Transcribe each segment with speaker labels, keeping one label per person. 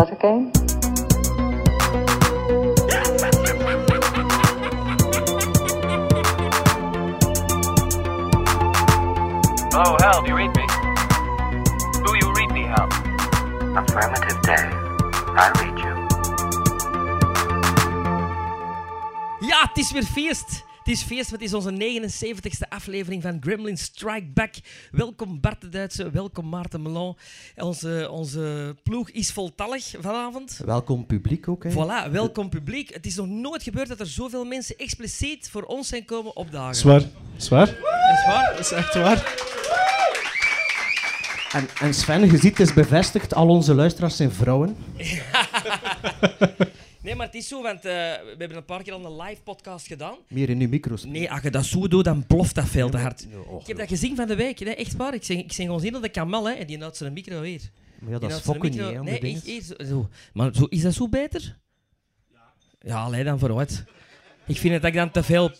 Speaker 1: okay?
Speaker 2: Oh, Hal, do you read me? Do you read me, Hal?
Speaker 3: Affirmative day. I read you.
Speaker 4: Ja, het is weer feest. Het is feest, want het is onze 79ste aflevering van Gremlin Strike Back. Welkom Bart de Duitse, welkom Maarten Melon. Onze, onze ploeg is voltallig vanavond.
Speaker 5: Welkom publiek ook. Hè.
Speaker 4: Voilà, welkom publiek. Het is nog nooit gebeurd dat er zoveel mensen expliciet voor ons zijn komen opdagen.
Speaker 6: Zwaar. Zwaar?
Speaker 4: Dat is waar.
Speaker 6: Dat is echt waar.
Speaker 5: En, en Sven, je ziet, het is bevestigd, al onze luisteraars zijn vrouwen.
Speaker 4: Nee, maar het is zo, want eh, we hebben een paar keer al een live podcast gedaan.
Speaker 5: Meer in uw micro's.
Speaker 4: Nee, als je dat zo doet, dan ploft dat veel te hard. Ik heb dat gezien van de week, hè. echt waar. Ik zeg, ik zeg gewoon zin dat ik kan hè. en die houdt zijn micro weer.
Speaker 5: Maar ja,
Speaker 4: Die
Speaker 5: dat is
Speaker 4: houdt zijn
Speaker 5: fokken niet,
Speaker 4: micro-
Speaker 5: hè, om
Speaker 4: Nee,
Speaker 5: die
Speaker 4: echt,
Speaker 5: dingen.
Speaker 4: echt zo. Maar zo, is dat zo beter? Ja. Ja, allee, dan vooruit. Ik vind het dat ik dan te veel,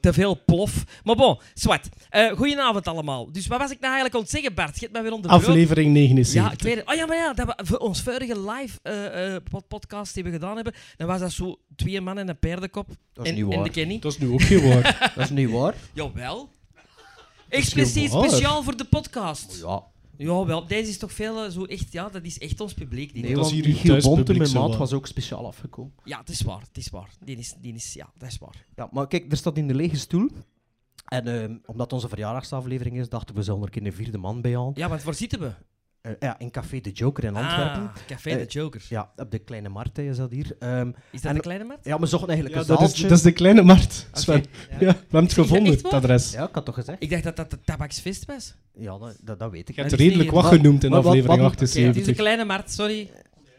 Speaker 4: te veel plof. Maar bon, zwart. Eh goedenavond allemaal. Dus wat was ik nou eigenlijk aan het zeggen, Bart? Je hebt mij weer onderbroken.
Speaker 6: Aflevering
Speaker 4: Ja,
Speaker 6: 79.
Speaker 4: ik weet het. Oh ja, maar ja, dat we voor ons vorige live eh, eh, pod- podcast die we gedaan hebben, dan was dat zo twee mannen en een paardenkop.
Speaker 5: Dat is
Speaker 4: en,
Speaker 5: niet waar.
Speaker 4: En de Kenny.
Speaker 6: Dat is nu ook geen waar.
Speaker 5: Dat is niet waar.
Speaker 4: Jawel. Expliciet
Speaker 6: waar.
Speaker 4: speciaal voor de podcast.
Speaker 5: Oh Ja.
Speaker 4: Jawel, deze is toch veel eh, zo echt... Ja, dat is echt ons publiek. Die
Speaker 5: Nee,
Speaker 6: Dat is
Speaker 5: want
Speaker 6: hier uw
Speaker 5: Michiel Bonte,
Speaker 6: thuispubliek
Speaker 5: mijn
Speaker 6: zo
Speaker 5: maat,
Speaker 6: wel.
Speaker 5: was ook speciaal afgekomen.
Speaker 4: Ja, het is waar. Het is waar. Die is, die is... Ja, dat is waar.
Speaker 5: Ja, maar kijk, er staat in de lege stoel. En ehm, omdat onze verjaardagsaflevering is, dachten we, zullen er een keer een vierde man bij aan.
Speaker 4: Ja, want waar zitten we?
Speaker 5: Eh, ja, in Café de Joker in Antwerpen.
Speaker 4: Ah, Café de
Speaker 5: Eh,
Speaker 4: Joker.
Speaker 5: Ja, op de Kleine Markt hè, is dat hier. Ehm,
Speaker 4: Is dat
Speaker 5: en-
Speaker 4: de kleine mat?
Speaker 5: ja, we zochten eigenlijk
Speaker 6: Ja,
Speaker 5: een
Speaker 6: dat, is,
Speaker 5: zaaltje.
Speaker 6: dat is de kleine Mart,
Speaker 4: Oké.
Speaker 6: Sven. Ja. we hebben het gevonden,
Speaker 4: echt waar?
Speaker 6: het adres.
Speaker 5: Ja, ik had toch gezegd?
Speaker 4: Ik dacht dat dat de tabaksfeest was.
Speaker 5: Ja, dat, dat, dat weet ik.
Speaker 6: Je hebt
Speaker 4: dat is
Speaker 6: redelijk
Speaker 4: niet-
Speaker 6: wat
Speaker 5: wat-
Speaker 6: genoemd in
Speaker 5: wat- wat-
Speaker 6: aflevering
Speaker 5: wat- oké, het
Speaker 4: Oké, het is de
Speaker 6: 78.
Speaker 4: kleine markt, sorry.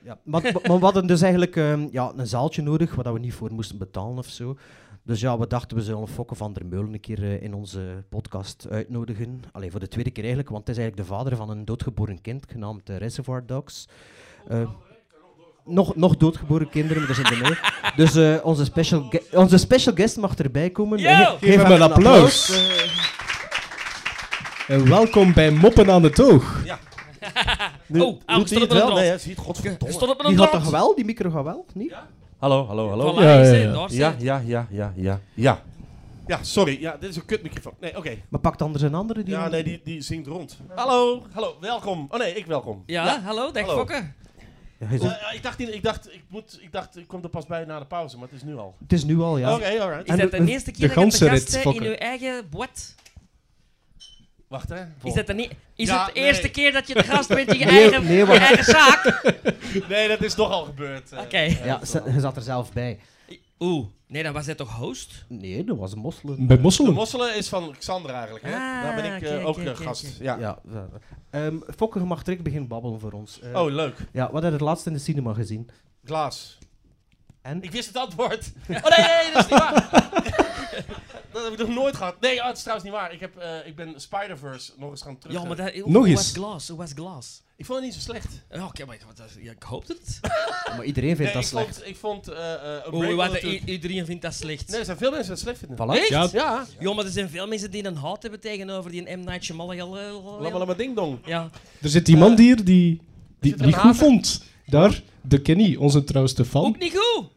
Speaker 5: Ja, maar, maar- maar we hadden dus eigenlijk ehm, ja, een zaaltje nodig, waar dat we niet voor moesten betalen of zo. Dus ja, we dachten we zullen Fokke van der Meulen een keer eh, in onze podcast uitnodigen. Alleen voor de tweede keer eigenlijk, want hij is eigenlijk de vader van een doodgeboren kind genaamd eh, Reservoir Dogs. Eh, nog, nog doodgeboren kinderen, maar daar zijn er mee. Dus eh, onze, special ge- onze special guest mag erbij komen.
Speaker 4: Yo!
Speaker 5: Eh, ge-
Speaker 6: Geef hem een applaus. En welkom bij Moppen aan de Toog.
Speaker 5: Nu,
Speaker 4: Oh, ah,
Speaker 5: doet
Speaker 4: stond
Speaker 5: hij
Speaker 4: op
Speaker 5: het
Speaker 4: een
Speaker 5: wel?
Speaker 4: draad.
Speaker 5: Nee, hij ziet, godverdomme.
Speaker 4: Stond op een
Speaker 5: Die gaat
Speaker 4: draad.
Speaker 5: toch wel, die micro gaat wel? Niet?
Speaker 7: Hallo, hallo,
Speaker 8: Oh,
Speaker 7: hallo.
Speaker 4: Voilà,
Speaker 6: Ja,
Speaker 4: ja, ja,
Speaker 6: ja, ja.
Speaker 7: Ja, ja, ja, ja, ja, ja.
Speaker 8: Ja, sorry. Ja, dit is een kutmicrofoon. Nee, oké.
Speaker 5: Maar pakt anders een andere die...
Speaker 8: Ja, nee, die, die zingt rond. Hallo, hallo, welkom. Oh nee, ik welkom.
Speaker 4: Ja, hallo, dag
Speaker 8: Hallo.
Speaker 4: Fokke.
Speaker 5: Ja, hij zegt-
Speaker 8: Eh, ja, ik dacht, niet- ik dacht, ik moet, ik dacht, ik kom er pas bij na de pauze, maar het is nu al.
Speaker 5: het is nu al, ja.
Speaker 8: Oké, alright.
Speaker 4: Is dat de eerste keer
Speaker 6: de
Speaker 4: dat je
Speaker 6: ganse
Speaker 4: te
Speaker 6: rit,
Speaker 4: gast bent in
Speaker 6: Fokke.
Speaker 4: je eigen boot?
Speaker 8: Wacht hè. Vol.
Speaker 4: Is dat dan niet... Is
Speaker 8: Ja,
Speaker 4: het de eerste
Speaker 8: nee.
Speaker 4: keer dat je te gast bent in je
Speaker 5: Nee,
Speaker 4: eigen,
Speaker 5: nee,
Speaker 4: je
Speaker 5: wacht.
Speaker 4: eigen zaak? Oké.
Speaker 8: Nee, dat is toch al gebeurd. eh.
Speaker 5: Ja, ze- je zat er zelf bij.
Speaker 4: Oeh. Nee, dan was hij toch host?
Speaker 5: Nee, dat was een mosselen.
Speaker 6: Bij
Speaker 8: De
Speaker 6: Mosselen.
Speaker 8: mosselen is van Xander eigenlijk, hè?
Speaker 4: Ah,
Speaker 8: Daar ben ik eh,
Speaker 4: oké,
Speaker 8: ook
Speaker 4: oké,
Speaker 8: eh,
Speaker 4: oké,
Speaker 8: gast.
Speaker 4: oké.
Speaker 8: Ja.
Speaker 5: Ja. ja. Ehm, Fokke, je mag direct beginnen babbelen voor ons. Eh,
Speaker 8: Oh, leuk.
Speaker 5: Ja, wat heb je het laatst in de cinema gezien?
Speaker 8: Glaas.
Speaker 5: En?
Speaker 8: Ik wist het antwoord. Oh nee, nee, dat is niet waar. dat heb ik nog nooit gehad. Nee, oh, het is trouwens niet waar. Ik, heb, eh, ik ben Spider-Verse nog eens gaan terug. eh.
Speaker 4: Ja, maar dat... Nog
Speaker 6: Nog
Speaker 4: was
Speaker 6: eens.
Speaker 4: glas? Hoe was glas?
Speaker 8: Ik vond het niet zo slecht.
Speaker 4: Ja, oké, maar ik, dat- ja, ik hoop het.
Speaker 5: Maar iedereen vindt
Speaker 8: Nee,
Speaker 5: dat slecht.
Speaker 8: Vond, ik vond eh eh
Speaker 4: Oeh,
Speaker 8: Unbreakable
Speaker 4: wat,
Speaker 8: natuurlijk-
Speaker 4: i- iedereen vindt dat slecht.
Speaker 8: Nee, er zijn veel mensen dat slecht vinden.
Speaker 5: Voilà.
Speaker 4: Echt?
Speaker 6: Ja.
Speaker 4: Ja.
Speaker 8: Ja,
Speaker 4: maar er zijn veel mensen die een haat hebben tegenover die een M. Night
Speaker 8: Lamma
Speaker 4: Shyamalan.
Speaker 8: Lamma Ding Dong.
Speaker 4: Ja.
Speaker 6: Er zit iemand hier die, die
Speaker 8: zit
Speaker 6: het
Speaker 8: er
Speaker 6: niet
Speaker 8: een
Speaker 6: goed
Speaker 8: hater?
Speaker 6: vond. Daar, de Kenny, onze trouwste
Speaker 4: Ook
Speaker 6: fan.
Speaker 4: niet goed.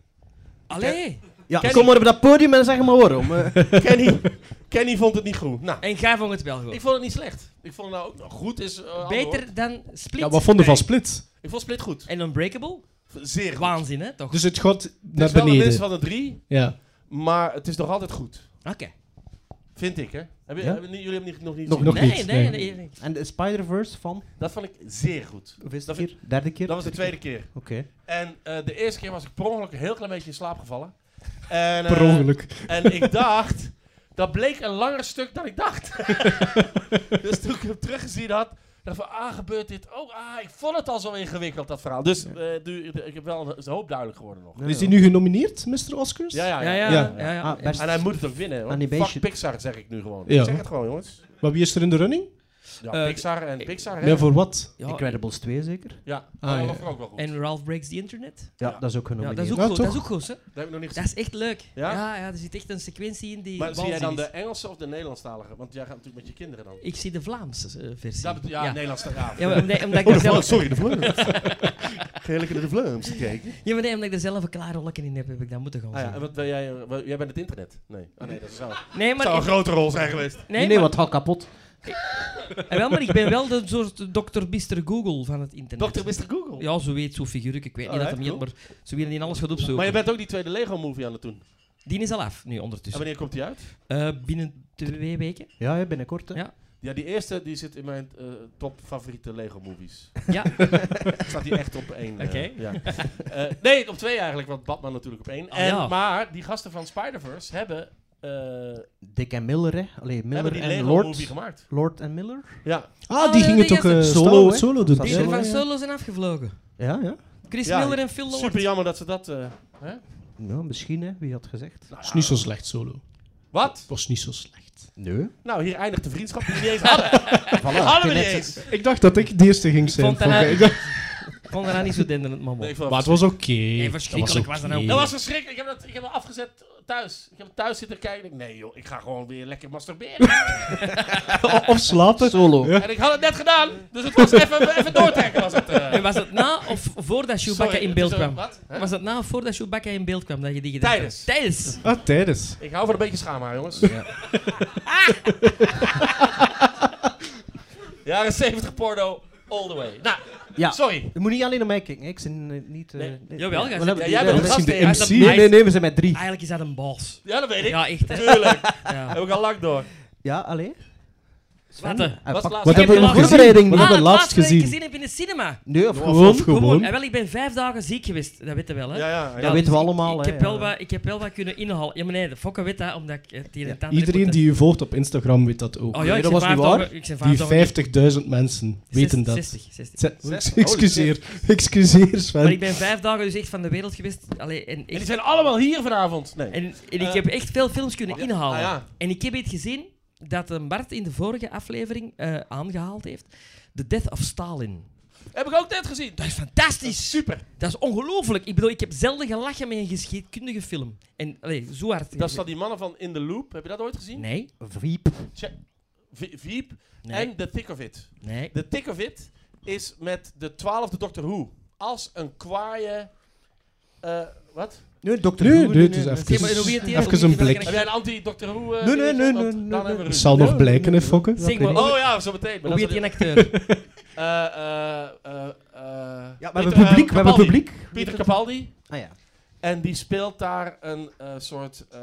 Speaker 4: Allee.
Speaker 5: Ja, kom maar op dat podium en zeg maar waarom. eh.
Speaker 8: Kenny, Kenny vond het niet goed. Nou,
Speaker 4: En jij vond het wel
Speaker 8: ik
Speaker 4: goed.
Speaker 8: vond het niet slecht. Ik vond het nou ook nog goed. Is, eh, ander hoor.
Speaker 4: Beter dan Split.
Speaker 6: Ja, wat vonden van Split?
Speaker 8: Ik vond Split goed.
Speaker 4: En Unbreakable?
Speaker 8: Zeer goed.
Speaker 4: Waanzin, hè? Toch?
Speaker 6: Dus het gaat
Speaker 8: Het
Speaker 6: naar
Speaker 8: is wel de minste
Speaker 6: beneden.
Speaker 8: van de drie,
Speaker 6: Ja.
Speaker 8: maar het is nog altijd goed.
Speaker 4: Oké.
Speaker 8: Vind ik, hè? Heb je,
Speaker 6: Ja?
Speaker 8: hebben- jullie hebben niet, nog niet
Speaker 5: Nog
Speaker 6: Nog
Speaker 8: gezien.
Speaker 4: Nee, nee,
Speaker 6: niet,
Speaker 4: nee.
Speaker 6: nee.
Speaker 4: nee.
Speaker 5: en de Spider-Verse van?
Speaker 8: Dat vond ik zeer goed.
Speaker 5: Hoeveelste
Speaker 8: Dat
Speaker 5: keer? Derde keer?
Speaker 8: Dat was de tweede keer.
Speaker 5: Oké.
Speaker 8: En eh, de eerste keer was ik per ongeluk een heel klein beetje in slaap gevallen. En, eh,
Speaker 6: Per ongeluk.
Speaker 8: En ik dacht, dat bleek een langer stuk dan ik dacht. dus toen ik hem teruggezien had, dacht ik van, ah, gebeurt dit? Oh, ah, ik vond het al zo ingewikkeld, dat verhaal. Dus eh, nu, ik heb wel een hoop duidelijk geworden nog.
Speaker 6: Is die nu genomineerd, Mr. Oscars?
Speaker 8: Ja, ja,
Speaker 4: Ja,
Speaker 8: ja.
Speaker 4: ja, ja.
Speaker 6: Ja.
Speaker 4: ja,
Speaker 5: Ah, best-
Speaker 8: En hij moet het ook winnen, hoor.
Speaker 5: Animation.
Speaker 8: Fuck Pixar, zeg ik nu gewoon.
Speaker 6: Ja.
Speaker 8: Ik zeg het gewoon, jongens.
Speaker 6: Maar wie is er in de running?
Speaker 8: Ja,
Speaker 4: Eh,
Speaker 8: Pixar en Pixar. hè?
Speaker 6: Maar voor wat?
Speaker 4: Ja,
Speaker 5: Incredibles 2 zeker?
Speaker 8: Ja,
Speaker 6: Ah,
Speaker 8: dat
Speaker 6: ja.
Speaker 8: vond ik ook wel goed.
Speaker 4: en Ralph Breaks the Internet.
Speaker 5: Ja,
Speaker 8: Ja.
Speaker 5: dat is ook
Speaker 4: Ja,
Speaker 5: genomineerd.
Speaker 4: dat is ook
Speaker 6: Ja,
Speaker 4: goed. Dat is
Speaker 6: toch?
Speaker 4: ook goed, hè.
Speaker 8: dat heb ik nog niet
Speaker 4: Dat
Speaker 8: gezien.
Speaker 4: is echt leuk.
Speaker 8: Ja?
Speaker 4: Ja? Ja, er zit echt een sequentie in die
Speaker 8: Maar zie jij dan
Speaker 4: waanzinnig
Speaker 8: de
Speaker 4: is.
Speaker 8: Engelse of de Nederlandstalige? Want jij gaat natuurlijk met je kinderen dan.
Speaker 4: Ik zie de Vlaamse eh, versie.
Speaker 8: Dat bet- ja,
Speaker 4: ja.
Speaker 8: Nederlandstalige. Ja.
Speaker 4: Ja, maar omdat, omdat ik er zelf,
Speaker 8: sorry, de Vlaams. Geen lekker naar de Vlaams gekeken.
Speaker 4: ja, maar nee, omdat ik er zelf een klaar rolletje in heb, heb ik dat moeten gaan
Speaker 8: Ah ja, en
Speaker 4: zien.
Speaker 8: wat ben jij? eh, wat- jij bent het internet? Nee. Ah nee, dat is wel.
Speaker 4: Nee, maar,
Speaker 8: zou een
Speaker 4: ik,
Speaker 8: grote rol zijn geweest.
Speaker 5: Nee,
Speaker 4: nee,
Speaker 5: nee,
Speaker 4: maar,
Speaker 5: wat gaat kapot.
Speaker 4: eh, wel, maar ik ben wel de soort Dr. Mr. Google van het internet.
Speaker 8: Dr. Mr. Google.
Speaker 4: Ja, zo weet, zo'n figuur. Ik weet niet dat
Speaker 8: Alright,
Speaker 4: hem niet,
Speaker 8: cool.
Speaker 4: maar ze willen niet alles gaat opzoeken.
Speaker 8: Maar je bent ook die tweede Lego-movie aan het doen.
Speaker 4: Die is al af, nu
Speaker 8: En
Speaker 4: ondertussen.
Speaker 8: wanneer komt die uit?
Speaker 4: Eh, binnen twee weken.
Speaker 5: Ja, ja, binnenkort. hè.
Speaker 4: Ja.
Speaker 8: Ja, die eerste die zit in mijn eh, top favoriete Lego-movies.
Speaker 4: Ja,
Speaker 8: Staat die echt op één. eh,
Speaker 4: Oké.
Speaker 8: ja. Eh, nee, op twee eigenlijk, want Batman natuurlijk op één.
Speaker 4: Ah,
Speaker 8: en,
Speaker 4: ja.
Speaker 8: Maar die gasten van Spider-Verse hebben, eh,
Speaker 5: Dick en Miller, hè? Allee,
Speaker 8: hebben
Speaker 5: Miller
Speaker 8: die
Speaker 5: en
Speaker 8: Lego-movie
Speaker 5: Lord.
Speaker 8: gemaakt.
Speaker 5: Lord en Miller?
Speaker 8: Ja,
Speaker 6: Ah,
Speaker 4: Ah,
Speaker 6: die
Speaker 4: ja,
Speaker 6: ging het
Speaker 4: die
Speaker 6: ook
Speaker 4: gasten.
Speaker 6: eh,
Speaker 5: Solo,
Speaker 6: solo,
Speaker 5: hè?
Speaker 6: solo doen.
Speaker 5: Van
Speaker 4: die er van
Speaker 6: ja.
Speaker 4: solo zijn afgevlogen.
Speaker 5: Ja, ja.
Speaker 4: Chris
Speaker 8: Ja,
Speaker 4: Miller en Phil Lord.
Speaker 8: super jammer dat ze dat... eh, hè?
Speaker 5: Nou, misschien, hè? Wie had gezegd?
Speaker 8: Nou.
Speaker 6: is niet zo slecht, solo.
Speaker 8: Wat?
Speaker 6: was niet zo slecht.
Speaker 5: Nee.
Speaker 8: Nou, hier eindigt de vriendschap die we niet eens hadden. hadden we niet eens.
Speaker 6: Ik dacht dat ik de eerste ging zijn.
Speaker 4: vond dat
Speaker 6: Oké,
Speaker 4: hij-
Speaker 6: ik dacht-
Speaker 4: Ik kon daarna niet zo denderend, man.
Speaker 8: Nee, ik vond
Speaker 6: Maar
Speaker 8: dat
Speaker 6: het was oké.
Speaker 4: Nee, verschrikkelijk was dat nou.
Speaker 8: Dat was verschrikkelijk. Ik heb, dat, ik heb dat afgezet thuis. Ik heb thuis zitten kijken. Ik denk, Nee joh, ik ga gewoon weer lekker masturberen.
Speaker 6: O- Of slapen. Solo.
Speaker 8: en ik had het net gedaan. Dus het was even, even doortrekken was het. eh.
Speaker 4: En was het na of voordat Chewbacca
Speaker 8: Sorry,
Speaker 4: in
Speaker 8: het
Speaker 4: beeld
Speaker 8: is, eh,
Speaker 4: kwam?
Speaker 8: Wat? Hè?
Speaker 4: Was dat na of voordat Chewbacca in beeld kwam dat je die gedacht
Speaker 8: Tijdens.
Speaker 4: had? Tijdens.
Speaker 6: Ah, tijdens.
Speaker 8: Ik hou van een beetje schaamhaar, jongens. Jaren 70 porno, all the way. Nou,
Speaker 5: Ja.
Speaker 8: sorry.
Speaker 5: Je moet niet alleen naar mij kijken, hè. ik zit eh, niet... eh,
Speaker 8: Nee.
Speaker 4: Jawel, jij
Speaker 5: we
Speaker 4: zit-
Speaker 5: hebben-
Speaker 8: Ja, jij bent
Speaker 5: we-
Speaker 8: de
Speaker 6: Misschien
Speaker 8: gast.
Speaker 6: de
Speaker 8: hè? Hij is
Speaker 6: MC.
Speaker 8: dat-
Speaker 5: Nee, nee, nee, we zijn met drie.
Speaker 4: Eigenlijk is dat een baas.
Speaker 8: Ja, dat weet ik.
Speaker 4: Ja, echt. hè.
Speaker 8: Tuurlijk.
Speaker 4: Ja.
Speaker 8: Heb ik al lang door.
Speaker 5: Ja, allee. Sven,
Speaker 4: Wat, eh?
Speaker 5: hij
Speaker 8: Wat
Speaker 5: pakt-
Speaker 8: laatst?
Speaker 4: heb
Speaker 6: Wat hebben
Speaker 4: je
Speaker 6: we in
Speaker 4: nog gezien?
Speaker 6: voorbereiding? Wat
Speaker 4: Ah,
Speaker 6: hebben
Speaker 4: het
Speaker 6: we laatst
Speaker 4: dat ik
Speaker 6: gezien?
Speaker 4: gezien heb in de cinema.
Speaker 5: Nee, of
Speaker 6: Of-
Speaker 5: gewoon.
Speaker 6: of gewoon.
Speaker 4: Ja, wel, ik ben vijf dagen ziek geweest. Dat weet je wel, hè? dus
Speaker 8: Ja, ja.
Speaker 5: Dat weten we allemaal,
Speaker 4: Ik,
Speaker 5: hè,
Speaker 4: ik, heb wel
Speaker 5: ja.
Speaker 4: wat, ik heb wel wat kunnen inhalen. Ja, maar nee, de fokker weet dat, omdat ik eh, het een en het ander
Speaker 6: Iedereen
Speaker 4: moet-
Speaker 6: die u volgt op Instagram weet dat ook.
Speaker 4: Oh ja, ik
Speaker 5: dat
Speaker 4: ben
Speaker 5: was
Speaker 4: vijf
Speaker 5: niet waar.
Speaker 4: dagen- ik ben vijf
Speaker 6: Die
Speaker 4: dagen-
Speaker 6: 50.000 mensen weten dat.
Speaker 4: 60, 60.
Speaker 6: Ze- Excuseer. Excuseer,
Speaker 4: Maar
Speaker 6: Sven.
Speaker 4: ik ben vijf dagen dus echt van de wereld geweest. Allee, en
Speaker 8: En
Speaker 4: ik,
Speaker 8: die zijn allemaal hier vanavond. Nee.
Speaker 4: en, en ik
Speaker 8: Eh,
Speaker 4: heb echt veel films kunnen inhalen.
Speaker 8: Ah, ja.
Speaker 4: En ik heb iets gezien dat eh, Bart in de vorige aflevering eh, aangehaald heeft. The Death of Stalin.
Speaker 8: Heb ik ook net gezien.
Speaker 4: Dat is fantastisch.
Speaker 8: Super.
Speaker 4: Dat is ongelooflijk. Ik bedoel, ik heb zelden gelachen met een geschiedkundige film. En allee, zo hard.
Speaker 8: Dat staat die mannen van In The Loop. Heb je dat ooit gezien?
Speaker 4: Nee,
Speaker 5: Viep.
Speaker 8: Check. V- Veep.
Speaker 4: nee,
Speaker 8: En The Thick of It.
Speaker 4: nee.
Speaker 8: The Thick of It is met de twaalfde Doctor Who. Als een kwaaie... eh, wat?
Speaker 5: Nee, dokter eh,
Speaker 6: Nu,
Speaker 5: Who,
Speaker 6: nu, het is
Speaker 4: Nee, maar hoe heet die?
Speaker 6: even... Even een blik.
Speaker 8: Heb jij een anti-Doctor Who? eh,
Speaker 5: Nee, nee,
Speaker 8: dingetje?
Speaker 5: nee,
Speaker 8: Want
Speaker 5: nee,
Speaker 8: dan
Speaker 5: nee,
Speaker 8: hebben we
Speaker 6: Het
Speaker 8: ruzie.
Speaker 6: zal nog
Speaker 5: Ja,
Speaker 6: blijken,
Speaker 5: ja,
Speaker 6: hè, Fokke?
Speaker 4: Zeg
Speaker 6: Dat
Speaker 4: maar,
Speaker 6: weet ik
Speaker 4: nog-
Speaker 8: Oh ja, zo meteen. Maar
Speaker 4: Hoe heet
Speaker 8: dat is
Speaker 4: die
Speaker 8: een-
Speaker 4: acteur?
Speaker 8: Eh, eh, eh, eh,
Speaker 5: Ja, we
Speaker 8: Peter,
Speaker 5: hebben publiek,
Speaker 8: eh,
Speaker 5: we hebben
Speaker 8: Capaldi.
Speaker 5: publiek.
Speaker 8: Peter Capaldi.
Speaker 5: Ah ja.
Speaker 8: En die speelt daar een eh, soort... eh,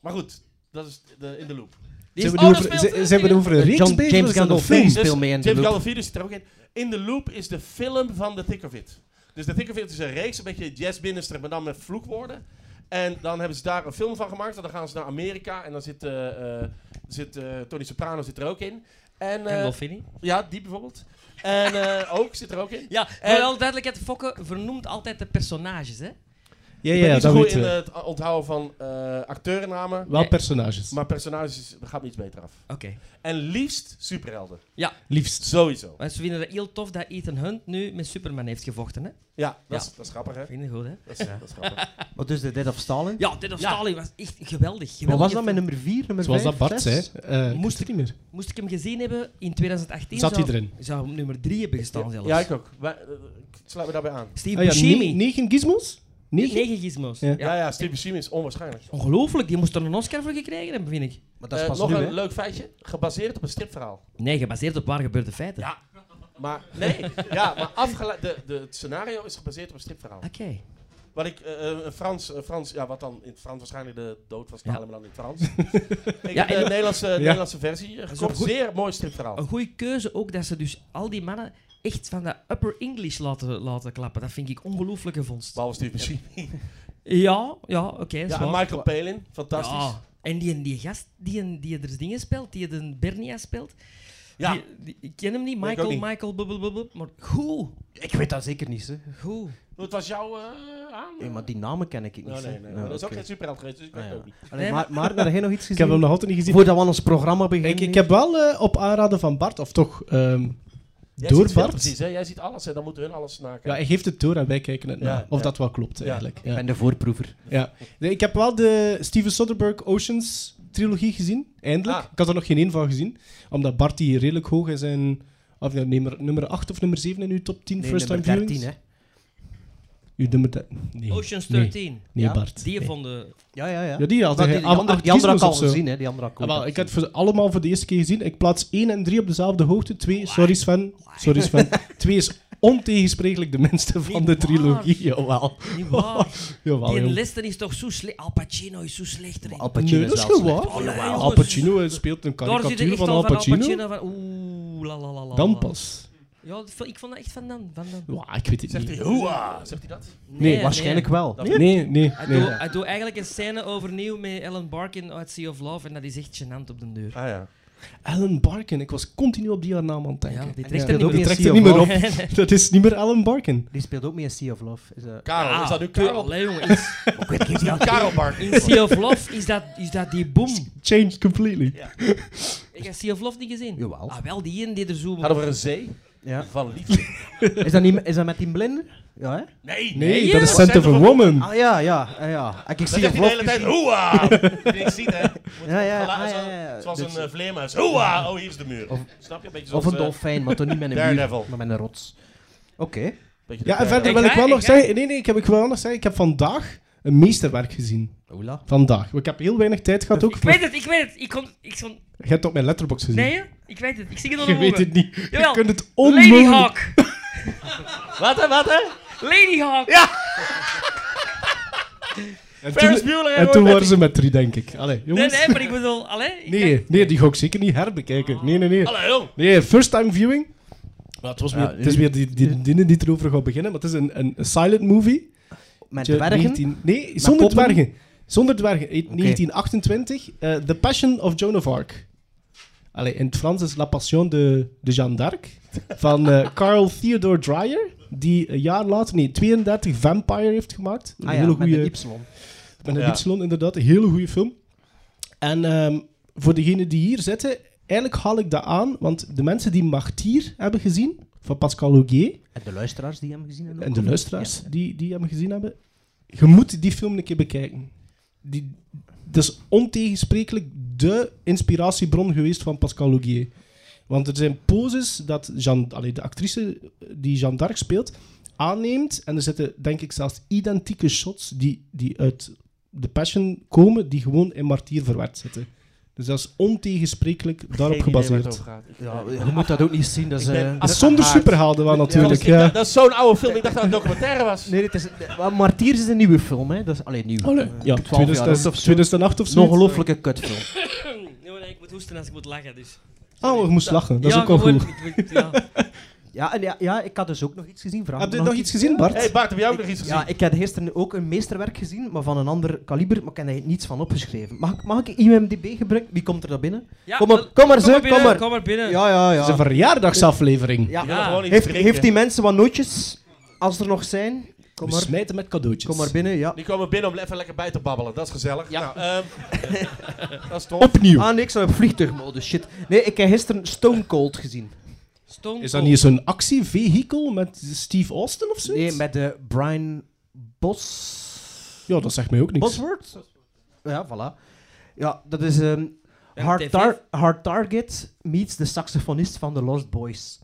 Speaker 8: maar goed, dat is de, in de loop.
Speaker 6: Zijn we
Speaker 8: Oh,
Speaker 6: nu
Speaker 8: dat
Speaker 6: over-
Speaker 8: speelt,
Speaker 6: zijn-
Speaker 8: eh,
Speaker 6: zijn we nu over een
Speaker 5: John-
Speaker 6: reeks bezig?
Speaker 5: James
Speaker 6: of is dat een
Speaker 5: Gandolfini
Speaker 6: film?
Speaker 5: speelt
Speaker 8: Dus
Speaker 5: mee in The
Speaker 8: James
Speaker 5: Loop.
Speaker 8: Gandolfini zit er ook in. In the Loop is de film van The Thick of It. Dus The Thick of It is een reeks, een beetje jazz binnenster, maar dan met vloekwoorden. En dan hebben ze daar een film van gemaakt. En dan gaan ze naar Amerika. En dan zit, eh, eh, zit eh, Tony Soprano zit er ook in. En, eh,
Speaker 4: En Dolfini?
Speaker 8: ja, die bijvoorbeeld. En eh, ook zit er ook in.
Speaker 4: Ja, voor alle duidelijkheid, Fokke vernoemt altijd de personages, hè?
Speaker 6: Ja,
Speaker 8: Ik ben
Speaker 6: ja,
Speaker 8: niet zo
Speaker 6: dat
Speaker 8: goed
Speaker 6: weten
Speaker 8: in
Speaker 6: we.
Speaker 8: het a- onthouden van eh acteurennamen.
Speaker 6: Wel personages.
Speaker 8: Maar personages, is- daar gaat me iets beter af.
Speaker 4: Oké.
Speaker 8: En liefst superhelden.
Speaker 6: Liefst.
Speaker 8: Sowieso.
Speaker 4: Maar ze vinden het heel tof dat Ethan Hunt nu met Superman heeft gevochten, hè?
Speaker 8: Ja,
Speaker 4: Ja.
Speaker 8: dat, Is, dat is grappig, hè?
Speaker 4: Vind je goed, hè?
Speaker 8: Dat is, dat is grappig.
Speaker 5: Wat is de Dead of Stalin?
Speaker 4: Ja, Dead of
Speaker 8: Ja.
Speaker 4: Stalin was echt geweldig.
Speaker 5: Wat
Speaker 4: geweldig
Speaker 5: was dat met nummer 4, nummer 5,
Speaker 6: Zoals dat Bart zei. eh, ik
Speaker 4: Moest
Speaker 6: weet het niet meer.
Speaker 4: Moest ik hem gezien hebben in 2018?
Speaker 6: Zat hij
Speaker 4: zou-
Speaker 6: erin?
Speaker 4: Zou hem nummer 3 hebben gestaan zelfs.
Speaker 8: Ja, ik ook. Wij, eh, ik sluit me daarbij aan.
Speaker 4: Steve
Speaker 6: Ah ja,
Speaker 4: Buscemi.
Speaker 6: ne- negen gizmos? Negen?
Speaker 4: 9 gizmos.
Speaker 6: Ja.
Speaker 8: Ja, ja, Steve Buscemi is onwaarschijnlijk.
Speaker 4: Ongelooflijk, die moest er een Oscar voor gekregen hebben, vind ik.
Speaker 5: Maar dat is
Speaker 8: Eh,
Speaker 5: pas
Speaker 8: nog
Speaker 5: nu,
Speaker 8: een
Speaker 5: hè.
Speaker 8: leuk feitje, gebaseerd op een stripverhaal.
Speaker 4: Nee, gebaseerd op waar gebeurde feiten.
Speaker 8: Ja. Maar nee, ja, maar afgeleid. De, de, het scenario is gebaseerd op een stripverhaal.
Speaker 4: Oké.
Speaker 8: Wat ik, eh, eh, een Frans, een Frans, ja, wat dan in het Frans waarschijnlijk de dood van Stalin,
Speaker 4: Ja.
Speaker 8: maar dan in het Frans. ik
Speaker 4: Ja,
Speaker 8: heb de
Speaker 4: en-
Speaker 8: Nederlandse, Nederlandse versie eh,
Speaker 4: is
Speaker 8: gekocht.
Speaker 4: ook goed. Oh,
Speaker 8: Zeer mooi stripverhaal.
Speaker 4: Een goede keuze ook dat ze dus al die mannen echt van dat upper English laten, laten klappen. Dat vind ik ongelooflijke vondst.
Speaker 8: Behalve Steve Buscemi.
Speaker 4: Ja, ja, oké. is Ah.
Speaker 8: Ja,
Speaker 4: waar.
Speaker 8: en Michael Palin, fantastisch.
Speaker 4: Ja. En die, die gast die, een- die er dus dingen speelt, die de Bernia speelt.
Speaker 8: Ja.
Speaker 4: Die, die- ik ken hem niet,
Speaker 8: Nee, ik
Speaker 4: Michael,
Speaker 8: ook niet.
Speaker 4: Michael, bubbel, bubbel. Maar goed,
Speaker 5: Ik weet dat zeker niet, hè.
Speaker 4: goed.
Speaker 8: Het was jouw eh, aan? Oh,
Speaker 5: Hey, maar die namen ken ik niet.
Speaker 8: Nee, nee,
Speaker 5: hè.
Speaker 8: nee.
Speaker 5: Nou,
Speaker 8: maar dat is ook
Speaker 5: oké.
Speaker 8: geen superheld geweest, dus ik weet
Speaker 5: Ah,
Speaker 8: het
Speaker 5: ja.
Speaker 8: ook niet.
Speaker 5: Allee,
Speaker 4: Nee,
Speaker 5: maar, maar, heb jij nog iets
Speaker 6: Ik
Speaker 5: gezien?
Speaker 6: heb hem nog altijd niet gezien.
Speaker 5: Voordat we aan ons programma beginnen.
Speaker 6: Ik, ik heb wel eh, op aanraden van Bart, of toch ehm,
Speaker 8: Jij
Speaker 6: door
Speaker 8: ziet veel
Speaker 6: Bart.
Speaker 8: Precies, hè? Jij ziet alles, hè? dan moeten hun alles snaken.
Speaker 6: Ja, hij geeft het door en wij kijken het
Speaker 8: Ja,
Speaker 6: na. Of
Speaker 8: ja.
Speaker 6: dat wel klopt, eigenlijk. Ja.
Speaker 5: Ik ben de voorproever.
Speaker 6: Ja. Nee, ik heb wel de Steven Soderbergh Oceans trilogie gezien, eindelijk.
Speaker 8: Ah.
Speaker 6: Ik had er nog geen één van gezien, omdat Bart die redelijk hoog is in... Of ja, nummer, nummer 8 of nummer 7 in uw top 10
Speaker 5: Nee,
Speaker 6: first time
Speaker 5: nummer
Speaker 6: viewings.
Speaker 5: 13, hè.
Speaker 6: Uw nummer 13. Nee.
Speaker 4: Ocean's
Speaker 6: nee.
Speaker 4: 13.
Speaker 6: Nee,
Speaker 5: Ja,
Speaker 6: Bart.
Speaker 4: Die
Speaker 6: nee.
Speaker 4: van de...
Speaker 5: Ja, ja, ja.
Speaker 6: Ja, die had
Speaker 5: Maar
Speaker 6: hij.
Speaker 5: die, die andere, die andere had ik al gezien, hè. Die andere had ik
Speaker 6: Ja,
Speaker 5: ook
Speaker 6: Ah, wel,
Speaker 5: al
Speaker 6: ik heb
Speaker 5: gezien.
Speaker 6: het voor- allemaal voor de eerste keer gezien. Ik plaats 1 en 3 op dezelfde hoogte. 2, sorry Sven. Sorry Sven. 2 is ontegensprekelijk de minste van
Speaker 4: Niet
Speaker 6: de
Speaker 4: waar.
Speaker 6: trilogie. Jawel.
Speaker 4: Niet waar.
Speaker 6: Jawel,
Speaker 4: Die
Speaker 6: joh.
Speaker 4: Listen is toch zo slecht. Al Pacino is zo slecht. erin.
Speaker 5: Al Pacino
Speaker 6: Nee, dat is
Speaker 5: wel slecht.
Speaker 6: gewoon
Speaker 4: Oh, jawel.
Speaker 6: waar. Al Pacino speelt een
Speaker 4: Daar zit
Speaker 6: karikatuur
Speaker 4: echt
Speaker 6: van
Speaker 4: al
Speaker 6: Al
Speaker 4: van Al
Speaker 6: Pacino.
Speaker 4: Pacino. Van, oeh, la la la la.
Speaker 6: Dan
Speaker 4: la.
Speaker 6: pas.
Speaker 4: Ja, dat vond- ik vond dat echt van dan. Van dan.
Speaker 6: Ja, ik weet het
Speaker 8: Zegt hij,
Speaker 6: niet.
Speaker 8: hoera! Zegt hij dat?
Speaker 6: Nee,
Speaker 5: Waarschijnlijk wel.
Speaker 8: Dat-
Speaker 6: Nee, nee, nee.
Speaker 4: Hij doet hij doet eigenlijk een scène overnieuw met Ellen Barkin uit Sea of Love en dat is echt gênant op de deur.
Speaker 7: Ah ja.
Speaker 6: Alan Barkin. Ik was continu op die haar naam aan het denken.
Speaker 4: Ja, die
Speaker 5: Die
Speaker 4: trekt er
Speaker 5: speelt ook
Speaker 4: niet
Speaker 5: in
Speaker 4: meer.
Speaker 6: trekt
Speaker 5: Sea
Speaker 6: er
Speaker 5: of
Speaker 6: niet meer
Speaker 5: Love.
Speaker 6: op. Dat is niet meer Alan Barkin.
Speaker 5: Die speelt ook mee in Sea of Love. Is dat...
Speaker 8: Karel, is dat nu
Speaker 4: Ah,
Speaker 8: Karel?
Speaker 4: allee, jongen. is-
Speaker 5: Ik weet niet. Ja,
Speaker 8: Karel Bart.
Speaker 4: In Sea of Love is dat, is dat die boom.
Speaker 6: Changed completely.
Speaker 4: Ik heb Sea of Love niet gezien.
Speaker 5: Jawel.
Speaker 4: Ah, wel, die ene die er zo...
Speaker 8: Gaat over een zee
Speaker 5: Ja.
Speaker 8: van liefde.
Speaker 5: Is, dat niet, is dat met die blinden? Ja, hè?
Speaker 8: Nee,
Speaker 6: Nee,
Speaker 4: ja.
Speaker 6: dat is Scent of a Woman.
Speaker 5: Ah ja, ja, ja. ja. Ik, ik
Speaker 8: Dat
Speaker 5: zie
Speaker 8: zegt
Speaker 5: een
Speaker 8: hij de hele
Speaker 5: vlog.
Speaker 8: tijd, hoera! Die ik zie, hè. Moet
Speaker 5: Ja, ja,
Speaker 8: geluid-
Speaker 5: ah,
Speaker 8: zo-
Speaker 5: ja, ja.
Speaker 8: Zoals
Speaker 5: Dus-
Speaker 8: een eh, vleermuis. Hoera! Oh, hier is de muur.
Speaker 5: Of-
Speaker 8: Snap je? Een beetje
Speaker 5: Of
Speaker 8: zoals...
Speaker 5: een
Speaker 8: eh,
Speaker 5: dolfijn, maar toch niet met een
Speaker 8: Daredevil.
Speaker 5: muur, maar met een rots. Oké.
Speaker 8: beetje de
Speaker 6: Ja, en verder
Speaker 8: Daredevil.
Speaker 6: wil
Speaker 4: Ik
Speaker 6: ik wel
Speaker 4: ga-
Speaker 6: nog
Speaker 4: ik ga-
Speaker 6: zeggen... Nee, nee, ik heb ik wel nog zeggen... Ik heb vandaag een meesterwerk gezien.
Speaker 5: Oula.
Speaker 6: Vandaag. Ik heb heel weinig tijd gehad ook.
Speaker 4: Ik weet het, ik weet het. Ik kon... Ik kon...
Speaker 6: Je hebt het op mijn letterbox gezien.
Speaker 4: Nee, hè? ik weet het. Ik zie het nog
Speaker 6: Je weet het niet.
Speaker 4: Jawel.
Speaker 6: Je kunt het
Speaker 4: Lady
Speaker 6: onmogelijk...
Speaker 4: Hawk.
Speaker 8: Wat, hè? Wat, hè?
Speaker 4: Lady Hawk.
Speaker 6: En
Speaker 8: Ferris
Speaker 6: toen,
Speaker 8: Bueller en
Speaker 6: en
Speaker 8: Roy
Speaker 6: toen waren
Speaker 8: Batty.
Speaker 6: ze met drie, denk ik. Allee,
Speaker 4: Nee,
Speaker 6: jongens.
Speaker 4: nee, maar ik bedoel... Allee, ik
Speaker 6: Nee, nee, die ga ik zeker niet herbekijken. Nee, nee, nee.
Speaker 8: Hallo!
Speaker 6: Nee, first time viewing. Maar het, was weer,
Speaker 5: Ja,
Speaker 6: het is weer die, die, die die erover gaat beginnen, maar het is een, een silent movie.
Speaker 5: Met
Speaker 6: Tje,
Speaker 5: dwergen?
Speaker 6: 19 nee, zonder
Speaker 5: poppen?
Speaker 6: dwergen. Zonder dwergen. Eh, 1928. eh, The Passion of Joan of Arc. Allee, in het Frans is La Passion de, de Jeanne d'Arc. Van eh, Carl Theodore Dreyer. Die een jaar later, nee, 32 Vampire heeft gemaakt. Een
Speaker 5: Ah ja,
Speaker 6: hele
Speaker 5: met een
Speaker 6: goede
Speaker 5: Y.
Speaker 6: met een
Speaker 8: Ja.
Speaker 6: Y, inderdaad. Een hele goede film. En ehm, voor degenen die hier zitten, eigenlijk haal ik dat aan, want de mensen die Martyr hebben gezien, van Pascal Augier,
Speaker 5: En de luisteraars die hem gezien hebben.
Speaker 6: en
Speaker 5: ook.
Speaker 6: de luisteraars die, die hem gezien hebben, je moet die film een keer bekijken. Die, dat is ontegensprekelijk de inspiratiebron geweest van Pascal Augier. Want er zijn poses dat Jean, allee, de actrice eh, die Jeanne d'Arc speelt aanneemt. En er zitten denk ik zelfs identieke shots die, die uit The Passion komen, die gewoon in Martyr verwerkt zitten. Dus dat is ontegensprekelijk daarop
Speaker 8: Geen idee waar het
Speaker 6: gebaseerd.
Speaker 8: over gaat. Ik-
Speaker 5: Ja, je moet dat ook niet zien. Dat is,
Speaker 8: Ik ben
Speaker 5: eh,
Speaker 6: Ah, zonder superhelden wel natuurlijk.
Speaker 8: Ik dacht-
Speaker 6: Ja.
Speaker 8: Dat is zo'n oude film, ik dacht dat het een documentaire was.
Speaker 5: Nee, dit is, eh, Martiers is een nieuwe film, hè. Dat is, alleen nieuw.
Speaker 6: Allee,
Speaker 5: Eh,
Speaker 6: ja,
Speaker 5: 12 jaar oud
Speaker 6: 2000
Speaker 5: of zo.
Speaker 6: 2008 of
Speaker 5: Het is
Speaker 6: zo.
Speaker 5: Een ongelooflijke kutfilm.
Speaker 4: Nee, maar ik moet hoesten als ik moet lachen, dus...
Speaker 6: Oh, je moest lachen. Dat is
Speaker 4: ja,
Speaker 6: ook wel
Speaker 4: gewoon,
Speaker 6: goed.
Speaker 4: ik weet- ja.
Speaker 5: Ja, en ja, ja, ik had dus ook nog iets gezien. Vraag
Speaker 6: Heb
Speaker 5: me
Speaker 6: je nog iets gezien, Bart?
Speaker 8: hey Bart, heb jij ook nog iets gezien?
Speaker 5: Ja, ik had gisteren ook een meesterwerk gezien, maar van een ander kaliber, maar ik heb er niets van opgeschreven. Mag, ik- mag ik IMDB gebruiken? Wie komt er daar binnen?
Speaker 4: Ja,
Speaker 5: Kom maar-
Speaker 4: wel,
Speaker 5: kom maar, zeg, kom
Speaker 4: binnen,
Speaker 5: maar.
Speaker 4: Kom maar binnen.
Speaker 5: Ja, ja, ja.
Speaker 6: Het is een verjaardagsaflevering.
Speaker 5: ja.
Speaker 8: Ik wil gewoon iets
Speaker 5: Heeft,
Speaker 8: drinken.
Speaker 5: heeft die mensen wat nootjes? Als er nog zijn, kom
Speaker 6: We
Speaker 5: maar,
Speaker 6: smijten met cadeautjes.
Speaker 5: kom maar binnen. Ja.
Speaker 8: Die komen binnen om even lekker bij te babbelen, dat is gezellig.
Speaker 5: Ja.
Speaker 8: Nou, ehm, dat is tof.
Speaker 6: Opnieuw.
Speaker 5: Ah nee, ik zou op vliegtuigmodus, shit. Nee, ik heb gisteren Stone Cold gezien.
Speaker 4: Stone
Speaker 6: Is dat
Speaker 4: Cold.
Speaker 6: niet zo'n actievehikel met Steve Austin of zoiets?
Speaker 5: Nee, met de Brian Bos...
Speaker 6: Ja, dat zegt mij ook niks.
Speaker 5: Bosworth? Ja, voilà. Ja, dat is ehm,
Speaker 4: Ja,
Speaker 5: hard,
Speaker 4: TV.
Speaker 5: Tar- Hard Target meets de saxofonist van The Lost Boys.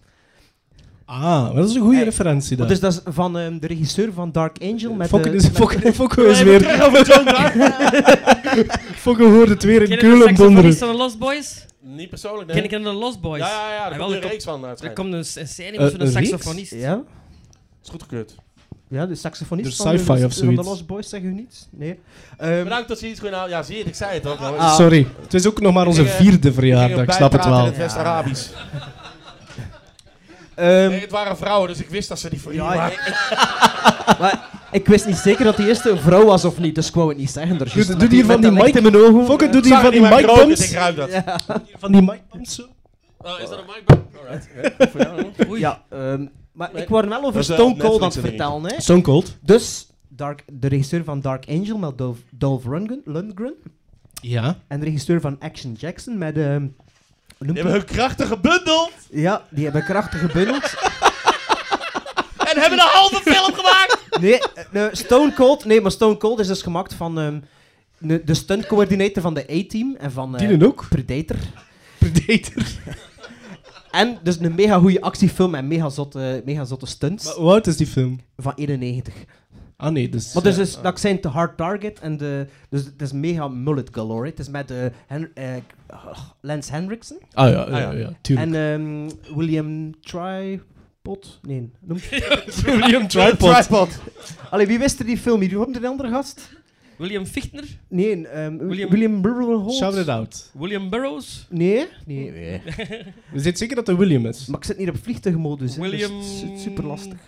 Speaker 6: Ah, dat is een goede
Speaker 5: Hey,
Speaker 6: referentie dan.
Speaker 5: Dus dat is van ehm, de regisseur van Dark Angel. Met
Speaker 6: Fokken
Speaker 5: de-
Speaker 6: is,
Speaker 5: met-
Speaker 6: Fokken, Fokken is
Speaker 8: Even
Speaker 6: weer...
Speaker 8: terug over John Dark.
Speaker 6: Fokken hoort het weer in
Speaker 4: Ken je de
Speaker 6: Keulen
Speaker 4: saxofonist
Speaker 6: donderen.
Speaker 4: van de Lost Boys?
Speaker 8: Niet persoonlijk, nee.
Speaker 4: Ken ik hem de Lost Boys?
Speaker 8: Ja, ja, ja,
Speaker 4: Ah, wel,
Speaker 8: daar komt nu een
Speaker 4: er
Speaker 8: reeks van. eh, het
Speaker 4: Er
Speaker 8: schijnt.
Speaker 4: komt een, een scène
Speaker 6: Eh,
Speaker 4: met zo'n
Speaker 6: een reeks?
Speaker 4: saxofonist.
Speaker 5: Ja,
Speaker 8: Is goed gekeurd.
Speaker 5: ja, de saxofonist
Speaker 6: Dus
Speaker 5: van, de,
Speaker 6: sci-fi of
Speaker 5: van de
Speaker 6: zoiets.
Speaker 5: Lost Boys, zeg u niet? Nee. Ehm,
Speaker 8: Bedankt dat je iets goed nou, Ja, zie je, het, ik zei het ook. jongens.
Speaker 5: Ah,
Speaker 6: Sorry, het is ook nog maar onze
Speaker 8: Ik ging, eh,
Speaker 6: vierde
Speaker 8: Gingen
Speaker 6: verjaardag, ik snap het
Speaker 8: bijpraten
Speaker 6: wel.
Speaker 8: in het West-Arabisch.
Speaker 5: ehm,
Speaker 8: Nee, het waren vrouwen, dus ik wist dat ze die voor je
Speaker 5: ja,
Speaker 8: waren.
Speaker 5: ik, ik- maar ik wist niet zeker dat die eerste een vrouw was of niet, dus ik wou het niet zeggen. daar juist.
Speaker 6: doe
Speaker 5: Maar
Speaker 6: die van
Speaker 5: met
Speaker 6: die
Speaker 5: dat licht
Speaker 6: mic-
Speaker 5: in mijn ogen.
Speaker 6: Fokken doet
Speaker 8: Ik
Speaker 6: hier
Speaker 8: zag
Speaker 6: van die
Speaker 8: niet, maar ik rook het,
Speaker 6: micbumps.
Speaker 8: Ik ruik dat.
Speaker 6: Van die micbumps zo.
Speaker 8: Oh, is dat een micbump? Alright. Ja, voor jou.
Speaker 4: Oei.
Speaker 5: Ja, ehm, maar ik word wel over
Speaker 8: Dat is, eh,
Speaker 5: Stone
Speaker 8: op
Speaker 5: Cold aan
Speaker 8: Netflix
Speaker 5: het
Speaker 8: te
Speaker 5: vertellen. Hè.
Speaker 6: Stone Cold.
Speaker 5: Dus Dark, de regisseur van Dark Angel met Dolph, Dolph Lundgren, Lundgren.
Speaker 6: Ja.
Speaker 5: En de regisseur van Action Jackson met... ehm, hoe noemt
Speaker 8: Die hebben
Speaker 5: hij-
Speaker 8: hun krachten gebundeld
Speaker 5: Ja, die hebben krachtig gebundeld.
Speaker 8: en hebben een halve film gemaakt.
Speaker 5: Nee, eh, eh, Stone Cold... Nee, maar Stone Cold is dus gemaakt van... ehm, ne- de stuntcoördinator van de A-Team en van eh,
Speaker 6: Die doen ook.
Speaker 5: Predator.
Speaker 6: Predator.
Speaker 5: En dus een mega goede actiefilm en mega zotte, mega zotte stunts
Speaker 6: Maar hoe oud is die film?
Speaker 5: van 91.
Speaker 6: Ah nee, dus...
Speaker 5: Maar dus, is, dat zijn te hard target en de, dus het is mega mullet galore. Het is met eh Hen- eh, Lance Henriksen
Speaker 6: Ah ja, ja,
Speaker 5: ja.
Speaker 6: ja, tuurlijk.
Speaker 5: en ehm, William Tripod. Nee, noem
Speaker 6: William Tripod.
Speaker 5: Allee, wie wist er die film hier? Hoe noemde de andere gast?
Speaker 4: William Fichtner,
Speaker 5: Nee, ehm William,
Speaker 4: William-
Speaker 5: William Burrell
Speaker 6: Shout it out.
Speaker 4: William Burroughs,
Speaker 5: Nee? Nee.
Speaker 6: We zitten zeker dat er William is.
Speaker 5: Maar ik zit niet op vliegtuigmodus. hè,
Speaker 4: William-
Speaker 5: Dus het is super lastig.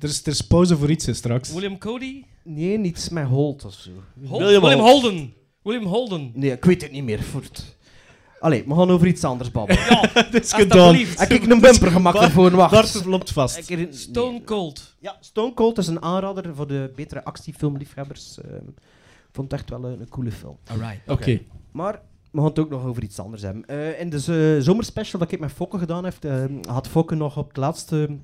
Speaker 6: Er is, er is pauze voor iets hè, straks.
Speaker 4: William Cody,
Speaker 5: Nee, niets met Holt of zo.
Speaker 4: Hol-
Speaker 8: William
Speaker 4: William,
Speaker 8: Holt.
Speaker 4: Holden. William Holden.
Speaker 5: Nee, ik weet het niet meer. Voert. Allee, we gaan over iets anders babbelen.
Speaker 6: Het is
Speaker 4: Alsjeblieft.
Speaker 5: Heb ik een bumper gemaakt ervoor?
Speaker 6: Bart
Speaker 5: Wacht.
Speaker 6: loopt vast.
Speaker 5: Ik herinner-
Speaker 4: Stone Cold.
Speaker 5: Ja, Stone Cold is een aanrader voor de betere actiefilmliefhebbers. ehm. Ik vond het echt wel een, een coole film.
Speaker 4: Alright.
Speaker 6: Oké.
Speaker 5: Maar we gaan het ook nog over iets anders hebben. Eh, in de z- zomerspecial dat ik met Fokke gedaan heb, ehm, had Fokke nog op het laatste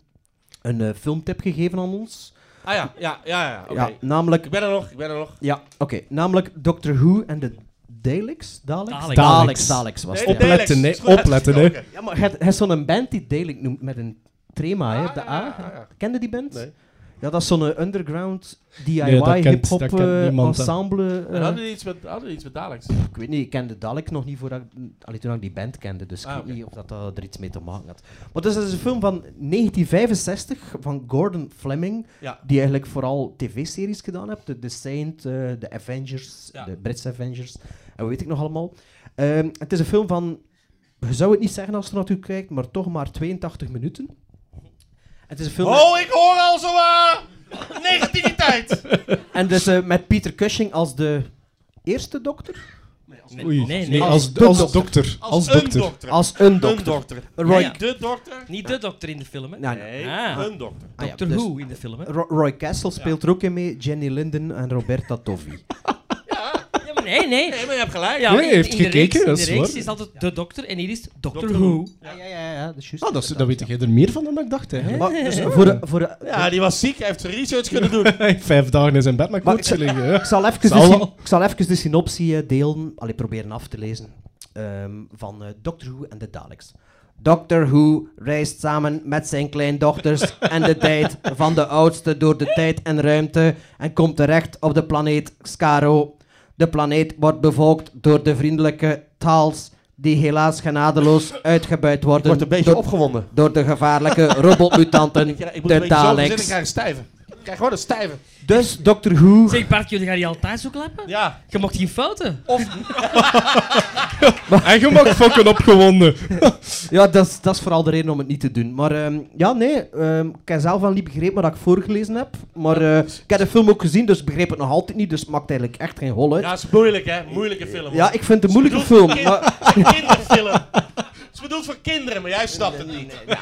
Speaker 5: een eh, filmtip gegeven aan ons.
Speaker 8: Ah ja, ja, ja, ja. oké.
Speaker 5: Ja, namelijk,
Speaker 8: Ik ben er nog, ik ben er nog.
Speaker 5: ja, oké, namelijk Doctor Who en de Daleks? Daleks?
Speaker 4: Daleks.
Speaker 5: Daleks, Daleks was
Speaker 8: Nee,
Speaker 5: het.
Speaker 8: nee,
Speaker 5: ja.
Speaker 8: Daleks.
Speaker 6: Opletten, hè.
Speaker 8: Is goed, het is
Speaker 6: Opletten,
Speaker 8: goed,
Speaker 6: hè.
Speaker 8: oké.
Speaker 5: Ja, maar hij hij is zo'n band die Dalek noemt met een trema, hè, op de A.
Speaker 8: Ah, ja.
Speaker 5: Kende die band?
Speaker 8: Nee.
Speaker 5: Ja, dat is zo'n underground
Speaker 6: Nee, dat
Speaker 5: DIY
Speaker 6: kent-
Speaker 5: hip-hop
Speaker 6: dat kent
Speaker 5: eh,
Speaker 6: niemand, hè.
Speaker 5: ensemble.
Speaker 8: En
Speaker 5: eh,
Speaker 8: Hadden die iets met, hadden die iets met Daleks?
Speaker 5: ik weet niet, ik kende Dalek nog niet voordat ik, allee, toen ik die band kende, dus
Speaker 8: Ah,
Speaker 5: ik weet
Speaker 8: oké.
Speaker 5: niet of dat, eh, er iets mee te maken had. Maar dus, dat is een film van 1965 van Gordon Fleming,
Speaker 8: Ja.
Speaker 5: die eigenlijk vooral tv-series gedaan heeft. De, The Saint, eh, de Avengers,
Speaker 8: Ja.
Speaker 5: de Britse Avengers, en wat weet ik nog allemaal. Ehm, het is een film van, je zou het niet zeggen als je er naartoe kijkt, maar toch maar 82 minuten. Het is een film
Speaker 8: Oh, ik hoor al zo eh, negativiteit.
Speaker 5: en dus eh, met Peter Cushing als de eerste dokter,
Speaker 6: Oei.
Speaker 4: Nee, nee.
Speaker 6: Nee,
Speaker 4: Als
Speaker 6: als,
Speaker 5: de
Speaker 6: als
Speaker 5: dokter.
Speaker 6: dokter.
Speaker 8: Als,
Speaker 6: Als
Speaker 8: een
Speaker 6: dokter.
Speaker 8: dokter.
Speaker 5: als een
Speaker 8: Een
Speaker 5: dokter.
Speaker 8: dokter.
Speaker 5: Roy, Ah
Speaker 4: Ja, ja.
Speaker 8: De dokter.
Speaker 4: Niet de dokter in de film, hè?
Speaker 5: Nou,
Speaker 8: Nee,
Speaker 4: Ah.
Speaker 8: een dokter.
Speaker 5: Ah, ja,
Speaker 4: Doctor
Speaker 5: dus-
Speaker 4: Who in de film, hè?
Speaker 5: Ro- Roy Castle speelt er ook in mee, Jenny Linden en Roberta Tovi.
Speaker 4: Ja, maar nee, nee.
Speaker 8: Nee, maar je hebt gelijk.
Speaker 4: Ja,
Speaker 6: Nee,
Speaker 4: in-
Speaker 6: hij heeft
Speaker 4: in de
Speaker 6: gekeken,
Speaker 4: reeks,
Speaker 6: dat
Speaker 4: in
Speaker 6: is
Speaker 4: de reeks
Speaker 6: waar.
Speaker 4: is altijd de dokter en hier is Doctor
Speaker 8: Doctor
Speaker 4: Who.
Speaker 5: Ja, ja, ja, ja dat is juist.
Speaker 6: Ah, dat, is- dat weet jij er meer van dan ik dacht, hè.
Speaker 5: Maar, dus voor de, voor de,
Speaker 8: Ja, die was ziek. Hij heeft zijn research kunnen doen.
Speaker 6: Vijf dagen in zijn bed met
Speaker 5: Maar-
Speaker 6: koorts liggen, hè.
Speaker 5: ik, zal even
Speaker 6: Zal
Speaker 5: de,
Speaker 6: wel.
Speaker 5: syn- ik zal even de synopsie eh, delen, allee, proberen af te lezen, ehm, van eh, Doctor Who en de Daleks. Doctor Who reist samen met zijn kleindochters en de tijd van de oudste door de tijd en ruimte en komt terecht op de planeet Skaro. De planeet wordt bevolkt door de vriendelijke Taals, die helaas genadeloos uitgebuit worden
Speaker 8: Wordt een beetje
Speaker 5: door-
Speaker 8: opgewonden.
Speaker 5: door de gevaarlijke robotmutanten,
Speaker 8: Ja, ik moet een
Speaker 5: de
Speaker 8: beetje zo verzinnen, ik
Speaker 5: Daleks.
Speaker 8: krijg een stijve. Ik krijg gewoon een stijve.
Speaker 5: Dus Doctor Who...
Speaker 4: Zeg Bart, jullie gaan die altijd zo klappen?
Speaker 8: Ja.
Speaker 4: Je mocht geen fouten.
Speaker 6: En je maakt fucking opgewonden.
Speaker 5: Ja, dat is, dat is vooral de reden om het niet te doen. Maar ehm, ja, nee, ehm, ik heb zelf wel niet begrepen wat ik voorgelezen heb. Maar eh, ik heb de film ook gezien, dus ik begreep het nog altijd niet. Dus het maakt eigenlijk echt geen hol uit.
Speaker 8: Ja, het is moeilijk, hè. Moeilijke film. hoor.
Speaker 5: Ja, ik vind het een moeilijke
Speaker 8: Het is
Speaker 5: film.
Speaker 8: bedoeld voor
Speaker 5: Maar,
Speaker 8: kind- Het is een kinderfilm. Het is bedoeld voor kinderen, maar jij snapt het niet.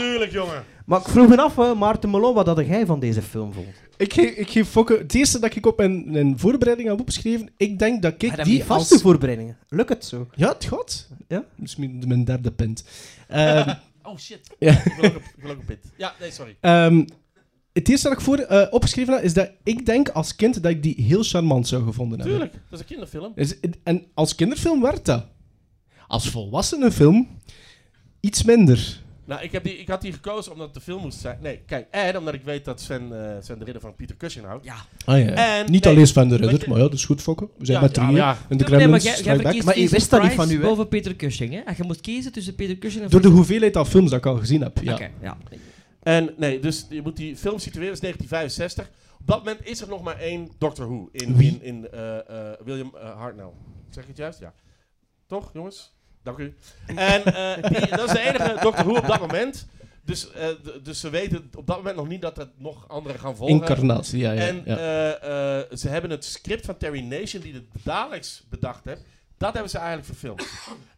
Speaker 8: Tuurlijk, jongen.
Speaker 5: maar ik vroeg me af, hè, Maarten Melon, wat had jij van deze film vond?
Speaker 6: Ik geef, ik geef fokken... Het eerste dat ik op mijn, mijn voorbereiding heb opgeschreven, ik denk dat ik
Speaker 5: Heb
Speaker 6: die
Speaker 5: die
Speaker 6: als...
Speaker 5: vaste voorbereidingen? Lukt het zo?
Speaker 6: Ja, het gaat.
Speaker 5: Ja?
Speaker 6: Dat is mijn, mijn derde punt. Ehm,
Speaker 8: Oh, shit.
Speaker 6: Ja.
Speaker 8: Ik wil ook een- ik wil ook een pit. Ja, nee, sorry.
Speaker 6: ehm, het eerste dat ik voor eh, opgeschreven heb, is dat ik denk als kind dat ik die heel charmant zou gevonden hebben.
Speaker 8: Tuurlijk, dat is een kinderfilm.
Speaker 6: Is- en als kinderfilm werd dat. Als volwassenenfilm iets minder.
Speaker 8: Nou, ik, heb die, ik had die gekozen omdat het de film moest zijn. Nee, kijk, en omdat ik weet dat Sven, eh, Sven de Ridder van Pieter Cushing houdt.
Speaker 4: Ja.
Speaker 6: Ah, ja.
Speaker 8: En-
Speaker 6: Niet
Speaker 8: nee,
Speaker 6: alleen Sven de Ridder,
Speaker 8: je-
Speaker 6: maar ja, dat is goed fokken. We zijn
Speaker 8: Ja,
Speaker 6: met drieën.
Speaker 8: ja, ja.
Speaker 6: En de
Speaker 4: nee, maar
Speaker 6: Gremlins,
Speaker 4: jij, jij
Speaker 6: Strike Back.
Speaker 4: verkiest
Speaker 5: Maar je
Speaker 4: Vincent
Speaker 5: wist dat niet
Speaker 4: Price
Speaker 5: van u, hè?
Speaker 4: boven Peter Cushing, hè? En je moest kiezen tussen Peter Cushing en...
Speaker 6: Door de hoeveelheid aan films dat ik al gezien heb. Ja.
Speaker 4: Oké, ja.
Speaker 8: En nee, dus je moet die film situeren, dat is 1965. Op dat moment is er nog maar één Doctor Who in,
Speaker 6: Wie?
Speaker 8: in, in eh, eh, William eh, Hartnell. Zeg ik het juist? Ja. Toch, jongens? Dank u. En eh, die- dat is de enige Doctor Who op dat moment. Dus, eh, d- dus ze weten op dat moment nog niet dat er nog anderen gaan volgen.
Speaker 6: Incarnatie, ja, ja.
Speaker 8: en
Speaker 6: ja.
Speaker 8: eh, eh, ze hebben het script van Terry Nation, die de Daleks bedacht heeft, dat hebben ze eigenlijk verfilmd.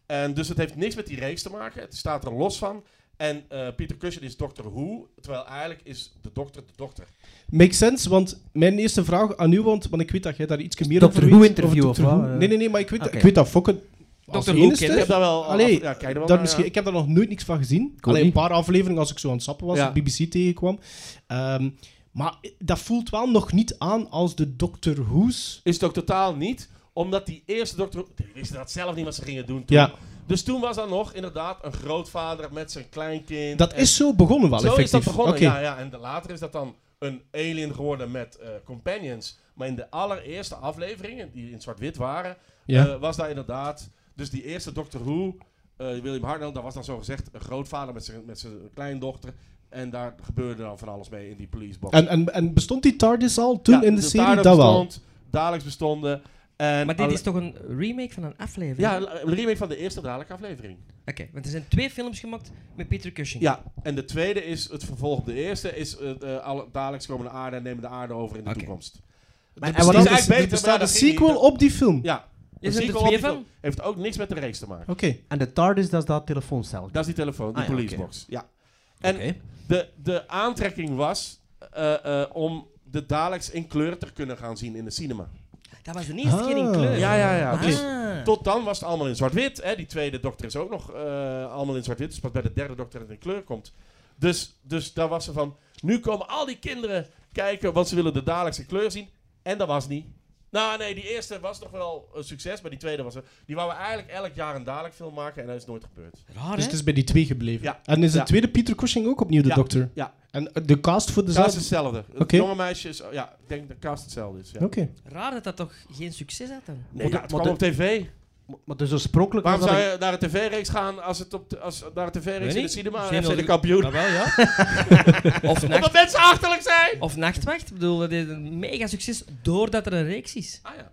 Speaker 8: en dus het heeft niks met die reeks te maken. Het staat er los van. En eh, Peter Cushing is Doctor Who, terwijl eigenlijk is de dokter de dokter.
Speaker 6: Makes sense, want mijn eerste vraag aan u, want, want ik weet dat jij daar iets meer
Speaker 5: Dr.
Speaker 6: over
Speaker 5: Who
Speaker 6: weet. over
Speaker 5: interview
Speaker 6: Dr.
Speaker 5: of
Speaker 6: Who.
Speaker 5: wat, eh?
Speaker 6: Nee, nee, nee, maar ik weet, dat-
Speaker 5: Oké.
Speaker 6: ik weet dat Fokke als
Speaker 4: Dr. Who
Speaker 6: enigste-
Speaker 8: Ik heb daar wel... al-
Speaker 6: Allee,
Speaker 8: ja, kijk er wel
Speaker 6: Daar
Speaker 8: naar,
Speaker 6: misschien,
Speaker 8: ja.
Speaker 6: ik heb daar nog nooit niks van gezien.
Speaker 5: ook
Speaker 6: Alleen een
Speaker 5: niet.
Speaker 6: paar afleveringen als ik zo aan het sappen was,
Speaker 8: Ja.
Speaker 6: op BBC tegenkwam. Ehm, maar dat voelt wel nog niet aan als de Doctor Who's.
Speaker 8: Is het ook totaal niet, omdat die eerste dokter... Die wisten dat zelf niet wat ze gingen doen toen.
Speaker 6: Ja,
Speaker 8: Dus toen was dat nog inderdaad een grootvader met zijn kleinkind.
Speaker 6: dat
Speaker 8: en-
Speaker 6: is zo begonnen wel,
Speaker 8: Zo
Speaker 6: effectief.
Speaker 8: is dat begonnen,
Speaker 6: Oké.
Speaker 8: ja, ja. En de- later is dat dan een alien geworden met eh, companions. Maar in de allereerste afleveringen, die in zwart-wit waren,
Speaker 6: Ja.
Speaker 8: eh, was daar inderdaad... Dus die eerste Doctor Who, eh, William Hartnell, daar was dan zo gezegd een grootvader met zijn, met zijn kleindochter. En daar gebeurde dan van alles mee in die politiebox.
Speaker 6: En, en, en bestond die TARDIS al toen
Speaker 8: Ja,
Speaker 6: in de, serie?
Speaker 8: TARDIS
Speaker 6: Dat wel.
Speaker 8: bestond, Daleks bestonden.
Speaker 4: Maar
Speaker 8: En
Speaker 4: dit
Speaker 8: alle-
Speaker 4: is toch een remake van een aflevering?
Speaker 8: Ja, een remake van de eerste dadelijke aflevering.
Speaker 4: Oké, want er zijn twee films gemaakt met Peter Cushing.
Speaker 8: Ja, en de tweede is het vervolg op de eerste. Is eh eh, alle Daleks komen de aarde en nemen de aarde over in de
Speaker 4: Oké.
Speaker 8: toekomst.
Speaker 6: Maar,
Speaker 8: en wat is eigenlijk beter,
Speaker 6: er
Speaker 8: maar
Speaker 6: bestaat een
Speaker 8: dat ging
Speaker 6: sequel
Speaker 8: niet.
Speaker 6: op die film.
Speaker 8: Ja.
Speaker 4: Is
Speaker 8: de
Speaker 4: er
Speaker 8: sequel
Speaker 4: er twee
Speaker 8: op die
Speaker 4: van?
Speaker 8: film Heeft ook niks met de reeks te maken.
Speaker 6: Oké.
Speaker 5: En de TARDIS, dat is dat telefooncel.
Speaker 8: Dat is die telefoon, die
Speaker 5: Ah, ja,
Speaker 8: policebox. Ja. En de, de aantrekking was eh, eh, om de Daleks in kleur te kunnen gaan zien in de cinema.
Speaker 4: Dat was de eerste keer in
Speaker 6: Ah.
Speaker 4: kleur.
Speaker 8: Ja, ja, ja.
Speaker 4: Ah.
Speaker 8: Dus Tot dan was het allemaal in zwart-wit. hè. Die tweede dokter is ook nog eh, allemaal in zwart-wit. Dus pas bij de derde dokter dat het in kleur komt. Dus, dus daar was ze van. Nu komen al die kinderen kijken, want ze willen de dagelijkse kleur zien. En dat was niet. Nou nee, die eerste was nog wel een succes, maar die tweede was... er- Die wouden we eigenlijk elk jaar een dadelijk film maken en dat is nooit gebeurd.
Speaker 4: Raar,
Speaker 6: Dus
Speaker 4: hè?
Speaker 6: het is bij die twee gebleven.
Speaker 8: Ja.
Speaker 6: En is de
Speaker 8: Ja.
Speaker 6: tweede Peter Cushing ook opnieuw de
Speaker 8: Ja.
Speaker 6: dokter?
Speaker 8: Ja.
Speaker 6: En eh, de cast voor
Speaker 8: Dat is
Speaker 6: dezelfde...
Speaker 8: hetzelfde. Het
Speaker 6: Oké.
Speaker 8: jonge meisje is... Ja, ik denk dat cast hetzelfde is. Ja.
Speaker 6: Oké.
Speaker 4: Raar dat dat toch geen succes had dan?
Speaker 8: Nee, ja, het kwam
Speaker 5: Maar
Speaker 8: op tv.
Speaker 5: Maar dus oorspronkelijk was dat...
Speaker 8: Waarom zou
Speaker 5: een-
Speaker 8: je naar een tv-reeks gaan als het op de- als naar een tv-reeks in de
Speaker 4: niet.
Speaker 8: cinema
Speaker 4: Misschien
Speaker 8: en FC de
Speaker 4: wel-
Speaker 8: kampioen?
Speaker 4: wel, ja. of, nacht,
Speaker 8: Omdat mensen achterlijk zijn!
Speaker 4: of Nachtwacht. Ik bedoel, dat is een mega succes doordat er een reeks is.
Speaker 8: Ah ja.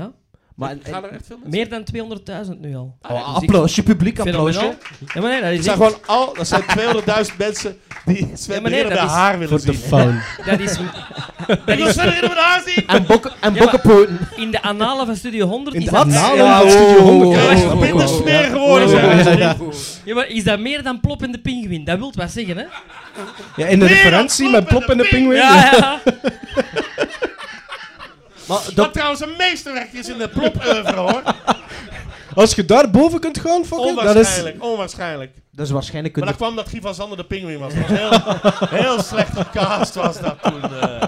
Speaker 4: Ja?
Speaker 5: Maar,
Speaker 8: Ik ga er echt veel mensen-
Speaker 4: Meer dan 200.000 nu al.
Speaker 5: oh, applausje, publiek applausje.
Speaker 4: Fenomenaal. Ja, maar nee, dat
Speaker 8: Er
Speaker 4: is
Speaker 8: zijn
Speaker 4: echt-
Speaker 8: gewoon al, dat zijn 200.000 mensen die Sven
Speaker 4: Ja,
Speaker 8: de
Speaker 4: maar nee,
Speaker 8: Ridder
Speaker 4: dat
Speaker 8: bij
Speaker 4: is
Speaker 8: haar willen
Speaker 6: Voor de
Speaker 8: zien.
Speaker 6: faun.
Speaker 4: Dat is,
Speaker 8: Ik wil Sven de Ridder bij haar zien!
Speaker 5: En, bokken, en
Speaker 4: Ja, maar-
Speaker 5: bokkenpoten.
Speaker 4: in de analen van Studio 100
Speaker 6: In
Speaker 4: is
Speaker 6: de
Speaker 4: dat...
Speaker 6: analen
Speaker 5: Ja,
Speaker 6: van
Speaker 5: oh,
Speaker 6: Studio
Speaker 5: oh,
Speaker 8: Dat is
Speaker 5: oh,
Speaker 6: 100.
Speaker 8: minder
Speaker 5: oh,
Speaker 8: smeer geworden, zeg.
Speaker 6: Ja, ja.
Speaker 4: Ja, maar is dat meer dan Plop en de Pinguïn? Dat wilt wat zeggen, hè?
Speaker 6: Ja, in de
Speaker 8: Weer een
Speaker 6: referentie met Plop en de Pinguïn.
Speaker 4: Ja, ja.
Speaker 5: Maar
Speaker 8: Wat
Speaker 5: dok-
Speaker 8: trouwens een meesterwerk is in de plop-oeuvre, hoor.
Speaker 6: Als je daar boven kunt gaan, fucking, dat is...
Speaker 8: Onwaarschijnlijk, onwaarschijnlijk.
Speaker 5: dus waarschijnlijk...
Speaker 8: Maar
Speaker 5: Een,
Speaker 8: dan kwam dat Guy van Zander de pinguïn was. Dat was heel, heel slecht gecast was dat toen. eh.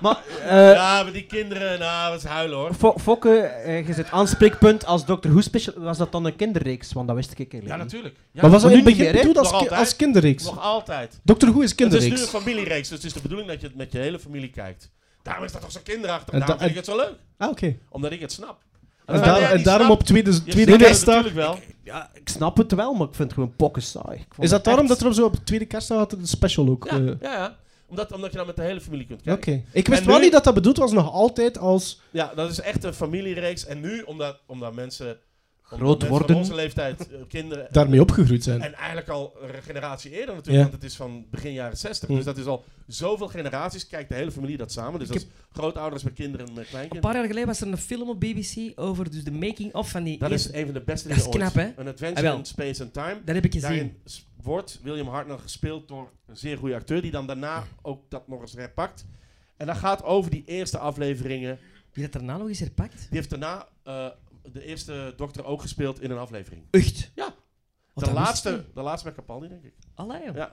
Speaker 5: maar, eh,
Speaker 8: Ja, maar die kinderen, nou, dat is huilen, hoor.
Speaker 5: Fo- Fokke, eh, je zit aanspreekpunt als Dr. Who special. Was dat dan een kinderreeks? Want dat wist ik eigenlijk
Speaker 8: Ja,
Speaker 5: niet.
Speaker 8: natuurlijk. Ja,
Speaker 6: Maar was dat
Speaker 5: Maar
Speaker 6: in het
Speaker 5: nu
Speaker 6: begin
Speaker 5: niet meer, hè?
Speaker 6: bedoeld als,
Speaker 8: Nog
Speaker 6: ki-
Speaker 8: altijd.
Speaker 6: als kinderreeks?
Speaker 8: nog altijd.
Speaker 6: Doctor Who is
Speaker 8: Het is nu een
Speaker 6: kinderreeks.
Speaker 8: familiereeks, dus het is de bedoeling dat je het met je hele familie kijkt. Daarom is dat toch zo kinderachtig.
Speaker 6: En
Speaker 8: Daarom
Speaker 6: da-
Speaker 8: vind ik het zo leuk.
Speaker 6: Ah, oké.
Speaker 8: Omdat ik het snap.
Speaker 6: En, daar- en daarom op tweede, tweede
Speaker 8: tweede
Speaker 6: kerstdag...
Speaker 8: Natuurlijk wel.
Speaker 5: Ja, ik snap het wel, maar ik vind het gewoon pokken saai. Ik vond
Speaker 6: Is dat
Speaker 5: het echt-
Speaker 6: daarom dat er op zo op tweede kerstdag had een special ook?
Speaker 8: Ja,
Speaker 6: eh,
Speaker 8: ja, ja. Omdat, omdat je dan met de hele familie kunt
Speaker 6: Oké.
Speaker 8: kijken.
Speaker 6: Ik wist
Speaker 8: En
Speaker 6: wel
Speaker 8: nu-
Speaker 6: niet dat dat bedoeld was, nog altijd als...
Speaker 8: Ja, dat is echt een familiereeks. En nu, omdat, omdat mensen... omdat
Speaker 5: Groot
Speaker 8: mensen
Speaker 5: worden.
Speaker 8: Van onze leeftijd, eh, kinderen...
Speaker 6: daarmee opgegroeid zijn.
Speaker 8: En eigenlijk al een generatie eerder natuurlijk,
Speaker 6: Ja.
Speaker 8: want het is van begin jaren 60.
Speaker 6: Hm.
Speaker 8: Dus dat is al zoveel generaties, kijkt de hele familie dat samen. Dus
Speaker 4: Ik
Speaker 8: dat is grootouders met kinderen en met
Speaker 4: Een
Speaker 8: kleinkinderen.
Speaker 4: paar jaar geleden was er een film op BBC over dus de making-of van die...
Speaker 8: Dat
Speaker 4: eerste-
Speaker 8: is een van de beste
Speaker 4: Dat is
Speaker 8: dingen ooit.
Speaker 4: knap, hè?
Speaker 8: Een
Speaker 4: Ah,
Speaker 8: Adventure
Speaker 4: wel.
Speaker 8: in Space and Time.
Speaker 4: Dat heb ik gezien.
Speaker 8: Daarin s- wordt William Hartnell gespeeld door een zeer goede acteur, die dan daarna ook dat nog eens herpakt. En dat gaat over die eerste afleveringen.
Speaker 4: Die dat daarna nog eens herpakt?
Speaker 8: Die heeft daarna eh, de eerste dokter ook gespeeld in een aflevering.
Speaker 4: Echt?
Speaker 8: Ja.
Speaker 4: Want
Speaker 8: De
Speaker 4: dat
Speaker 8: laatste,
Speaker 4: wist
Speaker 8: de laatste met Capaldi, denk ik.
Speaker 4: ik. Allee, joh.
Speaker 8: Ja.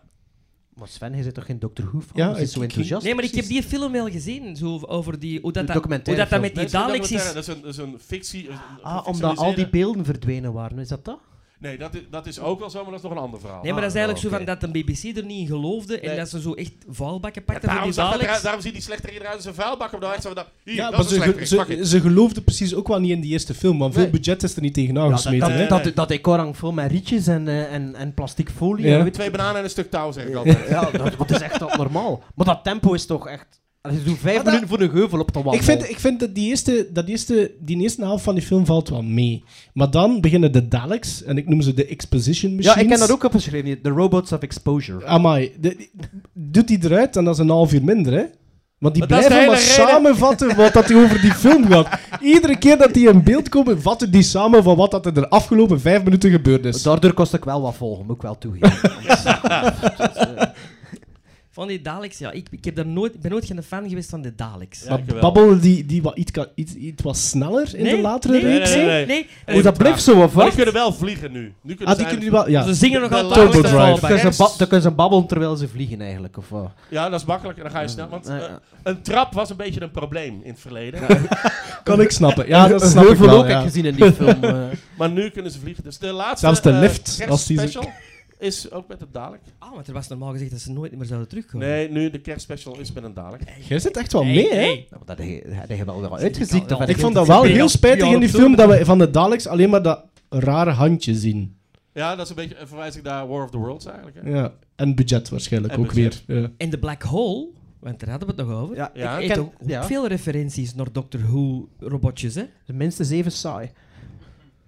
Speaker 5: Maar Sven, je zit toch geen Dr. Who fan?
Speaker 6: Ja,
Speaker 5: Ja, is
Speaker 6: ik-
Speaker 5: zo
Speaker 6: ik-
Speaker 5: enthousiast?
Speaker 4: Nee, maar ik heb die film wel gezien, zo over- over die, hoe, dat
Speaker 5: De
Speaker 4: dat, hoe
Speaker 5: documentaire
Speaker 4: dat, dat
Speaker 5: film.
Speaker 4: met die
Speaker 8: Nee, dat
Speaker 4: Daleks
Speaker 8: is geen
Speaker 4: is.
Speaker 8: documentaire, Dat is een, dat is een fictie. een- een
Speaker 5: Ah, omdat al die
Speaker 8: gefictionaliseerde-
Speaker 5: beelden verdwenen waren. Is dat dat?
Speaker 8: Nee, dat is, dat is ook wel zo, maar dat is nog een ander verhaal.
Speaker 4: Nee, maar dat is
Speaker 5: Ah,
Speaker 4: eigenlijk zo van
Speaker 5: oké.
Speaker 4: dat de BBC er niet in geloofde en
Speaker 8: Nee.
Speaker 4: dat ze zo echt vuilbakken
Speaker 8: Ja,
Speaker 4: pakten voor
Speaker 8: daarom,
Speaker 4: die
Speaker 8: zag dat
Speaker 4: Daleks.
Speaker 8: eruit- daarom ziet die slechter eruit als een vuilbak op de hoogte. Hier,
Speaker 6: Ja,
Speaker 8: dat
Speaker 6: maar
Speaker 8: is een
Speaker 6: ze,
Speaker 8: slechter. Fuck it.
Speaker 6: ze, ze geloofden precies ook wel niet in die eerste film, want
Speaker 8: Nee.
Speaker 6: veel budget is er niet tegen
Speaker 5: Ja, dat,
Speaker 6: aangesmeten.
Speaker 5: dat,
Speaker 8: hè?
Speaker 5: dat, dat, decor hangt vol met rietjes en, eh, en, en plastic folie.
Speaker 6: Ja.
Speaker 5: en weet-
Speaker 8: Twee bananen en een stuk touw, zeg ik altijd.
Speaker 5: ja dat, dat is echt abnormaal. Maar dat tempo is toch echt... Allee, Je doet vijf
Speaker 6: Maar dat-
Speaker 5: minuten voor een geuvel op de wandel.
Speaker 6: ik, vind, ik vind dat, die eerste, dat die, eerste, die eerste helft van die film valt wel mee. Maar dan beginnen de Daleks, en ik noem ze de Exposition
Speaker 5: ja,
Speaker 6: Machines.
Speaker 5: ik heb dat ook opgeschreven. hier. The Robots of Exposure.
Speaker 6: Amai, de- die- doet die eruit en dat is een half uur minder, hè? Want die
Speaker 8: Maar dat is
Speaker 6: blijven
Speaker 8: de
Speaker 6: maar
Speaker 8: hele reden.
Speaker 6: samenvatten wat dat hij over die film gaat. Iedere keer dat die in beeld komen, vatten die samen van wat dat er de afgelopen vijf minuten gebeurd is.
Speaker 5: Daardoor kost ik wel wat volgen, moet ik wel toegeven.
Speaker 4: Van die Daleks, ja, ik, ik, heb daar nooit, ik ben nooit geen fan geweest van de Daleks.
Speaker 8: Ja,
Speaker 6: maar
Speaker 8: ik wel.
Speaker 6: Babbel, die, die wat, iets, ka- iets, iets was sneller in de latere
Speaker 4: nee,
Speaker 6: reeks.
Speaker 4: Nee,
Speaker 6: hè?
Speaker 4: nee,
Speaker 8: nee,
Speaker 4: nee.
Speaker 8: nee.
Speaker 6: Hoe dat bleef zo, of
Speaker 8: Maar die
Speaker 6: wat?
Speaker 8: kunnen wel vliegen nu. nu kunnen
Speaker 6: Ah,
Speaker 8: ze
Speaker 6: die kunnen die
Speaker 8: eigenlijk-
Speaker 6: wel...
Speaker 4: Ze
Speaker 6: Ja.
Speaker 4: zingen nog
Speaker 8: De
Speaker 4: altijd Daleks
Speaker 8: Turbo
Speaker 6: Drive.
Speaker 4: en
Speaker 5: dan, kunnen ze
Speaker 4: Fallback.
Speaker 5: ba- dan kunnen ze babbelen terwijl ze vliegen, eigenlijk. Of wat?
Speaker 8: Ja, dat is makkelijker, dan ga je snel. Want
Speaker 5: Ja,
Speaker 8: eh,
Speaker 5: ja.
Speaker 8: een trap was een beetje een probleem in het verleden.
Speaker 6: Kan ik snappen. Ja, dat
Speaker 5: Een
Speaker 6: snap ik
Speaker 5: heuvel
Speaker 6: wel.
Speaker 5: ook
Speaker 6: ja.
Speaker 5: heb ik gezien in die film. eh.
Speaker 8: Maar nu kunnen ze vliegen. Dus de laatste
Speaker 6: Zelfs de
Speaker 8: eh,
Speaker 6: lift, als die zo-
Speaker 8: kerstspecial is ook met een dadelijk.
Speaker 4: Ah, want er was normaal gezegd dat ze nooit meer zouden terugkomen.
Speaker 8: Nee, nu de kerstspecial is met een dadelijk.
Speaker 6: Jij zit echt wel mee, hè?
Speaker 4: Hey,
Speaker 5: Nou, maar dat heb je- dat heb je wel wel uitgeziekt.
Speaker 4: al-
Speaker 5: of heb
Speaker 6: Ik
Speaker 5: je
Speaker 6: vond
Speaker 5: het
Speaker 6: dat wel
Speaker 4: Ik
Speaker 6: heel
Speaker 4: denk
Speaker 6: spijtig
Speaker 4: dat-
Speaker 6: in die
Speaker 4: ja,
Speaker 6: film dat we van de Daleks alleen maar dat rare handje zien.
Speaker 8: Ja, dat is een beetje een verwijzing naar War of the Worlds eigenlijk. Hè?
Speaker 6: Ja. En budget waarschijnlijk
Speaker 8: En
Speaker 6: ook
Speaker 8: budget.
Speaker 6: weer. Ja.
Speaker 4: En de Black Hole, want daar hadden we het nog over.
Speaker 5: Ja,
Speaker 8: Ja,
Speaker 4: ik
Speaker 5: ik
Speaker 4: heb
Speaker 5: ken-
Speaker 4: ook
Speaker 5: ja.
Speaker 4: veel referenties naar Doctor Who-robotjes, hè.
Speaker 5: Minstens even saai.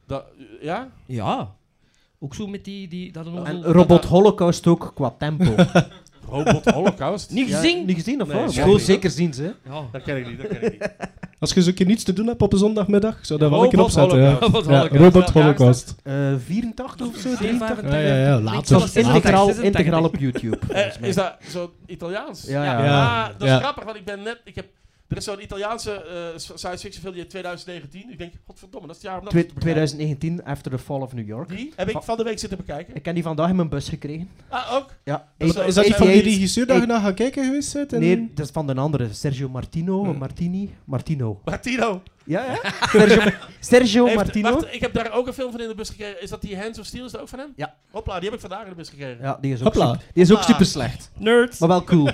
Speaker 8: Dat, eh, ja?
Speaker 4: Ja. Ook zo met die... die dat een
Speaker 5: En eh,
Speaker 4: ongeluk-
Speaker 5: Robot Holocaust ook qua tempo.
Speaker 8: Robot Holocaust?
Speaker 4: Niet
Speaker 8: Ja,
Speaker 4: gezien?
Speaker 5: Niet gezien of
Speaker 8: Nee,
Speaker 5: wel?
Speaker 8: nee.
Speaker 5: School zeker zien ze.
Speaker 4: Ja.
Speaker 8: Dat ken ik niet, dat ken ik niet.
Speaker 6: Als je zo'n keer niets te doen hebt op een zondagmiddag, zou dat wel een keer
Speaker 8: Robot
Speaker 6: opzetten. Ja.
Speaker 8: Holocaust.
Speaker 4: Robot Holocaust.
Speaker 6: Ja, Robot
Speaker 8: Welk jaar is
Speaker 6: Holocaust.
Speaker 5: Eh 84 of zo? 83?
Speaker 4: 84.
Speaker 6: Ja, ja, ja, later.
Speaker 4: Zoals
Speaker 5: Zelfs integraal,
Speaker 4: 86.
Speaker 5: integraal op YouTube. volgens
Speaker 8: Eh,
Speaker 5: mij.
Speaker 8: is dat zo Italiaans?
Speaker 5: Ja, ja.
Speaker 6: Ja.
Speaker 8: Ah, dat is
Speaker 6: Ja.
Speaker 8: grappig, want ik ben net... Ik heb, er is zo'n Italiaanse eh, science fiction film die uit 2019. Ik denk, godverdomme, dat is het jaar om dat
Speaker 5: Twe-
Speaker 8: te bekijken.
Speaker 5: 2019, After the Fall of New York.
Speaker 8: Die heb ik van de week zitten bekijken.
Speaker 5: Ik heb die vandaag in mijn bus gekregen.
Speaker 8: Ah, ook?
Speaker 5: Ja.
Speaker 8: Dat is wel-
Speaker 6: Is dat niet van die
Speaker 5: 88
Speaker 6: regisseur dat je naar gaat kijken geweest bent? En-
Speaker 5: Nee, dat is van een andere. Sergio Martino. Martini? Martino.
Speaker 8: Martino.
Speaker 5: Ja, ja. Sergio, Sergio
Speaker 8: Heeft-
Speaker 5: Martino.
Speaker 8: wacht, ik heb daar ook een film van in de bus gekregen. Is dat die Hands of Steel? Is dat ook van hem?
Speaker 5: Ja.
Speaker 8: Hopla, die heb ik vandaag in de bus gekregen.
Speaker 5: Ja, die is ook,
Speaker 6: Hopla.
Speaker 5: super, die is ook
Speaker 8: Hopla.
Speaker 5: super slecht.
Speaker 4: Nerds.
Speaker 5: Maar wel cool.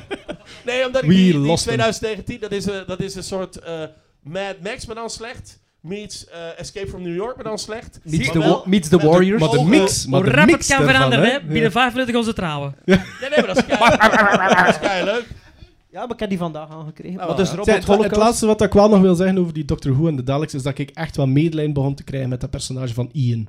Speaker 8: Nee, omdat ik
Speaker 6: We
Speaker 8: die, die
Speaker 6: lost
Speaker 8: 2019, dat is, een, dat is een soort eh, Mad Max, maar dan slecht. Meets eh, Escape from New York, maar dan slecht.
Speaker 5: Meets
Speaker 8: Maar
Speaker 5: the,
Speaker 8: wel-
Speaker 5: wa- meets the
Speaker 8: met de
Speaker 5: Warriors. Oh,
Speaker 6: Maar de
Speaker 8: Ogen.
Speaker 6: mix, maar
Speaker 4: Hoe
Speaker 6: de
Speaker 4: rap het
Speaker 6: mix
Speaker 4: kan
Speaker 6: ervan,
Speaker 4: veranderen, hè.
Speaker 6: Ja.
Speaker 4: Binnen vijf minuten gaan ze trouwen.
Speaker 8: Nee, nee, maar dat is kei- dat is kei leuk.
Speaker 5: Ja, maar ik heb die vandaag aangekregen.
Speaker 8: Ah,
Speaker 5: Wat is
Speaker 8: ja.
Speaker 5: Robot
Speaker 6: Zeg, het, het
Speaker 5: Holocaust?
Speaker 6: laatste wat ik wel nog wil zeggen over die Doctor Who en de Daleks is dat ik echt wel medelijden begon te krijgen met dat personage van Ian.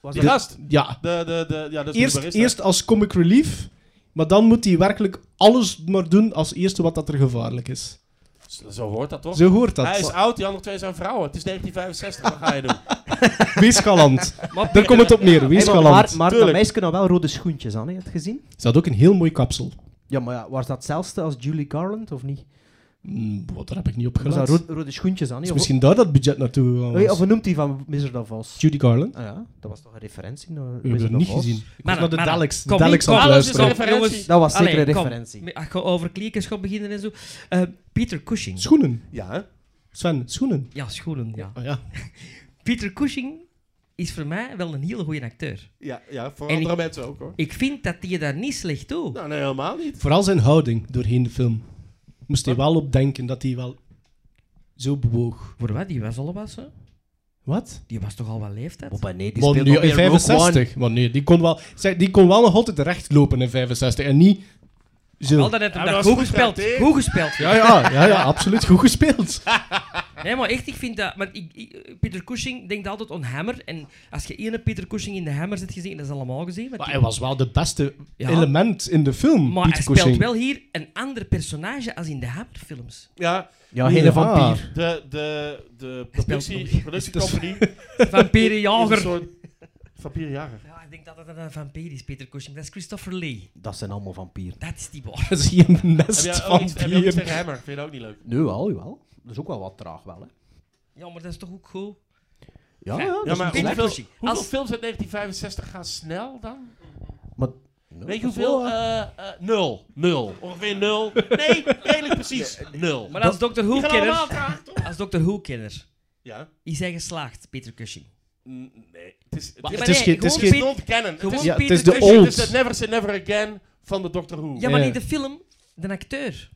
Speaker 5: Was
Speaker 8: Die
Speaker 5: dat-
Speaker 8: gast.
Speaker 6: Ja,
Speaker 8: De, de, de, ja, dat is
Speaker 6: eerst,
Speaker 8: de barista.
Speaker 6: eerst als comic relief, maar dan moet hij werkelijk alles maar doen als eerste wat dat er gevaarlijk is.
Speaker 8: Zo- Zo hoort dat toch?
Speaker 6: Zo hoort dat.
Speaker 8: Hij is oud, die andere twee zijn vrouwen. Het is 1965, wat ga je doen?
Speaker 6: Wees galant.
Speaker 4: Maar
Speaker 6: Daar komt het op neer, wees
Speaker 5: Hey, maar
Speaker 6: galant.
Speaker 5: maar, maar dat
Speaker 8: Tuurlijk.
Speaker 5: meisje had wel rode schoentjes aan, hè, heb je het gezien?
Speaker 6: Ze had ook een heel mooi kapsel.
Speaker 5: Ja, maar ja, was dat hetzelfde als Julie Garland, of niet?
Speaker 6: Mm, wat, daar heb ik niet op
Speaker 5: Was dat
Speaker 6: gelet.
Speaker 5: ro- rode schoentjes aan? hè,
Speaker 6: Is
Speaker 5: Of,
Speaker 6: misschien daar dat budget naartoe gegaan
Speaker 5: Hey,
Speaker 6: was.
Speaker 5: of hoe noemt hij van Wizard of Oz?
Speaker 6: Judy Garland.
Speaker 5: Ah ja, dat was toch een referentie
Speaker 6: Ik heb dat niet gezien. Ik was
Speaker 4: Mannen,
Speaker 6: naar de
Speaker 4: mannen,
Speaker 6: Daleks. De
Speaker 4: kom,
Speaker 6: Daleks
Speaker 4: kom,
Speaker 6: aan het
Speaker 8: Alles is een
Speaker 6: luisteren.
Speaker 8: referentie.
Speaker 4: Jongens,
Speaker 5: Dat was zeker
Speaker 4: Allee,
Speaker 5: een
Speaker 4: kom.
Speaker 5: referentie.
Speaker 4: Als je over kliekers gaat beginnen en zo. Eh, Peter Cushing.
Speaker 6: Schoenen.
Speaker 8: Ja, hè?
Speaker 6: Sven, schoenen.
Speaker 4: ja, schoenen, ja.
Speaker 6: Oh, ja.
Speaker 4: Peter Cushing is voor mij wel een hele goede acteur.
Speaker 8: ja, ja voor
Speaker 4: En
Speaker 8: andere mensen ook hoor.
Speaker 4: Ik vind dat die je daar niet slecht doet.
Speaker 8: Nou, nee, helemaal niet.
Speaker 6: Vooral zijn houding doorheen de film. Moest hij wel op denken dat hij wel zo bewoog.
Speaker 4: Voor wat? Die was al wat zo?
Speaker 6: Wat?
Speaker 4: Die was toch al wat leeftijd?
Speaker 5: nee, die
Speaker 6: Maar nu, in 65. Maar nee, die kon wel, zeg, die kon wel nog altijd recht lopen in 65. En niet
Speaker 4: Wel,
Speaker 6: zo.
Speaker 4: dat heeft hem
Speaker 8: Ja,
Speaker 4: dat
Speaker 8: dat
Speaker 4: goed
Speaker 8: was goed
Speaker 4: gespeeld.
Speaker 8: geacteerd.
Speaker 4: Goed gespeeld.
Speaker 6: Ja, ja, ja, ja, absoluut. Goed gespeeld.
Speaker 4: Nee, maar echt, ik vind dat... Maar ik, ik- Peter Cushing denkt altijd aan Hammer. En als je ene Peter Cushing in de Hammer zit gezien, dat is allemaal gezien. want
Speaker 6: Maar
Speaker 4: die-
Speaker 6: hij was wel de beste
Speaker 4: Ja.
Speaker 6: element in de film.
Speaker 4: maar
Speaker 6: Peter
Speaker 4: hij speelt
Speaker 6: Cushing.
Speaker 4: wel hier een ander personage als in de Hammerfilms.
Speaker 8: Ja,
Speaker 5: Ja, hele
Speaker 6: Ja.
Speaker 5: vampier.
Speaker 8: de, de, de
Speaker 4: nog.
Speaker 8: productie, productiecompagnie
Speaker 4: Vampierenjager.
Speaker 8: is een soort vampierjager.
Speaker 4: Ja, ik denk dat dat een vampier is, Peter Cushing. Dat is Christopher Lee.
Speaker 5: Dat zijn allemaal vampieren.
Speaker 4: Dat is die boy.
Speaker 6: Dat is hier een
Speaker 8: Heb
Speaker 6: nest
Speaker 8: jij
Speaker 4: oh,
Speaker 8: ook
Speaker 6: van
Speaker 8: iets, heb jij ook iets
Speaker 6: bier.
Speaker 8: tegen Hammer? Vind je dat ook niet leuk?
Speaker 5: Nu wel, jawel. Dat is ook wel wat traag wel, hè.
Speaker 4: Ja, maar dat is toch ook goed?
Speaker 5: Ja, ja, dat
Speaker 8: Ja,
Speaker 5: is
Speaker 8: maar
Speaker 4: Peter
Speaker 5: niet slecht.
Speaker 8: hoeveel,
Speaker 4: Cushing.
Speaker 8: hoeveel
Speaker 4: Als-
Speaker 8: films uit 1965 gaan snel dan?
Speaker 5: Maar-
Speaker 8: Weet je hoeveel? Eh, eh, nul. Nul. eh, Ongeveer nul. Nee, redelijk precies. Nul.
Speaker 4: Maar als Dr.
Speaker 8: Die gaan allemaal
Speaker 4: Who-kenner...
Speaker 8: traag, toch?
Speaker 4: Als Dr. Who-kenner
Speaker 8: Ja.
Speaker 4: is hij geslaagd, Peter Cushing.
Speaker 8: Mm, Nee. Het is, het
Speaker 4: Ja,
Speaker 8: is,
Speaker 4: maar
Speaker 6: het is
Speaker 4: nee,
Speaker 6: geen- het is
Speaker 4: gewoon
Speaker 6: geen-
Speaker 4: Peter-
Speaker 8: non-canon. Het
Speaker 4: Gewoon
Speaker 8: is,
Speaker 6: Ja, het
Speaker 4: Peter
Speaker 6: is de
Speaker 4: Cushing.
Speaker 6: old.
Speaker 8: het is het Never Say Never Again van de Doctor Who.
Speaker 4: Ja, maar
Speaker 6: Ja.
Speaker 4: niet de film, de acteur.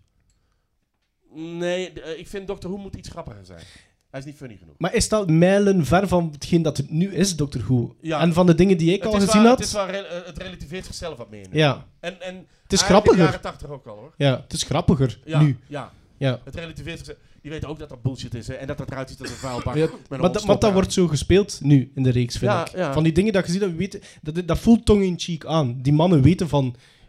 Speaker 8: Nee, d- eh, ik vind Doctor Who moet iets grappiger zijn. Hij is niet funny genoeg.
Speaker 6: Maar is dat mijlen ver van hetgeen dat het nu is, Doctor Who?
Speaker 8: Ja.
Speaker 6: En van de dingen die ik
Speaker 8: Het
Speaker 6: al
Speaker 8: is
Speaker 6: gezien
Speaker 8: wel-
Speaker 6: had?
Speaker 8: Het, is wel rel- eh, het relativeert zichzelf wat meer. nu.
Speaker 6: Ja.
Speaker 8: En, en
Speaker 6: Het is
Speaker 8: eigenlijk
Speaker 6: grappiger.
Speaker 8: In de jaren 80 ook al hoor.
Speaker 6: ja, het is grappiger
Speaker 8: Ja,
Speaker 6: nu.
Speaker 8: ja.
Speaker 6: Ja.
Speaker 8: Het relativeert zichzelf. Die weten ook dat dat bullshit is hè, en dat dat eruit ziet als een vuilbak.
Speaker 6: Ja,
Speaker 8: Ah, met een
Speaker 6: maar, dat,
Speaker 8: hondstop
Speaker 6: maar dat
Speaker 8: eraan.
Speaker 6: wordt zo gespeeld nu in de reeks, vind
Speaker 8: Ja,
Speaker 6: ik.
Speaker 8: ja.
Speaker 6: Van die dingen dat je ziet, dat, we weten, dat, dat voelt tong in cheek aan. Die mannen weten van,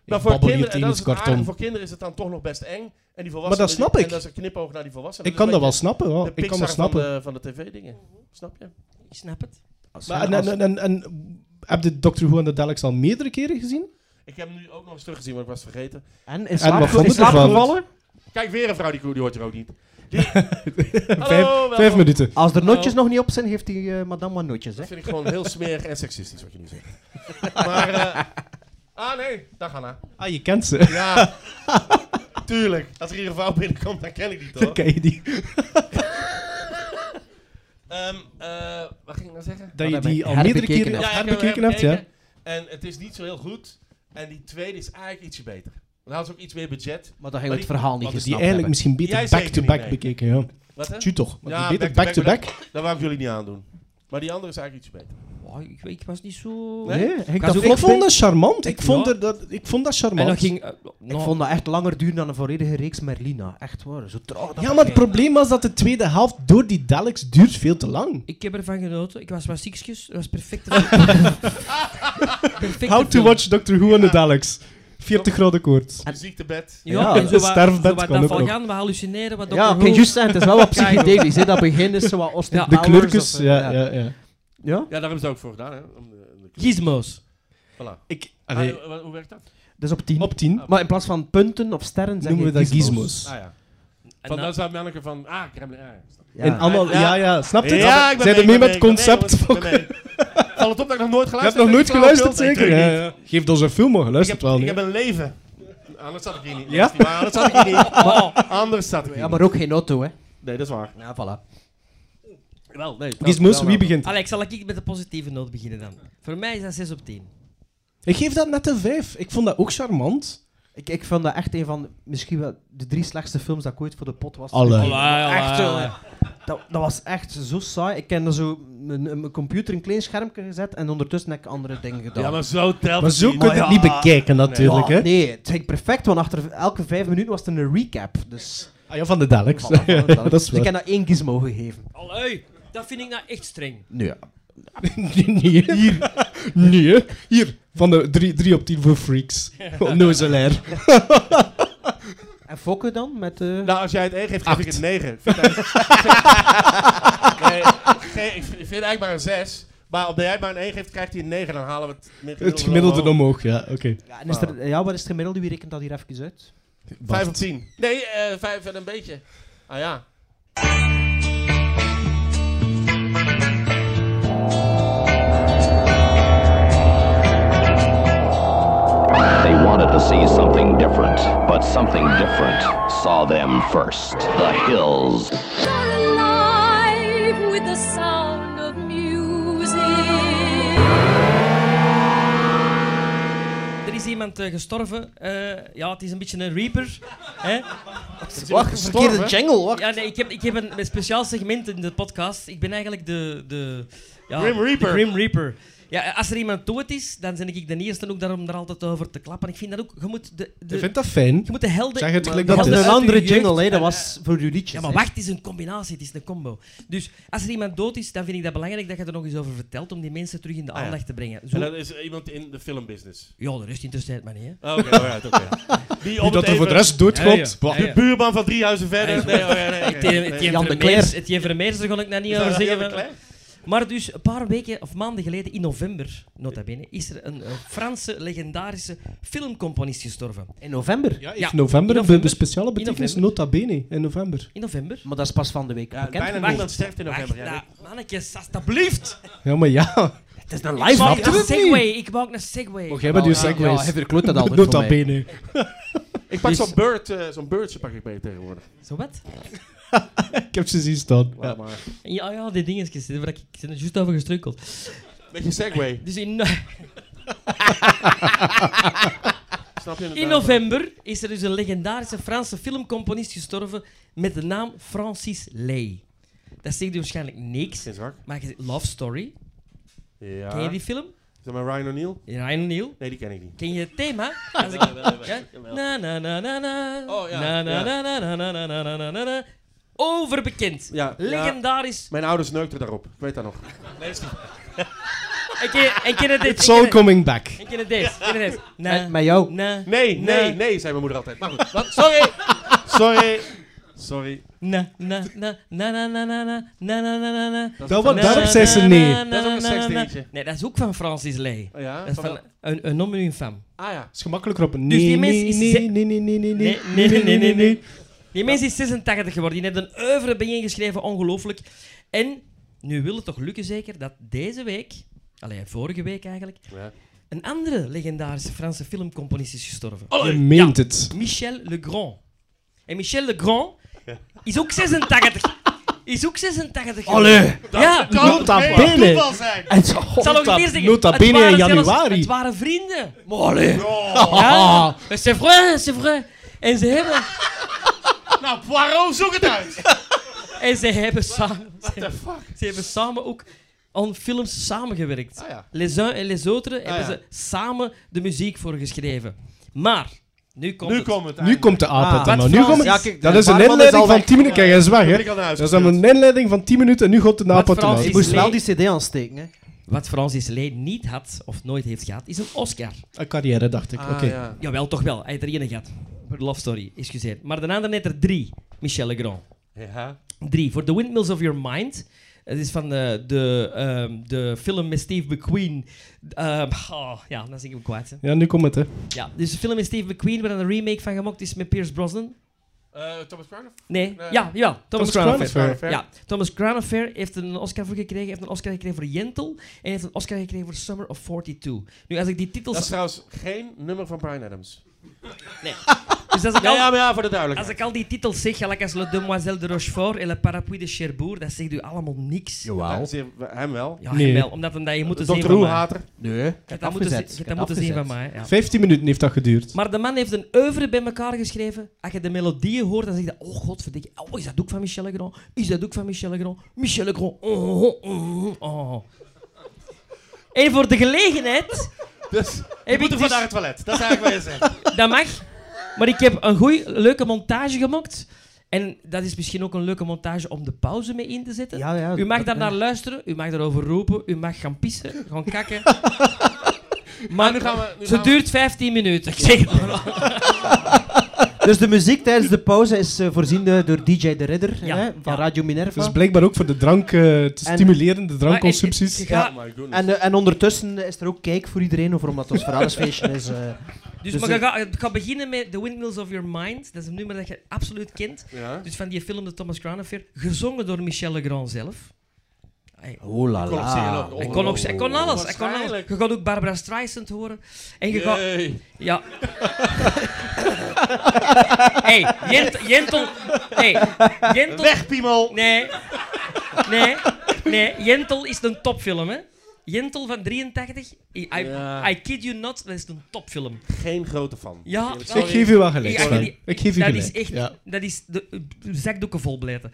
Speaker 8: Maar Nou, voor kinderen, dat is het aardige, voor kinderen is het dan toch nog best eng. En die volwassenen,
Speaker 6: dat snap
Speaker 8: die-
Speaker 6: ik.
Speaker 8: En dat is een knipoog naar die volwassenen.
Speaker 6: Ik kan
Speaker 8: is
Speaker 6: dat
Speaker 8: een
Speaker 6: wel snappen, hoor.
Speaker 8: beetje De
Speaker 6: ik kan dat
Speaker 8: Pixar
Speaker 6: snappen.
Speaker 8: Van, de, van de tv-dingen. Snap je?
Speaker 4: Ik snap het.
Speaker 5: Als-
Speaker 6: Maar en,
Speaker 5: als-
Speaker 6: en, en, en, en heb je Doctor Who en de Daleks al meerdere keren gezien?
Speaker 8: Ik heb hem nu ook nog eens teruggezien, want ik was het vergeten.
Speaker 5: en
Speaker 6: en
Speaker 5: in slaap,
Speaker 6: wat vond
Speaker 5: in
Speaker 6: je ervan?
Speaker 5: slaap gevallen?
Speaker 8: Kijk, weer een vrouw, die, die hoort er ook niet. Die... Hallo, welkom.
Speaker 6: Vijf minuten.
Speaker 5: Als er notjes nog niet op zijn, heeft die eh, madame wat notjes. Hè?
Speaker 8: Dat vind ik gewoon heel smerig en seksistisch, wat je nu zegt. maar, eh, ah nee, dag Hanna.
Speaker 6: Ah, je kent ze.
Speaker 8: Ja, tuurlijk. Als er hier een vrouw binnenkomt, dan ken ik die toch?
Speaker 6: Dan ken je die.
Speaker 8: Ehm, eh, wat ging ik nou zeggen?
Speaker 6: Dat je
Speaker 5: heb
Speaker 6: die
Speaker 5: ik
Speaker 6: al meerdere
Speaker 5: herbekeken
Speaker 6: keren
Speaker 5: hebt.
Speaker 8: ik heb hem
Speaker 6: herbekeken hebt, ja.
Speaker 8: herbekeken. En het is niet zo heel goed. En die tweede is eigenlijk ietsje beter. Dan hadden ze ook iets meer budget.
Speaker 5: Maar dat
Speaker 8: Maar
Speaker 5: heel het
Speaker 8: die-
Speaker 5: verhaal niet
Speaker 6: Hadden die
Speaker 5: gesnapt
Speaker 6: eigenlijk
Speaker 5: hebben.
Speaker 6: misschien
Speaker 8: Jij
Speaker 6: beter
Speaker 8: zeker
Speaker 6: back-to-back
Speaker 8: niet, nee.
Speaker 6: bekeken, ja.
Speaker 8: Wat hè?
Speaker 6: Tju toch? Maar
Speaker 8: Ja,
Speaker 6: die beter
Speaker 8: back-to-back,
Speaker 6: back-to-back.
Speaker 8: Dat wou ik jullie niet aandoen. Maar die andere is eigenlijk ietsje beter.
Speaker 4: Oh, ik, ik was niet zo...
Speaker 8: Nee?
Speaker 5: Nee, ik,
Speaker 4: Gaan
Speaker 5: dat
Speaker 4: ze
Speaker 6: Ik
Speaker 5: vond,
Speaker 6: vond dat charmant.
Speaker 4: Ik-
Speaker 6: Ik vond,
Speaker 4: ja.
Speaker 6: er dat, ik vond dat
Speaker 4: En
Speaker 6: charmant.
Speaker 4: dat ging... eh,
Speaker 5: ik
Speaker 4: nou,
Speaker 5: vond dat echt langer duren dan een volledige reeks Merlina. Echt waar, zo traag. dat
Speaker 6: Ja,
Speaker 5: dat
Speaker 6: maar het
Speaker 5: ging.
Speaker 6: probleem was dat de tweede helft door die Daleks duurt veel te lang.
Speaker 4: ik heb ervan genoten. Ik was wat ziekjes. Dat was perfect. Perfecte
Speaker 6: How to
Speaker 4: film.
Speaker 6: watch Doctor Who en de Daleks. 40 graden koorts.
Speaker 8: En... Ziektebed.
Speaker 4: Ja,
Speaker 5: Ja,
Speaker 4: en zo wat,
Speaker 6: sterfbed
Speaker 4: zo wat
Speaker 6: kan ook
Speaker 4: dat
Speaker 6: nog.
Speaker 4: gaan, we hallucineren, wat
Speaker 5: Ja,
Speaker 4: Dr.
Speaker 5: oké,
Speaker 4: Who-
Speaker 5: juist zijn. Het is wel wat
Speaker 4: Kijk.
Speaker 5: psychedelisch. hè. Dat begin is zo wat Austin
Speaker 4: Ja.
Speaker 6: De
Speaker 5: Powers of,
Speaker 6: kleurkes,
Speaker 5: eh,
Speaker 6: ja, ja, ja.
Speaker 5: Ja?
Speaker 8: Ja, daar hebben ze het ook voor gedaan. Hè? Om de, om de-
Speaker 4: Gizmos.
Speaker 8: Voilà.
Speaker 6: Ik,
Speaker 8: Ah, hoe- hoe werkt dat?
Speaker 5: Dus op 10.
Speaker 6: op 10
Speaker 5: Maar in plaats van punten of sterren zeggen
Speaker 6: noemen we dat
Speaker 5: gizmos.
Speaker 6: gizmos.
Speaker 8: Ah ja.
Speaker 4: En
Speaker 8: Van
Speaker 4: dan-
Speaker 8: dat zijn manneken van, ah, Kremlin, ah, ja.
Speaker 5: Ja.
Speaker 6: En allemaal,
Speaker 8: Ja.
Speaker 6: ja, ja, snap je?
Speaker 8: Ja, ik ben
Speaker 6: Zijn er
Speaker 8: mee,
Speaker 6: mee met
Speaker 8: ik ben
Speaker 6: het
Speaker 8: mee, ik ben
Speaker 6: concept?
Speaker 8: mee,
Speaker 6: van-
Speaker 8: jongens, ik ben mee. Valt het op dat ik nog nooit
Speaker 6: Je
Speaker 8: geluisterd
Speaker 6: hebt nog nooit
Speaker 8: Flauwekul?
Speaker 6: geluisterd,
Speaker 8: Nee,
Speaker 6: zeker?
Speaker 8: tuurlijk
Speaker 6: Ja,
Speaker 8: niet.
Speaker 6: ja. Geef ons een film, maar
Speaker 8: Ik
Speaker 6: geluisterd
Speaker 8: heb,
Speaker 6: wel.
Speaker 8: ik
Speaker 6: nee.
Speaker 8: heb een leven. Anders zat ik hier niet.
Speaker 6: Ja?
Speaker 8: Ja? Dat is niet waar, anders zat ik hier niet. Anders zat ik hier
Speaker 5: Ja, maar ook geen auto, hè.
Speaker 8: niet. Nee, dat is waar.
Speaker 5: Ja, voilà.
Speaker 8: Wel, nee.
Speaker 6: Gizmos, wie begint?
Speaker 4: Alex, zal ik met de positieve noot beginnen dan? Voor mij is dat 6 op 10.
Speaker 6: Ik geef dat net een 5. Ik vond dat ook charmant.
Speaker 5: Ik, ik vond dat echt een van misschien wel de drie slechtste films dat ik ooit voor de pot was.
Speaker 6: Alle.
Speaker 5: Echt wel, hè. Dat, dat was echt zo saai. Ik heb er zo mijn, mijn computer een klein schermpje gezet en ondertussen heb ik andere dingen gedaan.
Speaker 8: Ja, maar zo telt
Speaker 6: Maar
Speaker 8: het
Speaker 6: zo
Speaker 8: niet.
Speaker 6: kun je
Speaker 5: Maar
Speaker 6: het
Speaker 5: ja.
Speaker 6: niet bekijken, natuurlijk.
Speaker 5: Ja,
Speaker 6: hè?
Speaker 5: Nee, het ging perfect, want achter elke vijf minuten was er een recap. Dus,
Speaker 6: Ah, ja, van de Daleks.
Speaker 5: Voilà, voilà, voilà.
Speaker 6: dat is
Speaker 5: dus ik
Speaker 6: waar.
Speaker 5: heb dat één gizmo gegeven.
Speaker 4: Allee, dat vind ik nou echt streng.
Speaker 5: Nee.
Speaker 6: nee, hier. Nee, hier. Van de 3 op 10 voor freaks. Oh, nou Onnozelair.
Speaker 5: En Fokke dan? Met, eh,
Speaker 8: Nou, als jij het 1 geeft, geef ik het 9. Ik vind eigenlijk- nee, ge- ik vind eigenlijk maar een 6. Maar omdat jij maar een 1 geeft, krijgt hij een 9. Dan halen we het gemiddelde,
Speaker 6: Het gemiddelde
Speaker 8: omhoog.
Speaker 6: omhoog, ja, oké.
Speaker 5: ja, en is er, ja, wat is het gemiddelde? Wie rekent dat hier even uit?
Speaker 8: 5 op 10. Nee, eh 5 en een beetje. Ah ja.
Speaker 1: They wanted to see something different, but something different saw them first. The hills.
Speaker 9: You're alive with the sound of music.
Speaker 4: Er is iemand eh, gestorven. Eh, ja, het is een beetje een reaper. hè?
Speaker 5: Wacht,
Speaker 8: gestorven,
Speaker 5: verkeerde jingle. Wacht.
Speaker 4: Ja, nee, ik heb, ik heb een, een speciaal segment in de podcast. Ik ben eigenlijk de... de ja,
Speaker 8: Grim Reaper.
Speaker 4: de Grim Reaper. Ja, als er iemand dood is, dan ben ik de eerste ook daar om er altijd over te klappen. Ik vind dat ook... Je moet de, de,
Speaker 6: Ik vind dat fijn.
Speaker 4: je moet de helden...
Speaker 6: Zeg het gelijk
Speaker 4: de
Speaker 5: Dat was
Speaker 6: is
Speaker 4: helden
Speaker 5: een
Speaker 4: uit
Speaker 5: andere
Speaker 4: uw jeugd-
Speaker 5: jingle, hè. Dat
Speaker 4: en,
Speaker 5: was voor uw liedjes.
Speaker 4: Ja, maar
Speaker 5: hè.
Speaker 4: wacht, het is een combinatie, het is een combo. Dus als er iemand dood is, dan vind ik dat belangrijk dat je er nog eens over vertelt om die mensen terug in de
Speaker 8: ja.
Speaker 4: aandacht te brengen. Zo,
Speaker 8: En dat is iemand in de filmbusiness.
Speaker 4: Ja, de rust interesseert me niet, hè.
Speaker 8: Oh, Oké, alright, oké. Die
Speaker 6: Niet
Speaker 8: op
Speaker 6: dat
Speaker 8: het
Speaker 6: er voor de
Speaker 8: even-
Speaker 6: rest doodklopt.
Speaker 4: eh, Ja, ja.
Speaker 6: Bah.
Speaker 8: De buurman van drie huizen verder. Nee, oh, ja, nee,
Speaker 4: Het-
Speaker 8: nee,
Speaker 4: het-
Speaker 8: nee.
Speaker 4: het-
Speaker 5: Jan de
Speaker 4: Vermeers- Het Jan Vermeers, daar ga ik nou niet
Speaker 8: Is dat
Speaker 4: over
Speaker 8: Jan de
Speaker 4: zeggen.
Speaker 8: Cler?
Speaker 4: Maar dus, een paar weken of maanden geleden, in november, nota bene, is er een eh, Franse legendarische filmcomponist gestorven.
Speaker 5: In november.
Speaker 6: Ja, in
Speaker 4: Ja,
Speaker 6: november,
Speaker 4: in november.
Speaker 6: de speciale betekenis
Speaker 4: november.
Speaker 6: nota bene, in november.
Speaker 4: In november.
Speaker 5: Maar dat is pas van de week
Speaker 8: Ja,
Speaker 5: bekend.
Speaker 8: bijna
Speaker 5: geworden.
Speaker 8: niemand sterft in november.
Speaker 4: Wacht, nou,
Speaker 8: ja.
Speaker 4: dat- mannetje, alsjeblieft!
Speaker 6: Ja, maar
Speaker 4: Oh,
Speaker 6: ja.
Speaker 5: Het is een live
Speaker 4: Mag ik
Speaker 5: snap je
Speaker 4: een
Speaker 5: het niet?
Speaker 4: segway? Ik wou ook een segway.
Speaker 6: Mocht jij maar die
Speaker 5: Ja,
Speaker 6: segways.
Speaker 5: Ja, hij verkloot dat altijd voor
Speaker 6: Nota
Speaker 5: mij.
Speaker 6: bene.
Speaker 8: Ik pak
Speaker 4: Dus-
Speaker 8: zo'n bird, eh, zo'n birdje pak ik mee tegenwoordig.
Speaker 4: Zo wat?
Speaker 6: Ik heb ze zien staan.
Speaker 8: Laat maar.
Speaker 4: Ja, ja, die dingetjes. daar ben Ik ik ben er juist over gestruikeld.
Speaker 8: Beetje segway.
Speaker 4: Dus in,
Speaker 8: Snap je? Nou,
Speaker 4: in november is er dus een legendarische Franse filmcomponist gestorven met de naam Francis Lay. Dat zegt u waarschijnlijk niks.
Speaker 8: Geen zwak.
Speaker 4: Maar je- Love Story,
Speaker 8: Ja.
Speaker 4: ken je die film?
Speaker 8: Is dat maar Ryan O'Neill?
Speaker 4: Ryan O'Neill.
Speaker 8: Nee, die ken ik niet.
Speaker 4: Ken je het thema? Als ik- Ja? Na na na na na.
Speaker 8: Oh, ja,
Speaker 4: Na na
Speaker 8: ja.
Speaker 4: na na na na na na na na na. Overbekend.
Speaker 8: Ja, ja.
Speaker 4: Legendarisch.
Speaker 8: Mijn ouders neukten daarop. Ik weet dat nog.
Speaker 4: En ken je- en ken je dit?
Speaker 6: It's all
Speaker 4: En ken je-
Speaker 6: coming back.
Speaker 4: en ken je dit? Ken je dit? Na,
Speaker 5: Met jou.
Speaker 4: na,
Speaker 8: Nee, nee,
Speaker 4: na,
Speaker 8: nee, zei mijn moeder altijd. Maar goed, wat- sorry. Sorry. Sorry.
Speaker 4: na, na, na, na, na, na, na, na, na, na, na, na, na.
Speaker 6: Dat wordt-
Speaker 4: Na,
Speaker 6: daarop
Speaker 4: na,
Speaker 6: zei ze
Speaker 4: na,
Speaker 6: nee.
Speaker 4: na, na,
Speaker 8: Dat is ook een
Speaker 4: na, na, na.
Speaker 8: seksdingetje.
Speaker 4: Nee, dat is ook van Francis Ley.
Speaker 8: Oh ja?
Speaker 4: Dat is
Speaker 8: van
Speaker 4: van
Speaker 8: wel-
Speaker 4: een, een homme en een femme.
Speaker 8: Ah ja.
Speaker 6: is gemakkelijker op een
Speaker 4: Dus die
Speaker 6: nee,
Speaker 4: mens
Speaker 6: nee,
Speaker 4: is
Speaker 6: nee,
Speaker 4: ze-
Speaker 6: nee, nee, nee, nee,
Speaker 4: Nee, nee, nee, nee, nee. nee. Die mens is 86 geworden. Die heeft een oeuvre bijeengeschreven, ongelooflijk. En nu wil het toch lukken zeker dat deze week, alleen vorige week eigenlijk,
Speaker 8: Ja.
Speaker 4: een andere legendarische Franse filmcomponist is gestorven.
Speaker 6: Je meent het.
Speaker 4: Michel Legrand. En Michel Legrand is ook 86. Is ook 86. geworden. Ja,
Speaker 6: Nota bene.
Speaker 8: zijn.
Speaker 5: En zo.
Speaker 4: ik zal nog een keer zeggen.
Speaker 6: nota
Speaker 4: het
Speaker 6: bene in
Speaker 4: waren zelfs-
Speaker 6: januari.
Speaker 4: het waren vrienden. Ja,
Speaker 6: Ah,
Speaker 4: c'est vrai, c'est vrai. En ze hebben,
Speaker 8: Nou, Poirot, zoek het uit.
Speaker 4: en ze hebben samen... Ze hebben, ze hebben samen ook aan films samengewerkt.
Speaker 8: Ah ja. Ah,
Speaker 4: Les uns en les autres hebben
Speaker 8: ja.
Speaker 4: ze samen de muziek voor geschreven. Maar, nu komt
Speaker 8: Nu
Speaker 4: het.
Speaker 8: komt het.
Speaker 6: Nu komt de aap
Speaker 4: Ah, wat
Speaker 6: uit. Nu
Speaker 4: Frans-
Speaker 6: kom ik-
Speaker 4: Ja,
Speaker 5: kijk,
Speaker 6: dat
Speaker 5: de
Speaker 6: is een
Speaker 5: barman is
Speaker 6: inleiding
Speaker 5: al
Speaker 6: van
Speaker 5: weg.
Speaker 6: 10 minuten. Kijk, hij is weg, hè.
Speaker 8: Ik al naar huis
Speaker 6: Dat is dan
Speaker 8: gespeeld.
Speaker 6: een inleiding van 10 minuten en nu gaat de
Speaker 4: Wat
Speaker 6: aap uit de
Speaker 4: Frans
Speaker 6: naald.
Speaker 5: Ik moest
Speaker 4: Nee.
Speaker 5: wel die cd aansteken, hè.
Speaker 4: Wat Francis Lee niet had, of nooit heeft gehad, is een Oscar.
Speaker 6: Een carrière, dacht
Speaker 4: Ah,
Speaker 8: Ah,
Speaker 6: ik. Oké.
Speaker 4: Jawel, toch wel. Hij heeft er één gehad. Voor de Love Story, excuseer. Maar daarna net er drie, Michel Legrand.
Speaker 8: Ja.
Speaker 4: Drie, voor The Windmills of Your Mind. Het is van de, de, ehm, de film met Steve McQueen. Ehm, oh, ja, dan zing ik hem kwijt. hè.
Speaker 6: Ja, nu komt het, hè.
Speaker 4: Ja, dus de film met Steve McQueen, waar een remake van gemaakt is met Pierce Brosnan.
Speaker 8: Eh, Thomas Brown? of-
Speaker 4: Nee,
Speaker 8: Nee.
Speaker 4: ja, ja, Thomas,
Speaker 6: Crown
Speaker 4: Crown Affair.
Speaker 6: Affair.
Speaker 8: Affair.
Speaker 4: Ja, Thomas Crown Affair heeft een Oscar voor gekregen. Heeft een Oscar gekregen voor Jentel. En heeft een Oscar gekregen voor Summer of 42. Nu, als ik die titels...
Speaker 8: Dat is trouwens geen nummer van Brian Adams.
Speaker 4: dus als ik
Speaker 8: Ja,
Speaker 4: al-
Speaker 8: ja, maar ja, voor de
Speaker 4: Als
Speaker 8: duidelijkheid.
Speaker 4: ik al die titels zeg, gelijk als Le Demoiselle de Rochefort en Le Parapluie de Cherbourg, dat zegt u allemaal niks. Ja,
Speaker 5: Jawel.
Speaker 8: Zeer- Hem wel.
Speaker 4: ja
Speaker 6: Nee.
Speaker 4: wel, omdat hem dat je moet zien
Speaker 8: Dr.
Speaker 4: van mij.
Speaker 8: Hoe-hater.
Speaker 5: Nee, ik
Speaker 4: Je
Speaker 5: heb
Speaker 4: dat moeten,
Speaker 5: afgezet.
Speaker 4: zien-
Speaker 5: Ik
Speaker 4: je dat
Speaker 5: heb
Speaker 4: moeten zien
Speaker 5: afgezet.
Speaker 4: van mij. Ja.
Speaker 6: 15 minuten heeft dat geduurd.
Speaker 4: Maar de man heeft een oeuvre bij elkaar geschreven. Als je de melodieën hoort, dan zeg je, oh godverdikke, oh, is dat ook van Michel Legrand? Is dat ook van Michel Legrand? Michel Legrand, oh, oh, oh, oh, oh. En voor de gelegenheid,
Speaker 8: Dus
Speaker 4: ik
Speaker 8: je moet er
Speaker 4: dus-
Speaker 8: van naar het toilet. Dat is eigenlijk wat je zegt.
Speaker 4: dat mag, maar ik heb een goeie, leuke montage gemaakt. En dat is misschien ook een leuke montage om de pauze mee in te zetten.
Speaker 5: Ja, ja.
Speaker 4: U mag
Speaker 5: dat-
Speaker 4: daar naar luisteren, u mag daarover roepen, u mag gaan pissen, gaan kakken. Maar
Speaker 8: Ah, nu gaan we- nu
Speaker 4: ze
Speaker 8: gaan we-
Speaker 4: duurt 15 minuten, ik zeg het maar.
Speaker 5: Dus de muziek tijdens de pauze is eh, voorzien eh, door DJ De Ridder
Speaker 4: Ja,
Speaker 5: hè, van
Speaker 4: ja.
Speaker 5: Radio
Speaker 6: Dat is
Speaker 5: Minerva.
Speaker 6: blijkbaar ook voor de drank eh, te
Speaker 5: En-
Speaker 6: stimuleren, de
Speaker 4: Maar,
Speaker 6: drankconsumpties.
Speaker 4: eh, je gaat-
Speaker 8: Oh my goodness.
Speaker 5: En, eh, en ondertussen is er ook cake voor iedereen over omdat het ons verhaalsfeestje is. eh.
Speaker 4: Dus,
Speaker 5: Dus
Speaker 4: maar
Speaker 5: het-
Speaker 4: ik ga, ik ga beginnen met The Windmills of Your Mind. Dat is een nummer dat je absoluut kent.
Speaker 8: Ja.
Speaker 4: Dus van die film de Thomas Crown Affair, gezongen door Michel Legrand zelf. Hij,
Speaker 5: Oh la
Speaker 8: Kon ik zeggen,
Speaker 5: la.
Speaker 8: ook.
Speaker 4: hij, kon, ook, hij kon alles, hij kon alles.
Speaker 8: Waarschijnlijk.
Speaker 4: Je gaat ook Barbara Streisand horen. En je gaat...
Speaker 8: Oh, Jee.
Speaker 4: Ja. hey, Jent, Jentel... Hey, Jentel...
Speaker 8: Weg, piemel.
Speaker 4: Nee. Nee. Nee. Jentel is een topfilm, hè. Jentel van 83. I, I,
Speaker 8: Ja.
Speaker 4: I kid you not, dat is een topfilm.
Speaker 8: Geen grote fan.
Speaker 4: Ja,
Speaker 6: Ik geef u wel gelijk.
Speaker 4: Ja,
Speaker 6: Sven.
Speaker 4: die-
Speaker 6: ik geef u
Speaker 4: dat
Speaker 6: gelijk.
Speaker 4: is echt,
Speaker 6: Ja.
Speaker 4: dat is de de zakdoeken vol blijten.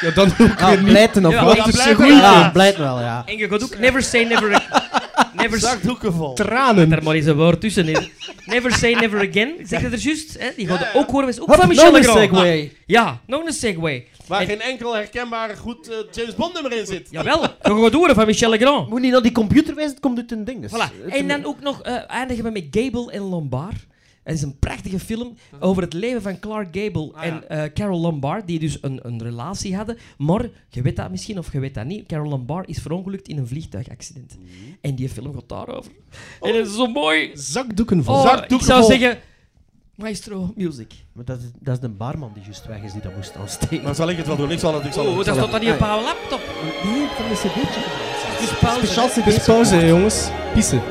Speaker 6: Ja, dan ook weer
Speaker 5: Ah,
Speaker 6: niet.
Speaker 5: blijten of
Speaker 4: Ja,
Speaker 5: wat?
Speaker 4: dat
Speaker 6: is
Speaker 5: Ja,
Speaker 6: een goeie.
Speaker 5: blijkt wel, ja.
Speaker 4: En je gaat ook never say never ag- never s-
Speaker 8: Zakdoeken vol.
Speaker 4: daar
Speaker 6: Tranen.
Speaker 4: maar eens een woord tussen in. Never say never again. Zeg dat er juist, hè? Die gaat ook horen. Is ook
Speaker 5: Wat
Speaker 4: van
Speaker 5: een
Speaker 4: Michel
Speaker 5: nog een
Speaker 4: Legrand.
Speaker 5: segue.
Speaker 4: Ja, nog een segue.
Speaker 8: Waar
Speaker 4: En-
Speaker 8: geen enkel herkenbaar goed eh, James Bond nummer in zit.
Speaker 4: Jawel, je gaat horen van Michel Legrand.
Speaker 5: Moet niet naar die computer wijzen, het komt uit een ding. Dus.
Speaker 4: Voilà. En dan ook nog eh, eindigen we met Gable en Lombard. Het is een prachtige film over het leven van Clark Gable
Speaker 8: Ah,
Speaker 4: en
Speaker 8: ja.
Speaker 4: eh, Carol Lombard, die dus een, een relatie hadden. Maar, je weet dat misschien of je weet dat niet, Carol Lombard is verongelukt in een vliegtuigaccident. En die film gaat daarover. En het is zo mooi.
Speaker 6: Zakdoeken vol.
Speaker 4: Oh, ik
Speaker 6: Zakdoeken
Speaker 4: zou
Speaker 6: vol.
Speaker 4: zeggen, maestro, music.
Speaker 5: Maar dat, is, dat is de barman die juist weg is die dat moest aansteken.
Speaker 8: Maar zal ik het wel doen? Ik zal het. Ik zal
Speaker 4: Oh,
Speaker 8: het-
Speaker 4: dat
Speaker 8: ik zal
Speaker 4: staat
Speaker 8: het-
Speaker 4: dan niet op haar laptop.
Speaker 5: Nee, van de cd'tje.
Speaker 4: Het is pauze.
Speaker 5: Speciaal
Speaker 6: Het is pauze, hè, jongens. Pissen.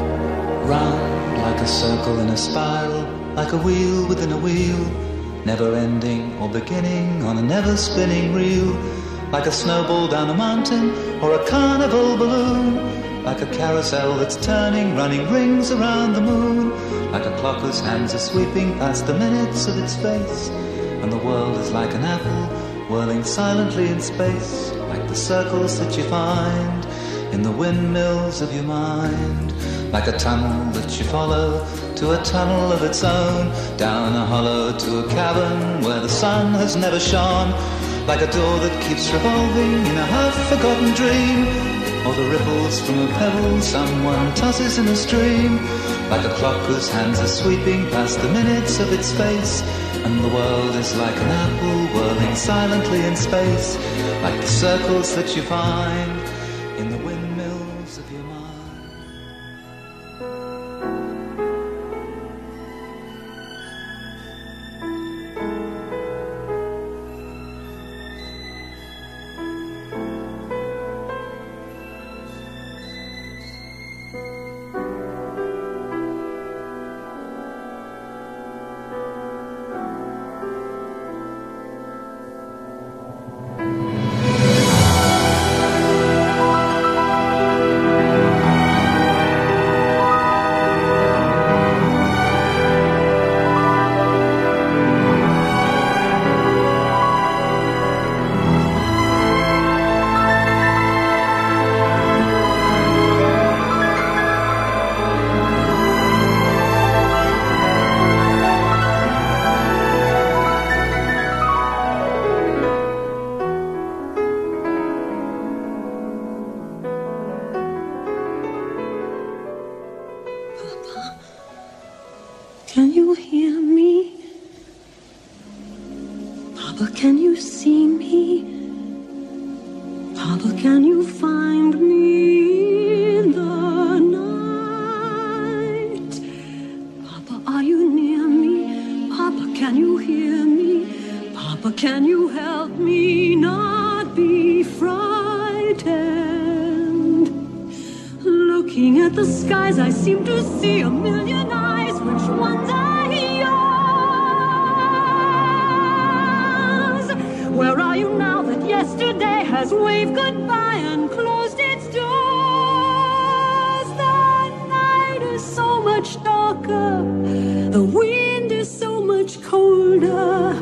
Speaker 10: Round like a circle in a spiral, like a wheel within a wheel, never ending or beginning on a never spinning reel, like a snowball down a mountain or a carnival balloon, like a carousel that's turning, running rings around the moon, like a clock whose hands are sweeping past the minutes of its face, and the world is like an apple whirling silently in space, like the circles that you find in the windmills of your mind, like a tunnel that you follow to a tunnel of its own, down a hollow to a cavern where the sun has never shone, like a door that keeps revolving in a half forgotten dream,
Speaker 11: or the ripples from a pebble someone tosses in a stream, like a clock whose hands are sweeping past the minutes of its face, and the world is like an apple whirling silently in space, like the circles that you find in the windmills of your mind.
Speaker 9: Can you hear me? Papa, can you see me? Papa, can you find me in the night? Papa, are you near me? Papa, can you hear me? Papa, can you help me not be frightened? Looking at the skies, I seem to see a million eyes. Which ones are yours? Where are you now that yesterday has waved goodbye and closed its doors? The night is so much darker, the wind is so much colder.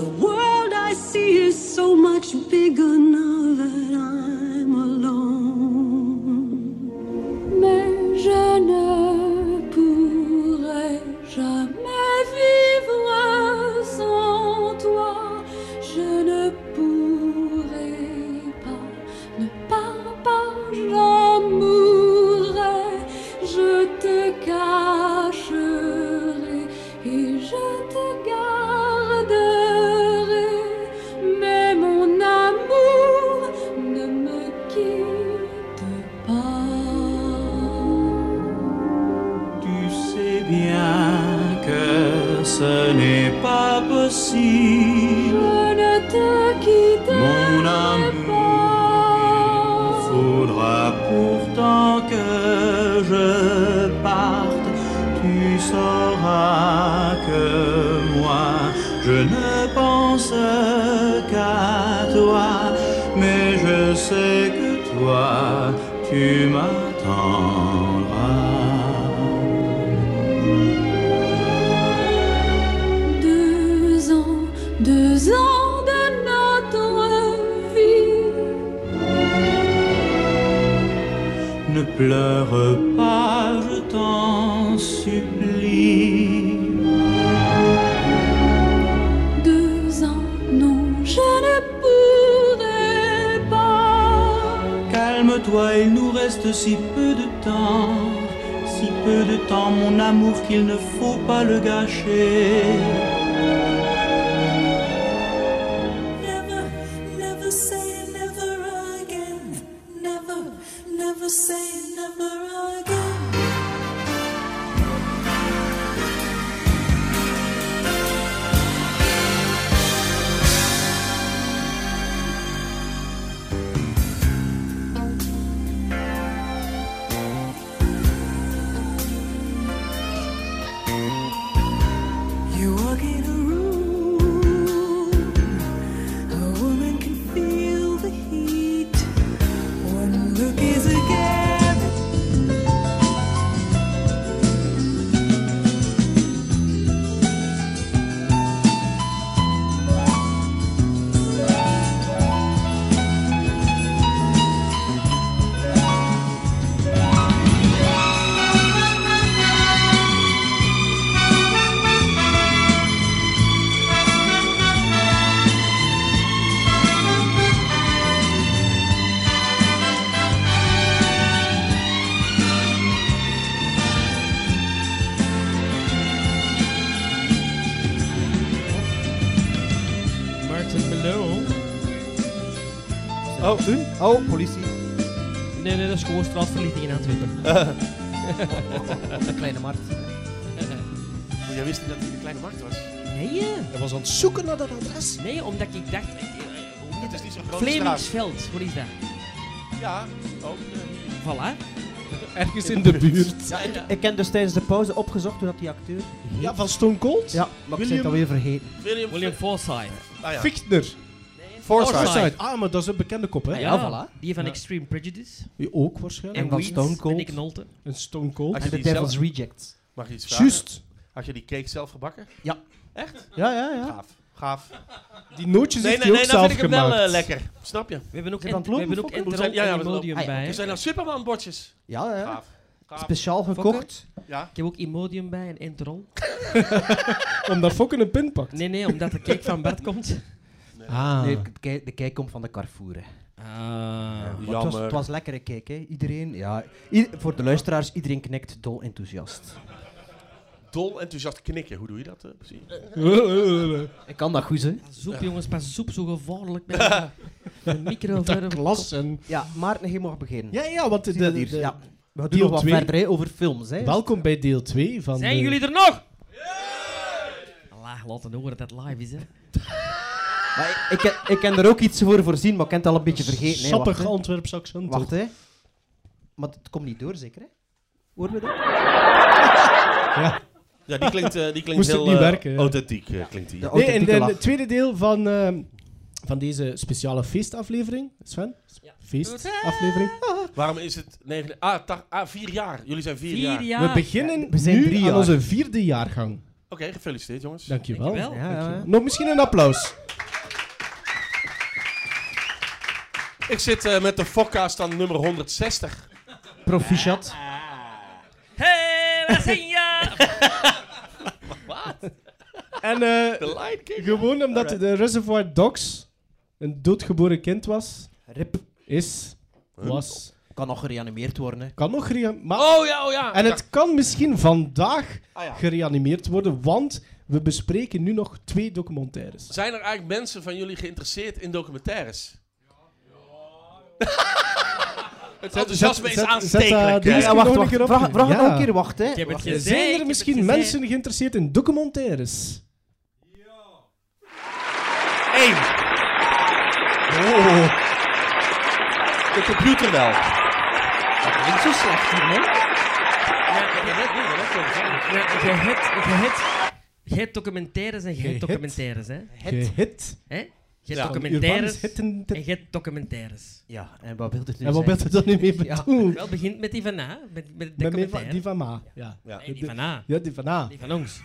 Speaker 9: The world I see is so much bigger now that I'm alone. Mais je ne pourrai jamais vivre sans toi. Je ne pourrai pas, ne pars pas, j'en mourrai. Je te cacherai et je te garderai. Mais mon amour ne me quitte pas.
Speaker 10: Tu sais bien que ce n'est pas possible.
Speaker 9: Je ne te
Speaker 10: Mon
Speaker 9: quitterai
Speaker 10: amour,
Speaker 9: pas.
Speaker 10: faudra pourtant que je parte. Tu sauras que moi, je ne pense qu'à toi, mais je sais que toi, tu m'attendras.
Speaker 9: Deux ans, deux ans de notre vie.
Speaker 10: Ne pleure pas, je t'en supplie.
Speaker 9: Deux ans, non, je ne pourrai pas.
Speaker 10: Calme-toi, il nous reste si peu de temps, si peu de temps, mon amour, qu'il ne faut pas le gâcher.
Speaker 9: Never, never say never again. Never, never say never again. You walk in a room. A woman can feel the heat. One look is a gift.
Speaker 4: Oh,
Speaker 5: u? Oh, politie.
Speaker 4: Nee, nee, dat is gewoon straatverlichting in Antwerpen.
Speaker 5: Op de kleine markt.
Speaker 8: Maar jij wist niet dat hij in de kleine markt was.
Speaker 4: Nee, eh.
Speaker 6: Hij was aan het zoeken naar dat adres.
Speaker 4: nee, omdat ik dacht... eh, eh, hoe heet
Speaker 8: Het is
Speaker 4: dat?
Speaker 8: niet zo'n grote straat.
Speaker 4: Flemingsveld, wat is dat?
Speaker 8: Ja, ook. eh,
Speaker 4: Voilà.
Speaker 6: Ergens in de buurt.
Speaker 8: Ja, ja.
Speaker 5: Ik heb dus tijdens de pauze opgezocht hoe dat die acteur...
Speaker 6: Ja, van Stone Cold?
Speaker 5: Ja, maar ik ben het
Speaker 6: William-
Speaker 5: alweer vergeten.
Speaker 8: William,
Speaker 4: William Forsythe.
Speaker 8: Ah, ja.
Speaker 6: Fichtner.
Speaker 4: Forsythe.
Speaker 6: Forsythe. Ah, maar dat is een bekende kop, hè?
Speaker 4: Ah,
Speaker 5: ja,
Speaker 4: Die van
Speaker 6: Ja.
Speaker 4: Extreme Prejudice.
Speaker 6: Die Ook waarschijnlijk.
Speaker 5: En van
Speaker 4: Weeds
Speaker 5: Stone Cold.
Speaker 4: En Nick Nolte.
Speaker 6: Een Stone Cold.
Speaker 8: Had
Speaker 5: En
Speaker 8: je
Speaker 5: de
Speaker 8: die
Speaker 5: Devil's
Speaker 8: zelf-
Speaker 5: Reject.
Speaker 8: Mag je iets vragen?
Speaker 6: Juist.
Speaker 8: Had je die cake zelf gebakken?
Speaker 5: Ja, ja, ja.
Speaker 8: Gaaf. Gaaf.
Speaker 6: Die nootjes
Speaker 8: Nee,
Speaker 6: heeft hij
Speaker 8: nee, nee,
Speaker 6: ook
Speaker 8: dan
Speaker 6: zelf
Speaker 8: vind ik hem wel
Speaker 6: gemaakt.
Speaker 8: eh, lekker. Snap je?
Speaker 4: We hebben ook,
Speaker 5: Zijn we
Speaker 4: ent-
Speaker 5: aan
Speaker 4: we
Speaker 5: het
Speaker 4: hebben ook
Speaker 5: lopen,
Speaker 8: Fokker?
Speaker 4: Enterol
Speaker 8: Ja, ja,
Speaker 4: en
Speaker 8: we zijn
Speaker 4: Imodium
Speaker 5: Ah, ja,
Speaker 4: bij.
Speaker 8: Er zijn nou Superman-bordjes.
Speaker 5: Ja, ja.
Speaker 8: Gaaf. Gaaf.
Speaker 5: Speciaal gekocht.
Speaker 8: Ja.
Speaker 4: Ik heb ook Imodium bij en Enterol.
Speaker 6: Omdat Fokker een pin pakt.
Speaker 4: Nee, nee, omdat de cake van Bert komt.
Speaker 6: Ah.
Speaker 5: Nee, de, kei- de kijk komt van de Carrefour. hè.
Speaker 4: Ah.
Speaker 5: Maar Het was, het was lekkere kijk, hè. Iedereen, ja. i- voor de luisteraars, iedereen knikt dol enthousiast.
Speaker 8: Dol enthousiast knikken. Hoe doe je dat eh, precies?
Speaker 5: Ik kan dat goed, hè.
Speaker 4: Soep, jongens, pas soep, zo gevaarlijk. Met de- de micro
Speaker 6: Dat glas en...
Speaker 5: Ja, Maarten, je mag beginnen.
Speaker 6: Ja, ja, want de,
Speaker 5: Zie je dat
Speaker 6: de-
Speaker 5: hier?
Speaker 6: de-
Speaker 5: ja. We doen
Speaker 6: deel
Speaker 5: nog wat
Speaker 6: twee.
Speaker 5: verder hè, over films, hè.
Speaker 6: Welkom bij deel 2 van...
Speaker 4: Zijn
Speaker 6: de-
Speaker 4: jullie er nog? Allah, laten horen dat het live is, hè.
Speaker 5: Maar ik, ik, ken- ik ken er ook iets voor voorzien, maar ik ken het al een beetje vergeten. Hè. Wacht,
Speaker 6: Sappig
Speaker 5: hè.
Speaker 6: Antwerps accent.
Speaker 5: Wacht, hè. Maar het komt niet door, zeker, hè? Horen we dat?
Speaker 8: Ja, die klinkt, eh, die klinkt
Speaker 6: Moest het
Speaker 8: heel
Speaker 6: niet
Speaker 8: eh,
Speaker 6: werken, ja.
Speaker 8: authentiek. eh, klinkt die.
Speaker 5: De
Speaker 6: Nee, en
Speaker 5: authentieke
Speaker 6: de-
Speaker 5: lach.
Speaker 6: het tweede deel van, ehm, van deze speciale feestaflevering. Sven?
Speaker 4: Ja.
Speaker 6: Feestaflevering.
Speaker 8: Waarom is het negen, ah, ta- ah, vier jaar. Jullie zijn vier, jaar.
Speaker 4: Vier
Speaker 8: Oké,
Speaker 4: jaar.
Speaker 6: We beginnen
Speaker 5: we zijn
Speaker 6: nu
Speaker 5: drie
Speaker 6: aan
Speaker 5: jaar.
Speaker 6: onze vierde jaargang.
Speaker 8: gefeliciteerd jongens.
Speaker 6: Dankjewel.
Speaker 4: Dankjewel.
Speaker 5: Ja, ja, ja.
Speaker 6: Nog misschien een applaus.
Speaker 8: Ik zit eh, met de Fokka's aan nummer 160.
Speaker 5: Proficiat.
Speaker 4: Hey, daar zijn ja!
Speaker 6: En eh,
Speaker 8: Lion King.
Speaker 6: gewoon omdat de Reservoir Dogs een doodgeboren kind was,
Speaker 5: Rip.
Speaker 6: is, was,
Speaker 5: Kan nog gereanimeerd worden, hè.
Speaker 6: kan nog gereanimeerd maar
Speaker 8: Oh ja, oh ja.
Speaker 6: En het kan misschien vandaag
Speaker 8: Ah, ja.
Speaker 6: gereanimeerd worden, want we bespreken nu nog twee documentaires.
Speaker 8: Zijn er eigenlijk mensen van jullie geïnteresseerd in documentaires? het enthousiasme
Speaker 6: Zet-
Speaker 8: is
Speaker 6: zet-
Speaker 8: aanstekelijk.
Speaker 6: zet, eh,
Speaker 8: hè?
Speaker 6: die-
Speaker 5: Ja,
Speaker 6: misschien
Speaker 5: wacht,
Speaker 6: nog een
Speaker 5: wacht.
Speaker 6: keer
Speaker 5: Vraag,
Speaker 6: opgeven.
Speaker 5: vraag
Speaker 6: Ja.
Speaker 5: nog een keer, wacht, hè.
Speaker 4: Ik heb het gezegd. ik
Speaker 6: Zijn er
Speaker 4: heb
Speaker 6: misschien
Speaker 4: het gezegd.
Speaker 6: mensen geïnteresseerd in documentaires?
Speaker 8: Eén. De computer wel.
Speaker 5: Niet zo slecht hier, hè.
Speaker 4: Ja, je hebt, je hebt, je hebt documentaires en je hebt
Speaker 6: hebt-
Speaker 4: documentaires, hè.
Speaker 5: Het.
Speaker 6: Gehit.
Speaker 4: Hè? Je hebt
Speaker 8: Ja.
Speaker 4: documentaires
Speaker 6: Urbanus Hitten-
Speaker 4: en je hebt documentaires.
Speaker 5: Ja, en wat wil dit nu
Speaker 6: En wat wil
Speaker 5: zeggen?
Speaker 6: je dat nu mee bedoelen?
Speaker 4: Wel begint met die van A, met, met
Speaker 6: Met mij van-
Speaker 4: documentaire.
Speaker 6: die van Ma. Ja,
Speaker 8: Ja.
Speaker 4: Nee, die van A.
Speaker 6: ja die van A.
Speaker 4: Die van ons.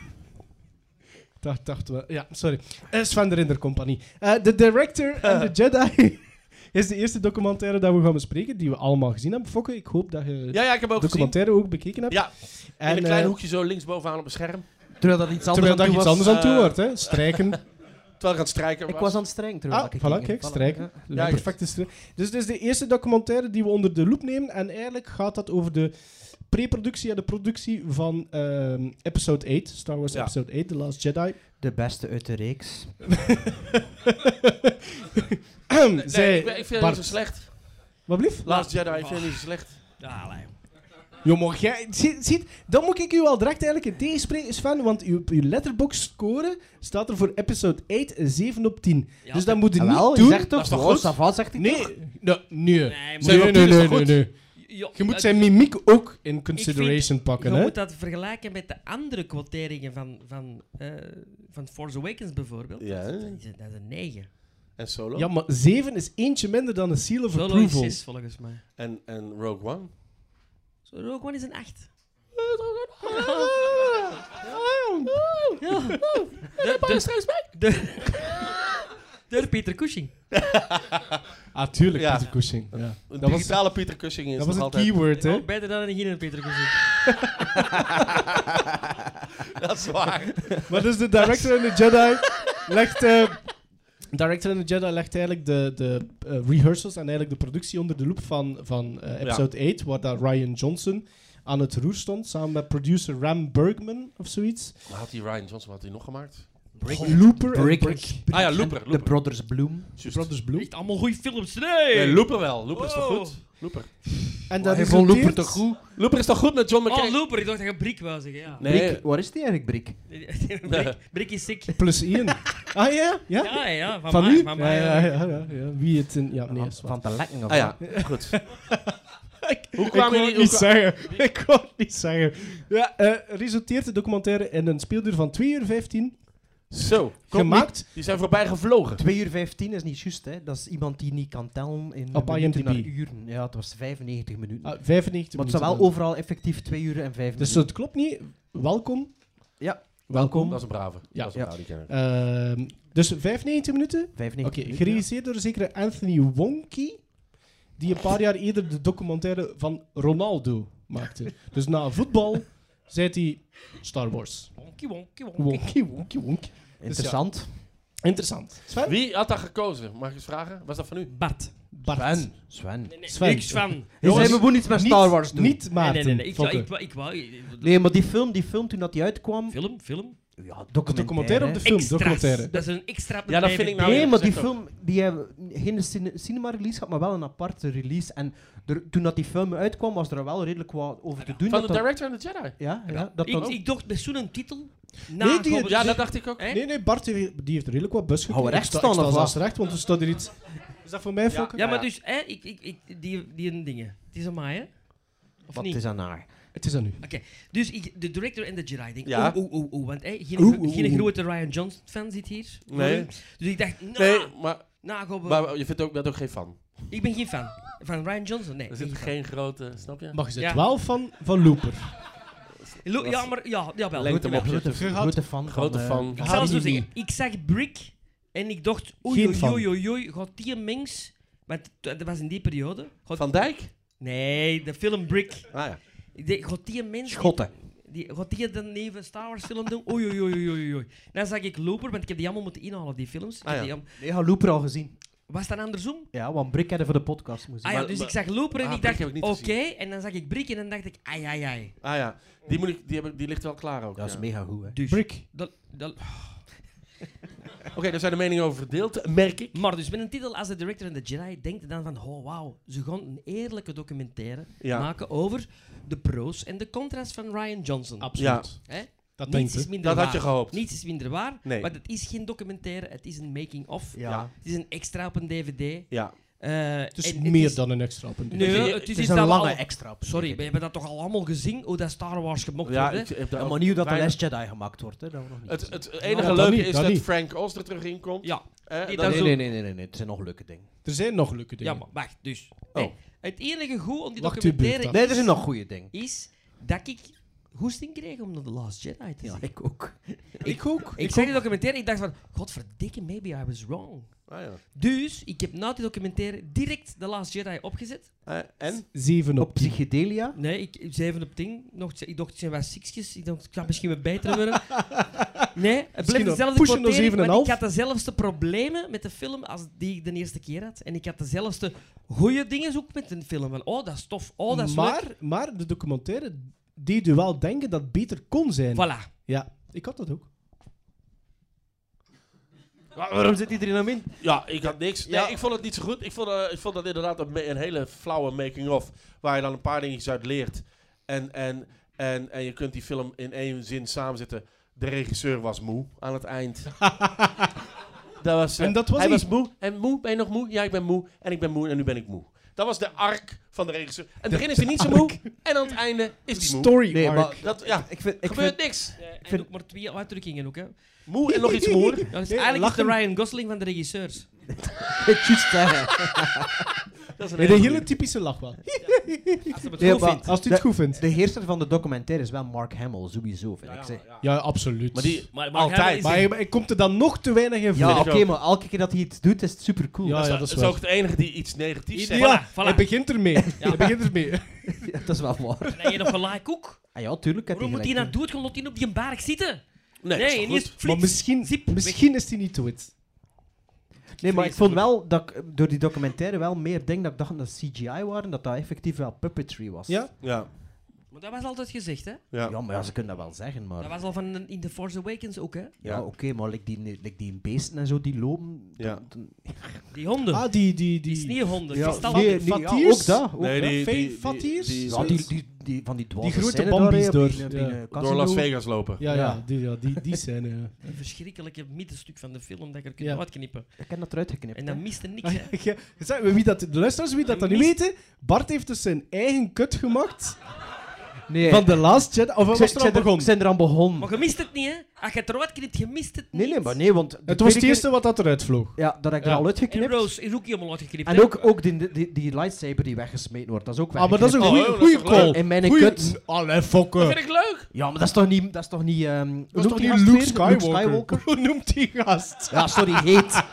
Speaker 6: Dacht, dacht wel. Ja, sorry. Eh, Sven de Rinder Compagnie. Eh, De Director and the Jedi is de eerste documentaire dat we gaan bespreken, die we allemaal gezien hebben. Fokke, ik hoop dat je
Speaker 8: Ja, ja, ik heb ook
Speaker 6: de
Speaker 8: gezien.
Speaker 6: documentaire ook bekeken hebt.
Speaker 8: Ja, in
Speaker 6: En,
Speaker 8: een klein
Speaker 6: eh,
Speaker 8: hoekje zo linksbovenaan op het scherm.
Speaker 5: Terwijl dat iets anders
Speaker 6: Terwijl dat
Speaker 5: aan
Speaker 6: je
Speaker 5: toe
Speaker 6: iets
Speaker 5: was.
Speaker 6: anders aan toe
Speaker 8: eh,
Speaker 6: wordt, hè? Strijken.
Speaker 8: Terwijl ik aan het strijken was.
Speaker 5: Ik was aan het strengen, terwijl
Speaker 6: Ah,
Speaker 5: ik
Speaker 6: voilà,
Speaker 5: ging.
Speaker 6: kijk,
Speaker 5: Voilà,
Speaker 6: strijk.
Speaker 5: ja.
Speaker 6: Een
Speaker 8: Ja,
Speaker 6: perfecte strijk. Dus dit is de eerste documentaire die we onder de loep nemen. En eigenlijk gaat dat over de pre-productie en de productie van ehm, episode 8, Star Wars
Speaker 8: Ja.
Speaker 6: episode 8, The Last Jedi.
Speaker 5: De beste uit de reeks.
Speaker 8: Nee,
Speaker 6: Zij,
Speaker 8: ik, ben- ik vind het
Speaker 6: Bart,
Speaker 8: niet zo slecht.
Speaker 6: Wat blieft?
Speaker 8: Last Jedi, ik vind het niet zo slecht.
Speaker 4: Ja, allee.
Speaker 6: Jo, maar jij... Ziet, ziet, dan moet ik u al direct eigenlijk in tegenspreken, Sven, want uw, uw letterbox score staat er voor episode 8 een 7 op 10.
Speaker 4: Ja,
Speaker 6: dus dat moet je niet
Speaker 5: Jawel,
Speaker 6: doen.
Speaker 5: je zegt toch,
Speaker 8: is toch
Speaker 5: wow,
Speaker 8: goed?
Speaker 5: ça va, zegt hij toch?
Speaker 6: Nee, nee, nee.
Speaker 4: maar-
Speaker 6: Nee, nee,
Speaker 8: op 10
Speaker 6: nee,
Speaker 8: is
Speaker 6: nee,
Speaker 8: toch goed?
Speaker 6: nee.
Speaker 4: Jo,
Speaker 6: Je moet
Speaker 4: het-
Speaker 6: zijn mimiek ook in
Speaker 4: ik
Speaker 6: consideration
Speaker 4: vind-
Speaker 6: pakken,
Speaker 4: Je
Speaker 6: hè?
Speaker 4: moet dat vergelijken met de andere quoteringen van, van, eh, van Force Awakens bijvoorbeeld.
Speaker 8: Ja.
Speaker 4: Dat, is, dat is een 9.
Speaker 8: En Solo.
Speaker 6: Ja, maar 7 is eentje minder dan een seal of
Speaker 4: Solo is
Speaker 6: approval.
Speaker 4: 6 volgens mij.
Speaker 8: En, en Rogue One.
Speaker 4: Zo, Rogue One is een 8.
Speaker 6: Ah, ah.
Speaker 4: dus- Door Peter Cushing.
Speaker 6: Ah, tuurlijk,
Speaker 8: Ja.
Speaker 6: Peter Cushing. Ja.
Speaker 8: Een
Speaker 6: Dat was,
Speaker 8: digitale Pieter Cushing is
Speaker 6: dat was
Speaker 8: nog
Speaker 6: het
Speaker 8: altijd...
Speaker 6: keyword, hè?
Speaker 4: Ook beter dan een beginnende Peter Cushing.
Speaker 8: Dat is waar.
Speaker 6: Maar dus de Director in the Jedi legt... eh, Director in the Jedi legt eigenlijk de, de eh, rehearsals en eigenlijk de productie onder de loep van, van eh, episode 8, waar dat Ryan Johnson aan het roer stond, samen met producer Ram Bergman of zoiets.
Speaker 8: Maar had hij Ryan Johnson wat had hij nog gemaakt?
Speaker 5: Brick.
Speaker 6: Goh, Looper en
Speaker 5: Brick.
Speaker 6: Brick.
Speaker 8: Ah ja,
Speaker 5: En
Speaker 8: Looper,
Speaker 5: De
Speaker 8: Looper.
Speaker 5: Brothers Bloom.
Speaker 8: Juist.
Speaker 6: Brothers Bloom.
Speaker 4: Echt allemaal goede films, nee!
Speaker 8: Nee, Looper wel. Looper is toch
Speaker 4: Oh.
Speaker 8: goed? Looper.
Speaker 6: En dat
Speaker 5: Hij vond Looper
Speaker 6: resulteert-
Speaker 5: toch goed?
Speaker 8: Looper is toch goed met John McCain?
Speaker 4: Oh, Looper, ik dacht dat je Brik wou zeggen, ja.
Speaker 8: nee,
Speaker 5: Brick, waar is die eigenlijk, Brick?
Speaker 4: Brik, Brik is ziek.
Speaker 6: Plus één. ah ja? Ja?
Speaker 4: Ja, ja, van,
Speaker 6: van
Speaker 4: mij.
Speaker 6: nu?
Speaker 4: Van
Speaker 6: ja,
Speaker 4: mij,
Speaker 6: ja, ja, ja, ja. Wie het in... Ja, nee,
Speaker 5: van,
Speaker 6: is waar.
Speaker 5: van de lekken of
Speaker 8: ah ja,
Speaker 5: wat?
Speaker 8: goed.
Speaker 6: Ik
Speaker 8: kwamen
Speaker 6: wou
Speaker 8: jullie-
Speaker 6: het
Speaker 8: hoe
Speaker 6: niet
Speaker 8: kwa-
Speaker 6: zeggen. Ik wou het niet zeggen. Ja, eh, resulteert de documentaire in een speelduur van 2 uur 15.
Speaker 8: Zo. kom,
Speaker 6: Gemaakt?
Speaker 8: Die, die zijn voorbij gevlogen.
Speaker 5: 2 uur 15 is niet juist, hè. Dat is iemand die niet kan tellen in
Speaker 6: Op
Speaker 5: minuten
Speaker 6: IMDb.
Speaker 5: naar uren. Ja, het was 95 minuten.
Speaker 6: Ah, 95
Speaker 5: maar het
Speaker 6: minuten.
Speaker 5: staat wel
Speaker 6: dan.
Speaker 5: overal effectief 2 uur en 5
Speaker 6: Dus
Speaker 5: minuten.
Speaker 6: het klopt niet. Welkom.
Speaker 5: Ja.
Speaker 6: Welkom.
Speaker 8: Dat is een brave.
Speaker 6: Ja.
Speaker 8: dat is een
Speaker 5: Ja.
Speaker 8: brave, die kennen we.
Speaker 6: Ehm, dus 95 minuten.
Speaker 5: 95
Speaker 6: Oké,
Speaker 5: minuten, ja.
Speaker 6: gerealiseerd door een zekere Anthony Wonky, die een paar jaar eerder de documentaire van Ronaldo maakte. Dus na voetbal zei hij Star Wars.
Speaker 4: Wonkie, wonkie, wonkie.
Speaker 6: Wonky, wonky, wonky.
Speaker 5: Interessant.
Speaker 6: Interessant. Sven?
Speaker 8: Wie had dat gekozen? Mag ik eens vragen? Was dat van u?
Speaker 4: Bart.
Speaker 6: Bart.
Speaker 5: Sven.
Speaker 4: Nee,
Speaker 6: Sven.
Speaker 4: Niks van.
Speaker 5: Hij zei,
Speaker 6: Jongens,
Speaker 5: we moeten iets met Star Wars doen.
Speaker 6: Niet
Speaker 4: Nee,
Speaker 6: Maarten.
Speaker 4: nee, nee. nee. Ik, wou,
Speaker 6: Fokke.
Speaker 4: ik, wou, ik wou-
Speaker 5: Nee, maar die film, die film toen dat die uitkwam...
Speaker 4: Film, film.
Speaker 5: Ja,
Speaker 6: Documentaire
Speaker 5: hè.
Speaker 6: op de film,
Speaker 4: Extra's.
Speaker 6: documentaire.
Speaker 4: Dat is een extra
Speaker 8: Ja, dat vind ik nou-
Speaker 5: Nee, maar die
Speaker 8: Zeg ook.
Speaker 5: film, die hebben geen cine- cinema-release gehad, maar wel een aparte release. En er, toen dat die film uitkwam, was er wel redelijk wat over te doen.
Speaker 8: Van
Speaker 5: dat
Speaker 8: de
Speaker 5: dat-
Speaker 8: director en de Jedi.
Speaker 5: Ja, ja, dat
Speaker 4: Ik,
Speaker 5: dan
Speaker 4: ik dacht bij zo'n titel. Na
Speaker 6: Nee, die-
Speaker 4: Robert-
Speaker 8: Ja, dat dacht ik ook.
Speaker 4: Hè?
Speaker 6: Nee, nee, Bart heeft, die heeft redelijk wat bus gekregen.
Speaker 5: Hou recht
Speaker 6: Ik sta-
Speaker 5: staan,
Speaker 6: ik sta
Speaker 5: of
Speaker 6: zelfs
Speaker 5: wat?
Speaker 6: recht, want er staat er iets... Is dat voor mij, Fokke?
Speaker 4: Ja, maar dus, hè, ik, ik, ik, die, die een dingen. Het is aan mij, hè? Of
Speaker 5: Wat
Speaker 4: niet?
Speaker 5: is aan haar?
Speaker 6: Het is aan u.
Speaker 4: Dus ik, de director en de Jedi. Ik denk,
Speaker 8: Ja.
Speaker 4: oeh, oeh, oeh, oeh. Want hè, geen,
Speaker 6: Oeh, oeh,
Speaker 4: geen
Speaker 6: oeh.
Speaker 4: grote Ryan Johnson-fan zit hier.
Speaker 8: Nee.
Speaker 4: Dus ik dacht, nou,
Speaker 8: Nee, maar,
Speaker 4: nou Robert,
Speaker 8: maar je vindt ook, bent ook geen fan.
Speaker 4: ik ben geen fan. Van Ryan Johnson, nee.
Speaker 8: Er
Speaker 4: ik
Speaker 8: zit
Speaker 4: ben geen
Speaker 8: geen grote, snap je?
Speaker 6: Mag je het
Speaker 4: Ja.
Speaker 6: wel van, van Looper?
Speaker 4: fan. Lo- Ja, maar, ja, jawel.
Speaker 8: Lengte
Speaker 4: Grote-
Speaker 8: mag je
Speaker 5: Grote,
Speaker 6: Gehad.
Speaker 5: grote fan.
Speaker 8: Grote
Speaker 5: van, eh,
Speaker 8: fan.
Speaker 4: Ik zal het zo
Speaker 6: Haat die
Speaker 4: zeggen. Ik zag Brick en ik dacht, oei,
Speaker 6: Geen
Speaker 4: oei,
Speaker 6: fan.
Speaker 4: oei, oei, oei, gaat die mens... Want dat was in die periode. Gaat-
Speaker 8: Van Dijk?
Speaker 4: Nee, de film Brick.
Speaker 8: Ah ja.
Speaker 4: Ik denk, gaat die mens...
Speaker 5: Schotten.
Speaker 4: Die, gaat die dan even Star Wars film doen? Oei, oei, oei, oei, oei, oei. Dan zag ik Loper, want ik heb die allemaal moeten inhalen, die films. Ik
Speaker 8: Ah,
Speaker 4: heb
Speaker 8: ja.
Speaker 4: die allemaal-
Speaker 5: Nee, had Looper al gezien.
Speaker 4: Was dat andersom?
Speaker 5: Ja, want Brick hadden voor de podcast moest
Speaker 4: Ah ja,
Speaker 8: Maar-
Speaker 4: dus
Speaker 8: maar-
Speaker 4: ik zag Loper en
Speaker 8: Ah,
Speaker 4: ik
Speaker 8: Brick
Speaker 4: dacht,
Speaker 8: heb ik
Speaker 4: oké.
Speaker 8: niet gezien.
Speaker 4: En dan zag ik Brick en dan dacht ik, ai, ai, ai.
Speaker 8: Ah ja. Die, moet ik, die, heb ik, die ligt wel klaar ook.
Speaker 5: Dat is
Speaker 8: ja.
Speaker 5: mega goed, hè.
Speaker 4: Dus,
Speaker 6: Brick.
Speaker 4: Dat, dat,
Speaker 8: Oké, daar zijn de meningen over verdeeld, merk ik.
Speaker 4: maar dus met een titel als The Director en the Jedi denkt je dan van, oh wauw, ze gaan een eerlijke documentaire
Speaker 8: Ja.
Speaker 4: maken over de pro's en de contra's van Ryan Johnson.
Speaker 6: Absoluut.
Speaker 4: Hè?
Speaker 6: Dat denk
Speaker 4: Niets is
Speaker 6: ik.
Speaker 4: minder
Speaker 8: Dat
Speaker 4: waar.
Speaker 8: had je gehoopt.
Speaker 4: Niets is minder waar,
Speaker 8: Nee.
Speaker 4: maar het is geen documentaire, het is een making-of.
Speaker 5: Ja.
Speaker 4: Het is een extra op een dvd.
Speaker 8: Ja.
Speaker 4: Eh,
Speaker 6: Het is
Speaker 4: en
Speaker 6: meer
Speaker 4: is-
Speaker 6: dan een extra punt.
Speaker 4: Nee,
Speaker 8: Het is-
Speaker 4: het is,
Speaker 5: Het is
Speaker 4: iets
Speaker 5: een
Speaker 4: dat we
Speaker 5: lange
Speaker 4: al-
Speaker 5: extra. op-
Speaker 4: Sorry, we hebben dat toch al allemaal gezien, hoe dat Star Wars gemokt
Speaker 8: ja
Speaker 4: wordt, hè?
Speaker 8: ik heb daar
Speaker 5: Ja,
Speaker 8: ook
Speaker 5: maar niet hoe dat de
Speaker 8: weinig-
Speaker 5: Last Jedi gemaakt wordt, hè. Dat we nog niet.
Speaker 8: Het,
Speaker 5: gezien.
Speaker 8: het enige
Speaker 6: dat
Speaker 8: leuke
Speaker 6: niet,
Speaker 8: is
Speaker 6: dat
Speaker 8: dat,
Speaker 6: niet.
Speaker 8: Frank Oster terug inkomt.
Speaker 4: Ja.
Speaker 8: Eh,
Speaker 4: Die
Speaker 8: dat
Speaker 4: dan
Speaker 8: is
Speaker 5: nee,
Speaker 4: zo-
Speaker 5: nee, nee, nee, nee, nee, het zijn nog leuke dingen.
Speaker 6: Er zijn nog leuke dingen.
Speaker 4: Ja, maar wacht, dus.
Speaker 8: Oh.
Speaker 4: Nee, het enige goed om die
Speaker 6: Wacht uw
Speaker 4: documentaire
Speaker 6: beurt
Speaker 5: Nee, er zijn nog goede dingen.
Speaker 4: is dat ik goesting kreeg om naar The Last Jedi te
Speaker 5: Ja,
Speaker 4: zien.
Speaker 5: ik ook.
Speaker 4: Ik ook. Ik zag die documentaire ik dacht van, godverdikke, maybe I was wrong.
Speaker 8: Ah, ja.
Speaker 4: Dus, ik heb na die documentaire direct The Last Jedi opgezet.
Speaker 8: Eh, en?
Speaker 6: 7
Speaker 5: Op
Speaker 6: op 10.
Speaker 5: Psychedelia.
Speaker 4: Nee, ik, 7 op 10. Nog, ik dacht, het zijn wel sixjes. Ik dacht, het gaat misschien wat beter worden. Nee, het
Speaker 6: Misschien
Speaker 4: bleef
Speaker 6: nog
Speaker 4: dezelfde
Speaker 6: pushen naar
Speaker 4: quotering, want
Speaker 6: 7,5.
Speaker 4: ik had dezelfde problemen met de film als die ik de eerste keer had. En ik had dezelfde goede dingen ook met de film. Van, oh, dat is tof. Oh, dat is leuk.
Speaker 6: maar, maar de documentaire deed u wel denken dat het beter kon zijn.
Speaker 4: Voilà.
Speaker 6: Ja, ik had dat ook.
Speaker 5: Waarom zit iedereen aan in?
Speaker 8: Ja, ik had niks. Nee,
Speaker 5: Ja.
Speaker 8: ik vond het niet zo goed. Ik vond, eh, ik vond dat inderdaad een, me- een hele flauwe making-of. Waar je dan een paar dingetjes uit leert. En, en, en, en je kunt die film in één zin samenzetten. De regisseur was moe aan het eind. dat was, eh,
Speaker 6: En dat was
Speaker 8: hij
Speaker 6: hij.
Speaker 8: was moe. En moe, ben je nog moe? Ja, ik ben moe. En ik ben moe en nu ben ik moe. Dat was de arc van de regisseur. En het begin is hij niet zo moe. En aan het einde is hij moe.
Speaker 6: Story
Speaker 5: Nee,
Speaker 6: arc.
Speaker 5: maar-
Speaker 8: Dat, ja,
Speaker 5: Ik vind, ik
Speaker 8: gebeurt
Speaker 5: vind,
Speaker 8: niks.
Speaker 4: Ik
Speaker 5: vind-
Speaker 4: vind ook maar twee uitdrukkingen ook, hè.
Speaker 8: Moe en nog iets moer.
Speaker 4: Dat is
Speaker 6: Nee,
Speaker 4: dus eigenlijk is de
Speaker 6: lachen.
Speaker 4: Ryan Gosling van de regisseurs.
Speaker 5: het juist zeggen.
Speaker 8: Dat is een
Speaker 6: Met een
Speaker 8: hele
Speaker 6: hele typische lach wel.
Speaker 4: Als ze het
Speaker 5: Nee,
Speaker 4: goed
Speaker 5: maar-
Speaker 4: vindt.
Speaker 6: Als u het
Speaker 5: De-
Speaker 6: goed vindt.
Speaker 5: De heerser van de documentaire is wel Mark Hamill, sowieso, vind ik. zeg. Ja,
Speaker 6: Ja, absoluut.
Speaker 8: Maar die,
Speaker 4: Maar- maar hij
Speaker 8: altijd.
Speaker 4: is-
Speaker 6: Maar hij, hij komt er dan nog te weinig in voor.
Speaker 5: oké, maar elke keer dat hij iets doet, is het supercool.
Speaker 6: Ja,
Speaker 5: Dat,
Speaker 8: dat is
Speaker 6: waar.
Speaker 8: ook het enige die iets negatiefs zegt.
Speaker 6: Ja,
Speaker 4: Voilà, voilà.
Speaker 6: hij begint ermee. Hij begint ermee.
Speaker 5: is- dat is wel waar.
Speaker 4: En je nog gelijk ook.
Speaker 5: Ah ja, tuurlijk.
Speaker 4: Waarom moet hij
Speaker 5: hij
Speaker 4: nou doen? Gewoon laat hij op die berg zitten.
Speaker 8: Nee, dat is toch
Speaker 4: en eerst
Speaker 8: goed?
Speaker 4: flits,
Speaker 6: Maar misschien,
Speaker 4: zip, weg.
Speaker 6: misschien is hij niet to it.
Speaker 5: Nee, maar ik vond wel dat ik eh, door die documentaire wel meer denk dat ik dacht dat CGI waren, dat dat effectief wel puppetry was.
Speaker 6: Ja?
Speaker 8: Ja.
Speaker 4: Maar dat was altijd gezegd, hè?
Speaker 5: Ja. maar ja, ze kunnen dat wel zeggen, maar...
Speaker 4: Dat was al van in The Force Awakens ook, hè?
Speaker 5: Ja, oké, maar like die, like die beesten en zo, die lopen...
Speaker 7: Ja.
Speaker 4: Die honden.
Speaker 5: Ah, die... Die,
Speaker 4: Die sneeuwhonden, die stallen-
Speaker 5: nee, nee, ja,
Speaker 4: Fatiers?
Speaker 5: ook dat. Ook
Speaker 7: Nee,
Speaker 5: dat.
Speaker 7: die-
Speaker 5: Fey
Speaker 7: die- die-
Speaker 5: Fatiers?
Speaker 7: die-
Speaker 5: ja, die, die, die, van die dwarven
Speaker 6: grote
Speaker 5: scène daar,
Speaker 6: bambies
Speaker 5: hè,
Speaker 6: door,
Speaker 5: op die- op die,
Speaker 6: ja.
Speaker 5: eh,
Speaker 6: Door
Speaker 5: casino.
Speaker 7: Las Vegas lopen.
Speaker 6: Ja, ja, die, ja, die, die scène. ja.
Speaker 4: Een verschrikkelijke middenstuk van de film dat ik er kan
Speaker 6: Ja.
Speaker 4: uitknippen.
Speaker 5: Ik heb dat eruit geknipt.
Speaker 4: En dan miste niks,
Speaker 6: Ah,
Speaker 4: hè?
Speaker 6: ja, ja. Zeg, wie dat, de luisteraars wie dat, dat niet weten, Bart heeft dus zijn eigen kut gemaakt
Speaker 5: Nee,
Speaker 6: van de Last Jedi. Of
Speaker 5: ik zijn-
Speaker 6: was er al
Speaker 5: zijn er-
Speaker 6: begonnen?
Speaker 5: zijn er aan begonnen.
Speaker 4: Maar je mist het niet, hè? Als je het eruit knipt, je mist het niet.
Speaker 5: Nee, nee, maar nee, want... de
Speaker 6: Het was het
Speaker 5: tweede
Speaker 6: eerste wat dat eruit vloog.
Speaker 5: keer- Ja, dat heb ik
Speaker 6: Ja.
Speaker 5: er al
Speaker 4: En
Speaker 5: uitgeknipt.
Speaker 4: Rose is ook helemaal uitgeknipt,
Speaker 5: En
Speaker 4: hè?
Speaker 5: ook, ook die, die, die lightsaber die weggesmeten wordt, dat is ook
Speaker 6: Ah, maar dat is een
Speaker 5: weggeknipt.
Speaker 6: goeie,
Speaker 8: Oh, dat is
Speaker 6: goeie
Speaker 8: toch leuk?
Speaker 6: call.
Speaker 5: In mijn
Speaker 6: Goeie-
Speaker 5: kut.
Speaker 6: Allee,
Speaker 8: Dat
Speaker 6: fokken.
Speaker 8: vind ik leuk.
Speaker 5: Ja, maar dat is toch niet... Dat is toch niet... ehm, hoe
Speaker 6: Dat is
Speaker 5: noemt
Speaker 6: toch
Speaker 5: die gast
Speaker 6: niet Luke
Speaker 5: weer?
Speaker 6: Skywalker?
Speaker 5: Luke Skywalker?
Speaker 6: Hoe noemt die gast?
Speaker 5: Ja, sorry, heet.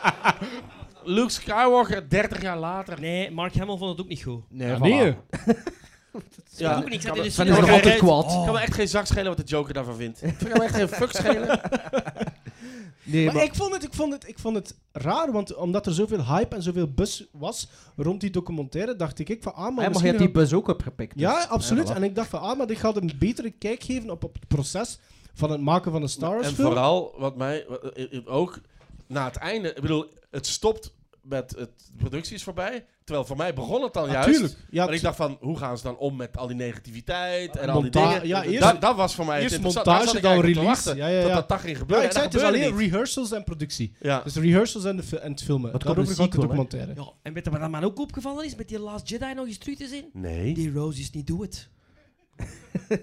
Speaker 8: Luke Skywalker, 30 jaar later.
Speaker 4: Nee, Mark Hamill vond het ook niet goed.
Speaker 5: Nee,
Speaker 6: nee.
Speaker 4: Ja, ook niet. Ik zat in de
Speaker 5: Sven
Speaker 4: cinema.
Speaker 5: is nog
Speaker 8: Oké,
Speaker 5: altijd
Speaker 8: eh,
Speaker 5: kwaad.
Speaker 8: Ik kan me echt geen zak schelen wat de Joker daarvan vindt. Ik kan me echt geen fuck schelen.
Speaker 5: Nee,
Speaker 6: Maar
Speaker 5: maar...
Speaker 6: ik vond, het, ik, vond het, ik vond het raar, want omdat er zoveel hype en zoveel buzz was rond die documentaire, dacht ik, ik van, ah, maar
Speaker 5: Hij mag
Speaker 6: misschien
Speaker 5: je die
Speaker 6: gaan-
Speaker 5: bus ook opgepikt. dus.
Speaker 6: Ja, absoluut.
Speaker 5: voilà.
Speaker 6: En ik dacht van, ah, maar ik ga er een betere kijk geven op, op het proces van het maken van een Star Wars
Speaker 8: En
Speaker 6: film.
Speaker 8: vooral, wat mij wat- eh, eh, ook na het einde, ik bedoel, het stopt met het de productie is voorbij. Terwijl voor mij begon het dan juist.
Speaker 6: Natuurlijk. Ah, Ja,
Speaker 8: Maar ik dacht van, hoe gaan ze dan om met al die negativiteit en al die
Speaker 6: Monta-
Speaker 8: dingen?
Speaker 6: ja,
Speaker 8: Da-
Speaker 6: eerst-
Speaker 8: dat, was voor mij
Speaker 6: eerst
Speaker 8: het interessante.
Speaker 6: montage,
Speaker 8: Daar zat ik
Speaker 6: dan
Speaker 8: eigenlijk op te
Speaker 6: release.
Speaker 8: wachten,
Speaker 6: Ja, ja, ja.
Speaker 8: Dat dat dag ging
Speaker 6: ja,
Speaker 8: gebeuren.
Speaker 6: ik zei,
Speaker 8: en
Speaker 6: het
Speaker 8: dat
Speaker 6: is alleen
Speaker 8: gebeurde niet.
Speaker 6: rehearsals en productie.
Speaker 8: Ja.
Speaker 6: Dus de rehearsals en, de, fi- en het filmen.
Speaker 5: Dat kan
Speaker 6: Daarover
Speaker 5: een
Speaker 6: gaat de
Speaker 5: sequel, hè?
Speaker 6: documentaire.
Speaker 4: Ja, en weet je wat dat mij ook opgevallen is? Met die Last Jedi nog eens terug te zien?
Speaker 8: Nee.
Speaker 4: Die Rose is niet do it.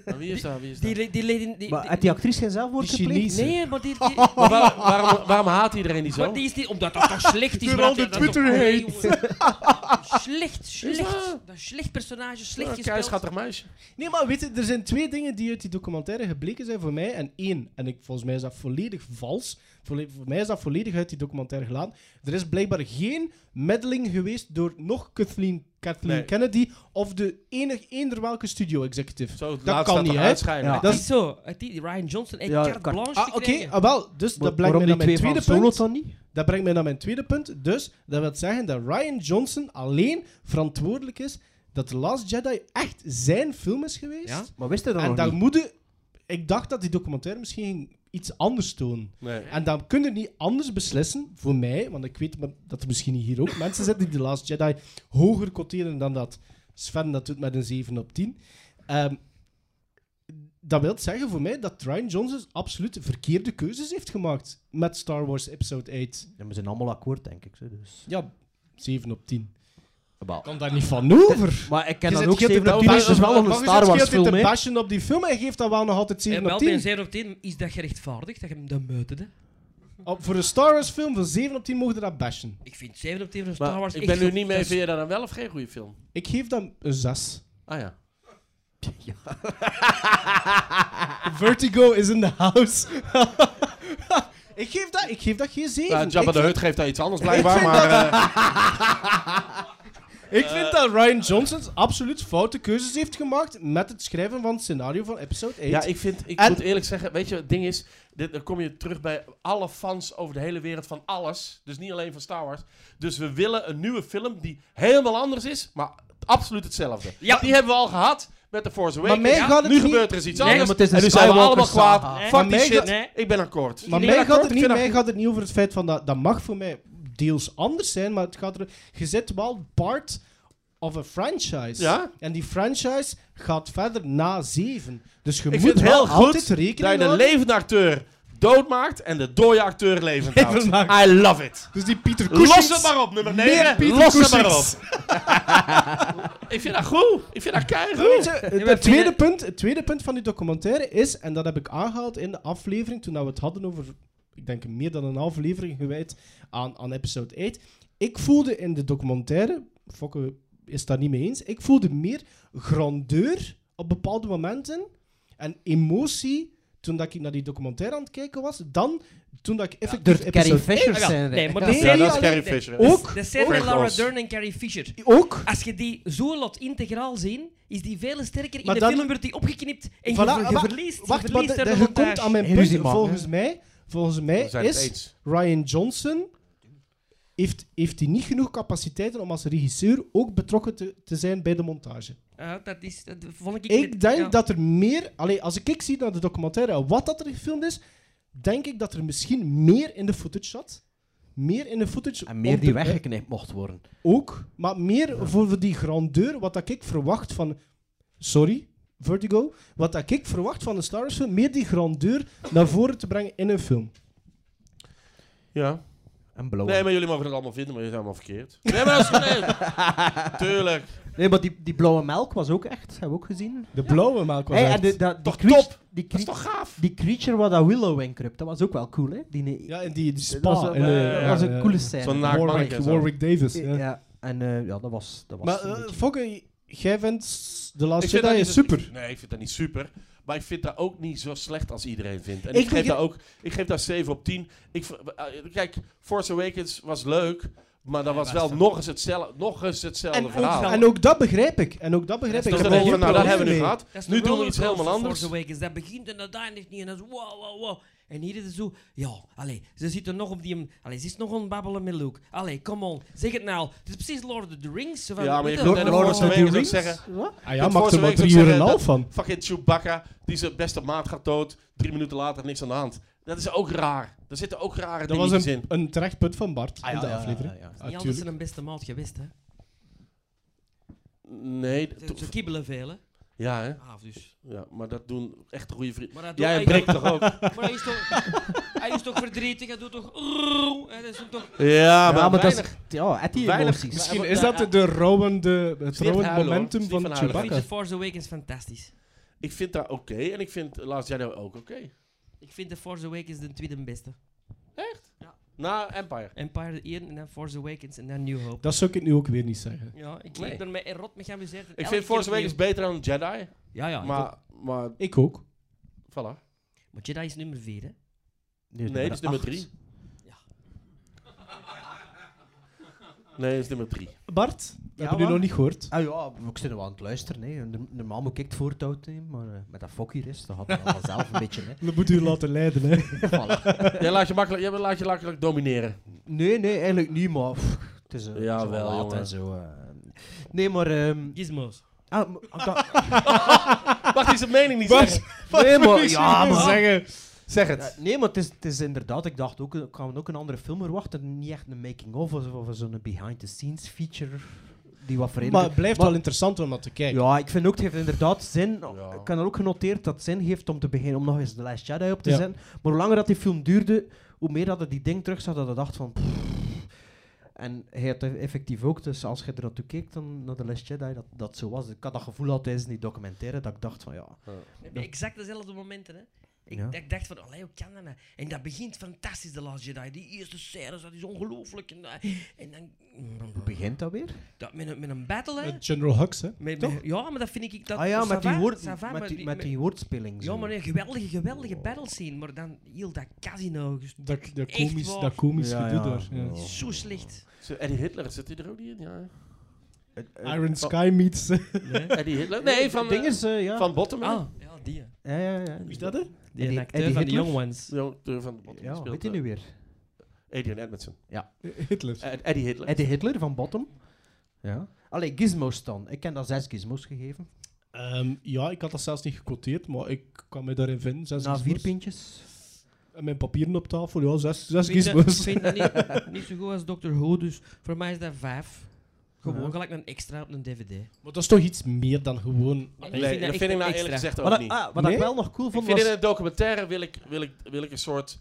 Speaker 8: Maar wie is dat? Wie is dat?
Speaker 4: Die, le- die, lady- die,
Speaker 5: Maar
Speaker 4: die-
Speaker 5: had die actrice geen zelfmoord
Speaker 6: Die
Speaker 5: gepleegd?
Speaker 6: Chinese.
Speaker 4: Nee, maar die, die,
Speaker 8: Maar waar- waarom, waarom haat iedereen die Oh, zo?
Speaker 4: maar die is niet... Omdat dat toch slecht is.
Speaker 6: Door
Speaker 4: maar
Speaker 6: al
Speaker 4: dat-
Speaker 6: de
Speaker 4: dat toch-
Speaker 6: Twitter
Speaker 4: Nee,
Speaker 6: hate.
Speaker 4: jongen. Slecht, slecht.
Speaker 8: dat?
Speaker 4: Dat is slecht personage, slecht
Speaker 8: Een
Speaker 4: gespeeld.
Speaker 8: keischattig meisje.
Speaker 6: Nee, maar weet je, er zijn twee dingen die uit die documentaire gebleken zijn voor mij. En één, en ik, volgens mij is dat volledig vals. Volle- voor mij is dat volledig uit die documentaire gelaten. Er is blijkbaar geen meddling geweest door nog Kathleen, Kathleen
Speaker 8: Nee.
Speaker 6: Kennedy of de enig eender welke studio-executive.
Speaker 8: Zo, het
Speaker 6: Dat
Speaker 8: laatste
Speaker 6: kan
Speaker 8: dat
Speaker 6: niet,
Speaker 8: toch
Speaker 6: hè?
Speaker 8: uitschijnen.
Speaker 5: Ja.
Speaker 4: Dat is zo. Het- die- Ryan Johnson en
Speaker 5: Ja,
Speaker 4: carte
Speaker 5: kan-
Speaker 4: blanche te
Speaker 6: Ah, oké,
Speaker 4: krijgen.
Speaker 6: ah, wel. Dus dat brengt mij
Speaker 5: waarom
Speaker 6: naar
Speaker 5: die twee
Speaker 6: mijn tweede
Speaker 5: van
Speaker 6: punt.
Speaker 5: Solo dan niet?
Speaker 6: Dat brengt mij naar mijn tweede punt. Dus dat wil zeggen dat Ryan Johnson alleen verantwoordelijk is dat The Last Jedi echt zijn film is geweest.
Speaker 4: Ja?
Speaker 5: Maar wist hij dat
Speaker 6: En
Speaker 5: nog
Speaker 6: dan
Speaker 5: niet?
Speaker 6: moet je- Ik dacht dat die documentaire misschien ging iets anders tonen.
Speaker 8: Nee.
Speaker 6: En dan kun je niet anders beslissen, voor mij, want ik weet me- dat er misschien hier ook mensen zitten die The Last Jedi hoger quoteren dan dat Sven dat doet met een 7 op 10. Ehm, dat wil zeggen voor mij dat Ryan Johnson absoluut verkeerde keuzes heeft gemaakt met Star Wars Episode 8.
Speaker 5: Ja, we zijn allemaal akkoord, denk ik. zo, Dus.
Speaker 6: Ja, 7 op 10.
Speaker 5: Wel.
Speaker 6: Kan daar niet van over.
Speaker 5: Maar ik ken
Speaker 6: Je
Speaker 5: dan
Speaker 6: zit
Speaker 5: ook
Speaker 6: heel de
Speaker 5: 7 op 10,
Speaker 6: ba-
Speaker 5: is dus wel nog
Speaker 6: maar
Speaker 5: een
Speaker 6: je
Speaker 5: Star
Speaker 6: zit
Speaker 5: Wars
Speaker 6: heel de
Speaker 5: film,
Speaker 6: te
Speaker 5: hè?
Speaker 6: bashen op die film en je geeft dat wel nog altijd
Speaker 4: En
Speaker 6: 7
Speaker 4: wel,
Speaker 6: op
Speaker 4: bij
Speaker 6: 10.
Speaker 4: een 7 op 10 is dat gerechtvaardigd, dat je hem dan muitende.
Speaker 6: Op- voor een Star Wars film van 7 op 10 mogen we dat bashen.
Speaker 4: Ik vind 7 op 10 van Star
Speaker 8: Maar
Speaker 4: Wars
Speaker 8: ik
Speaker 4: echt
Speaker 8: ben nu
Speaker 4: goed.
Speaker 8: niet mee,
Speaker 4: Dat is-
Speaker 8: vind je dat dan wel of geen goede film?
Speaker 6: Ik geef dat een 6.
Speaker 8: Ah ja.
Speaker 6: Vertigo is in the house. ik, geef dat, ik geef dat geen 7.
Speaker 8: Nou, Jabba
Speaker 6: ik,
Speaker 8: de Hut geeft daar iets anders blijkbaar, maar... eh,
Speaker 6: ik vind dat Ryan Johnson absoluut foute keuzes heeft gemaakt met het schrijven van het scenario van episode 8.
Speaker 8: ja, ik vind... Ik
Speaker 6: En-
Speaker 8: moet eerlijk zeggen, weet je, het ding is... Dit, dan kom je terug bij alle fans over de hele wereld van alles. Dus niet alleen van Star Wars. Dus we willen een nieuwe film die helemaal anders is, maar absoluut hetzelfde.
Speaker 4: Ja.
Speaker 8: Die hebben we al gehad met The Force Awakens.
Speaker 6: mij gaat het
Speaker 8: nu
Speaker 6: niet-
Speaker 8: gebeurt er eens iets
Speaker 4: Nee,
Speaker 8: anders.
Speaker 5: maar het is een
Speaker 8: en nu zijn we
Speaker 5: Skywalker
Speaker 8: allemaal
Speaker 5: saga.
Speaker 8: kwaad.
Speaker 4: Nee.
Speaker 8: Fuck
Speaker 6: Maar
Speaker 8: die
Speaker 6: mij
Speaker 8: shit.
Speaker 6: gaat-
Speaker 4: Nee.
Speaker 8: Ik ben akkoord.
Speaker 6: Maar
Speaker 4: Nee,
Speaker 6: mij
Speaker 4: dat
Speaker 6: gaat, het
Speaker 8: klopt.
Speaker 6: niet,
Speaker 8: Ik vind
Speaker 6: mij gaat het niet over het feit van dat, dat mag voor mij deels anders zijn, maar het gaat er. Je zit wel part of een franchise.
Speaker 8: Ja.
Speaker 6: En die franchise gaat verder na zeven. Dus je
Speaker 8: Ik
Speaker 6: moet
Speaker 8: vind het
Speaker 6: wel
Speaker 8: heel
Speaker 6: altijd
Speaker 8: goed
Speaker 6: rekening
Speaker 8: dat je de
Speaker 6: houden.
Speaker 8: levende acteur doodmaakt en de dode acteur levend houdt.
Speaker 6: Levend maakt.
Speaker 8: I love it.
Speaker 6: Dus die Pieter Cushings.
Speaker 8: Los het maar op, nummer
Speaker 6: Meer
Speaker 8: 9.
Speaker 6: Pieter
Speaker 8: Los het maar op.
Speaker 6: Cushings.
Speaker 8: Ik vind dat goed. Ik vind
Speaker 6: Weet
Speaker 8: dat keigoed.
Speaker 6: je,
Speaker 4: maar
Speaker 6: het, tweede
Speaker 4: Pieter-
Speaker 6: punt, het tweede punt van die documentaire is, en dat heb ik aangehaald in de aflevering toen dat we het hadden over, ik denk meer dan een aflevering gewijd aan, aan episode 8. Ik voelde in de documentaire, Fokke is daar niet mee eens, ik voelde meer grandeur op bepaalde momenten en emotie toen dat ik naar die documentaire aan het kijken was, dan toen dat ik
Speaker 5: Door
Speaker 6: effectief
Speaker 5: Carrie
Speaker 6: episode
Speaker 5: Fisher
Speaker 4: Ah, wel,
Speaker 5: zijn.
Speaker 4: Nee, maar
Speaker 5: hè.
Speaker 4: de
Speaker 6: Ja,
Speaker 4: serie...
Speaker 6: dat is
Speaker 8: Carrie
Speaker 4: de-
Speaker 8: Fisher,
Speaker 4: de-
Speaker 8: hè.
Speaker 6: Ook.
Speaker 4: De serie
Speaker 8: Frank
Speaker 4: Laura
Speaker 8: Ross.
Speaker 4: Dern en Carrie Fisher.
Speaker 6: 8 ook
Speaker 4: Als je die zo laat integraal zien, is die veel sterker. In
Speaker 6: Maar
Speaker 4: de
Speaker 6: dan-
Speaker 4: film wordt die opgeknipt en je,
Speaker 6: Voilà,
Speaker 4: ver- je
Speaker 6: maar-
Speaker 4: verliest. je
Speaker 6: Wacht,
Speaker 4: verliest
Speaker 6: want
Speaker 4: daar
Speaker 6: dat
Speaker 4: de
Speaker 6: je komt aan mijn
Speaker 5: Ruzie
Speaker 6: punt.
Speaker 5: maken,
Speaker 6: Volgens mij, volgens mij
Speaker 8: We zijn het
Speaker 6: is
Speaker 8: eens.
Speaker 6: Ryan Johnson heeft, heeft hij niet genoeg capaciteiten om als regisseur ook betrokken te, te zijn bij de montage.
Speaker 4: Ja, dat, is, dat vond ik...
Speaker 6: Ik
Speaker 4: net-
Speaker 6: denk
Speaker 4: ja.
Speaker 6: dat er meer... Allee, als ik kijk zie naar de documentaire en wat dat er gefilmd is, denk ik dat er misschien meer in de footage zat. Meer in de footage...
Speaker 5: En meer
Speaker 6: om
Speaker 5: die
Speaker 6: te- eh,
Speaker 5: weggeknipt mocht worden.
Speaker 6: Ook, maar meer voor voor die grandeur, wat dat ik verwacht van... Sorry, Vertigo. Wat dat ik verwacht van een Star Wars film, meer die grandeur naar voren te brengen in een film.
Speaker 8: Ja.
Speaker 5: En blauw.
Speaker 8: Nee, maar jullie mogen het allemaal vinden, maar jullie zijn allemaal verkeerd. Nee, maar dat is gelijk. Tuurlijk.
Speaker 5: Nee, maar die, die blauwe melk was ook echt. Hebben we ook gezien.
Speaker 6: De blauwe melk was
Speaker 5: Hey,
Speaker 6: echt-
Speaker 5: en de, dat- die
Speaker 8: Toch
Speaker 5: creat-
Speaker 8: top?
Speaker 5: Die
Speaker 8: Dat is
Speaker 5: crea-
Speaker 8: toch gaaf?
Speaker 5: die creature wat dat Willow encrypt, dat was ook wel cool, hè? Die,
Speaker 6: Ja, en die, die spa.
Speaker 5: dat was,
Speaker 6: en,
Speaker 5: dat
Speaker 6: eh,
Speaker 5: was
Speaker 6: ja,
Speaker 5: een
Speaker 6: ja.
Speaker 5: coole scène.
Speaker 8: Zo'n naakt
Speaker 6: Warwick,
Speaker 8: mannetje en zo.
Speaker 6: Warwick Davis.
Speaker 5: ja.
Speaker 6: Ja.
Speaker 5: en eh, ja, dat was... Dat was
Speaker 6: Maar
Speaker 5: een
Speaker 6: eh,
Speaker 5: beetje-
Speaker 6: Fokke, jij vindt de
Speaker 8: Ik
Speaker 6: laatste
Speaker 8: vind
Speaker 6: Jedi
Speaker 8: dat
Speaker 6: is super.
Speaker 8: Nee, ik vind dat niet super. Maar ik vind dat ook niet zo slecht als iedereen vindt. En
Speaker 6: Ik
Speaker 8: ik, geef,
Speaker 6: begin-
Speaker 8: daar ook, ik geef daar 7 op 10. Ik, v- eh, kijk, Force Awakens was leuk. Maar dat was wel nog eens hetzelfde, nog eens hetzelfde
Speaker 6: En ook,
Speaker 8: verhaal.
Speaker 6: en ook dat begrijp ik. En ook dat begrijp ik.
Speaker 8: dus
Speaker 6: Ik
Speaker 8: dan
Speaker 6: heb
Speaker 8: denk je,
Speaker 6: er
Speaker 8: nou,
Speaker 6: geen
Speaker 8: dat hebben we nu
Speaker 6: probleem
Speaker 8: gehad.
Speaker 4: Dat is
Speaker 8: Nu
Speaker 4: de
Speaker 8: doen we iets
Speaker 4: rollercoaster
Speaker 8: helemaal anders.
Speaker 4: Force Awakens. Dat begint en dat eindigt niet. En dat is wow, wow, wow. En hier is het zo... Ja, allee, ze zitten nog op die... Allee, ze is nog aan het babbelen met Luke. Allee, come on. Zeg het nou. Het is precies Lord of the Rings. Zo van,
Speaker 8: Ja, maar je
Speaker 4: weet
Speaker 8: kunt
Speaker 4: wel.
Speaker 8: de Force
Speaker 5: of the
Speaker 8: Awakens ook
Speaker 5: Rings?
Speaker 8: zeggen...
Speaker 6: mee. Ah ja, maakt er
Speaker 8: Het Force
Speaker 6: maar
Speaker 8: Awakens
Speaker 6: drie uur en
Speaker 8: zeggen
Speaker 6: een
Speaker 8: dat
Speaker 6: half van.
Speaker 8: Fucking Chewbacca, die zijn beste maat gaat dood. Drie minuten later niks aan de hand. Dat is ook raar. Daar zitten ook rare
Speaker 6: Dat
Speaker 8: dingen
Speaker 6: was een,
Speaker 8: in.
Speaker 6: een terecht punt van Bart
Speaker 5: Ah, ja,
Speaker 6: in de
Speaker 5: ja, ja,
Speaker 6: aflevering.
Speaker 5: ja, ja.
Speaker 4: Niet anders
Speaker 6: Natuurlijk.
Speaker 4: zijn een beste maat geweest, hè.
Speaker 8: Nee,
Speaker 4: Ze, ze kibbelen veel, hè.
Speaker 8: ja, hè?
Speaker 4: Ah, dus.
Speaker 8: ja, maar dat doen echt goede vrienden.
Speaker 4: Maar dat doet
Speaker 8: Jij
Speaker 4: hij
Speaker 8: breekt
Speaker 4: dan-
Speaker 8: toch ook?
Speaker 4: Maar hij is toch... hij is toch verdrietig. Hij doet toch... Hij is toch...
Speaker 8: Ja,
Speaker 5: Ja, maar,
Speaker 8: maar,
Speaker 5: dat
Speaker 8: weinig.
Speaker 5: is... Ja, at die
Speaker 8: Weinig.
Speaker 5: emoties.
Speaker 6: Misschien
Speaker 8: Ja,
Speaker 6: is
Speaker 8: ja,
Speaker 6: dat de- de rouwende, het
Speaker 8: Steve
Speaker 6: rouwende
Speaker 8: Huilen, hoor.
Speaker 6: momentum
Speaker 8: Steve
Speaker 6: van
Speaker 8: van Huilen.
Speaker 4: Ik vind
Speaker 6: Chewbacca.
Speaker 4: The Force Awakens fantastisch.
Speaker 8: Ik vind dat oké en ik vind Last Jedi ook oké.
Speaker 4: Ik vind The Force Awakens de tweede beste.
Speaker 8: Na Empire.
Speaker 4: Empire de 1 en dan Force Awakens en dan New Hope.
Speaker 6: Dat zou ik nu ook weer niet zeggen.
Speaker 4: Ja, ik
Speaker 8: Nee.
Speaker 4: heb er mij er rot mee geamuseerd.
Speaker 8: Ik
Speaker 4: Elke
Speaker 8: vind Force
Speaker 4: keer opnieuw.
Speaker 8: Awakens beter dan Jedi.
Speaker 4: Ja, ja. Maar,
Speaker 8: maar, maar,
Speaker 6: Ik ook.
Speaker 8: voilà.
Speaker 4: maar Jedi is nummer 4, hè.
Speaker 8: Nee, dat is nummer drie.
Speaker 4: Ja.
Speaker 8: Nee, dat is nummer drie.
Speaker 6: Bart, dat hebben we
Speaker 5: wat?
Speaker 6: nu nog niet gehoord.
Speaker 5: Ah ja, ik zit er wel aan het luisteren. Hè. Norm- Normaal moet ik het voortouw nemen, maar eh, met dat fok hier is, dat had ik allemaal zelf een beetje. Hè.
Speaker 6: Dat moet u laten leiden, hè.
Speaker 5: Voilà.
Speaker 8: Jij laat je makkelijk, jij laat je makkelijk domineren.
Speaker 5: Nee, nee, eigenlijk niet, maar pff, het is, eh, het is
Speaker 8: Jawel,
Speaker 5: wel laat
Speaker 8: jongen.
Speaker 5: en zo. eh. Nee, maar... ehm,
Speaker 4: Gizmos.
Speaker 5: ah, m- ah, dat-
Speaker 8: Wacht, is de mening niet zeggen.
Speaker 5: nee, maar... Ja, maar...
Speaker 6: zeggen.
Speaker 8: Zeg
Speaker 5: Ja,
Speaker 8: het.
Speaker 5: nee, maar het is, het is inderdaad, ik dacht ook, ik kan ook een andere film verwachten. Niet echt een making-of of, of zo'n behind-the-scenes feature. Die wat
Speaker 6: Maar
Speaker 5: verenigd
Speaker 6: het blijft wel interessant om naar te kijken.
Speaker 5: Ja, ik vind ook, het heeft inderdaad zin.
Speaker 8: Ja.
Speaker 5: Ik heb er ook genoteerd dat het zin heeft om te beginnen, om nog eens de Last Jedi op te
Speaker 6: Ja.
Speaker 5: zetten. Maar hoe langer dat die film duurde, hoe meer dat het die ding terug zat, dat het dacht van... pff. En hij had effectief ook, dus als je er naartoe keek, dan naar de Last Jedi, dat, dat zo was. Ik had dat gevoel al tijdens die documentaire, dat ik dacht van ja...
Speaker 4: Heb je Exact dezelfde momenten, hè. Ik,
Speaker 5: Ja.
Speaker 4: ik dacht van, allee, hoe kan dat nou? En dat begint fantastisch, de Last Jedi. Die eerste scènes, dat is ongelooflijk. En, dat- en dan...
Speaker 5: Hoe begint dat weer?
Speaker 4: Dat, met, een, met een battle, hè.
Speaker 6: Met General Hux, hè.
Speaker 4: Met, met- ja, maar dat vind ik... Dat,
Speaker 5: ah ja,
Speaker 4: ça
Speaker 5: met die,
Speaker 4: va,
Speaker 5: woord,
Speaker 4: ça va, maar
Speaker 5: met die,
Speaker 4: die-
Speaker 5: met
Speaker 4: met-
Speaker 5: die woordspelling.
Speaker 4: Ja,
Speaker 5: zo.
Speaker 4: maar een geweldige, geweldige battle scene. Maar dan heel dat casino. dus
Speaker 6: Dat, dat
Speaker 4: Echt
Speaker 6: komisch,
Speaker 4: waar.
Speaker 6: dat komisch
Speaker 5: Ja,
Speaker 6: gedoe
Speaker 5: ja.
Speaker 6: daar. ja.
Speaker 5: Ja.
Speaker 4: Zo slecht.
Speaker 8: Zo, Eddie Hitler, zit hij er ook niet in? Ja.
Speaker 6: Iron Sky meets...
Speaker 8: Eddie Hitler? Nee, van,
Speaker 5: Ding
Speaker 8: eh,
Speaker 5: is, eh, ja.
Speaker 8: van Bottom. hè?
Speaker 4: ja, die.
Speaker 5: ja, ja, ja.
Speaker 6: Wie is dat, hè?
Speaker 4: Ah. Die,
Speaker 5: Eddie-
Speaker 4: acteur
Speaker 5: Eddie
Speaker 4: van de
Speaker 5: Hitler?
Speaker 4: Young Ones.
Speaker 8: Ja, de van Bottom.
Speaker 5: Ja,
Speaker 8: speelt,
Speaker 5: weet je
Speaker 8: eh,
Speaker 5: nu weer?
Speaker 8: Adrian Edmondson.
Speaker 6: Hitler.
Speaker 8: Eh, Eddie Hitler.
Speaker 5: Eddie Hitler van Bottom. Ja. Allee, gizmos dan. Ik heb daar zes gizmos gegeven.
Speaker 6: Ehm, ja, ik had dat zelfs niet gequoteerd, maar ik kan me daarin vinden. Zes
Speaker 5: Na vier
Speaker 6: gizmos.
Speaker 5: pintjes.
Speaker 6: En mijn papieren op tafel, ja, zes, zes
Speaker 4: Ik vind dat-
Speaker 6: gizmos.
Speaker 4: Ik vind dat niet, niet zo goed als Dr. Who, dus voor mij is dat vijf. Gewoon gelijk een extra op een dvd.
Speaker 6: Maar dat is toch iets meer dan gewoon...
Speaker 4: Nee,
Speaker 8: Nee, dat vind ik nou eerlijk gezegd ook
Speaker 5: Wat, ik-
Speaker 8: niet.
Speaker 5: ah, wat
Speaker 6: Nee?
Speaker 5: ik wel nog cool
Speaker 8: ik
Speaker 5: vond
Speaker 8: vind
Speaker 5: was...
Speaker 8: in een documentaire wil ik, wil ik, wil ik een soort...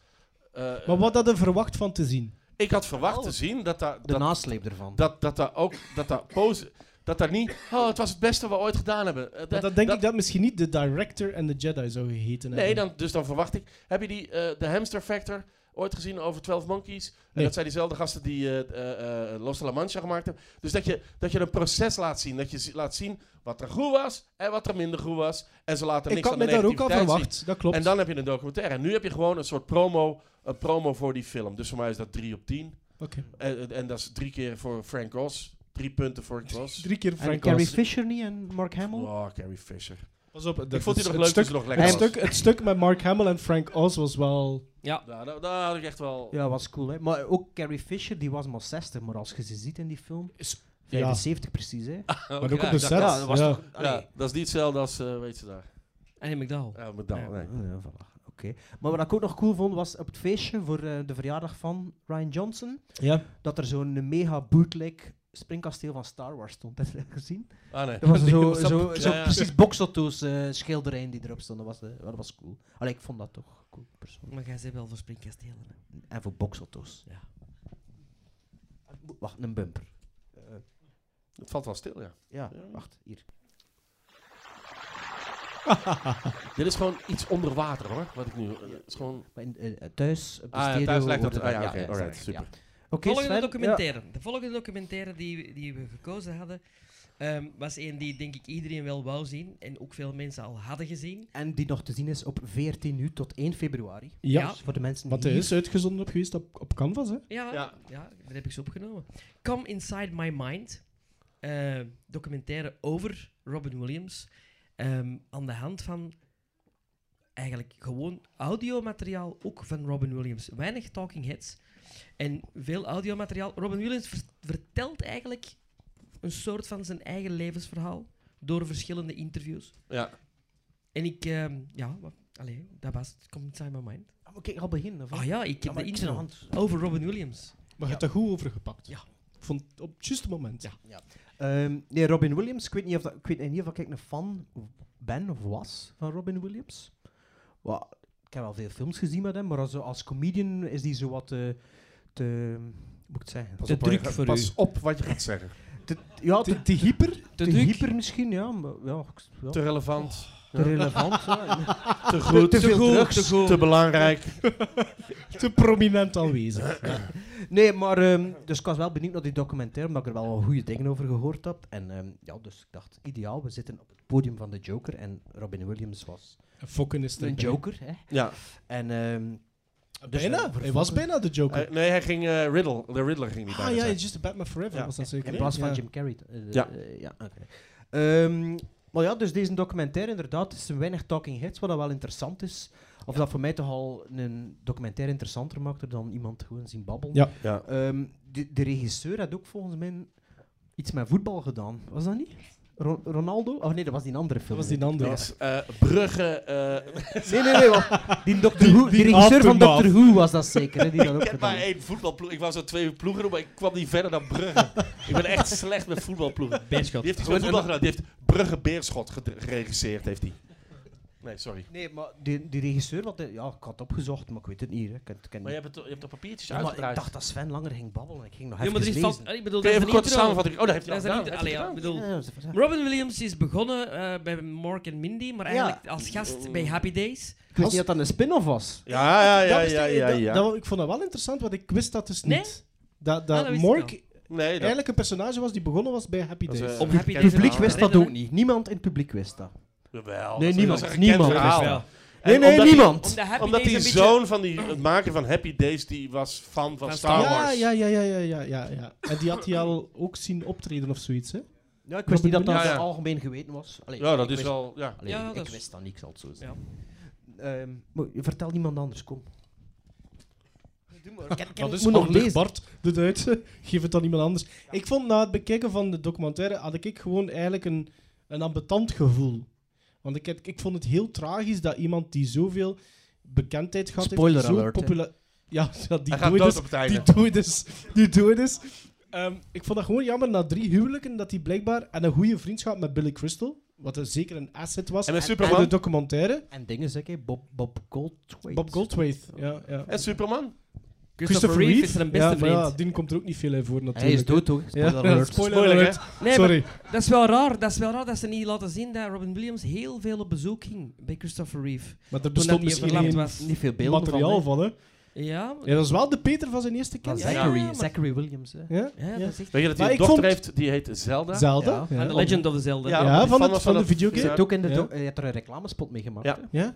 Speaker 8: eh,
Speaker 6: Maar wat Oh. hadden we verwacht van te zien?
Speaker 8: Ik had verwacht te zien dat daar,
Speaker 5: de
Speaker 8: dat,
Speaker 5: nasleep ervan.
Speaker 8: dat, dat daar ook... Dat daar pose, dat daar niet... Oh, het was het beste wat we ooit gedaan hebben. Eh,
Speaker 6: Want dan denk ik dat misschien niet de director en de Jedi zou geheten
Speaker 8: Nee,
Speaker 6: hebben.
Speaker 8: dan, dus dan verwacht ik... Heb je die eh, The Hamster Factor ooit gezien over 12 Monkeys? En
Speaker 6: Nee.
Speaker 8: dat zijn diezelfde gasten die eh, eh, eh, Los de la Mancha gemaakt hebben. Dus dat je, dat je een proces laat zien. Dat je zi- laat zien wat er goed was en wat er minder goed was. En ze laten
Speaker 6: ik
Speaker 8: niks
Speaker 6: had
Speaker 8: aan de
Speaker 6: me daar ook al
Speaker 8: negativiteit zien.
Speaker 6: verwacht, dat klopt.
Speaker 8: En dan heb je een documentaire. En nu heb je gewoon een soort promo, een promo voor die film. Dus voor mij is dat 3 op 10.
Speaker 6: Oké.
Speaker 8: En, en- en dat is drie keer voor Frank Oz. Drie punten voor Oz.
Speaker 6: Drie keer
Speaker 5: en
Speaker 6: Frank
Speaker 5: Carrie
Speaker 6: Oz.
Speaker 5: Fisher niet en Mark Hamill?
Speaker 8: Oh, Carrie Fisher.
Speaker 6: Pas op, dat-
Speaker 8: ik vond die
Speaker 6: het
Speaker 8: nog leuk,
Speaker 6: stuk,
Speaker 8: dus nog
Speaker 6: het,
Speaker 8: lekker was.
Speaker 6: stuk, het stuk met Mark Hamill en Frank Oz was wel...
Speaker 4: Ja.
Speaker 8: Daar, daar, daar had ik echt wel...
Speaker 5: Ja, was cool, hè. Maar ook Carrie Fisher, die was maar 60, maar als je ze ziet in die film... 75 precies, hè.
Speaker 8: Maar
Speaker 6: ook op de set.
Speaker 5: Ja, dat was
Speaker 6: Ja.
Speaker 5: toch... allee.
Speaker 8: Ja, dat is niet hetzelfde als, eh, weet je daar.
Speaker 4: En in McDowell.
Speaker 8: Ja, met dan, nee.
Speaker 5: Ah, ja, voilà. Oké. Maar wat ik ook nog cool vond, was op het feestje voor eh, de verjaardag van Ryan Johnson,
Speaker 6: Ja.
Speaker 5: dat er zo'n mega bootleg springkasteel van Star Wars stond. Heb je dat gezien?
Speaker 8: Ah, nee.
Speaker 5: Dat was
Speaker 8: Nee,
Speaker 5: zo,
Speaker 8: was dat-
Speaker 5: zo, zo
Speaker 8: Ja, ja.
Speaker 5: precies boxauto's eh, schilderijen die erop stonden. Dat was, eh, dat was cool. Allee, ik vond dat toch cool, persoonlijk.
Speaker 4: Maar jij zei wel voor springkastelen. hè.
Speaker 5: En voor boxauto's.
Speaker 4: Ja.
Speaker 5: Wacht, een bumper.
Speaker 8: Het valt wel stil, ja.
Speaker 5: Ja, wacht, hier.
Speaker 8: Dit is gewoon iets onder water, hoor. Wat ik nu... eh, het is gewoon...
Speaker 5: Maar in, eh, thuis, op de
Speaker 8: Ah, ja,
Speaker 5: stereo...
Speaker 8: thuis lijkt dat...
Speaker 5: hoort
Speaker 8: Ah,
Speaker 5: het
Speaker 8: ja,
Speaker 5: wel.
Speaker 8: oké.
Speaker 5: thuis
Speaker 8: alright,
Speaker 5: lijkt
Speaker 8: super.
Speaker 5: het, ja. Oké,
Speaker 4: volgende
Speaker 5: Sven, ja.
Speaker 4: documentaire. De volgende documentaire die, die we gekozen hadden, ehm, was een die denk ik iedereen wel wou zien. En ook veel mensen al hadden gezien.
Speaker 5: En die nog te zien is op 14 uur tot 1 februari.
Speaker 6: Ja.
Speaker 5: Dus voor de mensen
Speaker 6: Wat
Speaker 5: die
Speaker 6: er
Speaker 5: hier
Speaker 6: is uitgezonden op geweest op, op Canvas, hè?
Speaker 4: Ja, ja.
Speaker 8: Ja.
Speaker 4: daar heb ik ze opgenomen. Come Inside My Mind. eh, documentaire over Robin Williams. ehm, aan de hand van eigenlijk gewoon audiomateriaal ook van Robin Williams. Weinig talking heads en veel audiomateriaal. Robin Williams ver- vertelt eigenlijk een soort van zijn eigen levensverhaal door verschillende interviews.
Speaker 8: Ja.
Speaker 4: En ik, ehm, ja, wat, allee, dat was het. Come Inside My Mind.
Speaker 5: Ah, Oké, al beginnen. of wat?
Speaker 4: Ah ja, ik
Speaker 5: Ja,
Speaker 4: heb
Speaker 5: maar
Speaker 4: de
Speaker 5: ik zit
Speaker 4: intro
Speaker 5: nog aan het-
Speaker 4: over Robin Williams.
Speaker 6: Maar je hebt dat goed overgepakt.
Speaker 4: Ja.
Speaker 6: Ik vond het op het juiste moment.
Speaker 4: Ja.
Speaker 5: Ehm, nee, Robin Williams. Ik weet niet of, dat, ik weet niet of ik een fan ben of was van Robin Williams. Wel, ik heb wel veel films gezien met hem, maar als, als comedian is die zo wat te... te hoe moet ik het zeggen?
Speaker 8: Pas
Speaker 5: te
Speaker 8: op,
Speaker 5: druk
Speaker 8: hoor,
Speaker 5: voor
Speaker 8: Pas
Speaker 5: u.
Speaker 8: op wat je gaat zeggen.
Speaker 5: Te, ja, te,
Speaker 6: Te, te hyper?
Speaker 5: te
Speaker 4: druk.
Speaker 5: hyper misschien, ja. Maar, ja, ik- ja.
Speaker 8: Te
Speaker 5: Te,
Speaker 8: relevant,
Speaker 5: relevant. ja.
Speaker 8: te goed,
Speaker 5: te veel drugs,
Speaker 8: te, goed. te belangrijk.
Speaker 6: Te prominent aanwezig.
Speaker 5: Nee, maar... ehm, dus ik was wel benieuwd naar die documentaire, omdat ik er wel wat goede dingen over gehoord had. En ehm, ja, dus ik dacht, ideaal, we zitten op het podium van de Joker. En Robin Williams was
Speaker 6: Fokken is
Speaker 5: een Joker, hè.
Speaker 8: Ja.
Speaker 5: En... ehm, dus
Speaker 6: Bijna?
Speaker 5: voor-
Speaker 6: Hij was bijna de Joker.
Speaker 8: Eh, nee, hij ging eh, Riddle. De Riddler ging niet bij
Speaker 6: ah
Speaker 8: me
Speaker 6: ja,
Speaker 8: zijn.
Speaker 6: Just a Batman Forever
Speaker 8: Ja.
Speaker 6: was dat zeker.
Speaker 5: In plaats van
Speaker 6: Ja.
Speaker 5: Jim Carrey. eh,
Speaker 8: Ja.
Speaker 5: eh, ja, oké. Ehm, maar ja, dus deze documentaire inderdaad is een weinig talking heads, wat dat wel interessant is. Of dat voor mij toch al een documentaire interessanter maakt dan iemand gewoon zien babbelen.
Speaker 6: Ja.
Speaker 8: Ja.
Speaker 5: Ehm, de, de regisseur had ook volgens mij iets met voetbal gedaan. Was dat niet? Ro- Ronaldo? Oh nee, dat was die andere
Speaker 6: Dat
Speaker 5: film.
Speaker 6: was die
Speaker 8: Dat
Speaker 6: andere.
Speaker 8: was eh, Brugge. eh,
Speaker 5: Nee, nee, nee. wa- Die, Dr. Who, die,
Speaker 6: die
Speaker 5: regisseur van
Speaker 6: aftermath.
Speaker 5: Doctor Who was dat zeker. Hè, die dat ook
Speaker 8: ik heb
Speaker 5: gedaan
Speaker 8: maar
Speaker 5: heeft.
Speaker 8: één voetbalploeg. Ik was zo twee ploegen, doen, maar ik kwam niet verder dan Brugge. ik ben echt slecht met voetbalploegen.
Speaker 4: Beerschot.
Speaker 8: Die heeft iets met voetbal gedaan. Die heeft Brugge Beerschot ged- geregisseerd, heeft hij. Nee, sorry.
Speaker 5: Nee, maar die, die regisseur, wat, hij- ja, ik had het opgezocht, maar ik weet het niet. Hè. Ik, ken- ik ken
Speaker 8: Maar
Speaker 5: niet.
Speaker 8: je hebt, het, je hebt de papiertjes
Speaker 5: Ja, maar ik
Speaker 8: uitgedraaid.
Speaker 5: dacht dat Sven langer ging babbelen. Ik ging nog
Speaker 4: Ja, maar er
Speaker 5: even
Speaker 4: is
Speaker 5: lezen.
Speaker 4: vast. Ik bedoel,
Speaker 8: Kun
Speaker 4: dat
Speaker 8: je
Speaker 4: is
Speaker 8: even
Speaker 4: een
Speaker 8: een korte
Speaker 4: intro.
Speaker 8: samenvatting? Oh, dat heeft hij
Speaker 4: Dat
Speaker 8: al
Speaker 4: is een
Speaker 8: gedaan.
Speaker 4: intro. Allee,
Speaker 8: Heeft hij
Speaker 4: ja, ik
Speaker 8: gedaan.
Speaker 4: bedoel,
Speaker 5: Ja, ja, ze- ze-
Speaker 4: Robin Williams is begonnen eh, bij Mork en Mindy, maar eigenlijk als gast bij Happy Days.
Speaker 5: Ik wist niet dat dat een spin-off was.
Speaker 8: Ja, ja, ja,
Speaker 6: Dat wist
Speaker 8: ja,
Speaker 6: ik-
Speaker 8: ja,
Speaker 6: dat-
Speaker 8: ja.
Speaker 6: dat- ik vond dat wel interessant, want ik wist dat dus
Speaker 4: Nee?
Speaker 6: niet. Dat,
Speaker 4: Ah,
Speaker 6: dat,
Speaker 4: dat wist ik
Speaker 6: Mork
Speaker 8: Nee, dat,
Speaker 6: eigenlijk een personage was die begonnen was bij Happy
Speaker 8: dat is,
Speaker 6: Days.
Speaker 8: eh,
Speaker 4: Op
Speaker 8: een
Speaker 4: Happy
Speaker 8: bekend
Speaker 4: Days
Speaker 5: Het publiek
Speaker 8: verhaal.
Speaker 4: wel-
Speaker 5: wist dat ook niet. Niemand in het publiek wist dat.
Speaker 8: Jawel,
Speaker 5: Nee,
Speaker 8: dat is-
Speaker 5: niemand.
Speaker 8: dat is een
Speaker 5: Niemand
Speaker 8: bekend
Speaker 5: wist
Speaker 8: verhaal.
Speaker 5: dat.
Speaker 8: En
Speaker 5: Nee, nee,
Speaker 8: omdat die-
Speaker 5: niemand.
Speaker 4: Omdat Happy
Speaker 8: Omdat
Speaker 4: Days
Speaker 8: die
Speaker 4: een beetje-
Speaker 8: zoon van die, het maken van Happy Days, die was fan van
Speaker 4: Van
Speaker 8: Star
Speaker 4: Star
Speaker 6: ja,
Speaker 8: Wars.
Speaker 6: ja, ja, ja, ja, ja, ja, ja. En die had hij al ook zien optreden of zoiets, hè?
Speaker 5: Ja, ik wist niet dat dat
Speaker 8: Ja, ja.
Speaker 5: algemeen geweten was. Allee,
Speaker 8: Ja, dat
Speaker 5: ik
Speaker 8: is
Speaker 5: wist-
Speaker 8: wel... Ja.
Speaker 5: Allee,
Speaker 4: Ja, dat
Speaker 5: ik
Speaker 4: is-
Speaker 5: wist dat niet, ik zal het zo
Speaker 4: Ja.
Speaker 5: zeggen. Ehm, maar vertel niemand anders, kom. Doe maar. Ken, ken,
Speaker 6: Dat
Speaker 5: ik
Speaker 6: is
Speaker 5: moet nog lezen.
Speaker 6: Bart, de Duitse. Geef het aan iemand anders. Ik vond na het bekijken van de documentaire had ik gewoon eigenlijk een, een ambetant gevoel. Want ik, heb, ik vond het heel tragisch dat iemand die zoveel bekendheid gehad
Speaker 5: Spoiler
Speaker 6: heeft... zo
Speaker 5: alert, hè.
Speaker 6: popula- Ja, ja, die
Speaker 8: Hij gaat
Speaker 6: dood
Speaker 8: dood
Speaker 6: is.
Speaker 8: op het einde.
Speaker 6: dus Die dood is. Die dood is. Ehm, ik vond dat gewoon jammer na drie huwelijken dat hij blijkbaar en een goede vriendschap met Billy Crystal, wat er zeker een asset was,
Speaker 8: En met
Speaker 6: bij de
Speaker 8: Superman.
Speaker 6: documentaire.
Speaker 5: En dingen zeg ik, Bob, Bob Goldthwait.
Speaker 6: Bob Goldthwait. Ja, ja.
Speaker 8: En Superman?
Speaker 4: Christopher Reeve is zijn beste
Speaker 6: ja, maar
Speaker 4: vriend.
Speaker 6: Ja, die komt er ook niet veel in voor natuurlijk.
Speaker 5: Hij is dood, toch?
Speaker 6: Ja,
Speaker 5: Spoiler alert.
Speaker 6: spoiler
Speaker 8: Spoiler,
Speaker 6: alert.
Speaker 4: Nee, maar
Speaker 6: Sorry.
Speaker 4: dat is wel raar. Dat is wel raar dat ze niet laten zien dat Robin Williams heel veel op bezoek ging bij Christopher Reeve.
Speaker 6: Maar er
Speaker 4: Toen dat
Speaker 6: bestond
Speaker 4: hij
Speaker 6: misschien
Speaker 4: verlamd
Speaker 6: geen
Speaker 4: was.
Speaker 5: Niet veel beelden
Speaker 6: materiaal van, hè?
Speaker 4: Ja,
Speaker 6: Ja, dat is wel de Peter van zijn eerste
Speaker 5: Van
Speaker 6: kind.
Speaker 8: Ja,
Speaker 5: Zachary,
Speaker 4: maar-
Speaker 5: Zachary Williams. Hè.
Speaker 6: Ja?
Speaker 4: ja, dat is echt...
Speaker 8: Weet je dat hij
Speaker 6: Maar
Speaker 8: een
Speaker 6: ik
Speaker 8: dochter
Speaker 6: vond-
Speaker 8: heeft, die heet Zelda?
Speaker 6: Zelda.
Speaker 5: Ja.
Speaker 6: Ja.
Speaker 4: The Legend of the Zelda.
Speaker 8: Ja.
Speaker 6: Ja, van,
Speaker 8: Van-
Speaker 6: het,
Speaker 8: van
Speaker 6: van de
Speaker 8: het-
Speaker 5: Je
Speaker 6: videogame.
Speaker 5: hebt ook in de
Speaker 6: Ja.
Speaker 5: doc- je hebt er een reclamespot mee gemaakt.
Speaker 8: Ja.
Speaker 5: hè.
Speaker 6: Ja?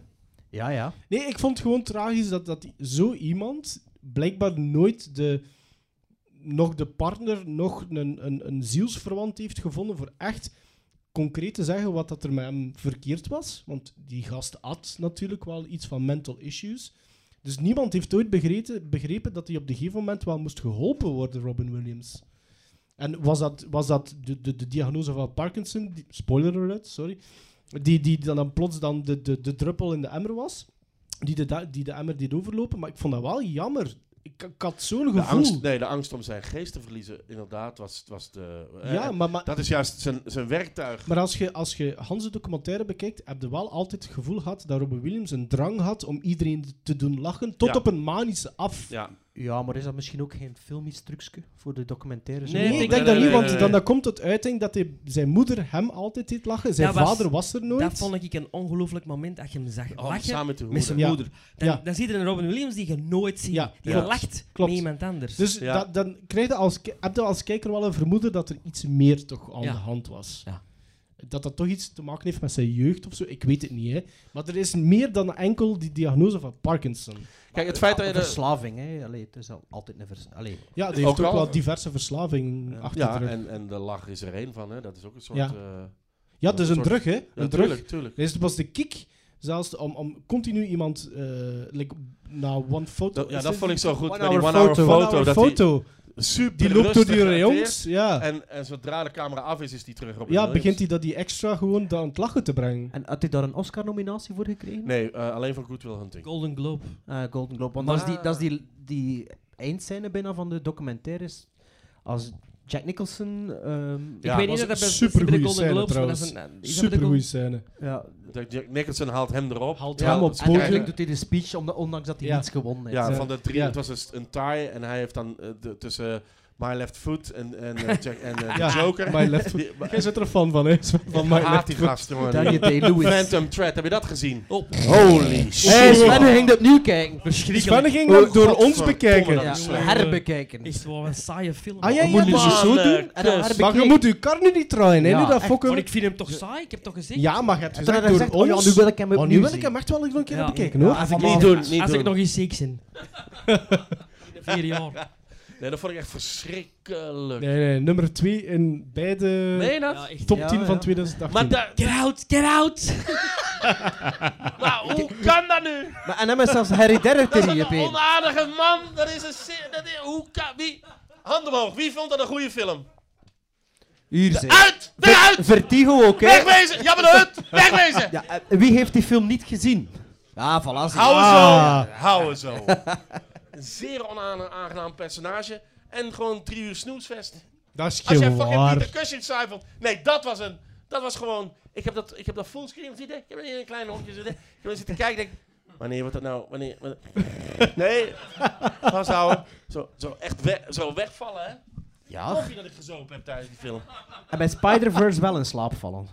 Speaker 5: ja. ja.
Speaker 6: Nee, ik vond gewoon tragisch dat, dat die- zo iemand blijkbaar nooit de, nog de partner, nog een, een, een zielsverwant heeft gevonden voor echt concreet te zeggen wat dat er met hem verkeerd was. Want die gast had natuurlijk wel iets van mental issues. Dus niemand heeft ooit begrepen, begrepen dat hij op een gegeven moment wel moest geholpen worden, Robin Williams. En was dat, was dat de, de, de diagnose van Parkinson, die- spoiler alert, sorry, die, die dan, dan plots dan de, de, de druppel in de emmer was, die de, da- die de emmer deed overlopen? Maar ik vond dat wel jammer. Ik, ik had zo'n gevoel.
Speaker 8: De angst, nee, de angst om zijn geest te verliezen, inderdaad, was, was de... eh,
Speaker 6: Ja, maar- maar-
Speaker 8: dat is juist zijn, zijn werktuig.
Speaker 6: Maar als je, als je Hans' documentaire bekijkt, heb je wel altijd het gevoel gehad dat Robin Williams een drang had om iedereen te doen lachen, tot
Speaker 8: Ja.
Speaker 6: op een manische af.
Speaker 8: Ja.
Speaker 5: Ja, maar is dat misschien ook geen filmisch trucje voor de documentaire?
Speaker 6: Nee, ik denk dat niet, want dan, dan komt het uiting dat hij, zijn moeder hem altijd deed lachen. Zijn
Speaker 4: Dat was-
Speaker 6: vader was er nooit.
Speaker 4: Dat vond ik een ongelooflijk moment dat je hem zag
Speaker 8: Oh,
Speaker 4: lachen
Speaker 8: samen te
Speaker 4: met zijn
Speaker 6: horen. Ja.
Speaker 4: moeder. Dan,
Speaker 6: Ja.
Speaker 4: dan zie je een Robin Williams die je nooit ziet.
Speaker 6: Ja,
Speaker 4: die
Speaker 6: klopt.
Speaker 4: lacht
Speaker 6: Klopt.
Speaker 4: met iemand anders.
Speaker 6: Dus
Speaker 8: Ja.
Speaker 6: dat- dan krijg je als, ki- heb je als kijker wel een vermoeden dat er iets meer toch aan
Speaker 4: Ja.
Speaker 6: de hand was.
Speaker 4: Ja.
Speaker 6: Dat dat toch iets te maken heeft met zijn jeugd of zo, ik weet het niet. Hè. Maar er is meer dan enkel die diagnose van Parkinson.
Speaker 8: Kijk, het feit dat je...
Speaker 5: Een
Speaker 8: de-
Speaker 5: verslaving, hè? Allee, het is al altijd een verslaving. Allee.
Speaker 6: Ja, die heeft
Speaker 8: Ook
Speaker 6: ook,
Speaker 8: wel.
Speaker 6: wel diverse verslavingen achter de
Speaker 8: ja,
Speaker 6: rug.
Speaker 8: en, en de lach is er één van, hè. Dat is ook een soort...
Speaker 6: Ja.
Speaker 8: eh,
Speaker 6: Ja, het is een
Speaker 8: soort-
Speaker 6: drug, hè? Een drug.
Speaker 8: tuurlijk, tuurlijk.
Speaker 6: Dus het was de kick, zelfs om, om continu iemand eh like, na one photo.
Speaker 8: Dat- ja,
Speaker 6: is
Speaker 8: dat
Speaker 6: dit-
Speaker 8: vond ik zo goed
Speaker 6: One
Speaker 8: bij die
Speaker 6: hour
Speaker 8: one hour
Speaker 6: photo.
Speaker 8: photo,
Speaker 6: One hour
Speaker 8: dat
Speaker 6: photo.
Speaker 8: Super
Speaker 6: Die loopt door die
Speaker 8: rustig
Speaker 6: rayons. Ja,
Speaker 8: acteert. En, en zodra de camera af is, is die terug op
Speaker 6: Ah. ja begint hij dat die extra gewoon dan aan het lachen te brengen.
Speaker 5: En had hij daar een Oscar-nominatie voor gekregen?
Speaker 8: Nee, eh, alleen voor Good Will Hunting.
Speaker 4: Golden Globe.
Speaker 5: Eh, Golden Globe. Want
Speaker 8: Maar-
Speaker 5: dat is, die, dat is die, die eindscène binnen van de documentaires. Als Jack Nicholson... ehm,
Speaker 8: Ja,
Speaker 4: ik weet
Speaker 8: was
Speaker 4: niet of dat bij- bij de
Speaker 6: Supergoeie
Speaker 4: Golden
Speaker 6: scène
Speaker 4: Globes, maar dat
Speaker 6: trouwens.
Speaker 4: is een... is dat bij de
Speaker 6: Supergoeie
Speaker 4: Golden-
Speaker 6: scène.
Speaker 5: ja,
Speaker 8: Dat Jack Nicholson haalt hem erop.
Speaker 6: Haalt
Speaker 8: terwijl
Speaker 6: hem op
Speaker 8: ze
Speaker 6: podium.
Speaker 8: krijgen-
Speaker 5: Eigenlijk doet hij de speech, omdat, ondanks dat hij
Speaker 6: Ja.
Speaker 5: niets gewonnen heeft.
Speaker 8: Ja,
Speaker 6: Ja.
Speaker 8: van de drie.
Speaker 6: Ja.
Speaker 8: Het was een, st- een tie en hij heeft dan eh, de- tussen My Left Foot en, en, eh, Jack, en eh, de
Speaker 6: Ja,
Speaker 8: Joker.
Speaker 6: My Left Foot.
Speaker 8: Die- maar-
Speaker 6: Jij zit er fan van, hè? Van My
Speaker 8: haat
Speaker 6: Left
Speaker 8: die
Speaker 6: Foot.
Speaker 8: gasten, man.
Speaker 5: Daniel Day-Lewis.
Speaker 8: Phantom Thread, heb je dat gezien?
Speaker 4: Oh.
Speaker 8: Holy shit.
Speaker 5: Hey, Sven ging het opnieuw kijken.
Speaker 6: Sven
Speaker 4: Verschrikkelijk.
Speaker 6: ging dat
Speaker 8: Oh,
Speaker 6: door ons
Speaker 8: godverdomme,
Speaker 6: bekijken.
Speaker 8: dat
Speaker 5: Ja,
Speaker 8: is slecht.
Speaker 5: herbekijken.
Speaker 4: Is wel een saaie film. Oh,
Speaker 6: Ah, ja,
Speaker 5: Je
Speaker 6: ja,
Speaker 5: moet nu
Speaker 6: maar-
Speaker 5: zo zo doen en dan
Speaker 6: Maar
Speaker 8: dus.
Speaker 6: je
Speaker 5: herbekijken.
Speaker 6: moet je kar nu niet draaien, hè?
Speaker 5: Ja,
Speaker 6: nu dat
Speaker 5: echt.
Speaker 4: Maar
Speaker 6: fokken.
Speaker 4: ik vind hem toch saai? Ik heb toch gezegd?
Speaker 6: Ja, maar je hebt
Speaker 5: En dan
Speaker 6: gezegd
Speaker 5: heb je
Speaker 6: door
Speaker 5: gezegd, oh ja,
Speaker 6: ons.
Speaker 5: nu wil ik hem
Speaker 6: Oh, nu
Speaker 5: opnieuw
Speaker 6: wil ik
Speaker 5: zien.
Speaker 6: hem echt wel nog een keer
Speaker 4: Ja.
Speaker 6: bekijken, hoor.
Speaker 5: Ja,
Speaker 6: Ja,
Speaker 5: als ik
Speaker 8: Niet doen, niet
Speaker 4: Als
Speaker 8: doen.
Speaker 4: ik nog eens ziek ben. In vier jaar.
Speaker 8: Nee, dat vond ik echt verschrikkelijk.
Speaker 6: Nee, nee, nummer 2 in beide
Speaker 8: Meen je dat?
Speaker 4: Ja, echt.
Speaker 6: top
Speaker 5: Ja,
Speaker 6: 10
Speaker 5: ja.
Speaker 6: van 2018.
Speaker 8: maar da-
Speaker 4: Get out, get out!
Speaker 8: maar Nou, hoe kan dat nu?
Speaker 5: Maar en hem is zelfs hereditair
Speaker 8: Dat is
Speaker 5: in je
Speaker 8: een
Speaker 5: been.
Speaker 8: onaardige man. Dat is een... se- Dat is, hoe kan... Wie... Handen omhoog. Wie vond dat een goede film?
Speaker 5: Hier zijn.
Speaker 8: Uit! Eruit!
Speaker 5: Vertigo ook, hè?
Speaker 8: Wegwezen! Jammer de hut! Wegwezen!
Speaker 5: Ja, eh, wie heeft die film niet gezien? Ja, voilà. zie je.
Speaker 8: Hou
Speaker 6: Ah.
Speaker 8: zo! Hou zo! Een zeer onaangenaam personage. En gewoon drie uur snoesvest.
Speaker 6: dat is
Speaker 8: Als jij
Speaker 6: geen
Speaker 8: fucking
Speaker 6: waar.
Speaker 8: Peter Cushing schuifelt. Nee, dat was een... Dat was gewoon... Ik heb dat, ik heb dat fullscreen zitten. Ik heb er in een klein hondje zitten. Ik heb er zitten kijken. Ik denk, wanneer wordt dat nou? Wanneer... wanneer- Nee. Vasthouden. Zo, zo echt weg, zo wegvallen, hè.
Speaker 5: Ja.
Speaker 8: Of je dat ik gezopen heb tijdens die film.
Speaker 5: En bij Spider-Verse wel in slaap vallen.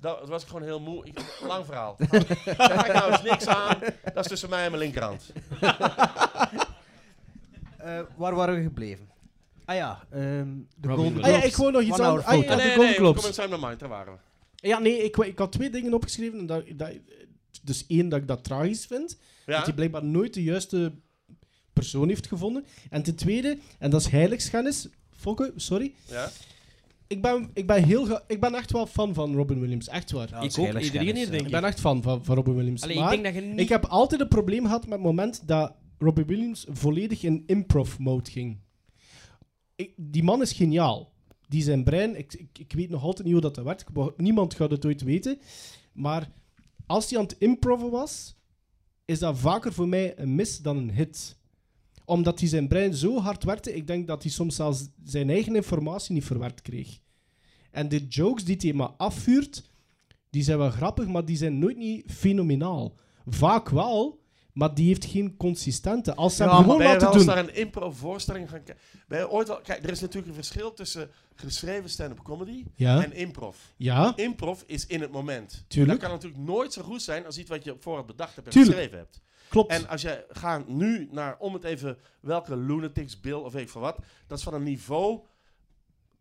Speaker 8: Dat was ik gewoon heel moe. Ik, lang verhaal. Daar ga ik nou eens niks aan. Dat is tussen mij en mijn linkerhand.
Speaker 5: Eh, waar waren we gebleven? Ah ja, ehm de Golden
Speaker 6: Ah ja,
Speaker 5: Globes.
Speaker 6: ik wou nog iets
Speaker 5: One hour
Speaker 6: anders. Ah,
Speaker 5: photo.
Speaker 6: ja, de
Speaker 8: nee, nee,
Speaker 6: Golden
Speaker 8: nee.
Speaker 6: Globes.
Speaker 8: Kom eens naar mind. Daar waren we.
Speaker 6: Ja, nee, ik, wou- ik had twee dingen opgeschreven. en Dat, dat, dus één, dat ik dat tragisch vind.
Speaker 8: Ja?
Speaker 6: Dat hij blijkbaar nooit de juiste persoon heeft gevonden. En ten tweede, en dat is heiligschennis. Fokke, sorry.
Speaker 8: Ja?
Speaker 6: Ik ben, ik, ben heel ge- ik ben echt wel fan van Robin Williams. Echt waar.
Speaker 5: Ja, dat is
Speaker 4: Ik ook,
Speaker 5: heilig
Speaker 4: iedereen hier
Speaker 5: kennis,
Speaker 4: denk
Speaker 6: ik
Speaker 4: ik.
Speaker 6: ben echt fan van, van Robin Williams.
Speaker 4: Allee, ik
Speaker 6: maar
Speaker 4: denk dat je niet...
Speaker 6: ik heb altijd een probleem gehad met het moment dat Robin Williams volledig in improv-mode ging. Ik- die man is geniaal. Die zijn brein, ik, ik, ik weet nog altijd niet hoe dat, dat werkt. Ik wou- Niemand gaat het ooit weten. Maar als hij aan het improven was, is dat vaker voor mij een mis dan een hit. Omdat hij zijn brein zo hard werkte, ik denk dat hij soms zelfs zijn eigen informatie niet verwerkt kreeg. En de jokes die hij maar afvuurt, die zijn wel grappig, maar die zijn nooit niet fenomenaal. Vaak wel, maar die heeft geen consistente. Als ze
Speaker 5: Ja,
Speaker 6: hem gewoon
Speaker 8: ben je wel
Speaker 6: laten
Speaker 8: eens
Speaker 6: doen...
Speaker 8: naar een improv-voorstelling gaan kijken? Ben je ooit wel... Kijk, er is natuurlijk een verschil tussen geschreven stand-up comedy
Speaker 6: Ja.
Speaker 8: en improv.
Speaker 6: Ja,
Speaker 8: Improv is in het moment.
Speaker 6: Tuurlijk.
Speaker 8: Dat kan natuurlijk nooit zo goed zijn als iets wat je vooraf bedacht hebt en
Speaker 6: Tuurlijk.
Speaker 8: geschreven hebt.
Speaker 6: klopt.
Speaker 8: En als je gaat nu naar, om het even, welke lunatics, Bill of weet ik van wat, dat is van een niveau,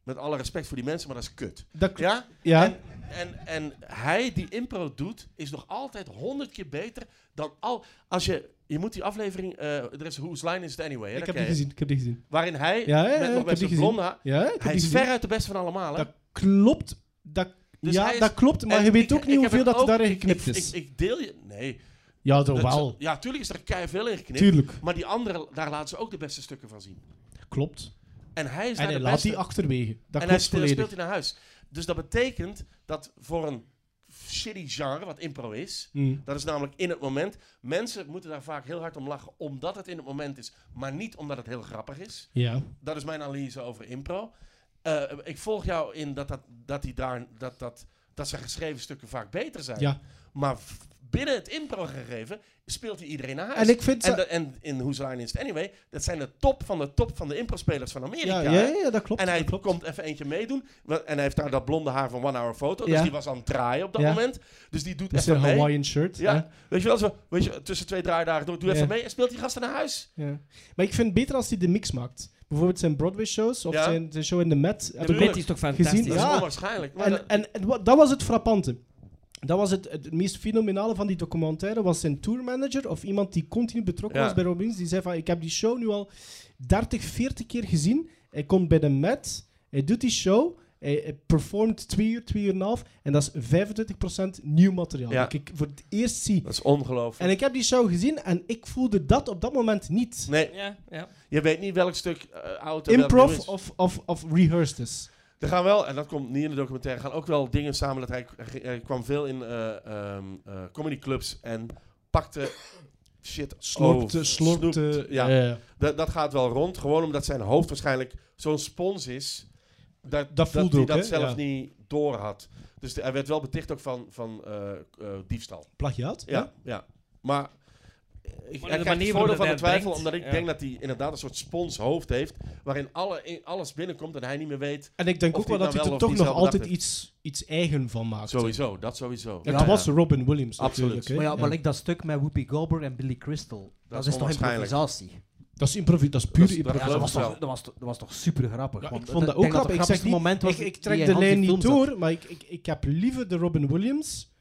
Speaker 8: met alle respect voor die mensen, maar dat is kut.
Speaker 6: dat, kl-
Speaker 8: Ja?
Speaker 6: ja.
Speaker 8: En, en, en hij die impro doet, is nog altijd honderd keer beter dan al. Als je, je moet die aflevering, eh er is Whose Line Is It Anyway? Hè,
Speaker 6: ik heb
Speaker 8: dat ken
Speaker 6: die
Speaker 8: je.
Speaker 6: gezien, ik heb die gezien.
Speaker 8: Waarin hij,
Speaker 6: Ja, ja, ja,
Speaker 8: met, nog
Speaker 6: ik
Speaker 8: met
Speaker 6: heb die
Speaker 8: zijn
Speaker 6: gezien.
Speaker 8: blonde haar-
Speaker 6: Ja, ik heb
Speaker 8: hij
Speaker 6: die
Speaker 8: is
Speaker 6: gezien.
Speaker 8: veruit de beste van allemaal. Hè?
Speaker 6: Dat klopt. Dat,
Speaker 8: Dus hij
Speaker 6: ja,
Speaker 8: is-
Speaker 6: dat klopt, maar
Speaker 8: En
Speaker 6: je weet
Speaker 8: ik-
Speaker 6: ook
Speaker 8: ik
Speaker 6: niet
Speaker 8: heb
Speaker 6: hoeveel
Speaker 8: het
Speaker 6: dat
Speaker 8: ook-
Speaker 6: daarin
Speaker 8: ik-
Speaker 6: geknipt
Speaker 8: ik-
Speaker 6: is.
Speaker 8: Ik, ik deel je... Nee.
Speaker 6: Ja, toch
Speaker 8: Dat
Speaker 6: wel.
Speaker 8: ze- ja, tuurlijk is er keihard veel in geknipt.
Speaker 6: Tuurlijk.
Speaker 8: Maar die andere, daar laten ze ook de beste stukken van zien.
Speaker 6: Klopt.
Speaker 8: En hij is
Speaker 6: En
Speaker 8: daar
Speaker 6: hij
Speaker 8: de
Speaker 6: laat
Speaker 8: beste.
Speaker 6: die achterwege. Dat
Speaker 8: en hij
Speaker 6: klopt
Speaker 8: speelt,
Speaker 6: volledig.
Speaker 8: speelt hij naar huis. Dus dat betekent dat voor een shitty genre, wat impro is,
Speaker 6: Mm.
Speaker 8: dat is namelijk in het moment. Mensen moeten daar vaak heel hard om lachen, omdat het in het moment is, maar niet omdat het heel grappig is.
Speaker 6: Ja.
Speaker 8: Dat is mijn analyse over impro. Eh, ik volg jou in dat, dat, dat, die daar, dat, dat, dat zijn geschreven stukken vaak beter zijn.
Speaker 6: Ja.
Speaker 8: Maar v- binnen het impro gegeven speelt hij iedereen naar huis.
Speaker 6: En ik vind
Speaker 8: en,
Speaker 6: ze-
Speaker 8: de- en in Whose Line Is It Anyway, dat zijn de top van de top van de impro-spelers van Amerika.
Speaker 6: Ja, ja,
Speaker 8: hè?
Speaker 6: ja, dat klopt,
Speaker 8: En hij
Speaker 6: dat klopt.
Speaker 8: komt even eentje meedoen. Wa- En hij heeft daar dat blonde haar van One Hour Photo. Dus
Speaker 6: Ja.
Speaker 8: die was aan het draaien op dat
Speaker 6: Ja.
Speaker 8: moment. Dus die doet
Speaker 6: Met
Speaker 8: even
Speaker 6: zijn
Speaker 8: mee.
Speaker 6: Hawaiian shirt,
Speaker 8: Ja.
Speaker 6: hè?
Speaker 8: Weet je wel, zo, weet je, tussen twee draaidagen door. Doe even
Speaker 6: Ja.
Speaker 8: mee en speelt die gasten naar huis.
Speaker 6: Ja. Maar ik vind het beter als hij de mix maakt. Bijvoorbeeld zijn Broadway-shows of
Speaker 8: Ja.
Speaker 6: zijn, zijn show in de Met. heb ik
Speaker 8: Met
Speaker 6: ook
Speaker 8: is
Speaker 4: toch
Speaker 8: Dat
Speaker 6: Gezien?
Speaker 8: is
Speaker 6: Ja.
Speaker 8: onwaarschijnlijk. Maar dat-
Speaker 6: En, en, en wat- dat was het frappante. Dat was het, het meest fenomenale van die documentaire. Was zijn tourmanager of iemand die continu betrokken
Speaker 8: Ja.
Speaker 6: was bij Robbins. Die zei van, ik heb die show nu al 30, 40 keer gezien. Hij komt bij de Met. Hij doet die show. Hij, hij performt twee uur, twee uur en een half. En dat is 25% nieuw materiaal.
Speaker 8: Ja.
Speaker 6: Dat ik voor het eerst zie.
Speaker 8: dat is ongelooflijk.
Speaker 6: En ik heb die show gezien en ik voelde dat op dat moment niet.
Speaker 8: Nee,
Speaker 4: Ja, ja.
Speaker 8: je weet niet welk stuk eh oud en welk nieuw
Speaker 6: Improv
Speaker 8: is.
Speaker 6: of, of, of rehearsed is.
Speaker 8: Er gaan wel, en dat komt niet in de documentaire, gaan ook wel dingen samen. Dat hij, hij kwam veel in eh comedyclubs en pakte shit
Speaker 6: Slorpte,
Speaker 8: over.
Speaker 6: slorpte.
Speaker 8: Oh, Snoept, ja.
Speaker 6: ja, ja.
Speaker 8: Dat, dat gaat wel rond. Gewoon omdat zijn hoofd waarschijnlijk zo'n spons is. Dat,
Speaker 6: Dat voelde
Speaker 8: hij
Speaker 6: ook,
Speaker 8: dat
Speaker 6: hè?
Speaker 8: zelf
Speaker 6: Ja.
Speaker 8: niet door had. Dus de- hij werd wel beticht ook van, van eh, eh, diefstal.
Speaker 6: Plagiaat?
Speaker 8: Ja, ja. Maar eh,
Speaker 4: de
Speaker 8: ik hij
Speaker 4: manier
Speaker 8: krijgt het
Speaker 4: waarop
Speaker 8: voordeel van de
Speaker 4: hij
Speaker 8: twijfel,
Speaker 4: brengt,
Speaker 8: omdat ik
Speaker 4: ja.
Speaker 8: denk dat hij inderdaad een soort sponshoofd heeft, waarin alle, in- alles binnenkomt en hij niet meer weet.
Speaker 6: En ik denk
Speaker 8: Of
Speaker 6: ook wel
Speaker 8: die
Speaker 6: dat hij
Speaker 8: nou
Speaker 6: er toch
Speaker 8: wel of
Speaker 6: nog
Speaker 8: niet zelf
Speaker 6: altijd
Speaker 8: bedacht
Speaker 6: iets, iets eigen van maakt.
Speaker 8: Sowieso, dat sowieso.
Speaker 6: Het was Robin Williams
Speaker 8: Absoluut.
Speaker 6: natuurlijk. hè.
Speaker 5: Maar ja, maar like dat stuk met Whoopi Goldberg en Billy Crystal, dat,
Speaker 8: is
Speaker 5: is toch
Speaker 8: onwaarschijnlijk.
Speaker 5: improvisatie?
Speaker 6: Dat is improvisatie, dat is
Speaker 8: Dat
Speaker 6: pure
Speaker 8: is- dat
Speaker 5: Ja, dat,
Speaker 8: geloof
Speaker 5: was
Speaker 6: improvisatie.
Speaker 5: toch,
Speaker 8: ik wel.
Speaker 5: dat, was, dat was toch super grappig?
Speaker 6: Ja, ik vond dat ook grappig. Ik, zeg niet,
Speaker 5: moment was
Speaker 6: ik, ik
Speaker 5: die
Speaker 6: trek
Speaker 5: in
Speaker 6: de
Speaker 5: Hans
Speaker 6: lijn
Speaker 5: die
Speaker 6: niet
Speaker 5: film
Speaker 6: door, maar ik, ik, ik heb liever de Robin Williams,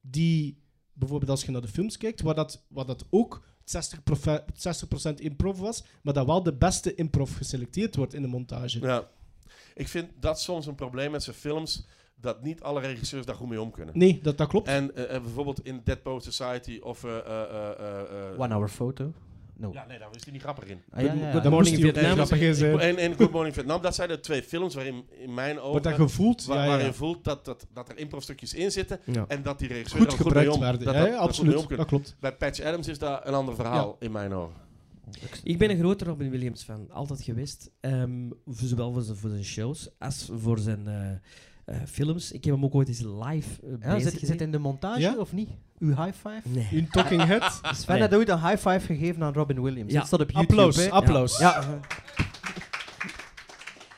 Speaker 6: die bijvoorbeeld als je naar de films kijkt, waar dat, waar dat ook 60%, profe- 60 improv was, maar dat wel de beste improv geselecteerd wordt in de montage.
Speaker 8: Ja. Ik vind dat soms een probleem met zijn films, dat niet alle regisseurs daar goed mee om kunnen.
Speaker 6: Nee, dat, dat klopt.
Speaker 8: En eh, eh, bijvoorbeeld in Dead Poet Society of... eh, eh, eh, eh, eh,
Speaker 5: zat. One Hour Photo? No.
Speaker 8: Ja, nee, daar is hij niet grappig in.
Speaker 5: Ah, ja, ja, ja.
Speaker 6: Dat moest
Speaker 4: Morning
Speaker 6: hij ook
Speaker 4: Vietnam.
Speaker 6: grappig in zijn.
Speaker 8: En, en Good Morning Vietnam, dat zijn de twee films waarin in mijn
Speaker 6: Wordt dat
Speaker 8: ogen...
Speaker 6: gevoeld?
Speaker 8: wa-
Speaker 6: Ja, ja,
Speaker 8: waarin
Speaker 6: ja.
Speaker 8: voelt dat, dat, dat er improfstukjes in zitten
Speaker 6: Ja.
Speaker 8: en dat die regisseur
Speaker 6: Goed
Speaker 8: daar mee
Speaker 6: gebruikt
Speaker 8: om-
Speaker 6: werden.
Speaker 8: dat
Speaker 6: Ja,
Speaker 8: dat-
Speaker 6: ja,
Speaker 8: dat goed mee om
Speaker 6: absoluut.
Speaker 8: kunnen.
Speaker 6: Dat klopt.
Speaker 8: Bij Patch Adams is daar een ander verhaal in mijn ogen.
Speaker 4: Ik ben een grote Robin Williams fan, altijd geweest. Ehm, voor- zowel voor zijn, voor zijn shows als voor zijn eh, eh, films. Ik heb hem ook ooit eens live eh,
Speaker 5: Ja,
Speaker 4: bezig
Speaker 5: zit, zit
Speaker 4: gezien.
Speaker 5: in de montage
Speaker 6: Ja?
Speaker 5: of niet? Uw high five?
Speaker 4: Nee.
Speaker 6: In Talking Head.
Speaker 8: Ah,
Speaker 5: Sven had ooit een high five gegeven aan Robin Williams.
Speaker 4: Ja.
Speaker 5: Dat staat op YouTube.
Speaker 6: applaus,
Speaker 5: hè.
Speaker 6: applaus.
Speaker 5: Ja.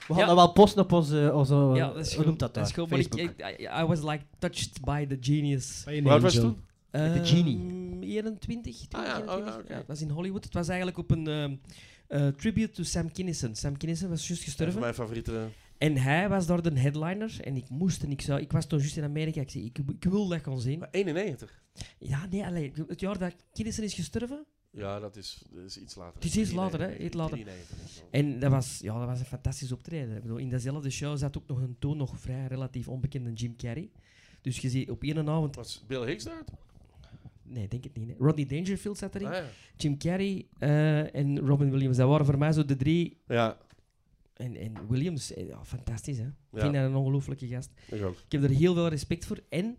Speaker 5: We gaan
Speaker 4: Ja.
Speaker 5: dat wel posten op onze... onze
Speaker 4: Ja, dat is
Speaker 5: hoe
Speaker 4: goed.
Speaker 5: noemt dat
Speaker 4: dat is
Speaker 5: daar?
Speaker 4: goed, maar ik,
Speaker 5: Facebook.
Speaker 4: ik- I, I was like touched by the genius. Ehm,
Speaker 6: Bij een
Speaker 8: Hoe oud was je
Speaker 6: angel.
Speaker 8: toen?
Speaker 4: De
Speaker 5: genie.
Speaker 4: 21, 20,
Speaker 8: Ah ja, oh ja,
Speaker 4: 21.
Speaker 8: oké.
Speaker 4: Ja, het was in Hollywood. Het was eigenlijk op een ehm, eh, tribute to Sam Kinison. Sam Kinison was juist
Speaker 8: Een
Speaker 4: gestorven.
Speaker 8: van mijn favoriete...
Speaker 4: En hij was daar de headliner. En ik moest en ik zou... Ik was toen juist in Amerika. Ik zei, ik, ik wil dat gaan zien.
Speaker 8: Maar 91.
Speaker 4: Ja, nee, alleen het jaar dat Kinison is gestorven.
Speaker 8: Ja, dat is, dat is iets later.
Speaker 4: Het is iets later, hè, iets later.
Speaker 8: 93 of zo.
Speaker 4: En dat was, ja, dat was een fantastisch optreden. Ik bedoel, in datzelfde show zat ook nog een toen nog vrij relatief onbekende Jim Carrey. Dus je ziet op één avond...
Speaker 8: Was Bill Hicks daar?
Speaker 4: Nee, denk het niet. hè. Rodney Dangerfield zat erin.
Speaker 8: Ah, ja.
Speaker 4: Jim Carrey eh, en Robin Williams. Dat waren voor mij zo de drie.
Speaker 8: ja,
Speaker 4: En, en Williams, eh, ja, fantastisch hè. Ik
Speaker 8: Ja.
Speaker 4: vind dat een ongelooflijke gast.
Speaker 8: ik ook.
Speaker 4: Ik heb er heel veel respect voor. En,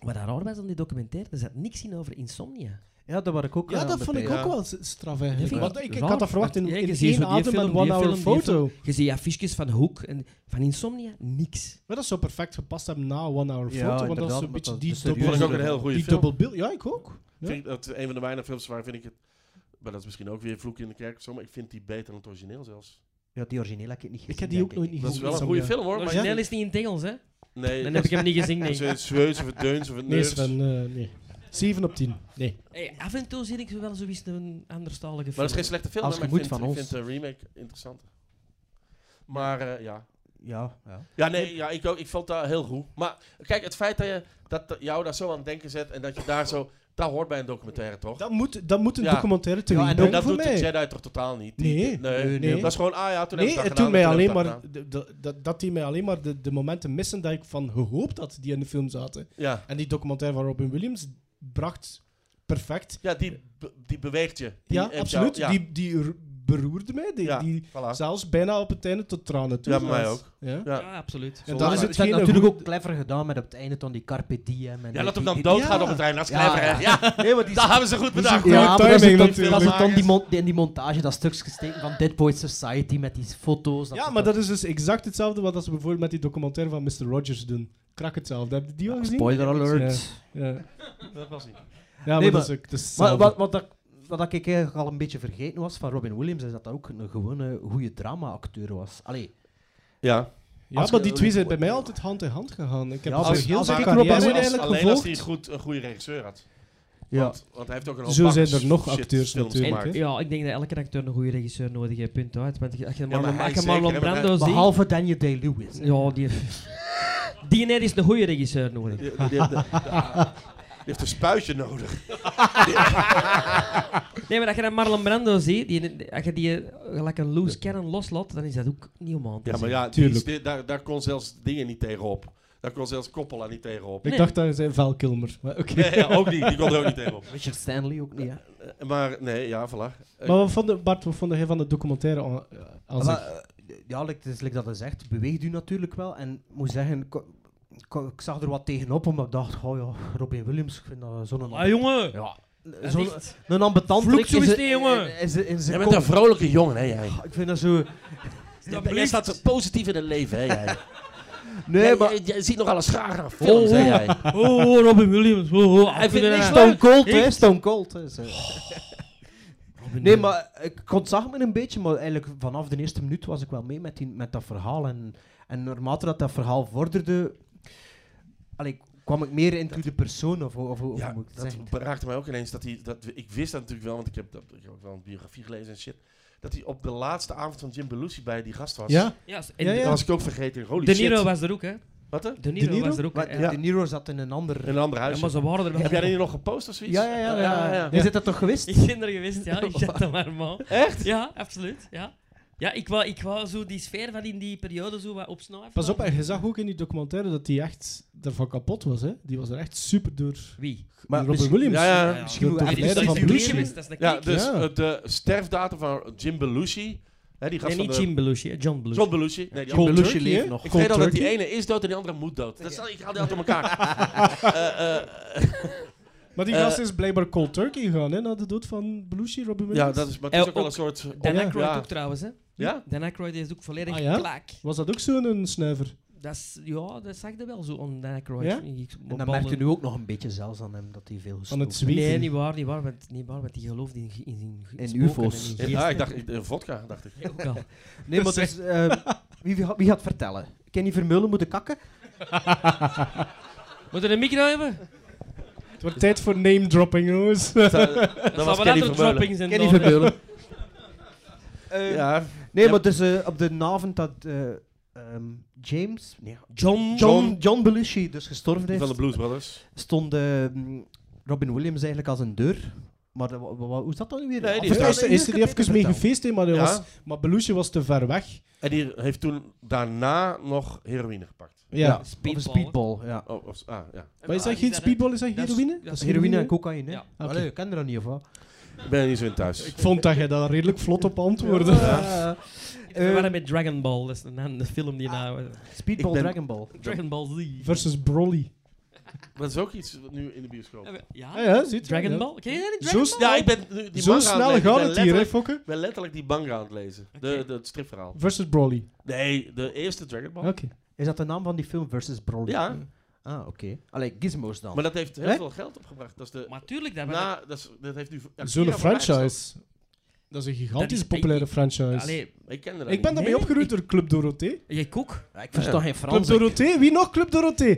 Speaker 4: wat daar raar was aan die documentaire, er zat niks in over insomnia.
Speaker 5: Ja, dat was ik ook eh,
Speaker 6: Ja,
Speaker 5: aan
Speaker 6: dat
Speaker 5: de
Speaker 6: vond ik
Speaker 5: pijl.
Speaker 6: ook wel s- straf
Speaker 4: Dat
Speaker 6: eigenlijk.
Speaker 4: vind
Speaker 6: Want
Speaker 4: ik
Speaker 6: ik, ik
Speaker 4: raar,
Speaker 6: had dat verwacht in,
Speaker 4: want, ja, je
Speaker 6: in
Speaker 4: ziet zo
Speaker 6: één
Speaker 4: die
Speaker 6: adem
Speaker 4: film,
Speaker 6: en
Speaker 4: die
Speaker 6: one hour
Speaker 4: film, die
Speaker 6: foto.
Speaker 4: Je ziet affiches van Hoek en van insomnia, niks.
Speaker 6: Maar dat zou perfect gepast hebben na one hour
Speaker 5: Ja,
Speaker 6: foto, want dat is
Speaker 5: inderdaad,
Speaker 6: een
Speaker 5: met
Speaker 6: beetje
Speaker 5: dat-
Speaker 6: die
Speaker 5: de
Speaker 6: dubbel-
Speaker 8: Vond ik ook een heel goede
Speaker 6: die
Speaker 8: film.
Speaker 6: dubbel beeld. Ja, ik ook. Ja.
Speaker 8: Vind ik dat een van de weinige films waar vind ik het... Maar dat is misschien ook weer vloek in de kerk of zo, maar ik vind die beter dan het origineel zelfs.
Speaker 5: Ja, die originele heb ik niet gezien.
Speaker 6: Ik heb die ook
Speaker 5: denk
Speaker 6: nooit
Speaker 5: ik.
Speaker 6: niet gezien.
Speaker 8: Dat is wel een goede film hoor, maar
Speaker 4: Origineel is niet in het Engels, hè?
Speaker 8: nee,
Speaker 4: Dan
Speaker 8: dat
Speaker 4: heb ik
Speaker 8: is-
Speaker 4: hem niet gezien, nee.
Speaker 8: dat is een Zweus of het Deuns of het
Speaker 6: Nee,
Speaker 8: Neus.
Speaker 6: Sven, eh, nee. 7 op 10. Nee.
Speaker 4: Hey, af en toe zie ik wel zoiets een anderstalige film.
Speaker 8: Maar dat is geen slechte film,
Speaker 5: Als
Speaker 8: hè, maar ik
Speaker 5: gemoed
Speaker 8: vind,
Speaker 5: van
Speaker 8: ik
Speaker 5: ons.
Speaker 8: vind de remake interessanter. Maar eh, ja.
Speaker 5: Ja, ja.
Speaker 8: Ja, nee, ja, ik, ook, ik vond dat heel goed. Maar kijk, het feit dat je dat dat jou daar zo aan het denken zet en dat je daar zo... Dat hoort bij een documentaire, toch?
Speaker 6: Dat moet, dat moet een
Speaker 8: Ja.
Speaker 6: documentaire te
Speaker 5: Ja, en
Speaker 6: ja,
Speaker 8: en
Speaker 6: doen
Speaker 8: dat
Speaker 6: voor
Speaker 8: doet de
Speaker 6: mij.
Speaker 8: Jedi toch totaal niet? Die-
Speaker 6: Nee,
Speaker 8: die- nee,
Speaker 5: nee,
Speaker 6: nee.
Speaker 8: Dat is gewoon, ah ja, toen
Speaker 6: Nee,
Speaker 8: heb ik
Speaker 6: het
Speaker 8: dat
Speaker 6: doet mij
Speaker 8: gedaan, toen heb
Speaker 6: alleen
Speaker 8: ik
Speaker 6: maar...
Speaker 8: dat
Speaker 6: de- de- dat- Dat deed mij alleen maar de de momenten missen dat ik van gehoopt had die in de film zaten.
Speaker 8: gedaan. Ja.
Speaker 6: En die documentaire van Robin Williams bracht perfect.
Speaker 8: Ja, die, be- die beweegt je. Die
Speaker 6: Ja,
Speaker 8: heeft
Speaker 6: absoluut.
Speaker 8: jou- ja.
Speaker 6: Die, die r- beroerde mij. Die,
Speaker 8: Ja,
Speaker 6: die
Speaker 8: voilà.
Speaker 6: zelfs bijna op het einde tot tranen toe.
Speaker 8: Ja, bij mij ook.
Speaker 6: Ja.
Speaker 8: Ja.
Speaker 4: Ja, absoluut.
Speaker 6: En
Speaker 5: Dat
Speaker 6: dan
Speaker 5: is
Speaker 6: is
Speaker 5: het
Speaker 6: het
Speaker 5: werd
Speaker 6: geen
Speaker 5: natuurlijk
Speaker 6: goede-
Speaker 5: ook clever gedaan met op het einde dan die Carpe Diem. En
Speaker 8: Ja,
Speaker 5: die-
Speaker 8: dat hem dan
Speaker 5: die-
Speaker 8: doodgaat
Speaker 6: ja.
Speaker 8: op het einde. Dat is
Speaker 5: Ja,
Speaker 8: clever, hè?
Speaker 5: ja.
Speaker 8: Ja,
Speaker 5: Nee, maar die
Speaker 8: dat hebben ze goed bedacht.
Speaker 6: goede
Speaker 5: Ja, maar dat is
Speaker 6: timing
Speaker 5: dan,
Speaker 6: natuurlijk.
Speaker 5: dat is dan die, mon- die- in die montage dat stukjes gesteken van Dead Boy Society met die foto's.
Speaker 6: Ja, maar dat is dus exact hetzelfde wat als we bijvoorbeeld met die documentaire van Mr. Rogers doen. Krak hetzelfde. Heb je die al gezien?
Speaker 5: Spoiler alert.
Speaker 6: Ja, ja.
Speaker 8: Dat was niet.
Speaker 6: ja
Speaker 5: Nee,
Speaker 6: maar dat is
Speaker 5: maar-
Speaker 6: ook het is
Speaker 5: Maar
Speaker 6: hetzelfde.
Speaker 5: wat, wat, dat- wat ik eigenlijk al een beetje vergeten was van Robin Williams, is dat dat ook een gewone goede drama-acteur was. Allee,
Speaker 8: Ja.
Speaker 6: Ja,
Speaker 5: als
Speaker 6: maar
Speaker 5: je-
Speaker 6: die twee zijn bij mij altijd hand in hand gegaan. Ik heb
Speaker 5: Ja,
Speaker 6: dus
Speaker 5: als-
Speaker 6: heel
Speaker 5: als-
Speaker 6: zijn
Speaker 5: maar-
Speaker 6: carrière
Speaker 5: als-
Speaker 8: Alleen
Speaker 6: eigenlijk
Speaker 8: als hij een,
Speaker 6: gevolgd.
Speaker 8: goed, een goede regisseur had.
Speaker 5: Ja.
Speaker 8: Want, want hij heeft ook een hoop
Speaker 6: Zo zijn
Speaker 8: bak
Speaker 6: er nog
Speaker 8: shit
Speaker 6: acteurs
Speaker 8: films
Speaker 6: natuurlijk,
Speaker 8: gemaakt.
Speaker 6: hè.
Speaker 4: Ja, ik denk dat elke acteur een goede regisseur nodig heeft, punt uit. Want als je
Speaker 8: maar
Speaker 4: Marlon,
Speaker 8: hij
Speaker 4: als je
Speaker 8: zeker,
Speaker 4: Marlon
Speaker 8: hè, want
Speaker 4: Brando ziet...
Speaker 5: behalve Daniel Day-Lewis.
Speaker 4: Ja, die... Die net is een goede regisseur nodig.
Speaker 8: Die, die- die- die- die heeft een spuitje nodig.
Speaker 4: Nee, maar als je dan Marlon Brando ziet, die, als je die eh, gelijk een loose cannon loslaat, dan is dat ook niet om aan te
Speaker 8: Ja, maar
Speaker 4: zien.
Speaker 8: ja, die-
Speaker 6: Tuurlijk.
Speaker 8: die- daar, daar kon zelfs dingen niet tegenop. Daar kon zelfs Coppola niet tegenop.
Speaker 6: Ik dacht dat hij zei Val Kilmer. Maar, oké.
Speaker 8: Nee, ja, ook niet. Die kon er ook niet tegenop.
Speaker 5: Richard Stanley ook niet, hè.
Speaker 8: Eh, Maar nee, ja, voilà. Eh,
Speaker 6: maar wat vond je- Bart, wat vond jij van de documentaire aan- aan zich?
Speaker 5: Maar, eh, ja, like, het is like dat hij zegt, beweegt u natuurlijk wel. En ik moet zeggen, ik, ik, ik zag er wat tegenop, omdat ik dacht, oh ja, Robin Williams, ik vind dat zo'n...
Speaker 4: Ah, jongen!
Speaker 5: Ja,
Speaker 4: Dat is
Speaker 5: zo'n
Speaker 4: echt-
Speaker 5: een ambetant
Speaker 4: Vloek
Speaker 5: trick
Speaker 4: zo
Speaker 5: in
Speaker 4: is
Speaker 5: zijn-
Speaker 4: die, jongen.
Speaker 5: in- in zijn- in zijn
Speaker 8: Jij bent een
Speaker 5: kop.
Speaker 8: vrolijke jongen, hè, jij.
Speaker 5: Ik vind dat zo...
Speaker 8: Jij staat zo positief in het leven, hè, jij.
Speaker 5: Nee, maar...
Speaker 8: jij, ziet nogal eens graag naar films, hè, jij.
Speaker 4: Oh, oh, Robin Williams. Oh, oh,
Speaker 8: Hij vindt niks
Speaker 5: Stone Cold,
Speaker 4: Ik-
Speaker 5: hè. Stone Cold. hè, zo. Nee, maar ik ontzag me een beetje, maar eigenlijk vanaf de eerste minuut was ik wel mee met, die, met dat verhaal. En, en naarmate dat, dat verhaal vorderde, allee, kwam ik meer into de persoon, of, hoe- of, hoe- hoe
Speaker 8: Ja,
Speaker 5: moet ik het
Speaker 8: dat
Speaker 5: zeggen?
Speaker 8: raakte mij ook ineens. Dat hij, dat, ik wist dat natuurlijk wel, want ik heb, dat, ik heb ook wel een biografie gelezen en shit. Dat hij op de laatste avond van Jim Belushi bij die gast was.
Speaker 6: ja?
Speaker 4: Ja, en
Speaker 6: Ja, ja.
Speaker 8: Dat was ik ook vergeten. Holy
Speaker 4: De
Speaker 8: shit.
Speaker 4: Niro was er ook, hè.
Speaker 8: Wat hè?
Speaker 4: De Niro,
Speaker 6: Niro?
Speaker 4: was er ook.
Speaker 5: Maar
Speaker 4: hè.
Speaker 5: De Niro zat in een ander...
Speaker 8: In een ander
Speaker 4: Ja,
Speaker 8: huis.
Speaker 4: maar ze waren er wel.
Speaker 8: Heb jij die nog gepost of zoiets?
Speaker 5: Ja, ja, ja. ja,
Speaker 8: ja.
Speaker 5: Je zit dat toch gewist?
Speaker 4: Ik ben er geweest, ja. Ik zat er maar man. Echt? Ja, absoluut. Ja, ja ik, wou, ik wou zo die sfeer van in die periode zo wat opsnijven.
Speaker 6: Pas op, en je zag ook in die documentaire dat hij echt ervan kapot was. Hè? Die was er echt super door.
Speaker 4: Wie?
Speaker 5: Maar
Speaker 6: Robin
Speaker 5: misschien-
Speaker 6: Williams.
Speaker 8: Ja, ja.
Speaker 4: Ja, ja.
Speaker 6: Misschien
Speaker 5: moet
Speaker 6: de
Speaker 5: even-
Speaker 6: leider van
Speaker 5: Misschien
Speaker 4: Belushi
Speaker 6: Belushi.
Speaker 4: geweest, dat is een
Speaker 8: Eh, Ja,
Speaker 4: kick.
Speaker 8: dus
Speaker 6: Ja.
Speaker 8: eh, de sterfdatum van Jim Belushi. Hè, die gast
Speaker 4: Nee, niet
Speaker 8: van de-
Speaker 4: Jim Belushi, hè, John Belushi.
Speaker 8: John Belushi. Nee, die
Speaker 5: John
Speaker 8: andere-
Speaker 5: Belushi
Speaker 6: Turkey,
Speaker 5: leeft
Speaker 6: hè?
Speaker 5: nog.
Speaker 8: Ik weet al dat die
Speaker 6: Turkey.
Speaker 8: ene is dood en die andere moet dood. Dat zal, ik haal die altijd door elkaar. Eh, eh,
Speaker 6: Maar die
Speaker 8: Eh,
Speaker 6: gast is blijkbaar cold turkey gegaan hè, na de dood van Belushi, Robin Williams.
Speaker 8: ja, dat is, maar het is
Speaker 4: Eh,
Speaker 8: ook wel een
Speaker 4: ook
Speaker 8: soort...
Speaker 4: Dan
Speaker 6: Ja.
Speaker 4: Aykroyd
Speaker 8: oh Ja.
Speaker 4: ook trouwens, hè.
Speaker 8: Ja?
Speaker 4: Dan Aykroyd is ook volledig
Speaker 6: Ah, ja?
Speaker 4: klaak.
Speaker 6: Was dat ook zo'n een snuiver?
Speaker 4: Dat is, ja, dat zag je wel zo aan Dan Aykroyd.
Speaker 6: Ja?
Speaker 4: Ik-
Speaker 5: En
Speaker 4: op
Speaker 5: dat merkte
Speaker 4: ballen.
Speaker 5: nu ook nog een beetje zelfs aan hem, dat hij veel
Speaker 6: Van het
Speaker 5: gestoken
Speaker 6: zweven.
Speaker 4: Nee, niet waar, niet waar, want, niet waar, want die geloofde in, in, in,
Speaker 5: In
Speaker 4: spoken
Speaker 5: UFO's.
Speaker 4: en in
Speaker 8: Ja, ik
Speaker 4: geesten.
Speaker 8: dacht... eh, Vodka, dacht ik.
Speaker 4: Ook al.
Speaker 5: heeft. Nee, maar dus, eh, wie, wie, gaat- wie gaat vertellen? Kenny Vermeulen moeten kakken?
Speaker 4: Moet er een micro hebben?
Speaker 6: Het wordt tijd voor name dropping, jongens.
Speaker 8: Dat was
Speaker 4: Zal
Speaker 8: Kenny
Speaker 4: andere
Speaker 8: Vermeulen.
Speaker 4: droppings en
Speaker 5: Kenny
Speaker 4: dan-
Speaker 5: Vermeulen. Eh,
Speaker 8: Ja,
Speaker 5: Nee,
Speaker 8: Ja.
Speaker 5: maar dus eh, op de avond dat eh, ehm, James, nee,
Speaker 4: John,
Speaker 5: John, John Belushi dus gestorven
Speaker 8: die
Speaker 5: is,
Speaker 8: van de Blues Brothers.
Speaker 5: stond eh, mm, Robin Williams eigenlijk als een deur. Maar eh, wa- wa- hoe is dat dan nu weer?
Speaker 8: Nee, die
Speaker 5: Afgeleid?
Speaker 6: Eerst is
Speaker 8: is
Speaker 6: er
Speaker 5: Je kunt
Speaker 6: even
Speaker 5: beter
Speaker 6: mee
Speaker 5: vertellen.
Speaker 6: gefeest, hè, maar, dat
Speaker 8: Ja.
Speaker 6: was, maar Belushi was te ver weg.
Speaker 8: En die heeft toen daarna nog heroïne gepakt.
Speaker 6: Ja.
Speaker 5: Ja,
Speaker 4: Speedball,
Speaker 5: Of een speedball, ja.
Speaker 8: Oh, of, ah, ja.
Speaker 6: Maar is dat geen speedball, is dat
Speaker 4: dat is-
Speaker 6: heroïne?
Speaker 4: dat
Speaker 5: Dat is heroïne en cocaïne.
Speaker 4: Ja.
Speaker 5: Ja. Allee, ik ken er dat niet of wat?
Speaker 8: Ik ben er niet zo in thuis.
Speaker 6: Ik vond dat je daar redelijk vlot op antwoordde.
Speaker 5: Ja.
Speaker 4: We
Speaker 6: Eh.
Speaker 4: waren met Dragon Ball, dat is een, een film die
Speaker 8: Ah.
Speaker 4: nou...
Speaker 5: Speedball,
Speaker 8: Ik ben-
Speaker 5: Dragon Ball.
Speaker 4: Dragon Ball Z.
Speaker 6: Versus Broly.
Speaker 8: Dat is ook iets wat nu in de bioscoop.
Speaker 4: Eh, Ja,
Speaker 6: Ah ja, ziet je,
Speaker 4: Dragon
Speaker 6: ja.
Speaker 4: Ball. Ken je dat niet?
Speaker 6: Zo
Speaker 4: Dragon
Speaker 6: snel-
Speaker 4: Ball?
Speaker 8: Ja, ik ben nu die
Speaker 6: Zo
Speaker 8: manga aan
Speaker 6: snel
Speaker 8: lezen. Ik
Speaker 6: gaat
Speaker 8: ben
Speaker 6: het hier, hè,
Speaker 8: letterlijk-
Speaker 6: Fokke?
Speaker 8: Ik ben letterlijk die manga aan het lezen. De, de, het stripverhaal.
Speaker 6: Versus Broly.
Speaker 8: Nee, de eerste Dragon Ball.
Speaker 6: Oké.
Speaker 5: Is dat de naam van die film versus Broly?
Speaker 8: Ja.
Speaker 5: Ah, oké. Allee, Gizmos dan.
Speaker 8: Maar dat heeft heel
Speaker 5: Hè?
Speaker 8: veel geld opgebracht. Dat is de...
Speaker 4: Maar tuurlijk, dat,
Speaker 8: Na, dat, is, dat heeft nu... Akira
Speaker 6: Zo'n
Speaker 8: voorbij
Speaker 6: franchise. Dat is een
Speaker 4: Dat
Speaker 6: gigantisch
Speaker 4: is-
Speaker 6: populaire
Speaker 4: dat-
Speaker 6: franchise.
Speaker 4: Allee,
Speaker 8: gespeeld. Ik ken dat
Speaker 6: Ik ben daarmee
Speaker 4: Nee,
Speaker 6: opgeroeid door Club Dorothée.
Speaker 4: jij
Speaker 8: Ah,
Speaker 4: koek?
Speaker 5: Ja, ik versta geen
Speaker 6: Club
Speaker 5: Frans. ik.
Speaker 6: Dorothée? Wie nog Club Dorothée?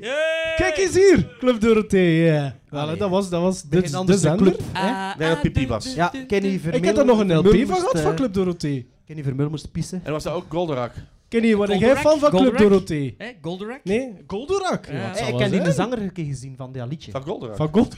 Speaker 6: Kijk eens hier! Club Dorothée, ja. Wel,
Speaker 5: Allee.
Speaker 6: Dat was, dat was de,
Speaker 5: Begin
Speaker 6: de
Speaker 5: anders de
Speaker 6: zender.
Speaker 5: club.
Speaker 4: Ah,
Speaker 8: Nee, dat
Speaker 4: ah,
Speaker 8: Pipi
Speaker 4: du-
Speaker 8: was.
Speaker 4: du-
Speaker 5: Ja,
Speaker 4: du- du-
Speaker 5: Kenny Vermeulen...
Speaker 6: Ik heb er nog een LP
Speaker 5: Vermeulen
Speaker 6: van
Speaker 5: moest,
Speaker 6: gehad
Speaker 5: eh,
Speaker 6: van Club Dorothée.
Speaker 5: Kenny Vermeulen moest pissen.
Speaker 8: En was dat ook Goldorak?
Speaker 6: Kenny, wat ben jij
Speaker 4: Goldorak?
Speaker 6: fan van Club
Speaker 4: Goldorak?
Speaker 6: Dorothée?
Speaker 4: Hè, Goldorak?
Speaker 6: Nee, Goldorak. Ja,
Speaker 4: Ja.
Speaker 6: het
Speaker 5: Hey,
Speaker 6: zal
Speaker 5: Eh, ik
Speaker 6: wel
Speaker 5: heb die de
Speaker 6: zijn.
Speaker 5: zanger een keer gezien van dat liedje.
Speaker 8: Van Goldorak?
Speaker 6: Van Gold.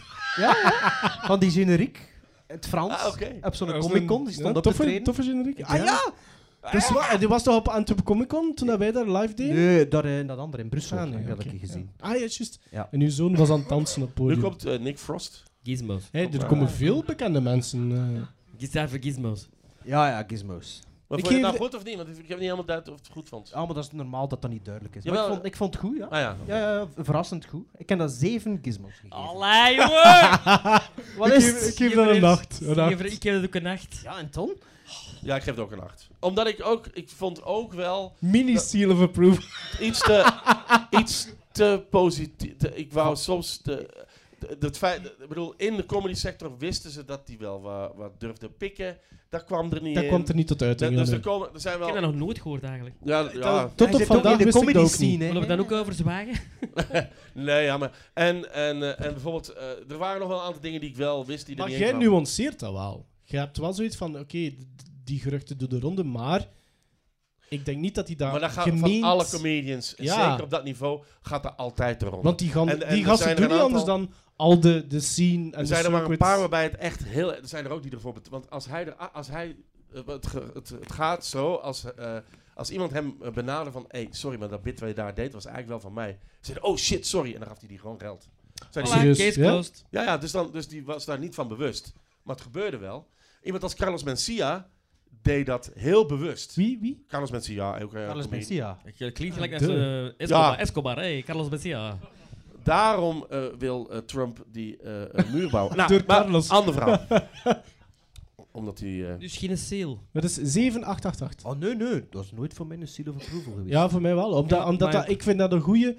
Speaker 5: Van die generiek. Het Frans.
Speaker 8: Ah, oké.
Speaker 5: Op zo'n
Speaker 6: Dat was
Speaker 5: Comic Con.
Speaker 6: een-
Speaker 5: Die stond
Speaker 6: ja,
Speaker 5: op te
Speaker 6: toffe,
Speaker 5: trainen.
Speaker 6: Toffe generiek. Ah
Speaker 5: Ja.
Speaker 6: ja! Dat is waar. Die was toch op Antwerp Comic Con toen dat wij daar live deden?
Speaker 5: Nee, daar, eh, dat andere in Brussel.
Speaker 6: Ah,
Speaker 5: heb
Speaker 6: nee,
Speaker 5: ik dat
Speaker 6: oké,
Speaker 5: een keer gezien.
Speaker 6: Ah ja, juist.
Speaker 5: Ja.
Speaker 6: En uw zoon was aan het dansen op het
Speaker 8: Nu
Speaker 6: podium.
Speaker 8: komt eh, Nick Frost.
Speaker 4: Gizmos.
Speaker 6: Hé, er
Speaker 5: eh,
Speaker 6: komen veel bekende mensen. eh.
Speaker 4: Giz- Even gizmos.
Speaker 5: Ja, ja, gizmos.
Speaker 8: Maar
Speaker 6: Ik
Speaker 8: vond je het
Speaker 6: geef-
Speaker 8: nou goed of niet? Want ik heb niet helemaal duidelijk of het goed vond.
Speaker 5: Ja, Ah, maar dat is normaal dat dat niet duidelijk is. Maar
Speaker 8: Jawel.
Speaker 5: ik, vond, ik vond het goed, ja.
Speaker 8: Ah ja.
Speaker 5: Ja, ja, verrassend goed. Ik heb dat zeven gizmos gegeven.
Speaker 4: Allee, jongen!
Speaker 5: Wat
Speaker 6: Ik
Speaker 5: is
Speaker 6: geef-
Speaker 5: het?
Speaker 6: ik geef dat een
Speaker 4: Ik
Speaker 6: nacht. Een
Speaker 4: geef er-
Speaker 6: nacht.
Speaker 4: ik heb het ook een nacht.
Speaker 5: Ja, en Ton?
Speaker 8: Ja, ik geef het ook een acht. Omdat ik ook, ik vond ook wel
Speaker 6: Mini seal of approval.
Speaker 8: iets te, iets te positief. te- Ik wou soms te, te- dat feit, ik bedoel, in de comedy sector wisten ze dat die wel wa- wat, durfde pikken. Dat kwam er niet
Speaker 6: Dat
Speaker 8: in.
Speaker 6: kwam er niet tot
Speaker 8: Da-
Speaker 6: uiting.
Speaker 8: dus
Speaker 6: nee.
Speaker 8: er, komen, er zijn
Speaker 4: Ik
Speaker 8: wel...
Speaker 4: heb dat nog nooit gehoord eigenlijk.
Speaker 8: Ja, ja,
Speaker 6: Tot op vandaag wist ik dat ook niet.
Speaker 4: Willen we dan ook over zwagen?
Speaker 8: nee, ja, maar... En, en, eh, en bijvoorbeeld, eh, er waren nog wel een aantal dingen die ik wel wist die er
Speaker 6: Maar
Speaker 8: niet
Speaker 6: jij
Speaker 8: in kwamen.
Speaker 6: nuanceert dat wel. Je hebt wel zoiets van, oké, d- d- die geruchten doen de ronde, maar ik denk niet dat die daar
Speaker 8: Maar dat gaat
Speaker 6: gemeend...
Speaker 8: van alle comedians, en
Speaker 6: Ja.
Speaker 8: zeker op dat niveau, gaat er altijd erom.
Speaker 6: Want die, gaan,
Speaker 8: En- en
Speaker 6: die
Speaker 8: er
Speaker 6: gasten
Speaker 8: zijn er
Speaker 6: doen niet
Speaker 8: een
Speaker 6: anders dan al de, de scene en
Speaker 8: Er
Speaker 6: de
Speaker 8: zijn er maar een
Speaker 6: circuits.
Speaker 8: paar waarbij het echt heel... Er zijn er ook die ervoor... bet- Want als hij... Er, als hij eh, het, ge- het, het gaat zo, als, eh, als iemand hem eh, benaderde van... Hé, hey, sorry, maar dat bit wat je daar deed was eigenlijk wel van mij. Ze zeiden, oh shit, sorry. En dan gaf hij die gewoon geld. Zei die-
Speaker 6: Voilà. serieus,
Speaker 4: case
Speaker 6: ja?
Speaker 4: closed.
Speaker 8: ja, ja dus, dan, dus die was daar niet van bewust. Maar het gebeurde wel. Iemand als Carlos Mencia deed dat heel bewust.
Speaker 6: Wie, wie?
Speaker 8: Carlos Mencia, ook... eh,
Speaker 5: Carlos
Speaker 8: comedian.
Speaker 5: Mencia.
Speaker 4: Ik- Klinkt gelijk als
Speaker 6: Duh.
Speaker 4: eh, Escobar,
Speaker 8: Ja.
Speaker 4: Escobar, hey, Carlos Mencia.
Speaker 8: Daarom eh, wil eh, Trump die eh, een muur bouwen. nou,
Speaker 6: Door
Speaker 8: maar,
Speaker 6: Carlos.
Speaker 8: andere vraag. Omdat hij... eh,
Speaker 4: Dus geen seal.
Speaker 6: Dat is 7888.
Speaker 5: Oh, nee, nee. Dat is nooit voor mij een seal of approval geweest.
Speaker 6: Ja, voor mij wel. Omdat,
Speaker 4: Ja,
Speaker 6: omdat
Speaker 4: maar-
Speaker 6: dat, ik vind dat een goede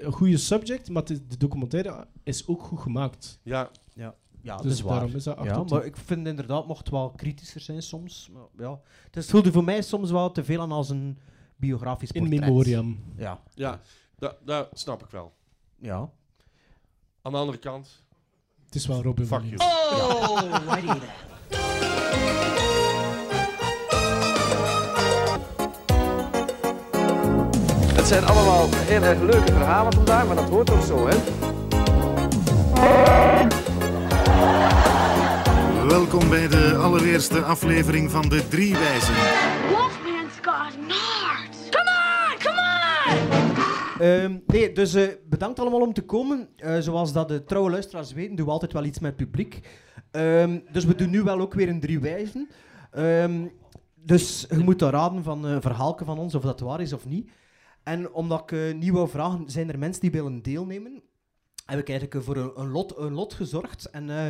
Speaker 6: een goede subject, maar de, de documentaire is ook goed gemaakt.
Speaker 8: ja,
Speaker 5: ja Ah, dat
Speaker 6: dus
Speaker 5: is waar.
Speaker 6: daarom is dat 8
Speaker 5: Ja,
Speaker 6: op
Speaker 5: maar
Speaker 6: 10.
Speaker 5: ik vind inderdaad, mocht wel kritischer zijn soms. Maar ja, het is- voelde voor mij soms wel te veel aan als een biografisch
Speaker 6: In
Speaker 5: portret.
Speaker 6: memoriam.
Speaker 5: Ja.
Speaker 8: Ja, dat, dat snap ik wel.
Speaker 5: Ja.
Speaker 8: Aan de andere kant,
Speaker 6: Het is wel Robin
Speaker 8: fuck
Speaker 6: Williams.
Speaker 8: you.
Speaker 5: Oh!
Speaker 2: Het zijn allemaal heel erg leuke verhalen vandaag, maar dat hoort ook zo, hè?
Speaker 12: Welkom bij de allereerste aflevering van De Drie Wijzen.
Speaker 9: Wolfman's got nards. Come on, come on!
Speaker 5: Ehm, nee, dus eh, bedankt allemaal om te komen. Eh, zoals dat de trouwe luisteraars weten, doen we altijd wel iets met publiek. Ehm, dus we doen nu wel ook weer een drie wijzen. Ehm, dus je moet daar raden van eh, een verhaalke van ons, of dat waar is of niet. En omdat ik eh, niet wou vragen, zijn er mensen die willen deelnemen? Heb ik eigenlijk eh, voor een, een, lot, een lot gezorgd. En eh,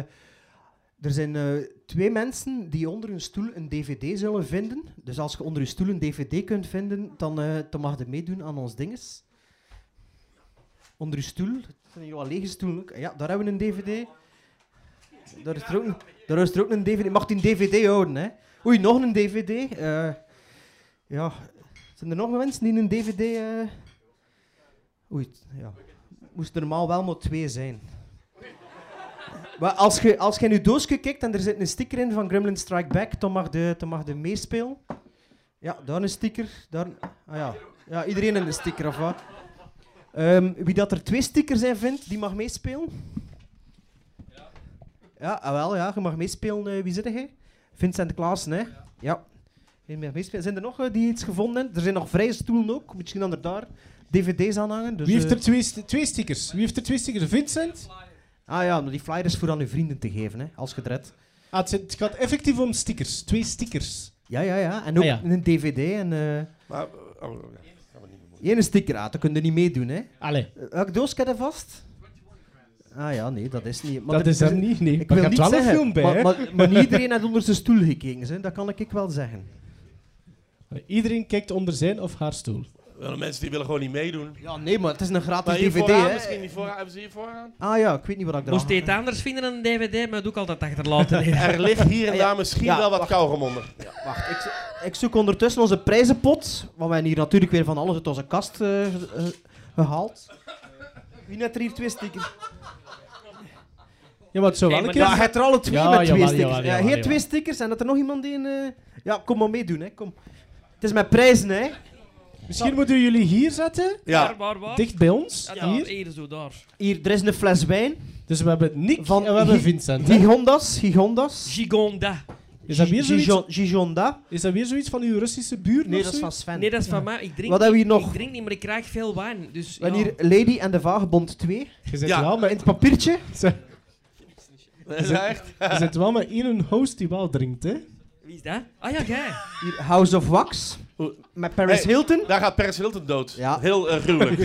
Speaker 5: er zijn eh, twee mensen die onder hun stoel een dvd zullen vinden. Dus als je onder je stoel een dvd kunt vinden, dan, eh, dan mag je meedoen aan ons dinges onder uw stoel. Het zijn hier wel lege stoelen. ook. Ja, daar hebben we een dvd. Daar is er ook een, daar is er ook een dvd. Mag die een dvd houden, hè? Oei, nog een dvd. Eh, ja. Zijn er nog mensen die een dvd... eh? Oei, t- ja. Moest er normaal wel maar twee zijn. Maar als je, als je in je doosje kijkt en er zit een sticker in van Gremlin Strike Back, dan mag de, dan mag de meespelen. Ja, daar een sticker. Daar, ah ja. ja, iedereen een sticker, of wat? Ehm, wie dat er twee stickers in vindt, die mag meespelen. Ja, ah wel, ja, je mag meespelen. eh, wie zit jij? Vincent Klaassen, hè? Ja. Je mag meespelen. Zijn er nog eh, die iets gevonden hebben? Er zijn nog vrije stoelen ook. Misschien dat er daar dvd's aan hangen. Dus,
Speaker 6: Wie heeft
Speaker 5: eh,
Speaker 6: er twee, st- twee stickers? Wie heeft er twee stickers? Vincent?
Speaker 5: Ah ja, maar die flyers voor aan uw vrienden te geven, hè, als gedret.
Speaker 6: Ah, het, zit- het gaat effectief om stickers. Twee stickers.
Speaker 5: Ja, ja, ja. En ook
Speaker 6: Ah, ja.
Speaker 5: een dvd en eh
Speaker 8: Maar, eh, oh, oh, ja, gaan we niet meer doen.
Speaker 5: één sticker aan. Dat kun je niet meedoen, hè.
Speaker 6: Allee,
Speaker 5: Eh, Welke doos kan je vast? Ah ja, nee, dat is niet. Maar
Speaker 6: dat
Speaker 5: er-
Speaker 6: is
Speaker 5: er-
Speaker 6: er niet. Nee,
Speaker 5: Ik
Speaker 6: Maar
Speaker 5: wil
Speaker 6: je
Speaker 5: niet
Speaker 6: hebt wel
Speaker 5: zeggen,
Speaker 6: een film bij,
Speaker 5: maar,
Speaker 6: hè?
Speaker 5: maar, maar niet iedereen had onder zijn stoel gekeken, hè? dat kan ik wel zeggen.
Speaker 6: Iedereen kijkt onder zijn of haar stoel.
Speaker 8: Wel, de mensen die willen gewoon niet meedoen.
Speaker 5: Ja, nee, maar het is een gratis
Speaker 8: Maar hier
Speaker 5: dvd,
Speaker 8: vooraan,
Speaker 5: hè.
Speaker 8: misschien die vooraan, hebben ze hier vooraan?
Speaker 5: Ah ja, ik weet niet wat ik
Speaker 4: Moest je
Speaker 5: eraan...
Speaker 4: het anders vinden dan een dvd, maar doe ik altijd achterlaten. Nee.
Speaker 8: Er ligt hier en
Speaker 5: Ja,
Speaker 8: daar misschien
Speaker 5: ja,
Speaker 8: wel wat
Speaker 5: wacht.
Speaker 8: kauwgom onder.
Speaker 5: Wacht, ik, zo- ik zoek ondertussen onze prijzenpot, want wij hebben hier natuurlijk weer van alles uit onze kast eh, ge- eh, gehaald. Wie net er hier twee stickers?
Speaker 6: Ja, maar het zou wel
Speaker 4: Nee,
Speaker 6: een
Speaker 4: maar
Speaker 6: keer...
Speaker 5: Ja, hij heeft er alle twee
Speaker 6: Ja,
Speaker 5: met twee
Speaker 6: jawel,
Speaker 5: stickers.
Speaker 6: jawel,
Speaker 5: Ja,
Speaker 6: jawel,
Speaker 5: hier
Speaker 6: jawel.
Speaker 5: twee stickers en dat er nog iemand die een... eh, Ja, kom maar meedoen, hè. Kom. Het is met prijzen, hè.
Speaker 6: Misschien moeten jullie hier zetten,
Speaker 4: Waar,
Speaker 8: Ja,
Speaker 4: waar, waar?
Speaker 6: dicht bij ons.
Speaker 4: Ja, daar,
Speaker 6: hier.
Speaker 4: hier, zo, daar.
Speaker 5: Hier, er is een fles wijn.
Speaker 6: Dus we hebben Nick
Speaker 5: Van
Speaker 6: en we hebben
Speaker 5: Gi-
Speaker 6: Vincent. hè?
Speaker 5: Gigondas, Gigondas.
Speaker 4: Gigonda.
Speaker 6: Is dat, weer zoiets,
Speaker 5: Gigon- Gigonda.
Speaker 6: is dat weer zoiets van uw Russische buur?
Speaker 5: Nee, dat is van Sven.
Speaker 4: Nee, dat is van mij. Ik drink,
Speaker 5: Wat hebben we hier
Speaker 4: niet-
Speaker 5: nog?
Speaker 4: Ik drink niet, maar ik krijg veel wijn. Dus, ja.
Speaker 5: En hier Lady en de Vagebond 2.
Speaker 6: Je zit
Speaker 8: Ja.
Speaker 6: wel
Speaker 5: Maar
Speaker 6: met...
Speaker 5: in het papiertje.
Speaker 8: Dat is echt.
Speaker 6: Er zit wel maar één host die wel drinkt, hè?
Speaker 4: Wie is dat? Ah ja, jij.
Speaker 5: House of Wax. Met Paris
Speaker 8: Hey,
Speaker 5: Hilton.
Speaker 8: Daar gaat Paris Hilton dood. Heel eh, gruwelijk.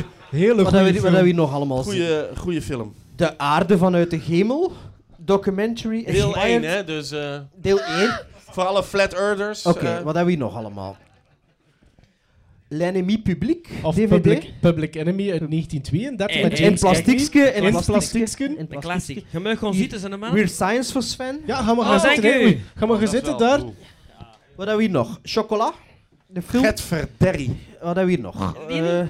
Speaker 5: Wat hebben we-
Speaker 6: Hele goede
Speaker 5: wat hebben we hier nog allemaal zien?
Speaker 8: Goeie, goeie film.
Speaker 5: De aarde vanuit de hemel. Documentary.
Speaker 8: Deel 1,
Speaker 5: Inspired-
Speaker 8: hè? Dus, eh,
Speaker 5: Deel 1.
Speaker 8: voor alle flat earthers.
Speaker 5: Oké,
Speaker 8: eh,
Speaker 5: wat hebben we hier nog allemaal? L'ennemi public.
Speaker 6: Of
Speaker 5: DVD.
Speaker 6: public, public Enemy uit 1932.
Speaker 5: En-
Speaker 6: met
Speaker 5: en
Speaker 6: James
Speaker 5: plastiekske,
Speaker 6: Cagney.
Speaker 5: en
Speaker 6: En
Speaker 5: plastiekske.
Speaker 6: plastiekske.
Speaker 5: En
Speaker 4: De
Speaker 5: plastic.
Speaker 4: klassiek. Je mag gewoon zitten, zijn man.
Speaker 5: Weird Science voor Sven.
Speaker 6: Ja, ga maar
Speaker 4: Oh,
Speaker 6: gaan zitten.
Speaker 4: thank
Speaker 6: hè,
Speaker 4: you.
Speaker 6: Oei. Ga maar gaan
Speaker 5: Ah,
Speaker 6: zitten daar.
Speaker 5: Wat hebben we hier nog? Chocola. De film.
Speaker 8: Get verderrie.
Speaker 5: Wat hebben we hier nog?
Speaker 4: Die-
Speaker 5: Eh, het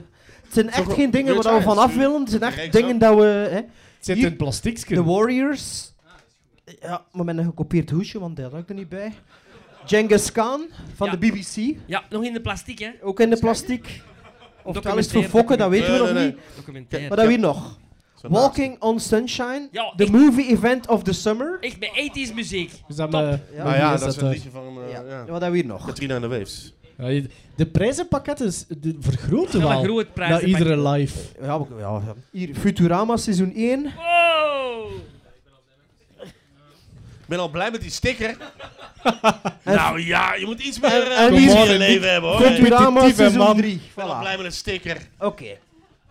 Speaker 5: zijn echt
Speaker 8: Choco-
Speaker 5: geen dingen
Speaker 8: Weird
Speaker 5: waar we van
Speaker 8: Science.
Speaker 5: af willen. Het zijn echt
Speaker 8: Reeks
Speaker 5: dingen
Speaker 8: ook.
Speaker 5: dat we... Hè,
Speaker 6: Het zit
Speaker 5: Hier-
Speaker 6: in plastiekske.
Speaker 5: The Warriors. Ja, maar met een gekopieerd hoesje, want daar had ik er niet bij. Genghis Khan van
Speaker 4: Ja.
Speaker 5: de BBC.
Speaker 4: Ja, nog in de plastic, hè?
Speaker 5: Ook in de plastic. Of is het voor
Speaker 4: Documentaire,
Speaker 5: fokken, dat weten we
Speaker 8: Eh, Nee,
Speaker 5: nog
Speaker 8: nee,
Speaker 5: niet.
Speaker 4: Documentaire.
Speaker 5: Wat hebben we hier nog?
Speaker 8: Zo naast.
Speaker 5: Walking on Sunshine.
Speaker 4: Ja,
Speaker 5: the
Speaker 4: echt.
Speaker 5: movie event of the summer.
Speaker 4: Echt met 80s muziek.
Speaker 6: Is
Speaker 4: Top.
Speaker 6: dat maar-
Speaker 5: Ja.
Speaker 8: Nou
Speaker 6: wie
Speaker 8: ja, dat is een
Speaker 6: daar?
Speaker 8: liedje van eh,
Speaker 5: ja.
Speaker 8: ja.
Speaker 5: Wat hebben we hier nog?
Speaker 8: Katrina en de Waves.
Speaker 6: Ja, je- De prijzenpakketten is- de vergroten
Speaker 4: Ja,
Speaker 6: wel.
Speaker 4: dat groot prijzen-
Speaker 6: Na iedere live.
Speaker 5: Ja, we- ja, ja. Hier, Futurama seizoen
Speaker 8: Oh,
Speaker 5: 1.
Speaker 4: Wow!
Speaker 8: Ik ben al blij met die sticker. nou ja, je moet iets meer eh,
Speaker 5: en
Speaker 8: plezier
Speaker 5: die-
Speaker 8: in je leven hebben hoor. Ik
Speaker 5: Futurama
Speaker 6: Competitieve
Speaker 5: seizoen
Speaker 6: man.
Speaker 5: 3.
Speaker 8: ben al
Speaker 5: Voilà.
Speaker 8: blij met een sticker.
Speaker 5: Oké.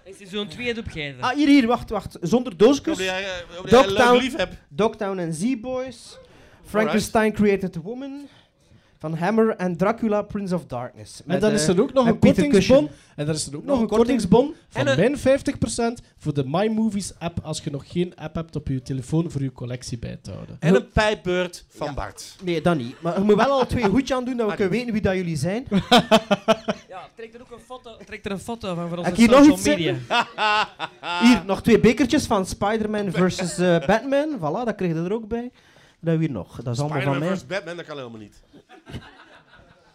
Speaker 4: Is er zo'n tweede opgeven?
Speaker 5: Ah, hier, hier, wacht, wacht. Zonder
Speaker 8: Ik hoop dat
Speaker 5: dooskus.
Speaker 8: jij, eh, ik hoop dat jij
Speaker 5: Dogtown.
Speaker 8: leuk lief hebt.
Speaker 5: Dogtown and Z-Boys. Frankenstein Created a Woman. Van Hammer en Dracula, Prince of Darkness.
Speaker 6: En dan
Speaker 5: eh,
Speaker 6: is er ook nog
Speaker 5: met
Speaker 6: een
Speaker 5: Peter
Speaker 6: kortingsbon.
Speaker 5: Cushing.
Speaker 6: En dan is er
Speaker 5: Nog
Speaker 6: ook nog
Speaker 5: een
Speaker 6: een
Speaker 5: korting.
Speaker 6: kortingsbon van
Speaker 4: En
Speaker 6: min 50% voor de My Movies app als je nog geen app hebt op je telefoon voor je collectie bij te houden.
Speaker 8: En een pijpbeurt van Bart.
Speaker 5: Nee, dat niet. Maar je moet wel al twee hoedjes aan doen, dat
Speaker 8: Ah,
Speaker 5: we kunnen
Speaker 8: dus.
Speaker 5: weten wie dat jullie zijn.
Speaker 4: Ja, trek er ook een foto, trek er een foto van voor
Speaker 5: Heb
Speaker 4: onze
Speaker 5: je hier nog
Speaker 4: social
Speaker 5: iets
Speaker 4: media.
Speaker 5: Hier, nog twee bekertjes van Spider-Man versus eh, Batman. Voilà, dat kreeg je er ook bij. Dat hebben we hier nog. Dat is allemaal van
Speaker 8: Spider-Man
Speaker 5: mij.
Speaker 8: vs. Batman, dat kan helemaal niet.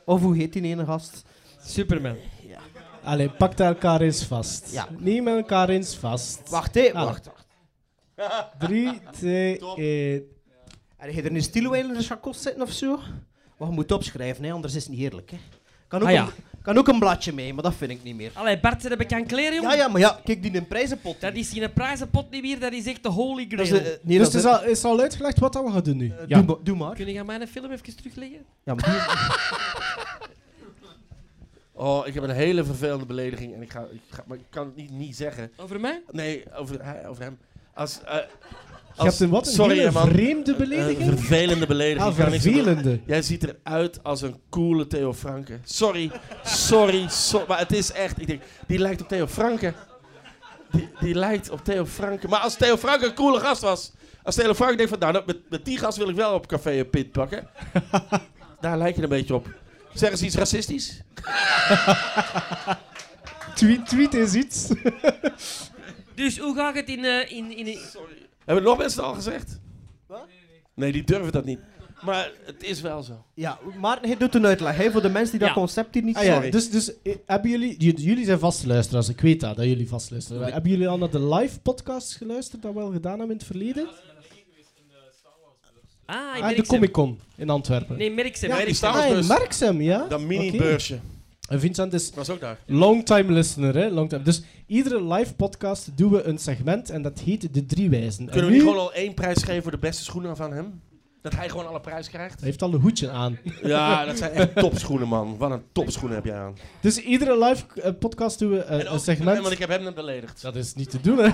Speaker 5: Of hoe heet die ene gast?
Speaker 4: Superman.
Speaker 6: Allee, pak daar elkaar eens vast.
Speaker 5: Ja.
Speaker 6: Neem elkaar eens vast.
Speaker 5: Wacht, hé,
Speaker 6: Ah.
Speaker 5: wacht. wacht.
Speaker 6: 3, 2, 1.
Speaker 5: En je er een stilo in de chacos zitten of zo? Wat je moet opschrijven, hè, anders is het niet eerlijk. Hè. Kan, ook
Speaker 4: Ah, ja. Ah,
Speaker 5: een, kan ook een bladje mee, maar dat vind ik niet meer.
Speaker 4: Allee, Bart, ze hebben kan kleren, jongen.
Speaker 5: Ja, ja, maar ja, kijk die een prijzenpot.
Speaker 4: Dat is geen prijzenpot niet meer, dat is echt de holy grail.
Speaker 5: Dat is, eh, nee,
Speaker 6: Dus het
Speaker 5: dat
Speaker 6: is
Speaker 5: is-
Speaker 6: al, is al uitgelegd wat dat we gaan doen nu.
Speaker 5: eh,
Speaker 6: ja.
Speaker 5: doe, ma- doe maar.
Speaker 4: Kun je aan mijn film even terugleggen?
Speaker 5: Ja, maar die is-
Speaker 8: Oh, ik heb een hele vervelende belediging en ik, ga, ik, ga, maar ik kan het niet, niet zeggen.
Speaker 4: Over mij?
Speaker 8: Nee, over, hij- over hem. Als, eh,
Speaker 6: Je
Speaker 8: als-
Speaker 6: hebt een wat een
Speaker 8: sorry,
Speaker 6: hele
Speaker 8: hè, man.
Speaker 6: vreemde
Speaker 8: Een, een
Speaker 6: belediging.
Speaker 8: vervelende belediging.
Speaker 6: Ah,
Speaker 8: Ik kan niks aan doen.
Speaker 6: vervelende.
Speaker 8: Jij ziet eruit als een coole Theo Franken. Sorry, sorry, so- maar het is echt. Ik denk, die lijkt op Theo Franken. Die, die lijkt op Theo Franken. Maar als Theo Franken een coole gast was. Als Theo Franken denkt van, nou, dat- met, met die gast wil ik wel op café een pit pakken. Daar lijkt je een beetje op. Zeggen ze iets racistisch?
Speaker 6: Tweet, tweet is iets.
Speaker 4: Dus hoe gaat het in... eh, in, in, in-
Speaker 8: Hebben nog mensen het al gezegd? Wat? Nee, die durven dat niet. Maar het is wel zo.
Speaker 5: ja, Maarten, hij doet een uitleg hè, voor de mensen die dat
Speaker 4: Ja.
Speaker 5: concept hier niet
Speaker 6: Ah, ja,
Speaker 5: Sorry.
Speaker 6: dus, dus eh, hebben jullie, j- jullie zijn vaste luisteraars, ik weet dat, dat jullie vast luisteren. Maar Hebben jullie al naar de live podcasts geluisterd dat we al gedaan hebben in het verleden?
Speaker 4: Ah, in
Speaker 6: Ah, de
Speaker 4: Merksem.
Speaker 6: Comic Con in Antwerpen.
Speaker 4: Nee, Merksem.
Speaker 8: Ja, die
Speaker 4: Merksem.
Speaker 8: staan
Speaker 6: ah, in
Speaker 8: dus.
Speaker 6: Merksem, ja?
Speaker 8: Dat
Speaker 6: Oké.
Speaker 8: mini-beursje.
Speaker 6: En Vincent is
Speaker 8: Was ook daar.
Speaker 6: longtime listener, hè? Longtime. Dus iedere live podcast doen we een segment en dat heet De Drie Wijzen.
Speaker 8: Kunnen
Speaker 6: en
Speaker 8: we niet
Speaker 6: nu-
Speaker 8: gewoon al één prijs geven voor de beste schoenen van hem? Dat hij gewoon alle prijs krijgt?
Speaker 6: Hij heeft al een hoedje aan.
Speaker 8: Ja, dat zijn echt topschoenen, man. Wat een topschoenen heb jij aan.
Speaker 6: Dus iedere live eh, podcast doen we eh,
Speaker 8: En
Speaker 6: een
Speaker 8: ook,
Speaker 6: segment.
Speaker 8: want ik heb hem net beledigd.
Speaker 6: Dat is niet te doen, hè?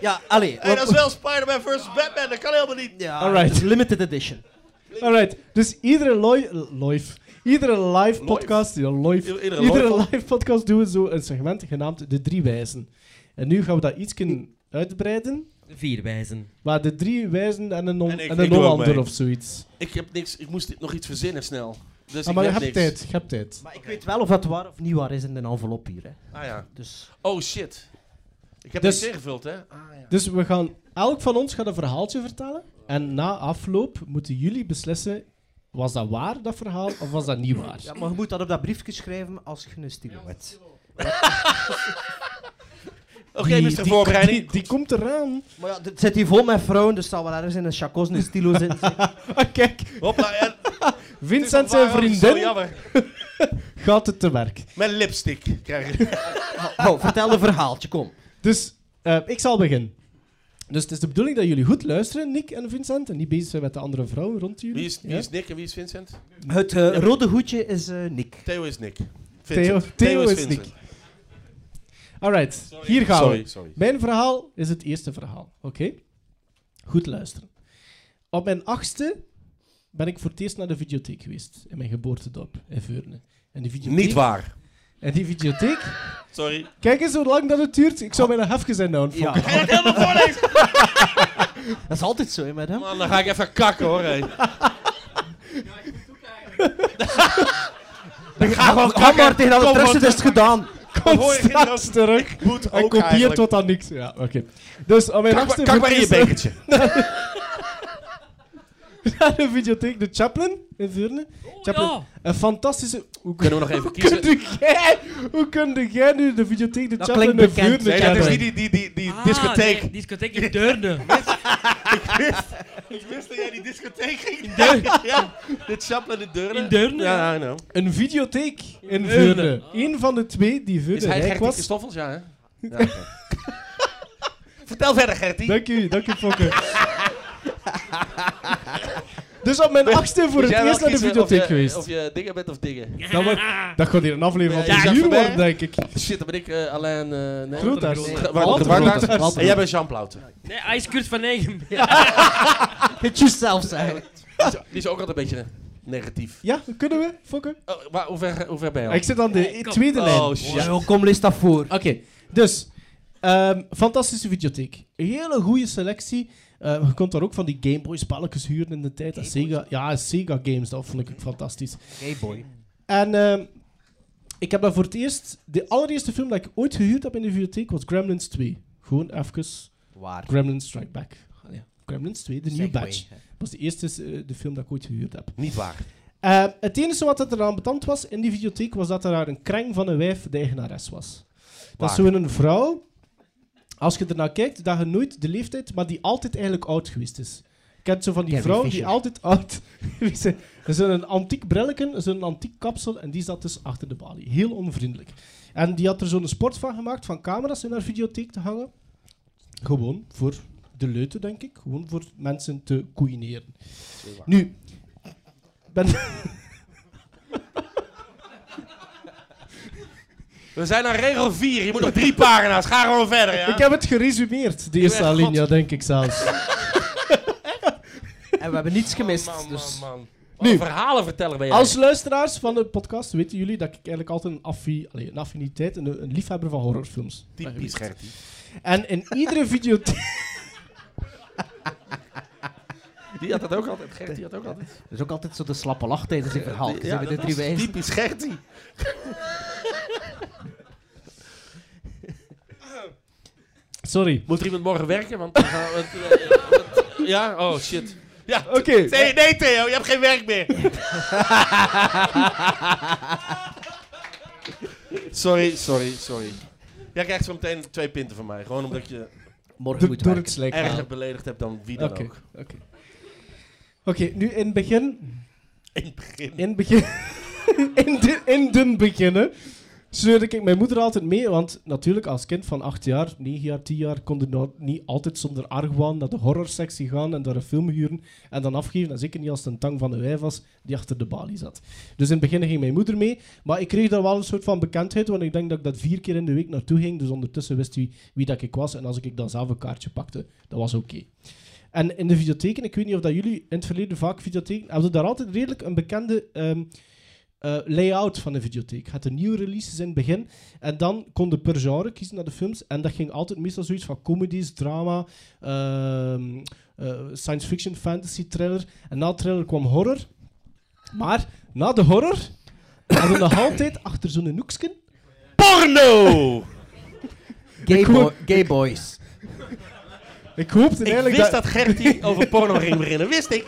Speaker 5: Ja, allee.
Speaker 8: Hey, dat is wel Spider-Man vs. Batman, dat kan helemaal niet.
Speaker 5: Ja,
Speaker 6: Alright.
Speaker 5: limited edition.
Speaker 6: Alright, dus iedere loi- live, iedere live podcast, ja, live,
Speaker 8: Iedere
Speaker 6: iedere,
Speaker 8: live pod-
Speaker 6: live podcast doen we zo een segment genaamd de drie wijzen. En nu gaan we dat iets uitbreiden,
Speaker 4: Vier wijzen.
Speaker 6: maar de drie wijzen en een non-
Speaker 8: En ik-
Speaker 6: en een
Speaker 8: ik doe ook
Speaker 6: Hollander
Speaker 8: mee.
Speaker 6: of zoiets.
Speaker 8: Ik heb niks, ik moest dit nog iets verzinnen snel. Dus
Speaker 6: Ah,
Speaker 8: ik
Speaker 6: maar je
Speaker 8: heb
Speaker 6: hebt
Speaker 8: niks.
Speaker 6: tijd, je hebt tijd.
Speaker 5: Maar ik weet wel of dat waar of niet waar is in de envelop hier. Hè.
Speaker 8: Ah ja.
Speaker 5: Dus
Speaker 8: Oh shit. Ik heb
Speaker 6: Dus-
Speaker 8: niks ingevuld, hè? Ah ja.
Speaker 6: Dus we gaan, elk van ons gaat een verhaaltje vertellen en na afloop moeten jullie beslissen, was dat waar, dat verhaal, of was dat niet waar?
Speaker 5: Ja, maar je moet dat op dat briefje schrijven als je een stilo hebt.
Speaker 8: Oké,
Speaker 6: Die-
Speaker 8: Mr.
Speaker 6: die-
Speaker 8: Voorbereiding.
Speaker 6: Die, die komt eraan.
Speaker 5: Maar ja, het zit hier vol met vrouwen, dus het zal wel ergens in een chacos en een stilo zitten.
Speaker 6: Ah, kijk,
Speaker 8: Hopla, en,
Speaker 6: Vincent zijn
Speaker 8: Waarom? Sorry,
Speaker 6: vriendin.
Speaker 8: jammer.
Speaker 6: gaat het te werk.
Speaker 8: Met lipstick krijg je.
Speaker 5: Oh, vertel een verhaaltje, kom.
Speaker 6: Dus eh, ik zal beginnen. Dus het is de bedoeling dat jullie goed luisteren, Nick en Vincent, en niet bezig zijn met de andere vrouwen rond jullie.
Speaker 8: Wie is, wie
Speaker 6: Ja?
Speaker 8: is Nick en wie is Vincent?
Speaker 5: Het eh, rode hoedje is eh, Nick.
Speaker 8: Theo is Nick.
Speaker 6: Theo,
Speaker 8: Vincent.
Speaker 6: Theo, is
Speaker 8: Vincent.
Speaker 6: Nick. Alright, hier gaan
Speaker 8: Sorry,
Speaker 6: we.
Speaker 8: sorry.
Speaker 6: Mijn verhaal is het eerste verhaal. Oké? Goed luisteren. Op mijn achtste ben ik voor het eerst naar de videotheek geweest. In mijn geboortedorp, in Veurne. En die videotheek...
Speaker 8: Niet waar.
Speaker 6: En die videotheek...
Speaker 8: Sorry.
Speaker 6: Kijk eens hoe lang dat het duurt. Ik zou bijna hefjes zijn nou.
Speaker 5: Ja.
Speaker 6: Ja.
Speaker 5: Dat is altijd zo, hè, met hem.
Speaker 8: Man, dan ga ik even kakken hoor. Hey. Dan ga gewoon
Speaker 5: Kom maar,
Speaker 8: kakken.
Speaker 5: tegen dat
Speaker 8: Kom
Speaker 5: het
Speaker 8: maar
Speaker 5: rest is het gedaan.
Speaker 6: Kom
Speaker 8: Hoor je
Speaker 6: straks terug.
Speaker 8: Moet
Speaker 6: En
Speaker 8: ook
Speaker 6: kopieer
Speaker 8: eigenlijk.
Speaker 6: tot aan niks. Ja, oké. Dus op mijn
Speaker 8: Kak
Speaker 6: achtste...
Speaker 8: maar- Kak maar in je
Speaker 6: verkies-
Speaker 8: bekertje.
Speaker 6: naar de videotheek de Chaplin in Veurne. Chaplin.
Speaker 4: Oh, ja.
Speaker 6: Een fantastische... Hoe
Speaker 8: Kunnen we nog even
Speaker 6: kun-
Speaker 8: kiezen?
Speaker 6: kun jij- Hoe kun jij nu de videotheek de
Speaker 5: Dat
Speaker 6: Chaplin
Speaker 5: klinkt
Speaker 6: in
Speaker 5: bekend.
Speaker 6: Veurne
Speaker 8: Nee, dat is Ah,
Speaker 6: kennen?
Speaker 8: niet die, die, die, die discotheek.
Speaker 4: Ah, nee, discotheek in Deurne.
Speaker 8: Ik wist dat jij die discotheek ging. In
Speaker 4: Deurne.
Speaker 8: ja, de Chaplin de Deurne.
Speaker 4: In Deurne?
Speaker 8: Ja, I know.
Speaker 6: Een videotheek in
Speaker 4: Veurne.
Speaker 6: Veurne. Eén van de twee die
Speaker 8: Is
Speaker 6: Veurne
Speaker 8: hij
Speaker 6: rijk
Speaker 8: Gertie
Speaker 6: was.
Speaker 8: Christoffels? Ja, hè? Ja, oké. Vertel verder, Gertie.
Speaker 6: Dank u, dank u, Fokke. dus op mijn achtste voor
Speaker 8: Moet
Speaker 6: het
Speaker 8: jij wel
Speaker 6: eerst naar de
Speaker 8: kiezen
Speaker 6: videotheek
Speaker 8: of je-
Speaker 6: geweest.
Speaker 8: Of je dingen bent of dingen.
Speaker 6: Dat, wordt, dat gaat hier een aflevering
Speaker 8: Ja,
Speaker 6: van
Speaker 8: ja,
Speaker 6: een uur
Speaker 8: voorbij.
Speaker 6: worden, denk ik.
Speaker 8: Shit, dan ben ik eh alleen... eh nee,
Speaker 6: Groothuis.
Speaker 8: Nee,
Speaker 6: Walter
Speaker 8: Walter
Speaker 6: Groothuis.
Speaker 8: Groothuis. En jij bent Jean Plauten.
Speaker 4: Nee, hij is Kurt van Eigen.
Speaker 5: Het jezelf zeggen.
Speaker 8: Die is ook altijd een beetje negatief.
Speaker 6: Ja, kunnen we, Fokke?
Speaker 8: Oh, maar hoe ver, hoe ver ben je al?
Speaker 6: Ik zit aan de
Speaker 4: Hey, kom.
Speaker 6: tweede lijn.
Speaker 8: Oh,
Speaker 6: Oké,
Speaker 8: shit.
Speaker 5: Zo, kom, lees dat voor.
Speaker 6: dus. ehm, fantastische videotheek. Een hele goede selectie. Eh, je kon daar ook van die Game Boy spelletjes huren in de tijd. En Sega, ja, Sega games, dat vond ik fantastisch.
Speaker 5: Hey boy.
Speaker 6: En ehm, ik heb daar voor het eerst... De allereerste film dat ik ooit gehuurd heb in de videotheek was Gremlins 2. Gewoon even
Speaker 5: Waar?
Speaker 6: Gremlins Strike Back. Allee, Gremlins 2, de New
Speaker 5: Segway,
Speaker 6: Batch.
Speaker 5: hè.
Speaker 6: Dat was de eerste eh, de film dat ik ooit gehuurd heb.
Speaker 8: Niet waar.
Speaker 6: Eh, het enige wat er aan betand was in die videotheek was dat er daar een kreng van een wijf de eigenares was. Dat is
Speaker 8: Waar?
Speaker 6: zo'n vrouw, als je ernaar kijkt, dat je nooit de leeftijd, maar die altijd eigenlijk oud geweest is. Ik ken zo van die
Speaker 5: Carrie
Speaker 6: vrouw die
Speaker 5: Fisher.
Speaker 6: altijd oud geweest is. Dat is een antiek brilleken, zo'n antiek kapsel en die zat dus achter de balie. Heel onvriendelijk. En die had er zo'n sport van gemaakt, van camera's in haar videotheek te hangen. Gewoon voor de leuten, denk ik. Gewoon voor mensen te koeineren. Nu, ben,
Speaker 8: We zijn aan regel 4. Je moet nog drie pagina's. Ga gewoon verder, ja?
Speaker 6: Ik heb het geresumeerd, de eerste
Speaker 8: bent God.
Speaker 6: alinea, denk ik zelfs.
Speaker 5: En we hebben niets gemist.
Speaker 8: Oh, Man, man,
Speaker 5: dus.
Speaker 8: man.
Speaker 6: Nu.
Speaker 8: nu. verhalen vertellen ben jij.
Speaker 6: Als luisteraars van de podcast weten jullie dat ik eigenlijk altijd een, affi allee, een affiniteit, een, een liefhebber van horrorfilms ben
Speaker 8: Typisch
Speaker 6: geweest.
Speaker 8: Gertie.
Speaker 6: En in iedere videotheek...
Speaker 8: Die had dat ook altijd. Gertie had ook altijd.
Speaker 5: Dat is ook altijd zo de slappe lach tijdens een verhaal.
Speaker 8: Ja,
Speaker 5: Ze hebben de
Speaker 8: dat
Speaker 5: drie
Speaker 8: is
Speaker 5: wijzen.
Speaker 8: Typisch Gertie.
Speaker 6: Sorry.
Speaker 8: Moet er iemand morgen werken? Want dan gaan we het, eh, want- ja, oh shit. Ja,
Speaker 6: Oké.
Speaker 8: Theo- nee, Theo, je hebt geen werk meer. sorry, sorry, sorry. Jij krijgt zo meteen twee pinten van mij. Gewoon omdat je
Speaker 5: Morgen
Speaker 6: Do-
Speaker 5: moet
Speaker 6: door het
Speaker 5: werken.
Speaker 6: slijk
Speaker 8: erger
Speaker 6: halen.
Speaker 8: beledigd hebt dan wie dan
Speaker 6: Oké,
Speaker 8: ook.
Speaker 6: oké. Oké, nu in het begin...
Speaker 8: In het begin.
Speaker 6: In het begin... in, de, in den beginnen... Sleurde ik mijn moeder altijd mee, want natuurlijk als kind van 8 jaar, 9 jaar, 10 jaar, kon je nou niet altijd zonder argwaan naar de horrorsectie gaan en daar een film huren en dan afgeven. En zeker niet als het een tang van een wijf was die achter de balie zat. Dus in het begin ging mijn moeder mee, maar ik kreeg daar wel een soort van bekendheid, want ik denk dat ik dat vier keer in de week naartoe ging. Dus ondertussen wist hij wie dat ik was en als ik dan zelf een kaartje pakte, dat was oké. En in de videotheken, ik weet niet of dat jullie in het verleden vaak videotheken, hebben ze daar altijd redelijk een bekende ehm, eh, layout van de videotheek. Je had de nieuwe releases in het begin en dan kon je per genre kiezen naar de films. En dat ging altijd meestal zoiets van comedies, drama, ehm, eh, science fiction, fantasy, thriller. En na thriller kwam horror. Maar na de horror hadden we nog altijd achter zo'n noeksken
Speaker 8: Porno!
Speaker 5: Gay,
Speaker 6: hoor-
Speaker 5: boy- gay boys.
Speaker 6: Ik hoopte
Speaker 8: ik
Speaker 6: eigenlijk
Speaker 8: wist
Speaker 6: dat-
Speaker 8: dat Gertie over porno ging beginnen. Wist ik.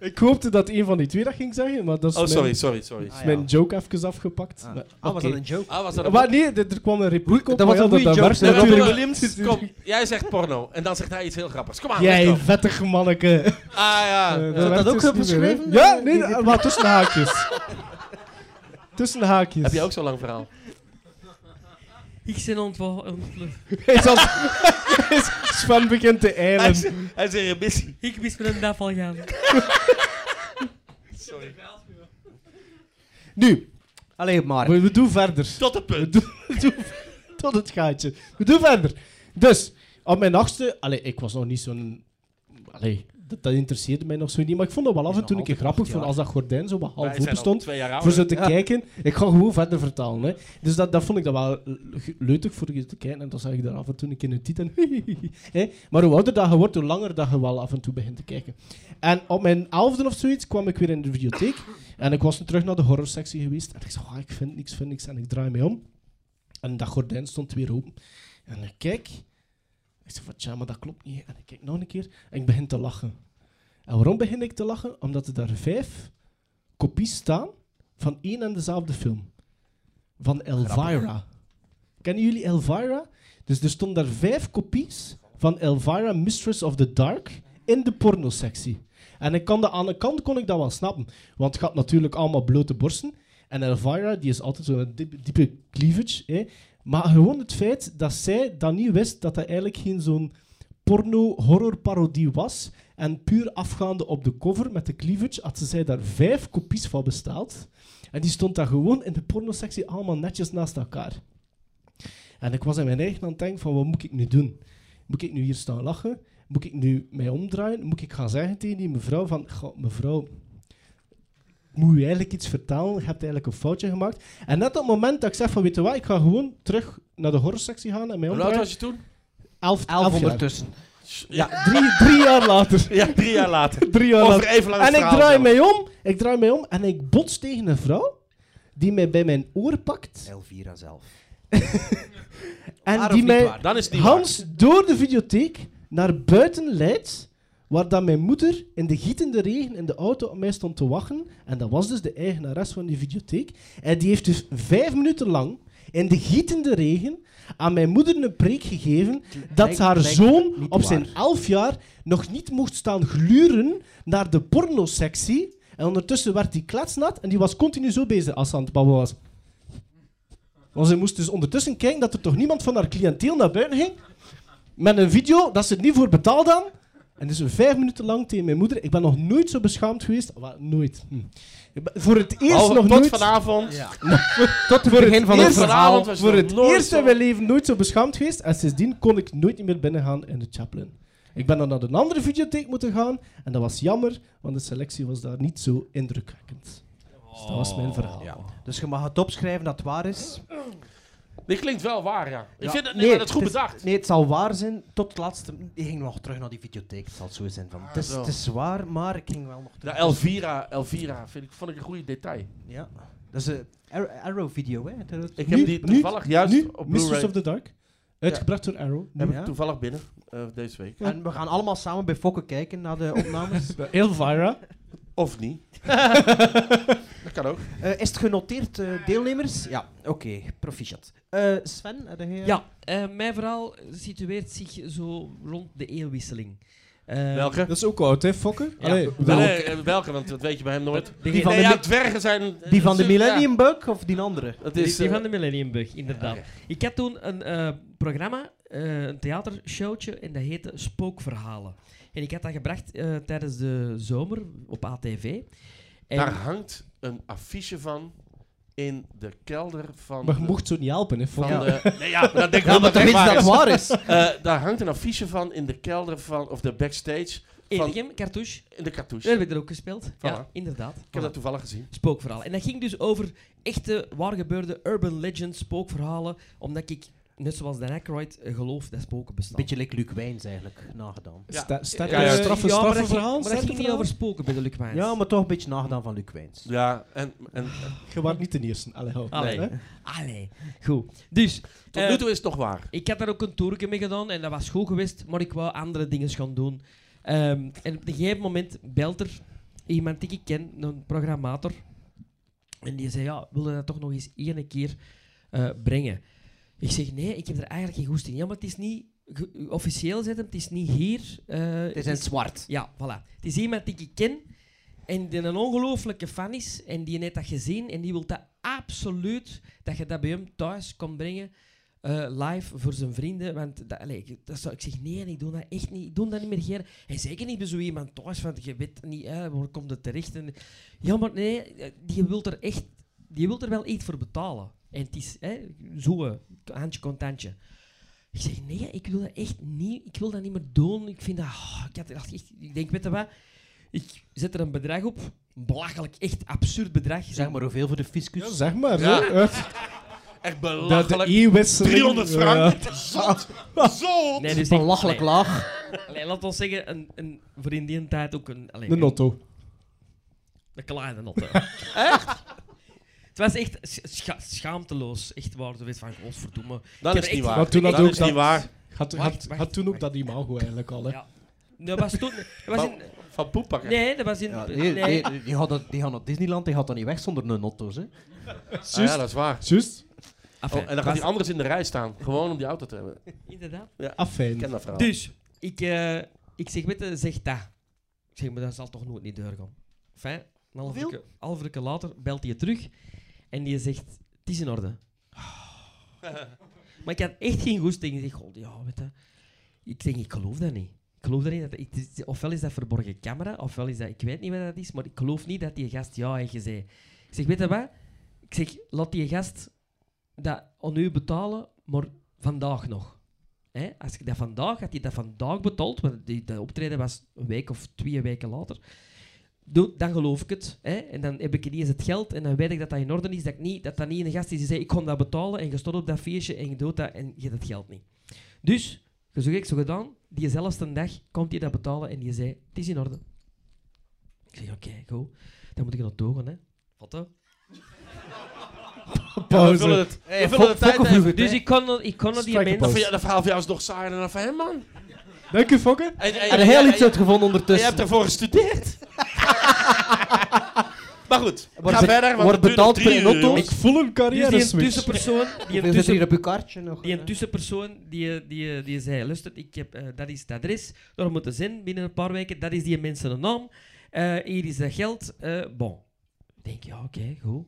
Speaker 6: Ik hoopte dat een van die twee dat ging zeggen, maar dat is
Speaker 8: Oh, sorry,
Speaker 6: mijn,
Speaker 8: sorry, sorry.
Speaker 5: Ah, ja.
Speaker 6: mijn joke even afgepakt. Maar-
Speaker 5: Ah, was
Speaker 6: oké.
Speaker 5: dat een joke?
Speaker 8: Ah, was dat een
Speaker 6: Maar nee, dit- er kwam een repliek
Speaker 5: dat
Speaker 6: op. maar
Speaker 5: was
Speaker 6: ja,
Speaker 5: een goeie
Speaker 6: werkt
Speaker 5: joke,
Speaker 8: Nee,
Speaker 5: Robin
Speaker 6: natuurlijk.
Speaker 8: Robin Williams, kom, jij zegt porno. En dan zegt hij iets heel grappigs. Kom aan,
Speaker 6: Jij
Speaker 8: let's go.
Speaker 6: vettig manneke.
Speaker 8: Ah ja.
Speaker 6: Eh,
Speaker 5: dat
Speaker 6: werkt
Speaker 5: ook
Speaker 6: dus niet meer, hè.
Speaker 5: opgeschreven?
Speaker 6: Ja,
Speaker 5: Eh,
Speaker 6: nee,
Speaker 5: die-
Speaker 6: maar tussen de haakjes. Tussen de haakjes.
Speaker 8: Heb je ook zo'n lang verhaal?
Speaker 4: Ik zit ontwa- ontploft.
Speaker 6: Hij is als... is Sven begint te
Speaker 8: Hij is,
Speaker 6: eilen.
Speaker 8: hij is in remissie.
Speaker 4: Ik wist met een daf al gaan.
Speaker 8: Sorry.
Speaker 6: Nu,
Speaker 5: Allee, maar.
Speaker 6: we, we doen verder.
Speaker 8: Tot het
Speaker 6: We
Speaker 8: punt.
Speaker 6: doen, we doen- tot het gaatje. We doen verder. Dus, op mijn achtste... Allee, ik was nog niet zo'n... Allee, dat, dat interesseerde mij nog zo niet. Maar ik vond dat wel af en toe een keer grappig. Van als dat gordijn zo wat half
Speaker 8: Wij zijn
Speaker 6: open
Speaker 8: al
Speaker 6: stond.
Speaker 8: twee jaar
Speaker 6: Voor
Speaker 8: ouder.
Speaker 6: zo te kijken. Ik ga gewoon verder vertalen. Hè. Dus dat, dat vond ik dat wel le- leutig voor je te kijken. En dan zag ik daar af en toe een keer een titel. hè. maar hoe ouder dat je wordt, hoe langer dat je wel af en toe begint te kijken. En op mijn elfde of zoiets kwam ik weer in de videotheek. En ik was nu terug naar de horrorsectie geweest. En ik zei, "Ah, ik vind niks, vind niks. En ik draai mij om. En dat gordijn stond weer open. En ik kijk. Ik zeg van, tja, maar dat klopt niet. En ik kijk nog een keer en ik begin te lachen. En waarom begin ik te lachen? Omdat er daar vijf kopies staan van één en dezelfde film. Van Elvira. Kennen jullie Elvira? Dus er stonden daar vijf kopies van Elvira, Mistress of the Dark, in de pornosectie. En ik kan dat, aan de kant kon ik dat wel snappen. Want het gaat natuurlijk allemaal blote borsten. En Elvira, die is altijd zo'n diep- diepe cleavage. Hè. Maar gewoon het feit dat zij dat niet wist, dat dat eigenlijk geen zo'n porno-horrorparodie was. En puur afgaande op de cover met de cleavage had ze zij daar vijf kopies van besteld. En die stond daar gewoon in de pornosectie allemaal netjes naast elkaar. En ik was in mijn eigen aan het denken van, wat moet ik nu doen? Moet ik nu hier staan lachen? Moet ik nu mij omdraaien? Moet ik gaan zeggen tegen die mevrouw van, "Goh, mevrouw, moet u eigenlijk iets vertellen? Je hebt eigenlijk een foutje gemaakt. En net op het moment dat ik zeg van, weet je wat, ik ga gewoon terug naar de horrorsectie gaan en mij
Speaker 8: Hoe oud
Speaker 6: omdraaien.
Speaker 8: was je toen?
Speaker 6: Elf, elf,
Speaker 5: Elf
Speaker 6: jaar.
Speaker 5: ondertussen.
Speaker 6: Ja, drie, drie jaar later.
Speaker 8: Ja, drie jaar later.
Speaker 6: Drie jaar
Speaker 8: Over
Speaker 6: later.
Speaker 8: even lang
Speaker 6: En ik draai mij om, ik draai mij om en ik bots tegen een vrouw die mij bij mijn oor pakt
Speaker 5: Elvira zelf.
Speaker 6: en
Speaker 5: Waar of
Speaker 6: die
Speaker 5: niet
Speaker 6: mij
Speaker 5: waar?
Speaker 8: Dan is het niet
Speaker 6: Hans door de videotheek naar buiten leidt, waar dan mijn moeder in de gietende regen in de auto op mij stond te wachten. En dat was dus de eigenares van die videotheek. En die heeft dus vijf minuten lang in de gietende regen aan mijn moeder een preek gegeven dat
Speaker 5: Lijkt-
Speaker 6: haar
Speaker 5: lijkt
Speaker 6: zoon
Speaker 5: niet
Speaker 6: op zijn
Speaker 5: waar.
Speaker 6: elf jaar nog niet mocht staan gluren naar de pornosectie. En ondertussen werd die kletsnat en die was continu zo bezig als ze aan het babbelen was. Want ze moest dus ondertussen kijken dat er toch niemand van haar cliënteel naar buiten ging. Met een video dat ze het niet voor betaald dan. En dus vijf minuten lang tegen mijn moeder. Ik ben nog nooit zo beschaamd geweest. Wa- nooit. Hm. Ik ben- Voor het eerst
Speaker 8: Behalve
Speaker 6: nog
Speaker 8: tot
Speaker 6: nooit.
Speaker 8: vanavond.
Speaker 5: Tot het begin van het
Speaker 6: eerst-
Speaker 5: verhaal.
Speaker 8: Vanavond was je
Speaker 6: Voor
Speaker 8: nog
Speaker 6: het
Speaker 8: nooit
Speaker 6: eerst
Speaker 8: zo-
Speaker 6: in mijn leven nooit zo beschaamd geweest. En sindsdien kon ik nooit meer binnengaan in de Chaplin. Ik ben dan naar een andere videotheek moeten gaan. En dat was jammer, want de selectie was daar niet zo indrukwekkend. Dus dat was mijn verhaal.
Speaker 5: Dus je mag het opschrijven dat het waar is.
Speaker 8: Dit klinkt wel waar, ja. Ik
Speaker 5: Ja.
Speaker 8: vind het, nee, maar dat is goed
Speaker 5: het
Speaker 8: bedacht.
Speaker 5: Nee, het zal waar zijn. Tot het laatste. Ik ging nog terug naar die videotheek. Het zal zo zijn. Van, het, is,
Speaker 8: Ah, zo.
Speaker 5: het is waar, maar ik ging wel nog
Speaker 8: De
Speaker 5: terug.
Speaker 8: Elvira, Elvira, vind ik, vond ik een goede detail.
Speaker 5: Ja. Dat is een Ar- Arrow-video, hè? Dat-
Speaker 8: Ik heb
Speaker 6: Nu-
Speaker 8: die
Speaker 6: nu-
Speaker 8: toevallig juist
Speaker 6: nu,
Speaker 8: op Blu-ray.
Speaker 6: Mistress of the Dark. Uitgebracht door Arrow.
Speaker 8: Heb
Speaker 5: Ja.
Speaker 8: ik toevallig binnen eh, deze week.
Speaker 5: En we gaan allemaal samen bij Fokke kijken naar de opnames.
Speaker 6: Elvira.
Speaker 8: Of niet. dat kan ook.
Speaker 5: Eh, is het genoteerd, eh, deelnemers? Ja, oké, proficiat. Eh, Sven, heb jij-
Speaker 4: Ja, eh, mijn verhaal situeert zich zo rond de eeuwwisseling. Eh,
Speaker 8: Welke?
Speaker 6: Dat is ook oud, hè, Fokker?
Speaker 4: Ja.
Speaker 6: Allee,
Speaker 8: Nee,
Speaker 6: wel-
Speaker 8: eh, welke, want dat weet je bij hem nooit.
Speaker 4: Die
Speaker 5: van
Speaker 8: nee,
Speaker 5: de
Speaker 8: ja,
Speaker 5: mi-
Speaker 8: dwergen zijn... eh,
Speaker 5: Die van de
Speaker 8: ze- ja,
Speaker 5: Millennium Bug of die andere?
Speaker 8: dat
Speaker 4: Die-
Speaker 8: is,
Speaker 4: die
Speaker 8: eh, Ah,
Speaker 4: van de Millenniumbug, inderdaad.
Speaker 8: oké.
Speaker 4: Ik had toen een eh, programma, eh, een theatershowtje, en dat heette Spookverhalen. En ik had dat gebracht eh, tijdens de zomer op ATV. En
Speaker 8: daar hangt een affiche van in de kelder van...
Speaker 6: Maar je
Speaker 8: de-
Speaker 6: mocht zo niet helpen, hè,
Speaker 8: van
Speaker 6: Fokker?
Speaker 8: de- nee, ja, maar dat denk ik
Speaker 5: Ja,
Speaker 8: wel
Speaker 5: maar
Speaker 8: dat
Speaker 5: toch
Speaker 8: het
Speaker 5: is
Speaker 8: waar
Speaker 5: dat
Speaker 8: is.
Speaker 5: waar is.
Speaker 8: Eh, daar hangt een affiche van in de kelder van... Of de backstage van...
Speaker 4: Edegem, Cartouche,
Speaker 8: In de
Speaker 4: daar
Speaker 8: cartouche.
Speaker 4: heb ik er ook gespeeld. Ja,
Speaker 8: Dus, Voilà.
Speaker 4: inderdaad.
Speaker 8: Ik heb dat toevallig gezien.
Speaker 4: spookverhaal. En dat ging dus over echte, waargebeurde urban legends, spookverhalen. Omdat ik, net zoals Dan Aykroyd, eh, geloof dat spoken bestaan.
Speaker 5: Beetje like Luc Wijns eigenlijk, nagedaan.
Speaker 8: Ja.
Speaker 6: Sta- sterke-
Speaker 8: Ja, ja.
Speaker 6: straffe,
Speaker 4: Ja, maar dat
Speaker 6: straffe
Speaker 4: ging-
Speaker 6: verhaal? nou?
Speaker 4: Maar dat ging niet
Speaker 6: sterke
Speaker 4: over spoken bij de Luc Wijns.
Speaker 5: Ja, maar toch een beetje nagedaan van Luc Wijns.
Speaker 8: Ja, en, en
Speaker 6: verhaal? Je waart niet de eerste. Allee, hou op.
Speaker 4: Allee.
Speaker 6: Nee, hè?
Speaker 4: Allee. Goed. Dus,
Speaker 8: tot
Speaker 4: eh,
Speaker 8: nu toe is het toch waar.
Speaker 4: ik had daar ook een toerke mee gedaan en dat was goed geweest, maar ik wou andere dingen gaan doen. Ehm, en op een gegeven moment belt er iemand die ik ken, een programmator, en die zei, ja, wil je dat toch nog eens één keer eh, brengen? Ik zeg, nee, ik heb er eigenlijk geen goesting in. Ja, maar het is niet... ge- Officieel zet hem, het is niet hier. eh,
Speaker 5: Het is in het zwart.
Speaker 4: ja, voilà. Het is iemand die ik ken. En die een ongelooflijke fan is. En die heeft dat gezien. En die wil dat absoluut dat je dat bij hem thuis komt brengen. eh, live voor zijn vrienden. Want dat, allee, ik- dat zou ik zeggen, nee, ik doe dat echt niet. Ik doe dat niet meer. Ger. En zeker niet bij zo iemand thuis. Want je weet niet, hè, waar komt het terecht? En, ja, maar nee, eh, die wil er echt... Die wil er wel iets voor betalen. En het is hè, zo, eh, handje contantje. Ik zeg, nee, ik wil dat echt niet. Ik wil dat niet meer doen. Ik vind dat... ah, ik, had er echt, ik denk, weet je wat? Ik zet er een bedrag op. Een belachelijk, echt absurd bedrag.
Speaker 5: Zeg maar hoeveel voor de fiscus?
Speaker 6: Ja, zeg maar.
Speaker 4: Ja.
Speaker 6: Zo, eh.
Speaker 8: Echt
Speaker 6: Dat de eh, e-wisseling...
Speaker 8: 300 frank.
Speaker 6: Ja.
Speaker 8: Zot. Zot.
Speaker 4: Nee, dat is
Speaker 5: belachelijk laag.
Speaker 4: Allee, laat ons zeggen, een, een, voor in die tijd ook een... Allee,
Speaker 6: De notto.
Speaker 4: Een kleine notto. echt? Het was echt scha- scha- schaamteloos. Echt waar, ze weet van, godverdomme. Ik heb
Speaker 8: Dat is
Speaker 4: echt-
Speaker 8: niet waar.
Speaker 6: Had toen
Speaker 8: Dat
Speaker 6: dat ook
Speaker 8: is niet
Speaker 6: dat-
Speaker 8: waar.
Speaker 6: Had,
Speaker 4: Wacht,
Speaker 6: had,
Speaker 4: wacht,
Speaker 6: had toen ook
Speaker 4: wacht.
Speaker 6: dat imago eigenlijk al, hè.
Speaker 4: Ja. Dat was toen... Dat was in,
Speaker 8: Van poep pakken.
Speaker 4: nee, dat was in...
Speaker 5: Ja, die,
Speaker 4: nee,
Speaker 5: die, die, gaat, dat- die gaan naar Disneyland, die gaat dan niet weg zonder een notto's. Hè.
Speaker 8: Ah, ja, dat is waar.
Speaker 6: Juist.
Speaker 4: Enfin,
Speaker 8: Oh, en dan gaat
Speaker 4: was-
Speaker 8: die anders in de rij staan. Gewoon om die auto te hebben.
Speaker 4: Inderdaad.
Speaker 8: Ik ken
Speaker 6: Afijn.
Speaker 8: dat verhaal.
Speaker 4: Dus, ik, eh, ik zeg, weet je, zeg dat. Ik zeg, maar dat zal toch nooit niet doorgaan. Fijn, een halve
Speaker 5: Hoeveel?
Speaker 4: uurke- halve uurke later belt hij terug en die zegt, het is in orde. maar ik had echt geen goesting. Ik zeg, god, ja, weet je. Ik denk, ik geloof dat niet. Ik geloof dat niet. Dat, het is- ofwel is dat verborgen camera, ofwel is dat, ik weet niet wat dat is, maar ik geloof niet dat die gast ja heeft gezegd. Ik zeg, weet je wat? Ik zeg, laat die gast dat aan u betalen, maar vandaag nog. Hè? Als ik dat vandaag, had hij dat vandaag betaald, want die, dat optreden was een week of twee weken later, doe, dan geloof ik het. Hè? En dan heb ik niet eens het geld en dan weet ik dat dat in orde is, dat, ik niet, dat dat niet een gast is die zei, ik kon dat betalen en je stond op dat feestje en je doet dat en je hebt het geld niet. Dus, zo ik zo gedaan, diezelfde dag komt hij dat betalen en die zei, het is in orde. Ik zeg, oké, goed. Dan moet ik nog dogen, hè. Wat dan?
Speaker 8: Ja, we
Speaker 6: Pauze.
Speaker 8: vullen het. We vullen de tijd even.
Speaker 4: Dus ik kon, nog- ik kon nog die
Speaker 6: Strike a
Speaker 4: mensen... dus
Speaker 8: Dat vind je- dat verhaal van jou is nog saaier dan dat van hem, man.
Speaker 6: Dank u, Fokke.
Speaker 8: En, en,
Speaker 5: Er heel
Speaker 8: en-
Speaker 5: iets uitgevonden
Speaker 8: en je
Speaker 5: ondertussen.
Speaker 8: hebt ervoor gestudeerd. maar goed,
Speaker 5: Wordt be-
Speaker 8: ga verder. want
Speaker 5: wordt
Speaker 8: het duurt nog
Speaker 5: betaald
Speaker 8: drie
Speaker 5: per
Speaker 8: uur,
Speaker 5: notto?
Speaker 8: jongens.
Speaker 6: Ik voel een
Speaker 4: Dus
Speaker 6: carrière
Speaker 4: die
Speaker 6: switch.
Speaker 4: tussenpersoon, die
Speaker 5: Hoeveel zit er
Speaker 4: tussen-
Speaker 5: hier op je kaartje nog? eh?
Speaker 4: die tussenpersoon die, die, die zei, luister, ik heb, eh, dat is het adres, daar moet de zin binnen een paar weken, dat is die mensen een naam, eh, hier is dat geld, eh, bon. Ik denk, ja, oké, goed.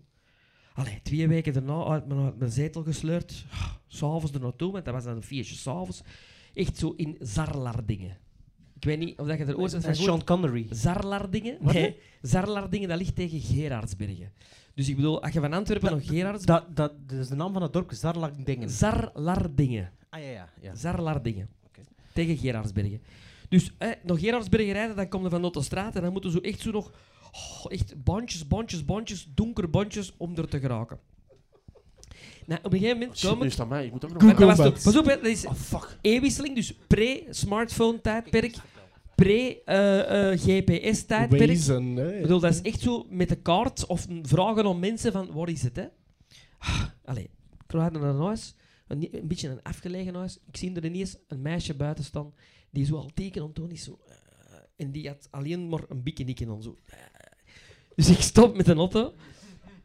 Speaker 4: Allee, twee weken daarna uit mijn, uit mijn zetel gesleurd, Ah, s'avonds er naartoe, want dat was dan een feestje s'avonds, echt zo in Zarlardingen. Ik weet niet of dat je er ooit eens van
Speaker 5: en
Speaker 4: gehoord
Speaker 5: Sean Connery.
Speaker 4: Zarlardingen?
Speaker 5: Wat,
Speaker 4: Nee,
Speaker 5: hè?
Speaker 4: Zarlardingen, dat ligt tegen Gerardsbergen. Dus ik bedoel, als je van Antwerpen nog Gerardsbergen...
Speaker 5: Dat, dat, dat is de naam van het dorp, Zarlakdingen.
Speaker 4: Zarlardingen.
Speaker 5: Ah ja, ja. ja.
Speaker 4: Zarlardingen. Tegen Gerardsbergen. Dus eh, nog Gerardsbergen rijden, dan komen we van Straat en dan moeten ze echt zo nog... oh, echt bandjes, bandjes, bandjes, donker bandjes om er te geraken. Nou, op een gegeven moment
Speaker 8: Shit, nu
Speaker 4: komen...
Speaker 8: is het aan mij. Ik moet ook nog...
Speaker 6: Google
Speaker 4: Maar dat was
Speaker 6: Maps.
Speaker 4: de- Pas op, hè, dat is e-wisseling, dus pre-smartphone-tijdperk, eh, pre-GPS-tijdperk.
Speaker 6: Wezen,
Speaker 4: Ik
Speaker 6: hè.
Speaker 4: bedoel, dat is echt zo met de kaart of een- vragen om mensen van waar is het, hè? Ah, Allee, ik rijd naar een huis, een, nie- een beetje een afgelegen huis. Ik zie er ineens een meisje buiten staan die zo al teken om te doen is. Zo, eh, en die had alleen maar een bikini aan. Zo. eh. Dus ik stop met een auto.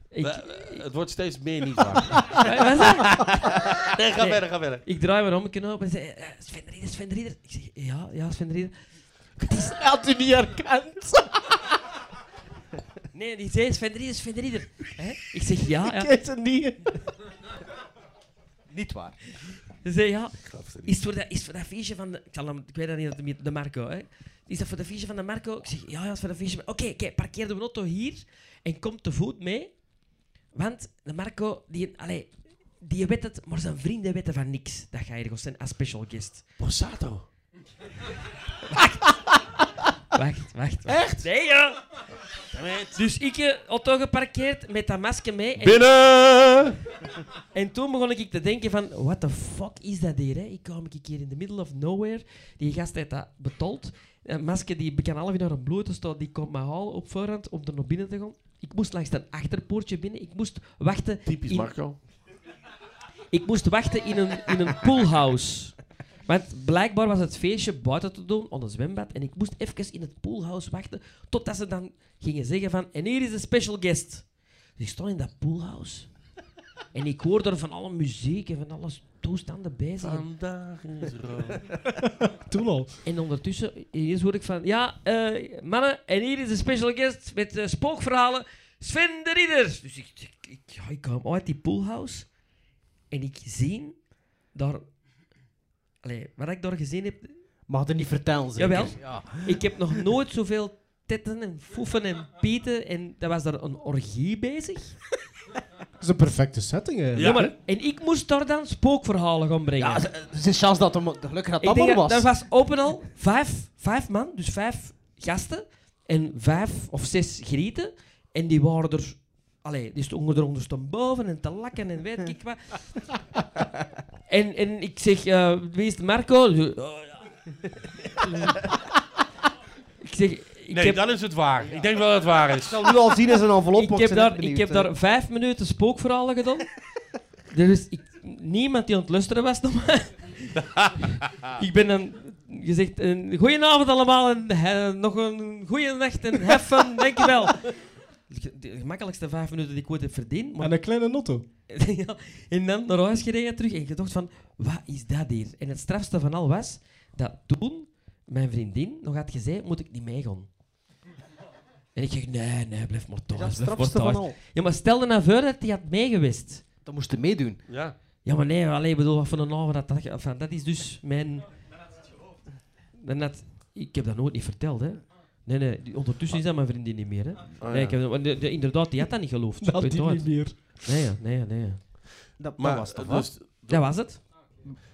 Speaker 4: Ik,
Speaker 8: Eh, Het wordt steeds meer niet waar.
Speaker 4: Wat is dat?
Speaker 8: Nee, ga
Speaker 4: Nee.
Speaker 8: verder, ga verder.
Speaker 4: ik draai me om, ik op en zei, eh, Sven de Rieder, Sven de Rieder. Ik zeg, ja, ja, Sven de Rieder. Het is... Had u niet herkend? nee, die zei, Sven de Rieder, Sven de Rieder. Hè? Ik zeg, ja, ja.
Speaker 5: het niet. niet waar.
Speaker 4: Ze zei ja. Is het voor dat, is het voor dat feestje van de. Ik, zal hem, ik weet dat niet, de- de Marco. Hè. Is dat voor dat feestje van de Marco? Ik zeg ja, ja, dat is voor dat feestje. van- Oké, oké, parkeer de auto hier en kom te voet mee. Want de Marco, die, allee, die weet het, maar zijn vrienden weten van niks. Dat ga je ergens zijn als special guest.
Speaker 8: Borsato.
Speaker 4: Wacht, wacht, wacht. Echt? Nee, ja. Dus ik eh, auto geparkeerd met dat masker mee. En
Speaker 8: Binnen!
Speaker 4: En toen begon ik te denken van, what the fuck is dat hier? Hè? Ik kwam ik hier in the middle of nowhere. Die gast heeft dat betold. Een masker die bekend half uur naar een blote staat, die komt mij halen op voorhand om er naar binnen te gaan. Ik moest langs een achterpoortje binnen. Ik moest wachten.
Speaker 8: Typisch
Speaker 4: in-
Speaker 8: Marco.
Speaker 4: ik moest wachten in een, in een poolhouse. Want blijkbaar was het feestje buiten te doen, aan een zwembad. En ik moest even in het poolhouse wachten, totdat ze dan gingen zeggen van... En hier is een special guest. Dus ik stond in dat poolhouse. En ik hoor daar van alle muziek en van alles toestanden bezig.
Speaker 8: Vandaag is rood.
Speaker 6: Toen al.
Speaker 4: En ondertussen, ineens hoor ik van... Ja, eh, mannen, en hier is een special guest met eh, spookverhalen. Sven de Ridder. Dus ik, ik, ik, ja, ik kwam uit die poolhouse. En ik zie daar... Allee, wat ik daar gezien heb...
Speaker 5: Mag het niet vertellen, zeker?
Speaker 4: Jawel.
Speaker 5: Ja.
Speaker 4: Ik heb nog nooit zoveel tetten en foefen en pieten. En dat was daar een orgie bezig.
Speaker 6: Dat is een perfecte setting, hè.
Speaker 4: Ja. maar, en ik moest daar dan spookverhalen gaan brengen.
Speaker 5: Ja, ze- ze is chance dat hem gelukkig dat
Speaker 4: Ik
Speaker 5: allemaal
Speaker 4: denk
Speaker 5: was.
Speaker 4: Dat was open al vijf, vijf man, dus vijf gasten en vijf of zes grieten. En die waren er, allee, die stonden er ondersteboven boven en te lakken en weet ik wat. en, en ik zeg, eh, wie is de Marco? Zo, "Oh, ja." ik zeg, ik
Speaker 8: Nee,
Speaker 4: heb,
Speaker 8: dan is het waar. Ik denk wel dat het waar is.
Speaker 5: zal nu al zien in zijn envelop.
Speaker 4: ik
Speaker 5: want
Speaker 4: heb,
Speaker 5: ben echt
Speaker 4: daar, ik
Speaker 5: benieuwd,
Speaker 4: heb
Speaker 5: hè.
Speaker 4: daar vijf minuten spookverhalen gedaan. er is ik, niemand die aan het luisteren was naar mij. ik ben dan gezegd, een goedenavond allemaal en eh, nog een goede nacht en have fun, dankjewel. De gemakkelijkste vijf minuten die ik ooit heb verdiend. maar-
Speaker 6: En een kleine notto.
Speaker 4: ja, en dan naar huis gereden terug en gedacht van, wat is dat hier? En het strafste van al was dat toen mijn vriendin nog had gezegd, moet ik niet meegaan. En ik zeg, nee, nee, blijf maar thuis.
Speaker 5: Dat is het
Speaker 4: blijf maar
Speaker 5: strafste van
Speaker 4: thuis.
Speaker 5: al.
Speaker 4: Ja, maar stel je nou voor dat hij had meegewist.
Speaker 5: Dat moest hij meedoen.
Speaker 8: Ja.
Speaker 4: Ja, maar nee, alleen bedoel, wat voor een avond dat dat... ge- Enfin, dat is dus mijn... Dan had, ik heb dat nooit niet verteld, hè. Nee, nee, die- ondertussen is dat mijn vriendin niet meer, hè.
Speaker 8: Ah, Oh,
Speaker 4: Nee, ik heb, want de- de- inderdaad, die had dat niet geloofd.
Speaker 6: Dat die
Speaker 4: Uiteraard.
Speaker 6: niet meer.
Speaker 4: Nee, ja, nee, ja, nee. ja.
Speaker 5: Dat,
Speaker 8: Maar,
Speaker 5: dat was toch
Speaker 8: eh,
Speaker 5: was.
Speaker 8: dus,
Speaker 4: Dat was het.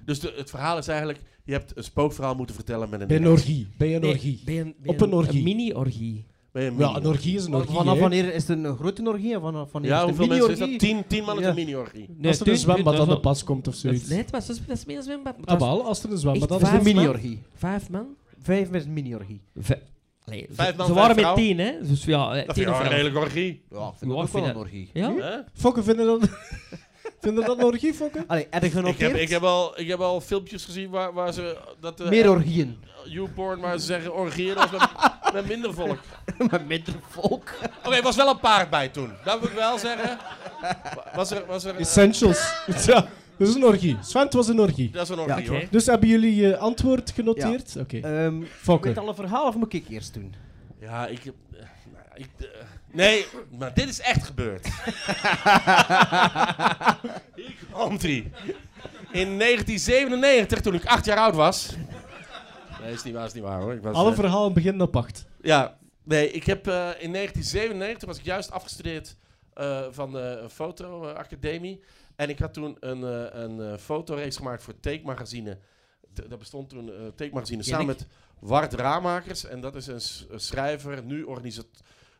Speaker 8: dus de- het verhaal is eigenlijk, je hebt een spookverhaal moeten vertellen met een...
Speaker 6: Bij een orgie. Bij een
Speaker 4: Nee,
Speaker 6: orgie.
Speaker 4: bij een- bij
Speaker 6: Op een orgie.
Speaker 4: mini-orgie.
Speaker 8: bij een
Speaker 6: Ja,
Speaker 8: mini-
Speaker 6: een orgie is een orgie,
Speaker 5: Vanaf
Speaker 6: hè.
Speaker 5: wanneer is het een grote orgie? en Vanaf wanneer
Speaker 8: Ja,
Speaker 5: is het
Speaker 8: hoeveel
Speaker 5: een
Speaker 8: mensen is
Speaker 5: mini-orgie?
Speaker 8: dat? Tien, tien man is
Speaker 5: Ja.
Speaker 8: een mini-orgie.
Speaker 6: Als er een zwembad aan de pas komt of
Speaker 4: Dat,
Speaker 6: zoiets.
Speaker 4: nee, het was, dat is meer een zwembad. maar het
Speaker 6: Ah,
Speaker 4: was
Speaker 6: wel, als er een
Speaker 4: echt
Speaker 6: zwembad aan
Speaker 5: Dat is
Speaker 6: de
Speaker 4: vijf
Speaker 5: een
Speaker 4: man.
Speaker 5: mini-orgie.
Speaker 4: Vijf man.
Speaker 5: Vijf met een mini-orgie.
Speaker 4: Vij- Allee, ze-
Speaker 8: Vijf man,
Speaker 4: ze
Speaker 8: vijf
Speaker 4: waren met
Speaker 8: vrouw.
Speaker 4: tien, hè. Dus ja, eh,
Speaker 8: Dat
Speaker 4: tien of
Speaker 8: vind ik wel een
Speaker 4: elf.
Speaker 8: redelijke orgie.
Speaker 5: Ja, ik
Speaker 4: Ja,
Speaker 5: vind dat
Speaker 4: ik
Speaker 5: ook wel
Speaker 4: vind
Speaker 5: een
Speaker 4: dat-
Speaker 5: orgie.
Speaker 4: Ja?
Speaker 8: Hè?
Speaker 6: Fokken, vinden dat... vinden dat een orgie, Fokken?
Speaker 5: Allee, heb je
Speaker 8: Ik
Speaker 5: genoteerd?
Speaker 8: heb, ik, heb al, ik heb al filmpjes gezien waar, waar ze... Dat de,
Speaker 5: Meer orgieën.
Speaker 8: YouPorn, waar ze zeggen orgieën als met, met minder volk.
Speaker 5: maar minder volk.
Speaker 8: Oké, er was wel een paard bij toen. Dat moet ik wel zeggen. Was er... Was er eh,
Speaker 6: Essentials. ja, dat is een orgie. Sven, het was een orgie.
Speaker 8: dat is een orgie,
Speaker 4: Ja,
Speaker 8: hoor.
Speaker 4: oké.
Speaker 6: Dus hebben jullie je antwoord genoteerd? Oké.
Speaker 5: Ehm
Speaker 6: Fokken.
Speaker 5: met alle verhalen of moet ik eerst doen?
Speaker 8: Ja, ik... eh, nou, ik eh, nee, maar dit is echt gebeurd. Hier komt ie. In 1997, toen ik acht jaar oud was... Nee, is niet waar, is niet waar hoor. Ik was,
Speaker 6: Alle
Speaker 8: eh,
Speaker 6: verhalen beginnen op acht.
Speaker 8: Ja, nee, ik heb eh, in 1997 was ik juist afgestudeerd eh, van de fotoacademie. En ik had toen een, eh, een eh, fotoreeks gemaakt voor Teekmagazine. T- dat bestond toen eh Teekmagazine
Speaker 4: Ken
Speaker 8: samen
Speaker 4: ik.
Speaker 8: met Wart Raamakers. En dat is een, s- een schrijver, nu organisator.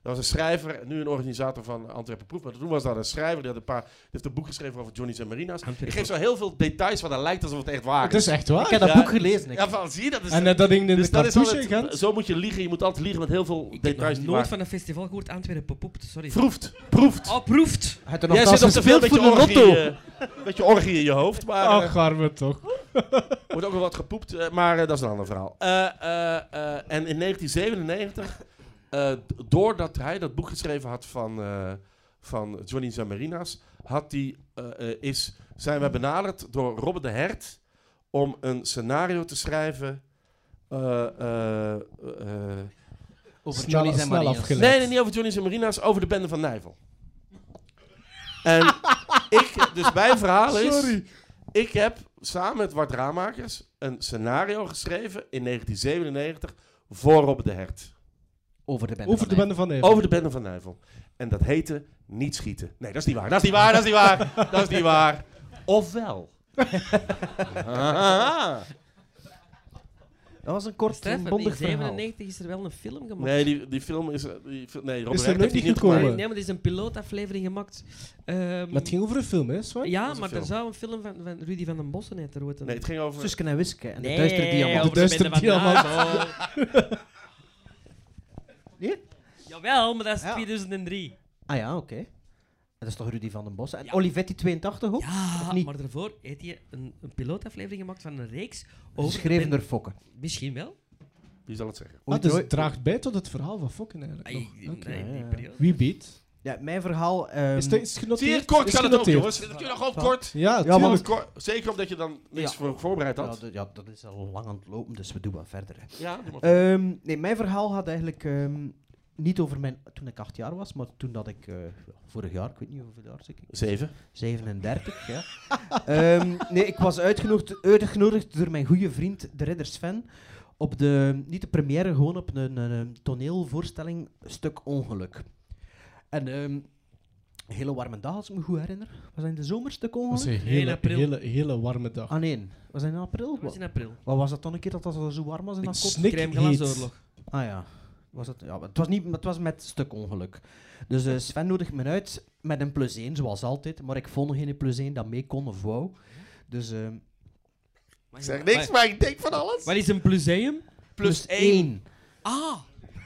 Speaker 8: Dat was een schrijver, nu een organisator van Antwerpen Proef. Maar toen was dat een schrijver, die, had een paar, die heeft een boek geschreven over Johnny's en Marina's. Ik geef zo heel veel details, want dat lijkt alsof het echt waar
Speaker 6: Het
Speaker 8: is.
Speaker 6: is echt waar.
Speaker 5: Ik heb dat
Speaker 8: Ja.
Speaker 5: boek gelezen. Ik.
Speaker 8: Ja, van, zie je, dat is...
Speaker 6: en eh, dat ding in
Speaker 8: dus
Speaker 6: de
Speaker 8: dat is
Speaker 6: cartouche,
Speaker 8: altijd-
Speaker 6: Gent?
Speaker 8: zo moet je liegen. Je moet altijd liegen met heel veel
Speaker 4: Ik heb
Speaker 8: details.
Speaker 4: nog
Speaker 8: die
Speaker 4: nooit
Speaker 8: waar-
Speaker 4: van een festival gehoord Antwerpen bepoept, sorry.
Speaker 8: Proeft, proeft.
Speaker 4: Oh, proeft.
Speaker 5: Had er nog
Speaker 8: Jij
Speaker 5: zelfs
Speaker 8: zit op te veel
Speaker 5: gespeeld
Speaker 8: met
Speaker 5: voor
Speaker 8: je
Speaker 5: de
Speaker 8: orgie,
Speaker 5: lotto.
Speaker 8: eh, met je orgie in je hoofd, maar eh,
Speaker 6: Ach, arme toch.
Speaker 8: er wordt ook wel wat gepoept, eh, maar eh, dat is een ander verhaal. Eh, eh, eh, en in 1997, eh, d- doordat hij dat boek geschreven had van, eh, van Johnny Zamarina's, had die, eh, eh, is, zijn wij benaderd door Robert de Hert om een scenario te schrijven. eh, eh, eh,
Speaker 5: Over
Speaker 6: Snel-
Speaker 5: Johnny's en
Speaker 6: snel
Speaker 5: Maria's.
Speaker 6: afgelegd.
Speaker 8: Nee, nee, niet over Johnny's en Marina's, over de bende van Nijvel. En ik, dus mijn verhaal is...
Speaker 6: Sorry.
Speaker 8: Ik heb samen met Wart Raamakers een scenario geschreven in 1997 voor Robert de Hert.
Speaker 5: Over de bende.
Speaker 6: Over de
Speaker 5: van
Speaker 6: bende van Nijvel.
Speaker 8: Over de bende van Nijvel. En dat heette Niet Schieten. Nee, dat is niet waar. Dat is niet waar, dat is niet waar. Dat is niet waar. Ofwel. Ah.
Speaker 5: Nijvel. Dat was een kort
Speaker 4: Stef,
Speaker 5: en
Speaker 4: in
Speaker 5: bondig verhaal.
Speaker 4: 1997 is er wel een film gemaakt.
Speaker 8: Nee, die, die film is... eh, Die, fil- nee, Robert
Speaker 6: Is
Speaker 8: de
Speaker 6: er
Speaker 8: Hert
Speaker 6: nooit
Speaker 8: heeft
Speaker 6: niet
Speaker 8: die niet gemaakt.
Speaker 4: Nee,
Speaker 6: gekomen?
Speaker 4: nee, maar er is een pilootaflevering gemaakt. Ehm,
Speaker 6: Maar het ging over een film, hè, Sven?
Speaker 4: ja,
Speaker 8: was een
Speaker 4: maar er
Speaker 8: film.
Speaker 4: zou een film van, van Rudy van den Bossen uit er ooit een-
Speaker 8: Nee, het ging over...
Speaker 5: Suske en Wiske en de
Speaker 4: Nee,
Speaker 5: duistere diamant.
Speaker 4: over
Speaker 6: De duistere
Speaker 4: bende van
Speaker 6: diamant.
Speaker 4: Navo.
Speaker 5: Nee?
Speaker 4: Jawel, maar dat is
Speaker 5: Ja.
Speaker 4: 2003.
Speaker 5: Ah ja, oké. Dat is toch Rudy van den Bos? En Olivetti 82 ook?
Speaker 4: Ja,
Speaker 5: Of niet?
Speaker 4: maar daarvoor heeft hij een, een pilootaflevering gemaakt van een reeks over... de
Speaker 5: Geschreven door
Speaker 4: oh, ben-
Speaker 5: Fokken.
Speaker 4: Misschien wel.
Speaker 8: Wie zal het zeggen?
Speaker 6: Ah,
Speaker 5: Ooit
Speaker 6: dus
Speaker 5: ooit-
Speaker 6: het draagt bij tot het verhaal van Fokken eigenlijk
Speaker 4: Ah,
Speaker 6: nog.
Speaker 4: ik-
Speaker 6: Oké.
Speaker 4: nee, die
Speaker 5: ja, ja.
Speaker 4: periode.
Speaker 6: Wie weet.
Speaker 5: Ja, mijn verhaal... ehm,
Speaker 6: Is het- is het genoteerd?
Speaker 8: Zie je, kort
Speaker 6: Is
Speaker 8: kan het ook,
Speaker 6: genoteerd.
Speaker 8: jongens. Dat kun je nog gewoon kort.
Speaker 6: Ja,
Speaker 8: Tuurlijk,
Speaker 5: tuurlijk.
Speaker 8: kort. Zeker omdat je dan niks
Speaker 5: Ja.
Speaker 8: voor voorbereid had.
Speaker 5: Ja, d- ja, dat is al lang aan het lopen, dus we doen wel verder. hè.
Speaker 8: Ja, doe maar
Speaker 5: Ehm, nee, mijn verhaal gaat eigenlijk ehm, niet over mijn... Toen ik acht jaar was, maar toen dat ik... eh, vorig jaar, ik weet niet hoeveel jaar zeker.
Speaker 8: Zeven.
Speaker 5: 37, ja. Ehm, nee, ik was uitgenodigd, uitgenodigd door mijn goede vriend, de ridder Sven, op de... Niet de première, gewoon op een, een, een toneelvoorstelling, Stuk Ongeluk. En... ehm, een hele warme dag, als ik me goed herinner. Was dat in de zomer, Stuk Ongeluk?
Speaker 6: was een hele, hele, hele warme dag.
Speaker 5: Ah nee, was dat in april?
Speaker 4: was in april.
Speaker 5: Wat was dat dan een keer dat dat zo warm was in
Speaker 6: Ik
Speaker 5: dat kop?
Speaker 6: snik Crème heet. glasoorlog.
Speaker 5: Ah ja. Was dat, ja maar het, was niet, maar het was met stuk ongeluk. Dus eh, Sven nodigt me uit met een plus 1, zoals altijd. Maar ik vond geen plus 1 dat mee kon of wou. Dus... ehm,
Speaker 8: Ik zeg niks, maar ik denk van alles.
Speaker 4: Wat is een pluseum?
Speaker 8: Plus
Speaker 5: één.
Speaker 4: Ah.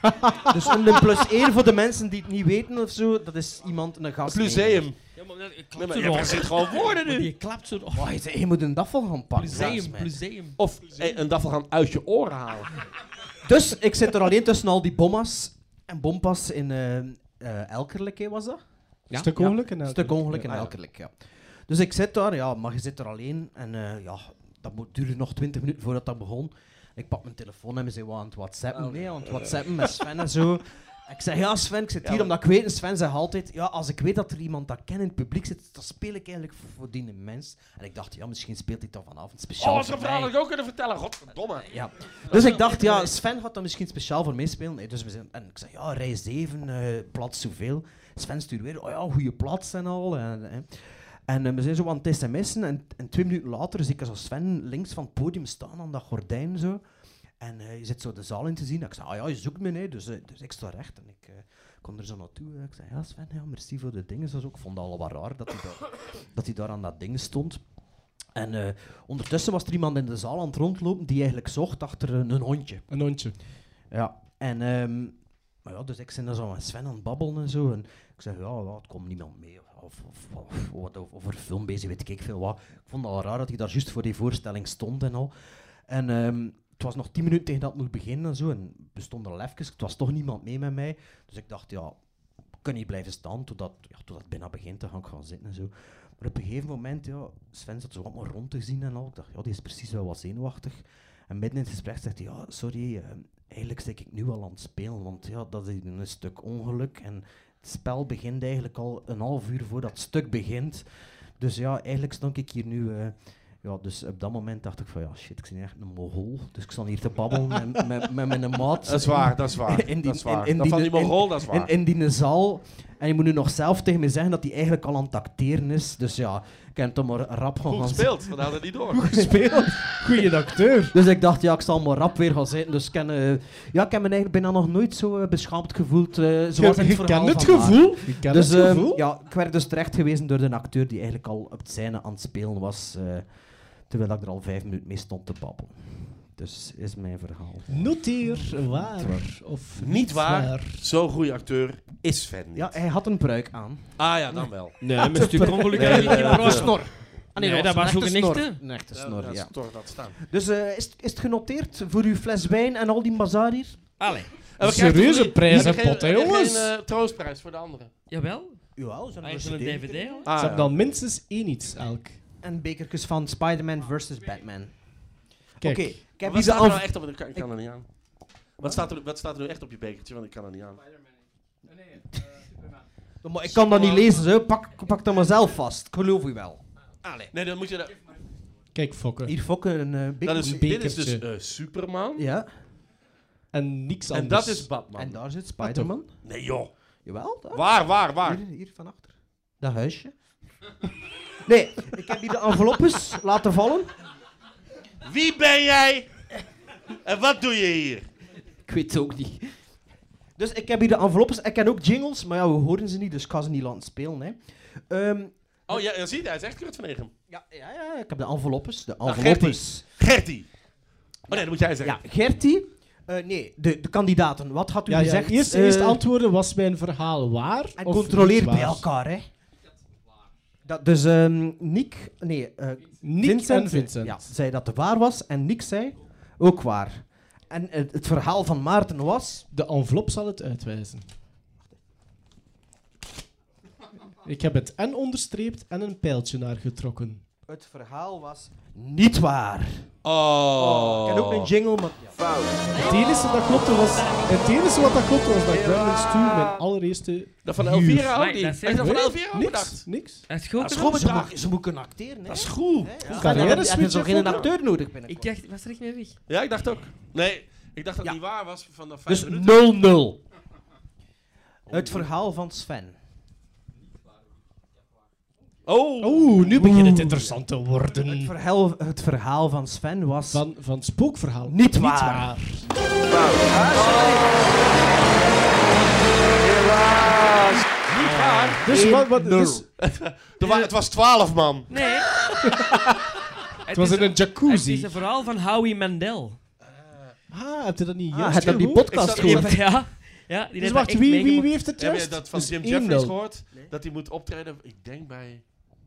Speaker 5: dus een plus 1 voor de mensen die het niet weten of zo, dat is iemand, een gast.
Speaker 8: Pluseum.
Speaker 4: Ja, maar dat ik
Speaker 8: Nee,
Speaker 4: klap
Speaker 8: maar
Speaker 4: zo
Speaker 8: je
Speaker 4: nog.
Speaker 8: verzint gewoon woorden
Speaker 4: Maar
Speaker 8: nu.
Speaker 4: Die klapt zo nog.
Speaker 5: Oh, je, je moet een dafel gaan pakken.
Speaker 4: Pluseum,
Speaker 5: Jasmijn.
Speaker 4: pluseum.
Speaker 8: Of eh, een daffel gaan uit je oren halen.
Speaker 5: Dus ik zit er alleen tussen al die bommas en bompas in eh eh, Elkerlijk, hè, was dat?
Speaker 4: Ja,
Speaker 6: Stuk ongeluk en
Speaker 5: Stuk ongeluk en elkerlijk, ja. Dus ik zit daar, ja, maar je zit er alleen. En eh, ja, dat moet- duurde nog 20 minuten voordat dat begon. Ik pak mijn telefoon en we zijn wat aan het whatsappen.
Speaker 8: Oh.
Speaker 5: Nee, aan het whatsappen met Sven en zo. Ik zeg, ja Sven, ik zit hier omdat ik weet, en Sven zegt altijd, ja, als ik weet dat er iemand dat kent in het publiek zit, dan speel ik eigenlijk voor, voor die mens. En ik dacht, ja, misschien speelt hij dat vanavond speciaal
Speaker 8: Oh, zo'n
Speaker 5: voor
Speaker 8: verhaal
Speaker 5: mij.
Speaker 8: had ik ook kunnen vertellen. Godverdomme.
Speaker 5: Ja. Dus ik dacht, ja, Sven gaat dat misschien speciaal voor meespelen. Nee, dus we zijn, en ik zei, ja, rij 7, eh plaats zoveel. Sven stuurt weer, oh ja, goede plaats en al. En, hè. en eh, we zijn zo aan het sms'en en, en twee minuten later zie ik zo Sven links van het podium staan aan dat gordijn zo. En eh, je zit zo de zaal in te zien. Ik zei, ah ja, je zoekt me, hè. Dus, eh, dus ik sta recht en ik eh, kom er zo naartoe. Ik zei, ja Sven, ja, merci voor de dingen. Dus ook. Ik vond het al wat raar dat hij, daar, dat hij daar aan dat ding stond. En eh, ondertussen was er iemand in de zaal aan het rondlopen die eigenlijk zocht achter een, een hondje.
Speaker 6: Een hondje.
Speaker 5: Ja. En, ehm, maar ja, dus ik zit daar zo met Sven aan het babbelen en zo. En ik zeg, ja, ja, het komt niemand mee. Of, of, of, of, wat- of- over film bezig, weet ik veel wat. Ik vond het al raar dat hij daar juist voor die voorstelling stond en al. En ehm, het was nog tien minuten tegen dat het moest beginnen en zo. En we stonden al even. Het was toch niemand mee met mij. Dus ik dacht, ja, ik kan niet blijven staan totdat, ja, totdat het bijna begint. Dan ga ik gaan zitten en zo. Maar op een gegeven moment, ja, Sven zat zo wat maar rond te zien en al. Ik dacht, ja, die is precies wel wat zenuwachtig. En midden in het gesprek zegt hij, ja, sorry, eh, eigenlijk zit ik nu al aan het spelen, want ja, dat is een stuk ongeluk. En het spel begint eigenlijk al een half uur voordat het stuk begint. Dus ja, eigenlijk stond ik hier nu... eh, ja, dus op dat moment dacht ik van, ja, shit, ik ben echt een mogol. Dus ik stond hier te babbelen met, met, met mijn maat.
Speaker 8: Dat is waar, dat is waar.
Speaker 5: In die-
Speaker 8: dat is waar.
Speaker 5: in- in
Speaker 8: dat van die
Speaker 5: die- in-
Speaker 8: Mongool, dat is waar.
Speaker 5: in, in die zaal. En je moet nu nog zelf tegen me zeggen dat hij eigenlijk al aan het acteren is. Dus ja, ik heb hem maar rap gaan
Speaker 8: Goed
Speaker 5: gaan
Speaker 8: gespeeld, we hadden het niet door.
Speaker 6: Gespeeld. Goeie acteur.
Speaker 5: Dus ik dacht, ja, ik zal maar rap weer gaan zitten. Dus ik, ken, eh, ja, ik heb me eigenlijk bijna nog nooit zo eh, beschaamd gevoeld. eh zoals in
Speaker 6: Je,
Speaker 5: het
Speaker 6: je
Speaker 5: verhaal
Speaker 6: kent het
Speaker 5: vandaag.
Speaker 6: gevoel. ehm, Je kent
Speaker 5: Dus
Speaker 6: het
Speaker 5: eh,
Speaker 6: gevoel.
Speaker 5: ja, ik werd dus terecht gewezen door een acteur die eigenlijk al op het scène aan het spelen was. eh, terwijl ik er al vijf minuten mee stond te babbelen. Dus is mijn verhaal.
Speaker 6: Noteer waar of
Speaker 8: Niet waar, zo'n goede acteur is Sven niet.
Speaker 5: Ja, hij had een pruik aan.
Speaker 8: Ah ja, dan wel.
Speaker 7: Nee, met stuk ongeluk.
Speaker 8: Nee,
Speaker 7: heb ik
Speaker 8: nee,
Speaker 7: niet
Speaker 8: nee.
Speaker 7: gehoord.
Speaker 5: snor. Ah,
Speaker 4: Nee, dat was
Speaker 5: een
Speaker 4: ook
Speaker 5: echte
Speaker 4: een
Speaker 5: snor.
Speaker 4: echte.
Speaker 5: Een echte
Speaker 8: Ja,
Speaker 5: snor,
Speaker 8: dat
Speaker 5: ja.
Speaker 8: is toch dat staan.
Speaker 5: Dus eh, is, het- is het genoteerd voor uw fles wijn en al die bazaar hier?
Speaker 4: Allee.
Speaker 8: En we
Speaker 6: Serieuze
Speaker 8: krijgen toch niet-
Speaker 6: prijs
Speaker 8: we
Speaker 6: en
Speaker 8: krijgen-
Speaker 6: pot, hè,
Speaker 8: we krijgen
Speaker 6: jongens?
Speaker 8: Geen eh, troostprijs voor de anderen.
Speaker 4: Jawel.
Speaker 5: Jawel, zo'n
Speaker 4: Hij is een DVD. hoor.
Speaker 6: Ze
Speaker 8: Ah,
Speaker 6: hebben dan minstens één iets elk.
Speaker 5: En bekertjes van Spider-Man versus Batman.
Speaker 6: Kijk,
Speaker 5: Oké, ik heb
Speaker 8: Wat
Speaker 5: deze
Speaker 8: staat er nou
Speaker 5: af...
Speaker 8: echt op? Ik kan, ik kan er niet aan. Wat staat, er, wat staat er nu echt op je bekertje? Want ik kan er niet aan.
Speaker 5: Maar ik kan dat niet lezen, zo. Pak, pak dat maar zelf vast. Ik geloof u wel.
Speaker 8: Nee, dan moet je... dat-
Speaker 6: kijk fokken.
Speaker 5: Hier fokken een eh, beker.
Speaker 8: Dat is,
Speaker 6: een
Speaker 8: dit is dus
Speaker 6: bekertje.
Speaker 8: eh, Superman.
Speaker 5: Ja,
Speaker 6: En niks
Speaker 8: En
Speaker 6: anders.
Speaker 8: dat is Batman.
Speaker 5: en daar zit Spider-Man.
Speaker 8: Nee joh.
Speaker 5: Jawel, daar.
Speaker 8: Waar, waar, waar?
Speaker 5: Hier, hier van achter. Dat huisje. nee, ik heb hier de enveloppes laten vallen.
Speaker 8: Wie ben jij? En wat doe je hier?
Speaker 5: Ik weet het ook niet. Dus ik heb hier de enveloppes. Ik ken ook jingles, maar ja, we horen ze niet, dus ik kan ze niet laten spelen. Hè. Ehm,
Speaker 8: Oh, ja, je ziet, hij is echt Kurt van Egem.
Speaker 5: ja, ja, ja, ik heb de enveloppes. De
Speaker 8: Nou,
Speaker 5: enveloppes.
Speaker 8: Gertie. Oh nee, dat moet jij
Speaker 5: Ja,
Speaker 8: zeggen.
Speaker 5: Gertie. Eh, nee, de, de kandidaten. Wat had u
Speaker 6: Ja, ja,
Speaker 5: gezegd?
Speaker 6: eerst,
Speaker 5: Eh,
Speaker 6: eerst antwoorden, was mijn verhaal waar?
Speaker 5: En
Speaker 6: of
Speaker 5: controleer
Speaker 6: niet
Speaker 5: bij
Speaker 6: waar?
Speaker 5: elkaar, hè. Dat, dus ehm Nick... Nee, eh,
Speaker 6: Nick
Speaker 5: Vincent,
Speaker 6: en Vincent.
Speaker 5: Ja, zei dat het waar was en Nick zei ook waar. En het, het verhaal van Maarten was...
Speaker 6: De envelop zal het uitwijzen. Ik heb het en onderstreept en een pijltje naar getrokken.
Speaker 5: Het verhaal was niet waar.
Speaker 8: Oh.
Speaker 5: Ik heb ook een jingle, maar...
Speaker 6: Het enige dat klopte was, het enige wat dat klopte was dat Gremlins 2 mijn allereerste
Speaker 8: Dat van
Speaker 6: huur.
Speaker 8: Elvira ook
Speaker 4: Nee,
Speaker 8: niet.
Speaker 4: dat is-
Speaker 8: Hij is dat van
Speaker 6: Nee,
Speaker 8: Elvira ook
Speaker 6: niks,
Speaker 8: bedacht.
Speaker 6: Niks.
Speaker 4: Het is goed.
Speaker 8: Dat is
Speaker 4: gedaan.
Speaker 8: goed
Speaker 5: Ze,
Speaker 8: bedacht.
Speaker 5: mo- ze moeten kunnen acteren, hè?
Speaker 8: Dat is goed.
Speaker 6: Carrière
Speaker 5: Dan hebben ze
Speaker 6: switch,
Speaker 5: geen
Speaker 6: hè,
Speaker 5: acteur nodig
Speaker 4: Ik
Speaker 5: binnenkort.
Speaker 4: dacht, was er echt mee weg?
Speaker 8: Ja, ik dacht ook. Nee, ik dacht dat het
Speaker 5: Ja.
Speaker 8: niet waar was van de vijf
Speaker 5: Dus 0-0.
Speaker 8: minuten.
Speaker 5: Het verhaal van Sven.
Speaker 8: Oh.
Speaker 6: Oeh, nu begint het interessant te
Speaker 5: Het
Speaker 6: worden.
Speaker 5: verhaal, het verhaal van Sven was... Ah,
Speaker 6: Van, van het spookverhaal.
Speaker 5: Niet waar.
Speaker 8: Niet waar.
Speaker 6: Dus wat, wat, dus,
Speaker 8: Er wa- het was 12 man.
Speaker 4: Nee.
Speaker 6: het was in een
Speaker 4: Het is
Speaker 6: jacuzzi.
Speaker 4: een verhaal van Howie Mandel.
Speaker 6: Ah, heb je dat niet
Speaker 5: Ah,
Speaker 6: juist
Speaker 5: heb je die
Speaker 6: gehoord?
Speaker 5: podcast
Speaker 8: Ik zat-
Speaker 5: gehoord?
Speaker 4: Ja. ja die
Speaker 6: Dus
Speaker 4: heeft
Speaker 6: wacht,
Speaker 4: echt
Speaker 6: wie, wie,
Speaker 4: meegemaakt.
Speaker 6: wie heeft het
Speaker 8: Heb
Speaker 6: juist?
Speaker 8: je dat van
Speaker 6: Dus
Speaker 8: Jim
Speaker 6: 1-0.
Speaker 8: Jeffries gehoord? Dat hij moet optreden, ik denk bij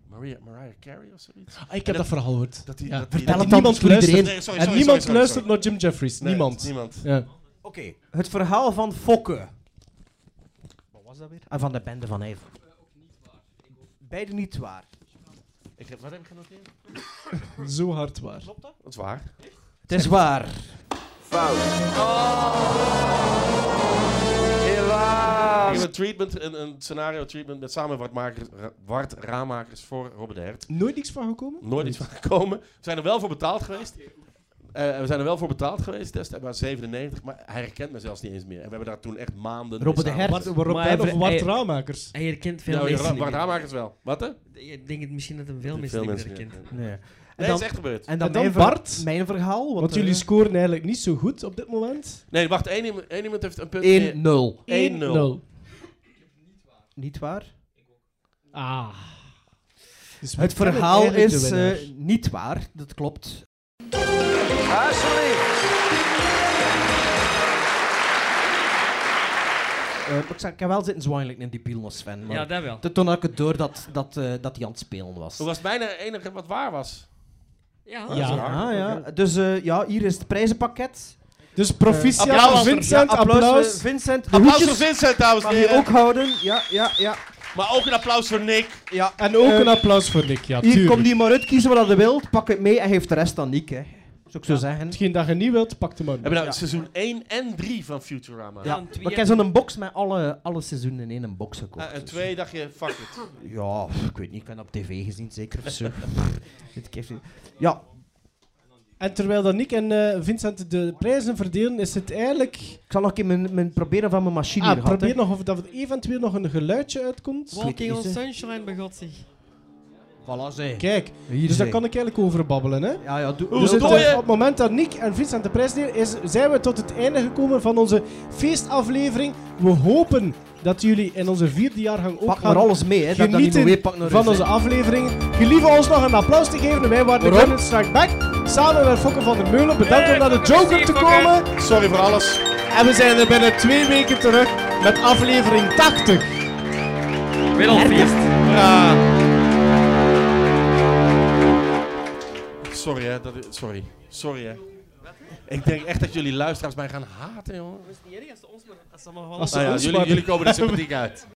Speaker 8: Maria, Mariah Carey of zoiets.
Speaker 6: Ah, ik heb dat verhaal gehoord.
Speaker 8: Dat hij,
Speaker 6: Ja.
Speaker 8: dat hij,
Speaker 5: Vertel
Speaker 6: En
Speaker 5: het dan
Speaker 6: niemand
Speaker 5: voor
Speaker 6: luistert.
Speaker 5: iedereen.
Speaker 8: Nee, sorry,
Speaker 6: en
Speaker 8: sorry,
Speaker 6: niemand
Speaker 8: sorry,
Speaker 6: luistert
Speaker 8: sorry.
Speaker 6: naar Jim Jeffries.
Speaker 8: Nee,
Speaker 6: niemand.
Speaker 8: niemand.
Speaker 6: Ja.
Speaker 5: Oké, het verhaal van Fokke. Wat was dat weer? Ah, van de bende van Evo. Beide niet waar.
Speaker 8: Ik heb, wat heb ik genoteerd?
Speaker 6: Zo hard waar.
Speaker 8: Dat is waar.
Speaker 5: Het is waar.
Speaker 8: Ik heb een treatment, een, een scenario treatment met samen wartmakers- ra- Wart Raamakers voor Robert de Hert.
Speaker 6: Nooit niks van gekomen?
Speaker 8: Nooit iets van gekomen. We zijn er wel voor betaald geweest. Eh, we zijn er wel voor betaald geweest destijds, maar 97. Maar hij herkent me zelfs niet eens meer. En we hebben daar toen echt maanden...
Speaker 5: Robert de Hert.
Speaker 6: Wat, waarop
Speaker 4: Maar
Speaker 6: dan
Speaker 4: hij-
Speaker 6: of Wart
Speaker 4: hij-
Speaker 6: Raamakers?
Speaker 4: Hij herkent veel
Speaker 8: Ja,
Speaker 4: mensen.
Speaker 8: Ra-
Speaker 4: niet
Speaker 8: Wart
Speaker 4: meer.
Speaker 8: Raamakers wel. Wat hè?
Speaker 4: Ik denk het misschien dat hem veel mensen
Speaker 8: Veel
Speaker 4: niet meer
Speaker 8: mensen
Speaker 4: herkent.
Speaker 8: niet.
Speaker 5: Nee. En dan,
Speaker 8: Nee, dat is echt gebeurd.
Speaker 5: en
Speaker 6: En dan
Speaker 5: mijn, ver-
Speaker 6: Bart?
Speaker 5: mijn verhaal. eh,
Speaker 6: Want jullie scoren eigenlijk niet zo goed op dit moment.
Speaker 8: Nee, wacht. één iemand, één iemand heeft een punt meer.
Speaker 5: 1-0.
Speaker 8: 1-0.
Speaker 5: Niet waar?
Speaker 6: Ah. Dus we
Speaker 5: Het
Speaker 6: kennen
Speaker 5: verhaal
Speaker 6: eigenlijk de
Speaker 5: is
Speaker 6: winnaar.
Speaker 5: eh, niet waar, dat klopt. Eh, maar ik, zag- ik heb wel zitten zwijnen like een debiel als Sven. Maar
Speaker 4: Ja, dat wel.
Speaker 5: toen had ik het door dat, dat, eh, dat hij aan het spelen was.
Speaker 8: Dat was bijna het enige wat waar was.
Speaker 4: Ja.
Speaker 6: Ja.
Speaker 5: Ja, ja. Dus eh, ja, hier is het prijzenpakket.
Speaker 6: Dus proficiat,
Speaker 8: Applaus.
Speaker 6: Vincent, applaus.
Speaker 5: eh, Vincent. De
Speaker 8: Applaus voor
Speaker 5: hoedjes
Speaker 8: Vincent, dames en
Speaker 5: mag je
Speaker 8: heren.
Speaker 5: ook houden. Ja, ja, ja.
Speaker 8: Maar ook een applaus voor Nick.
Speaker 5: ja.
Speaker 6: En ook
Speaker 5: Eh,
Speaker 6: een applaus voor Nick, ja,
Speaker 5: Hier,
Speaker 6: tuurlijk.
Speaker 5: kom die maar uit, kies wat hij wil, pak het mee en geef de rest aan Nick. Hè. Zou ik zo zeggen.
Speaker 6: Hetgeen dat je niet wilt, pak hem aan.
Speaker 8: Hebben we nou
Speaker 5: Ja.
Speaker 8: seizoen 1 en 3 van Futurama.
Speaker 5: Ja,
Speaker 4: Dan twee-
Speaker 5: maar ik heb zo'n box met alle, alle seizoenen in één box gekocht.
Speaker 8: Ah, en
Speaker 5: dus-
Speaker 8: twee dacht je, fuck it.
Speaker 5: Ja, ik weet niet, ik ben op tv gezien zeker of zo. Weet ik even. ja,
Speaker 6: En terwijl dat Nick en eh, Vincent de prijzen verdelen, is het eigenlijk...
Speaker 5: ik zal nog een keer mijn, mijn proberen van mijn machine
Speaker 6: Ah,
Speaker 5: hier gehad,
Speaker 6: probeer
Speaker 5: hè.
Speaker 6: nog of dat er eventueel nog een geluidje uitkomt.
Speaker 4: Walking on
Speaker 5: Is er-
Speaker 4: Sunshine begot zich.
Speaker 5: Voilà, zeg.
Speaker 6: Kijk,
Speaker 5: Hier
Speaker 6: dus daar
Speaker 5: zeg.
Speaker 6: kan ik eigenlijk over babbelen, hè.
Speaker 5: Ja, ja, doe.
Speaker 8: Hoe
Speaker 6: We
Speaker 8: is het
Speaker 6: zitten-
Speaker 8: dooi, hè?
Speaker 6: op Dus het moment dat Nick en Vincent de prijs delen, is, zijn we tot het einde gekomen van onze feestaflevering. We hopen dat jullie in onze vierde jaargang ook
Speaker 5: Pak
Speaker 6: gaan
Speaker 5: maar alles mee, hè. Dat, dat niet meer
Speaker 6: genieten
Speaker 5: weer pak naar
Speaker 6: van
Speaker 5: huis,
Speaker 6: onze
Speaker 5: hè.
Speaker 6: afleveringen. Gelieve ons nog een applaus te geven. Wij waren de
Speaker 5: Waarom?
Speaker 6: Gremlins Strike Back. Samen met Fokke van der Meulen. Bedankt om naar de Joker te komen.
Speaker 8: Sorry voor alles.
Speaker 6: En we zijn er binnen twee weken terug met aflevering 80.
Speaker 5: Ah
Speaker 4: Wereldfeest.
Speaker 8: Sorry hè, dat is- sorry. Sorry hè. Ik denk echt dat jullie luisteraars mij gaan haten, jongen.
Speaker 4: Dat is niet erg als ze ons maar... Als ze allemaal
Speaker 6: Als ze
Speaker 8: Nou ja,
Speaker 6: ons
Speaker 8: jullie,
Speaker 6: maar-
Speaker 8: jullie komen er sympathiek uit.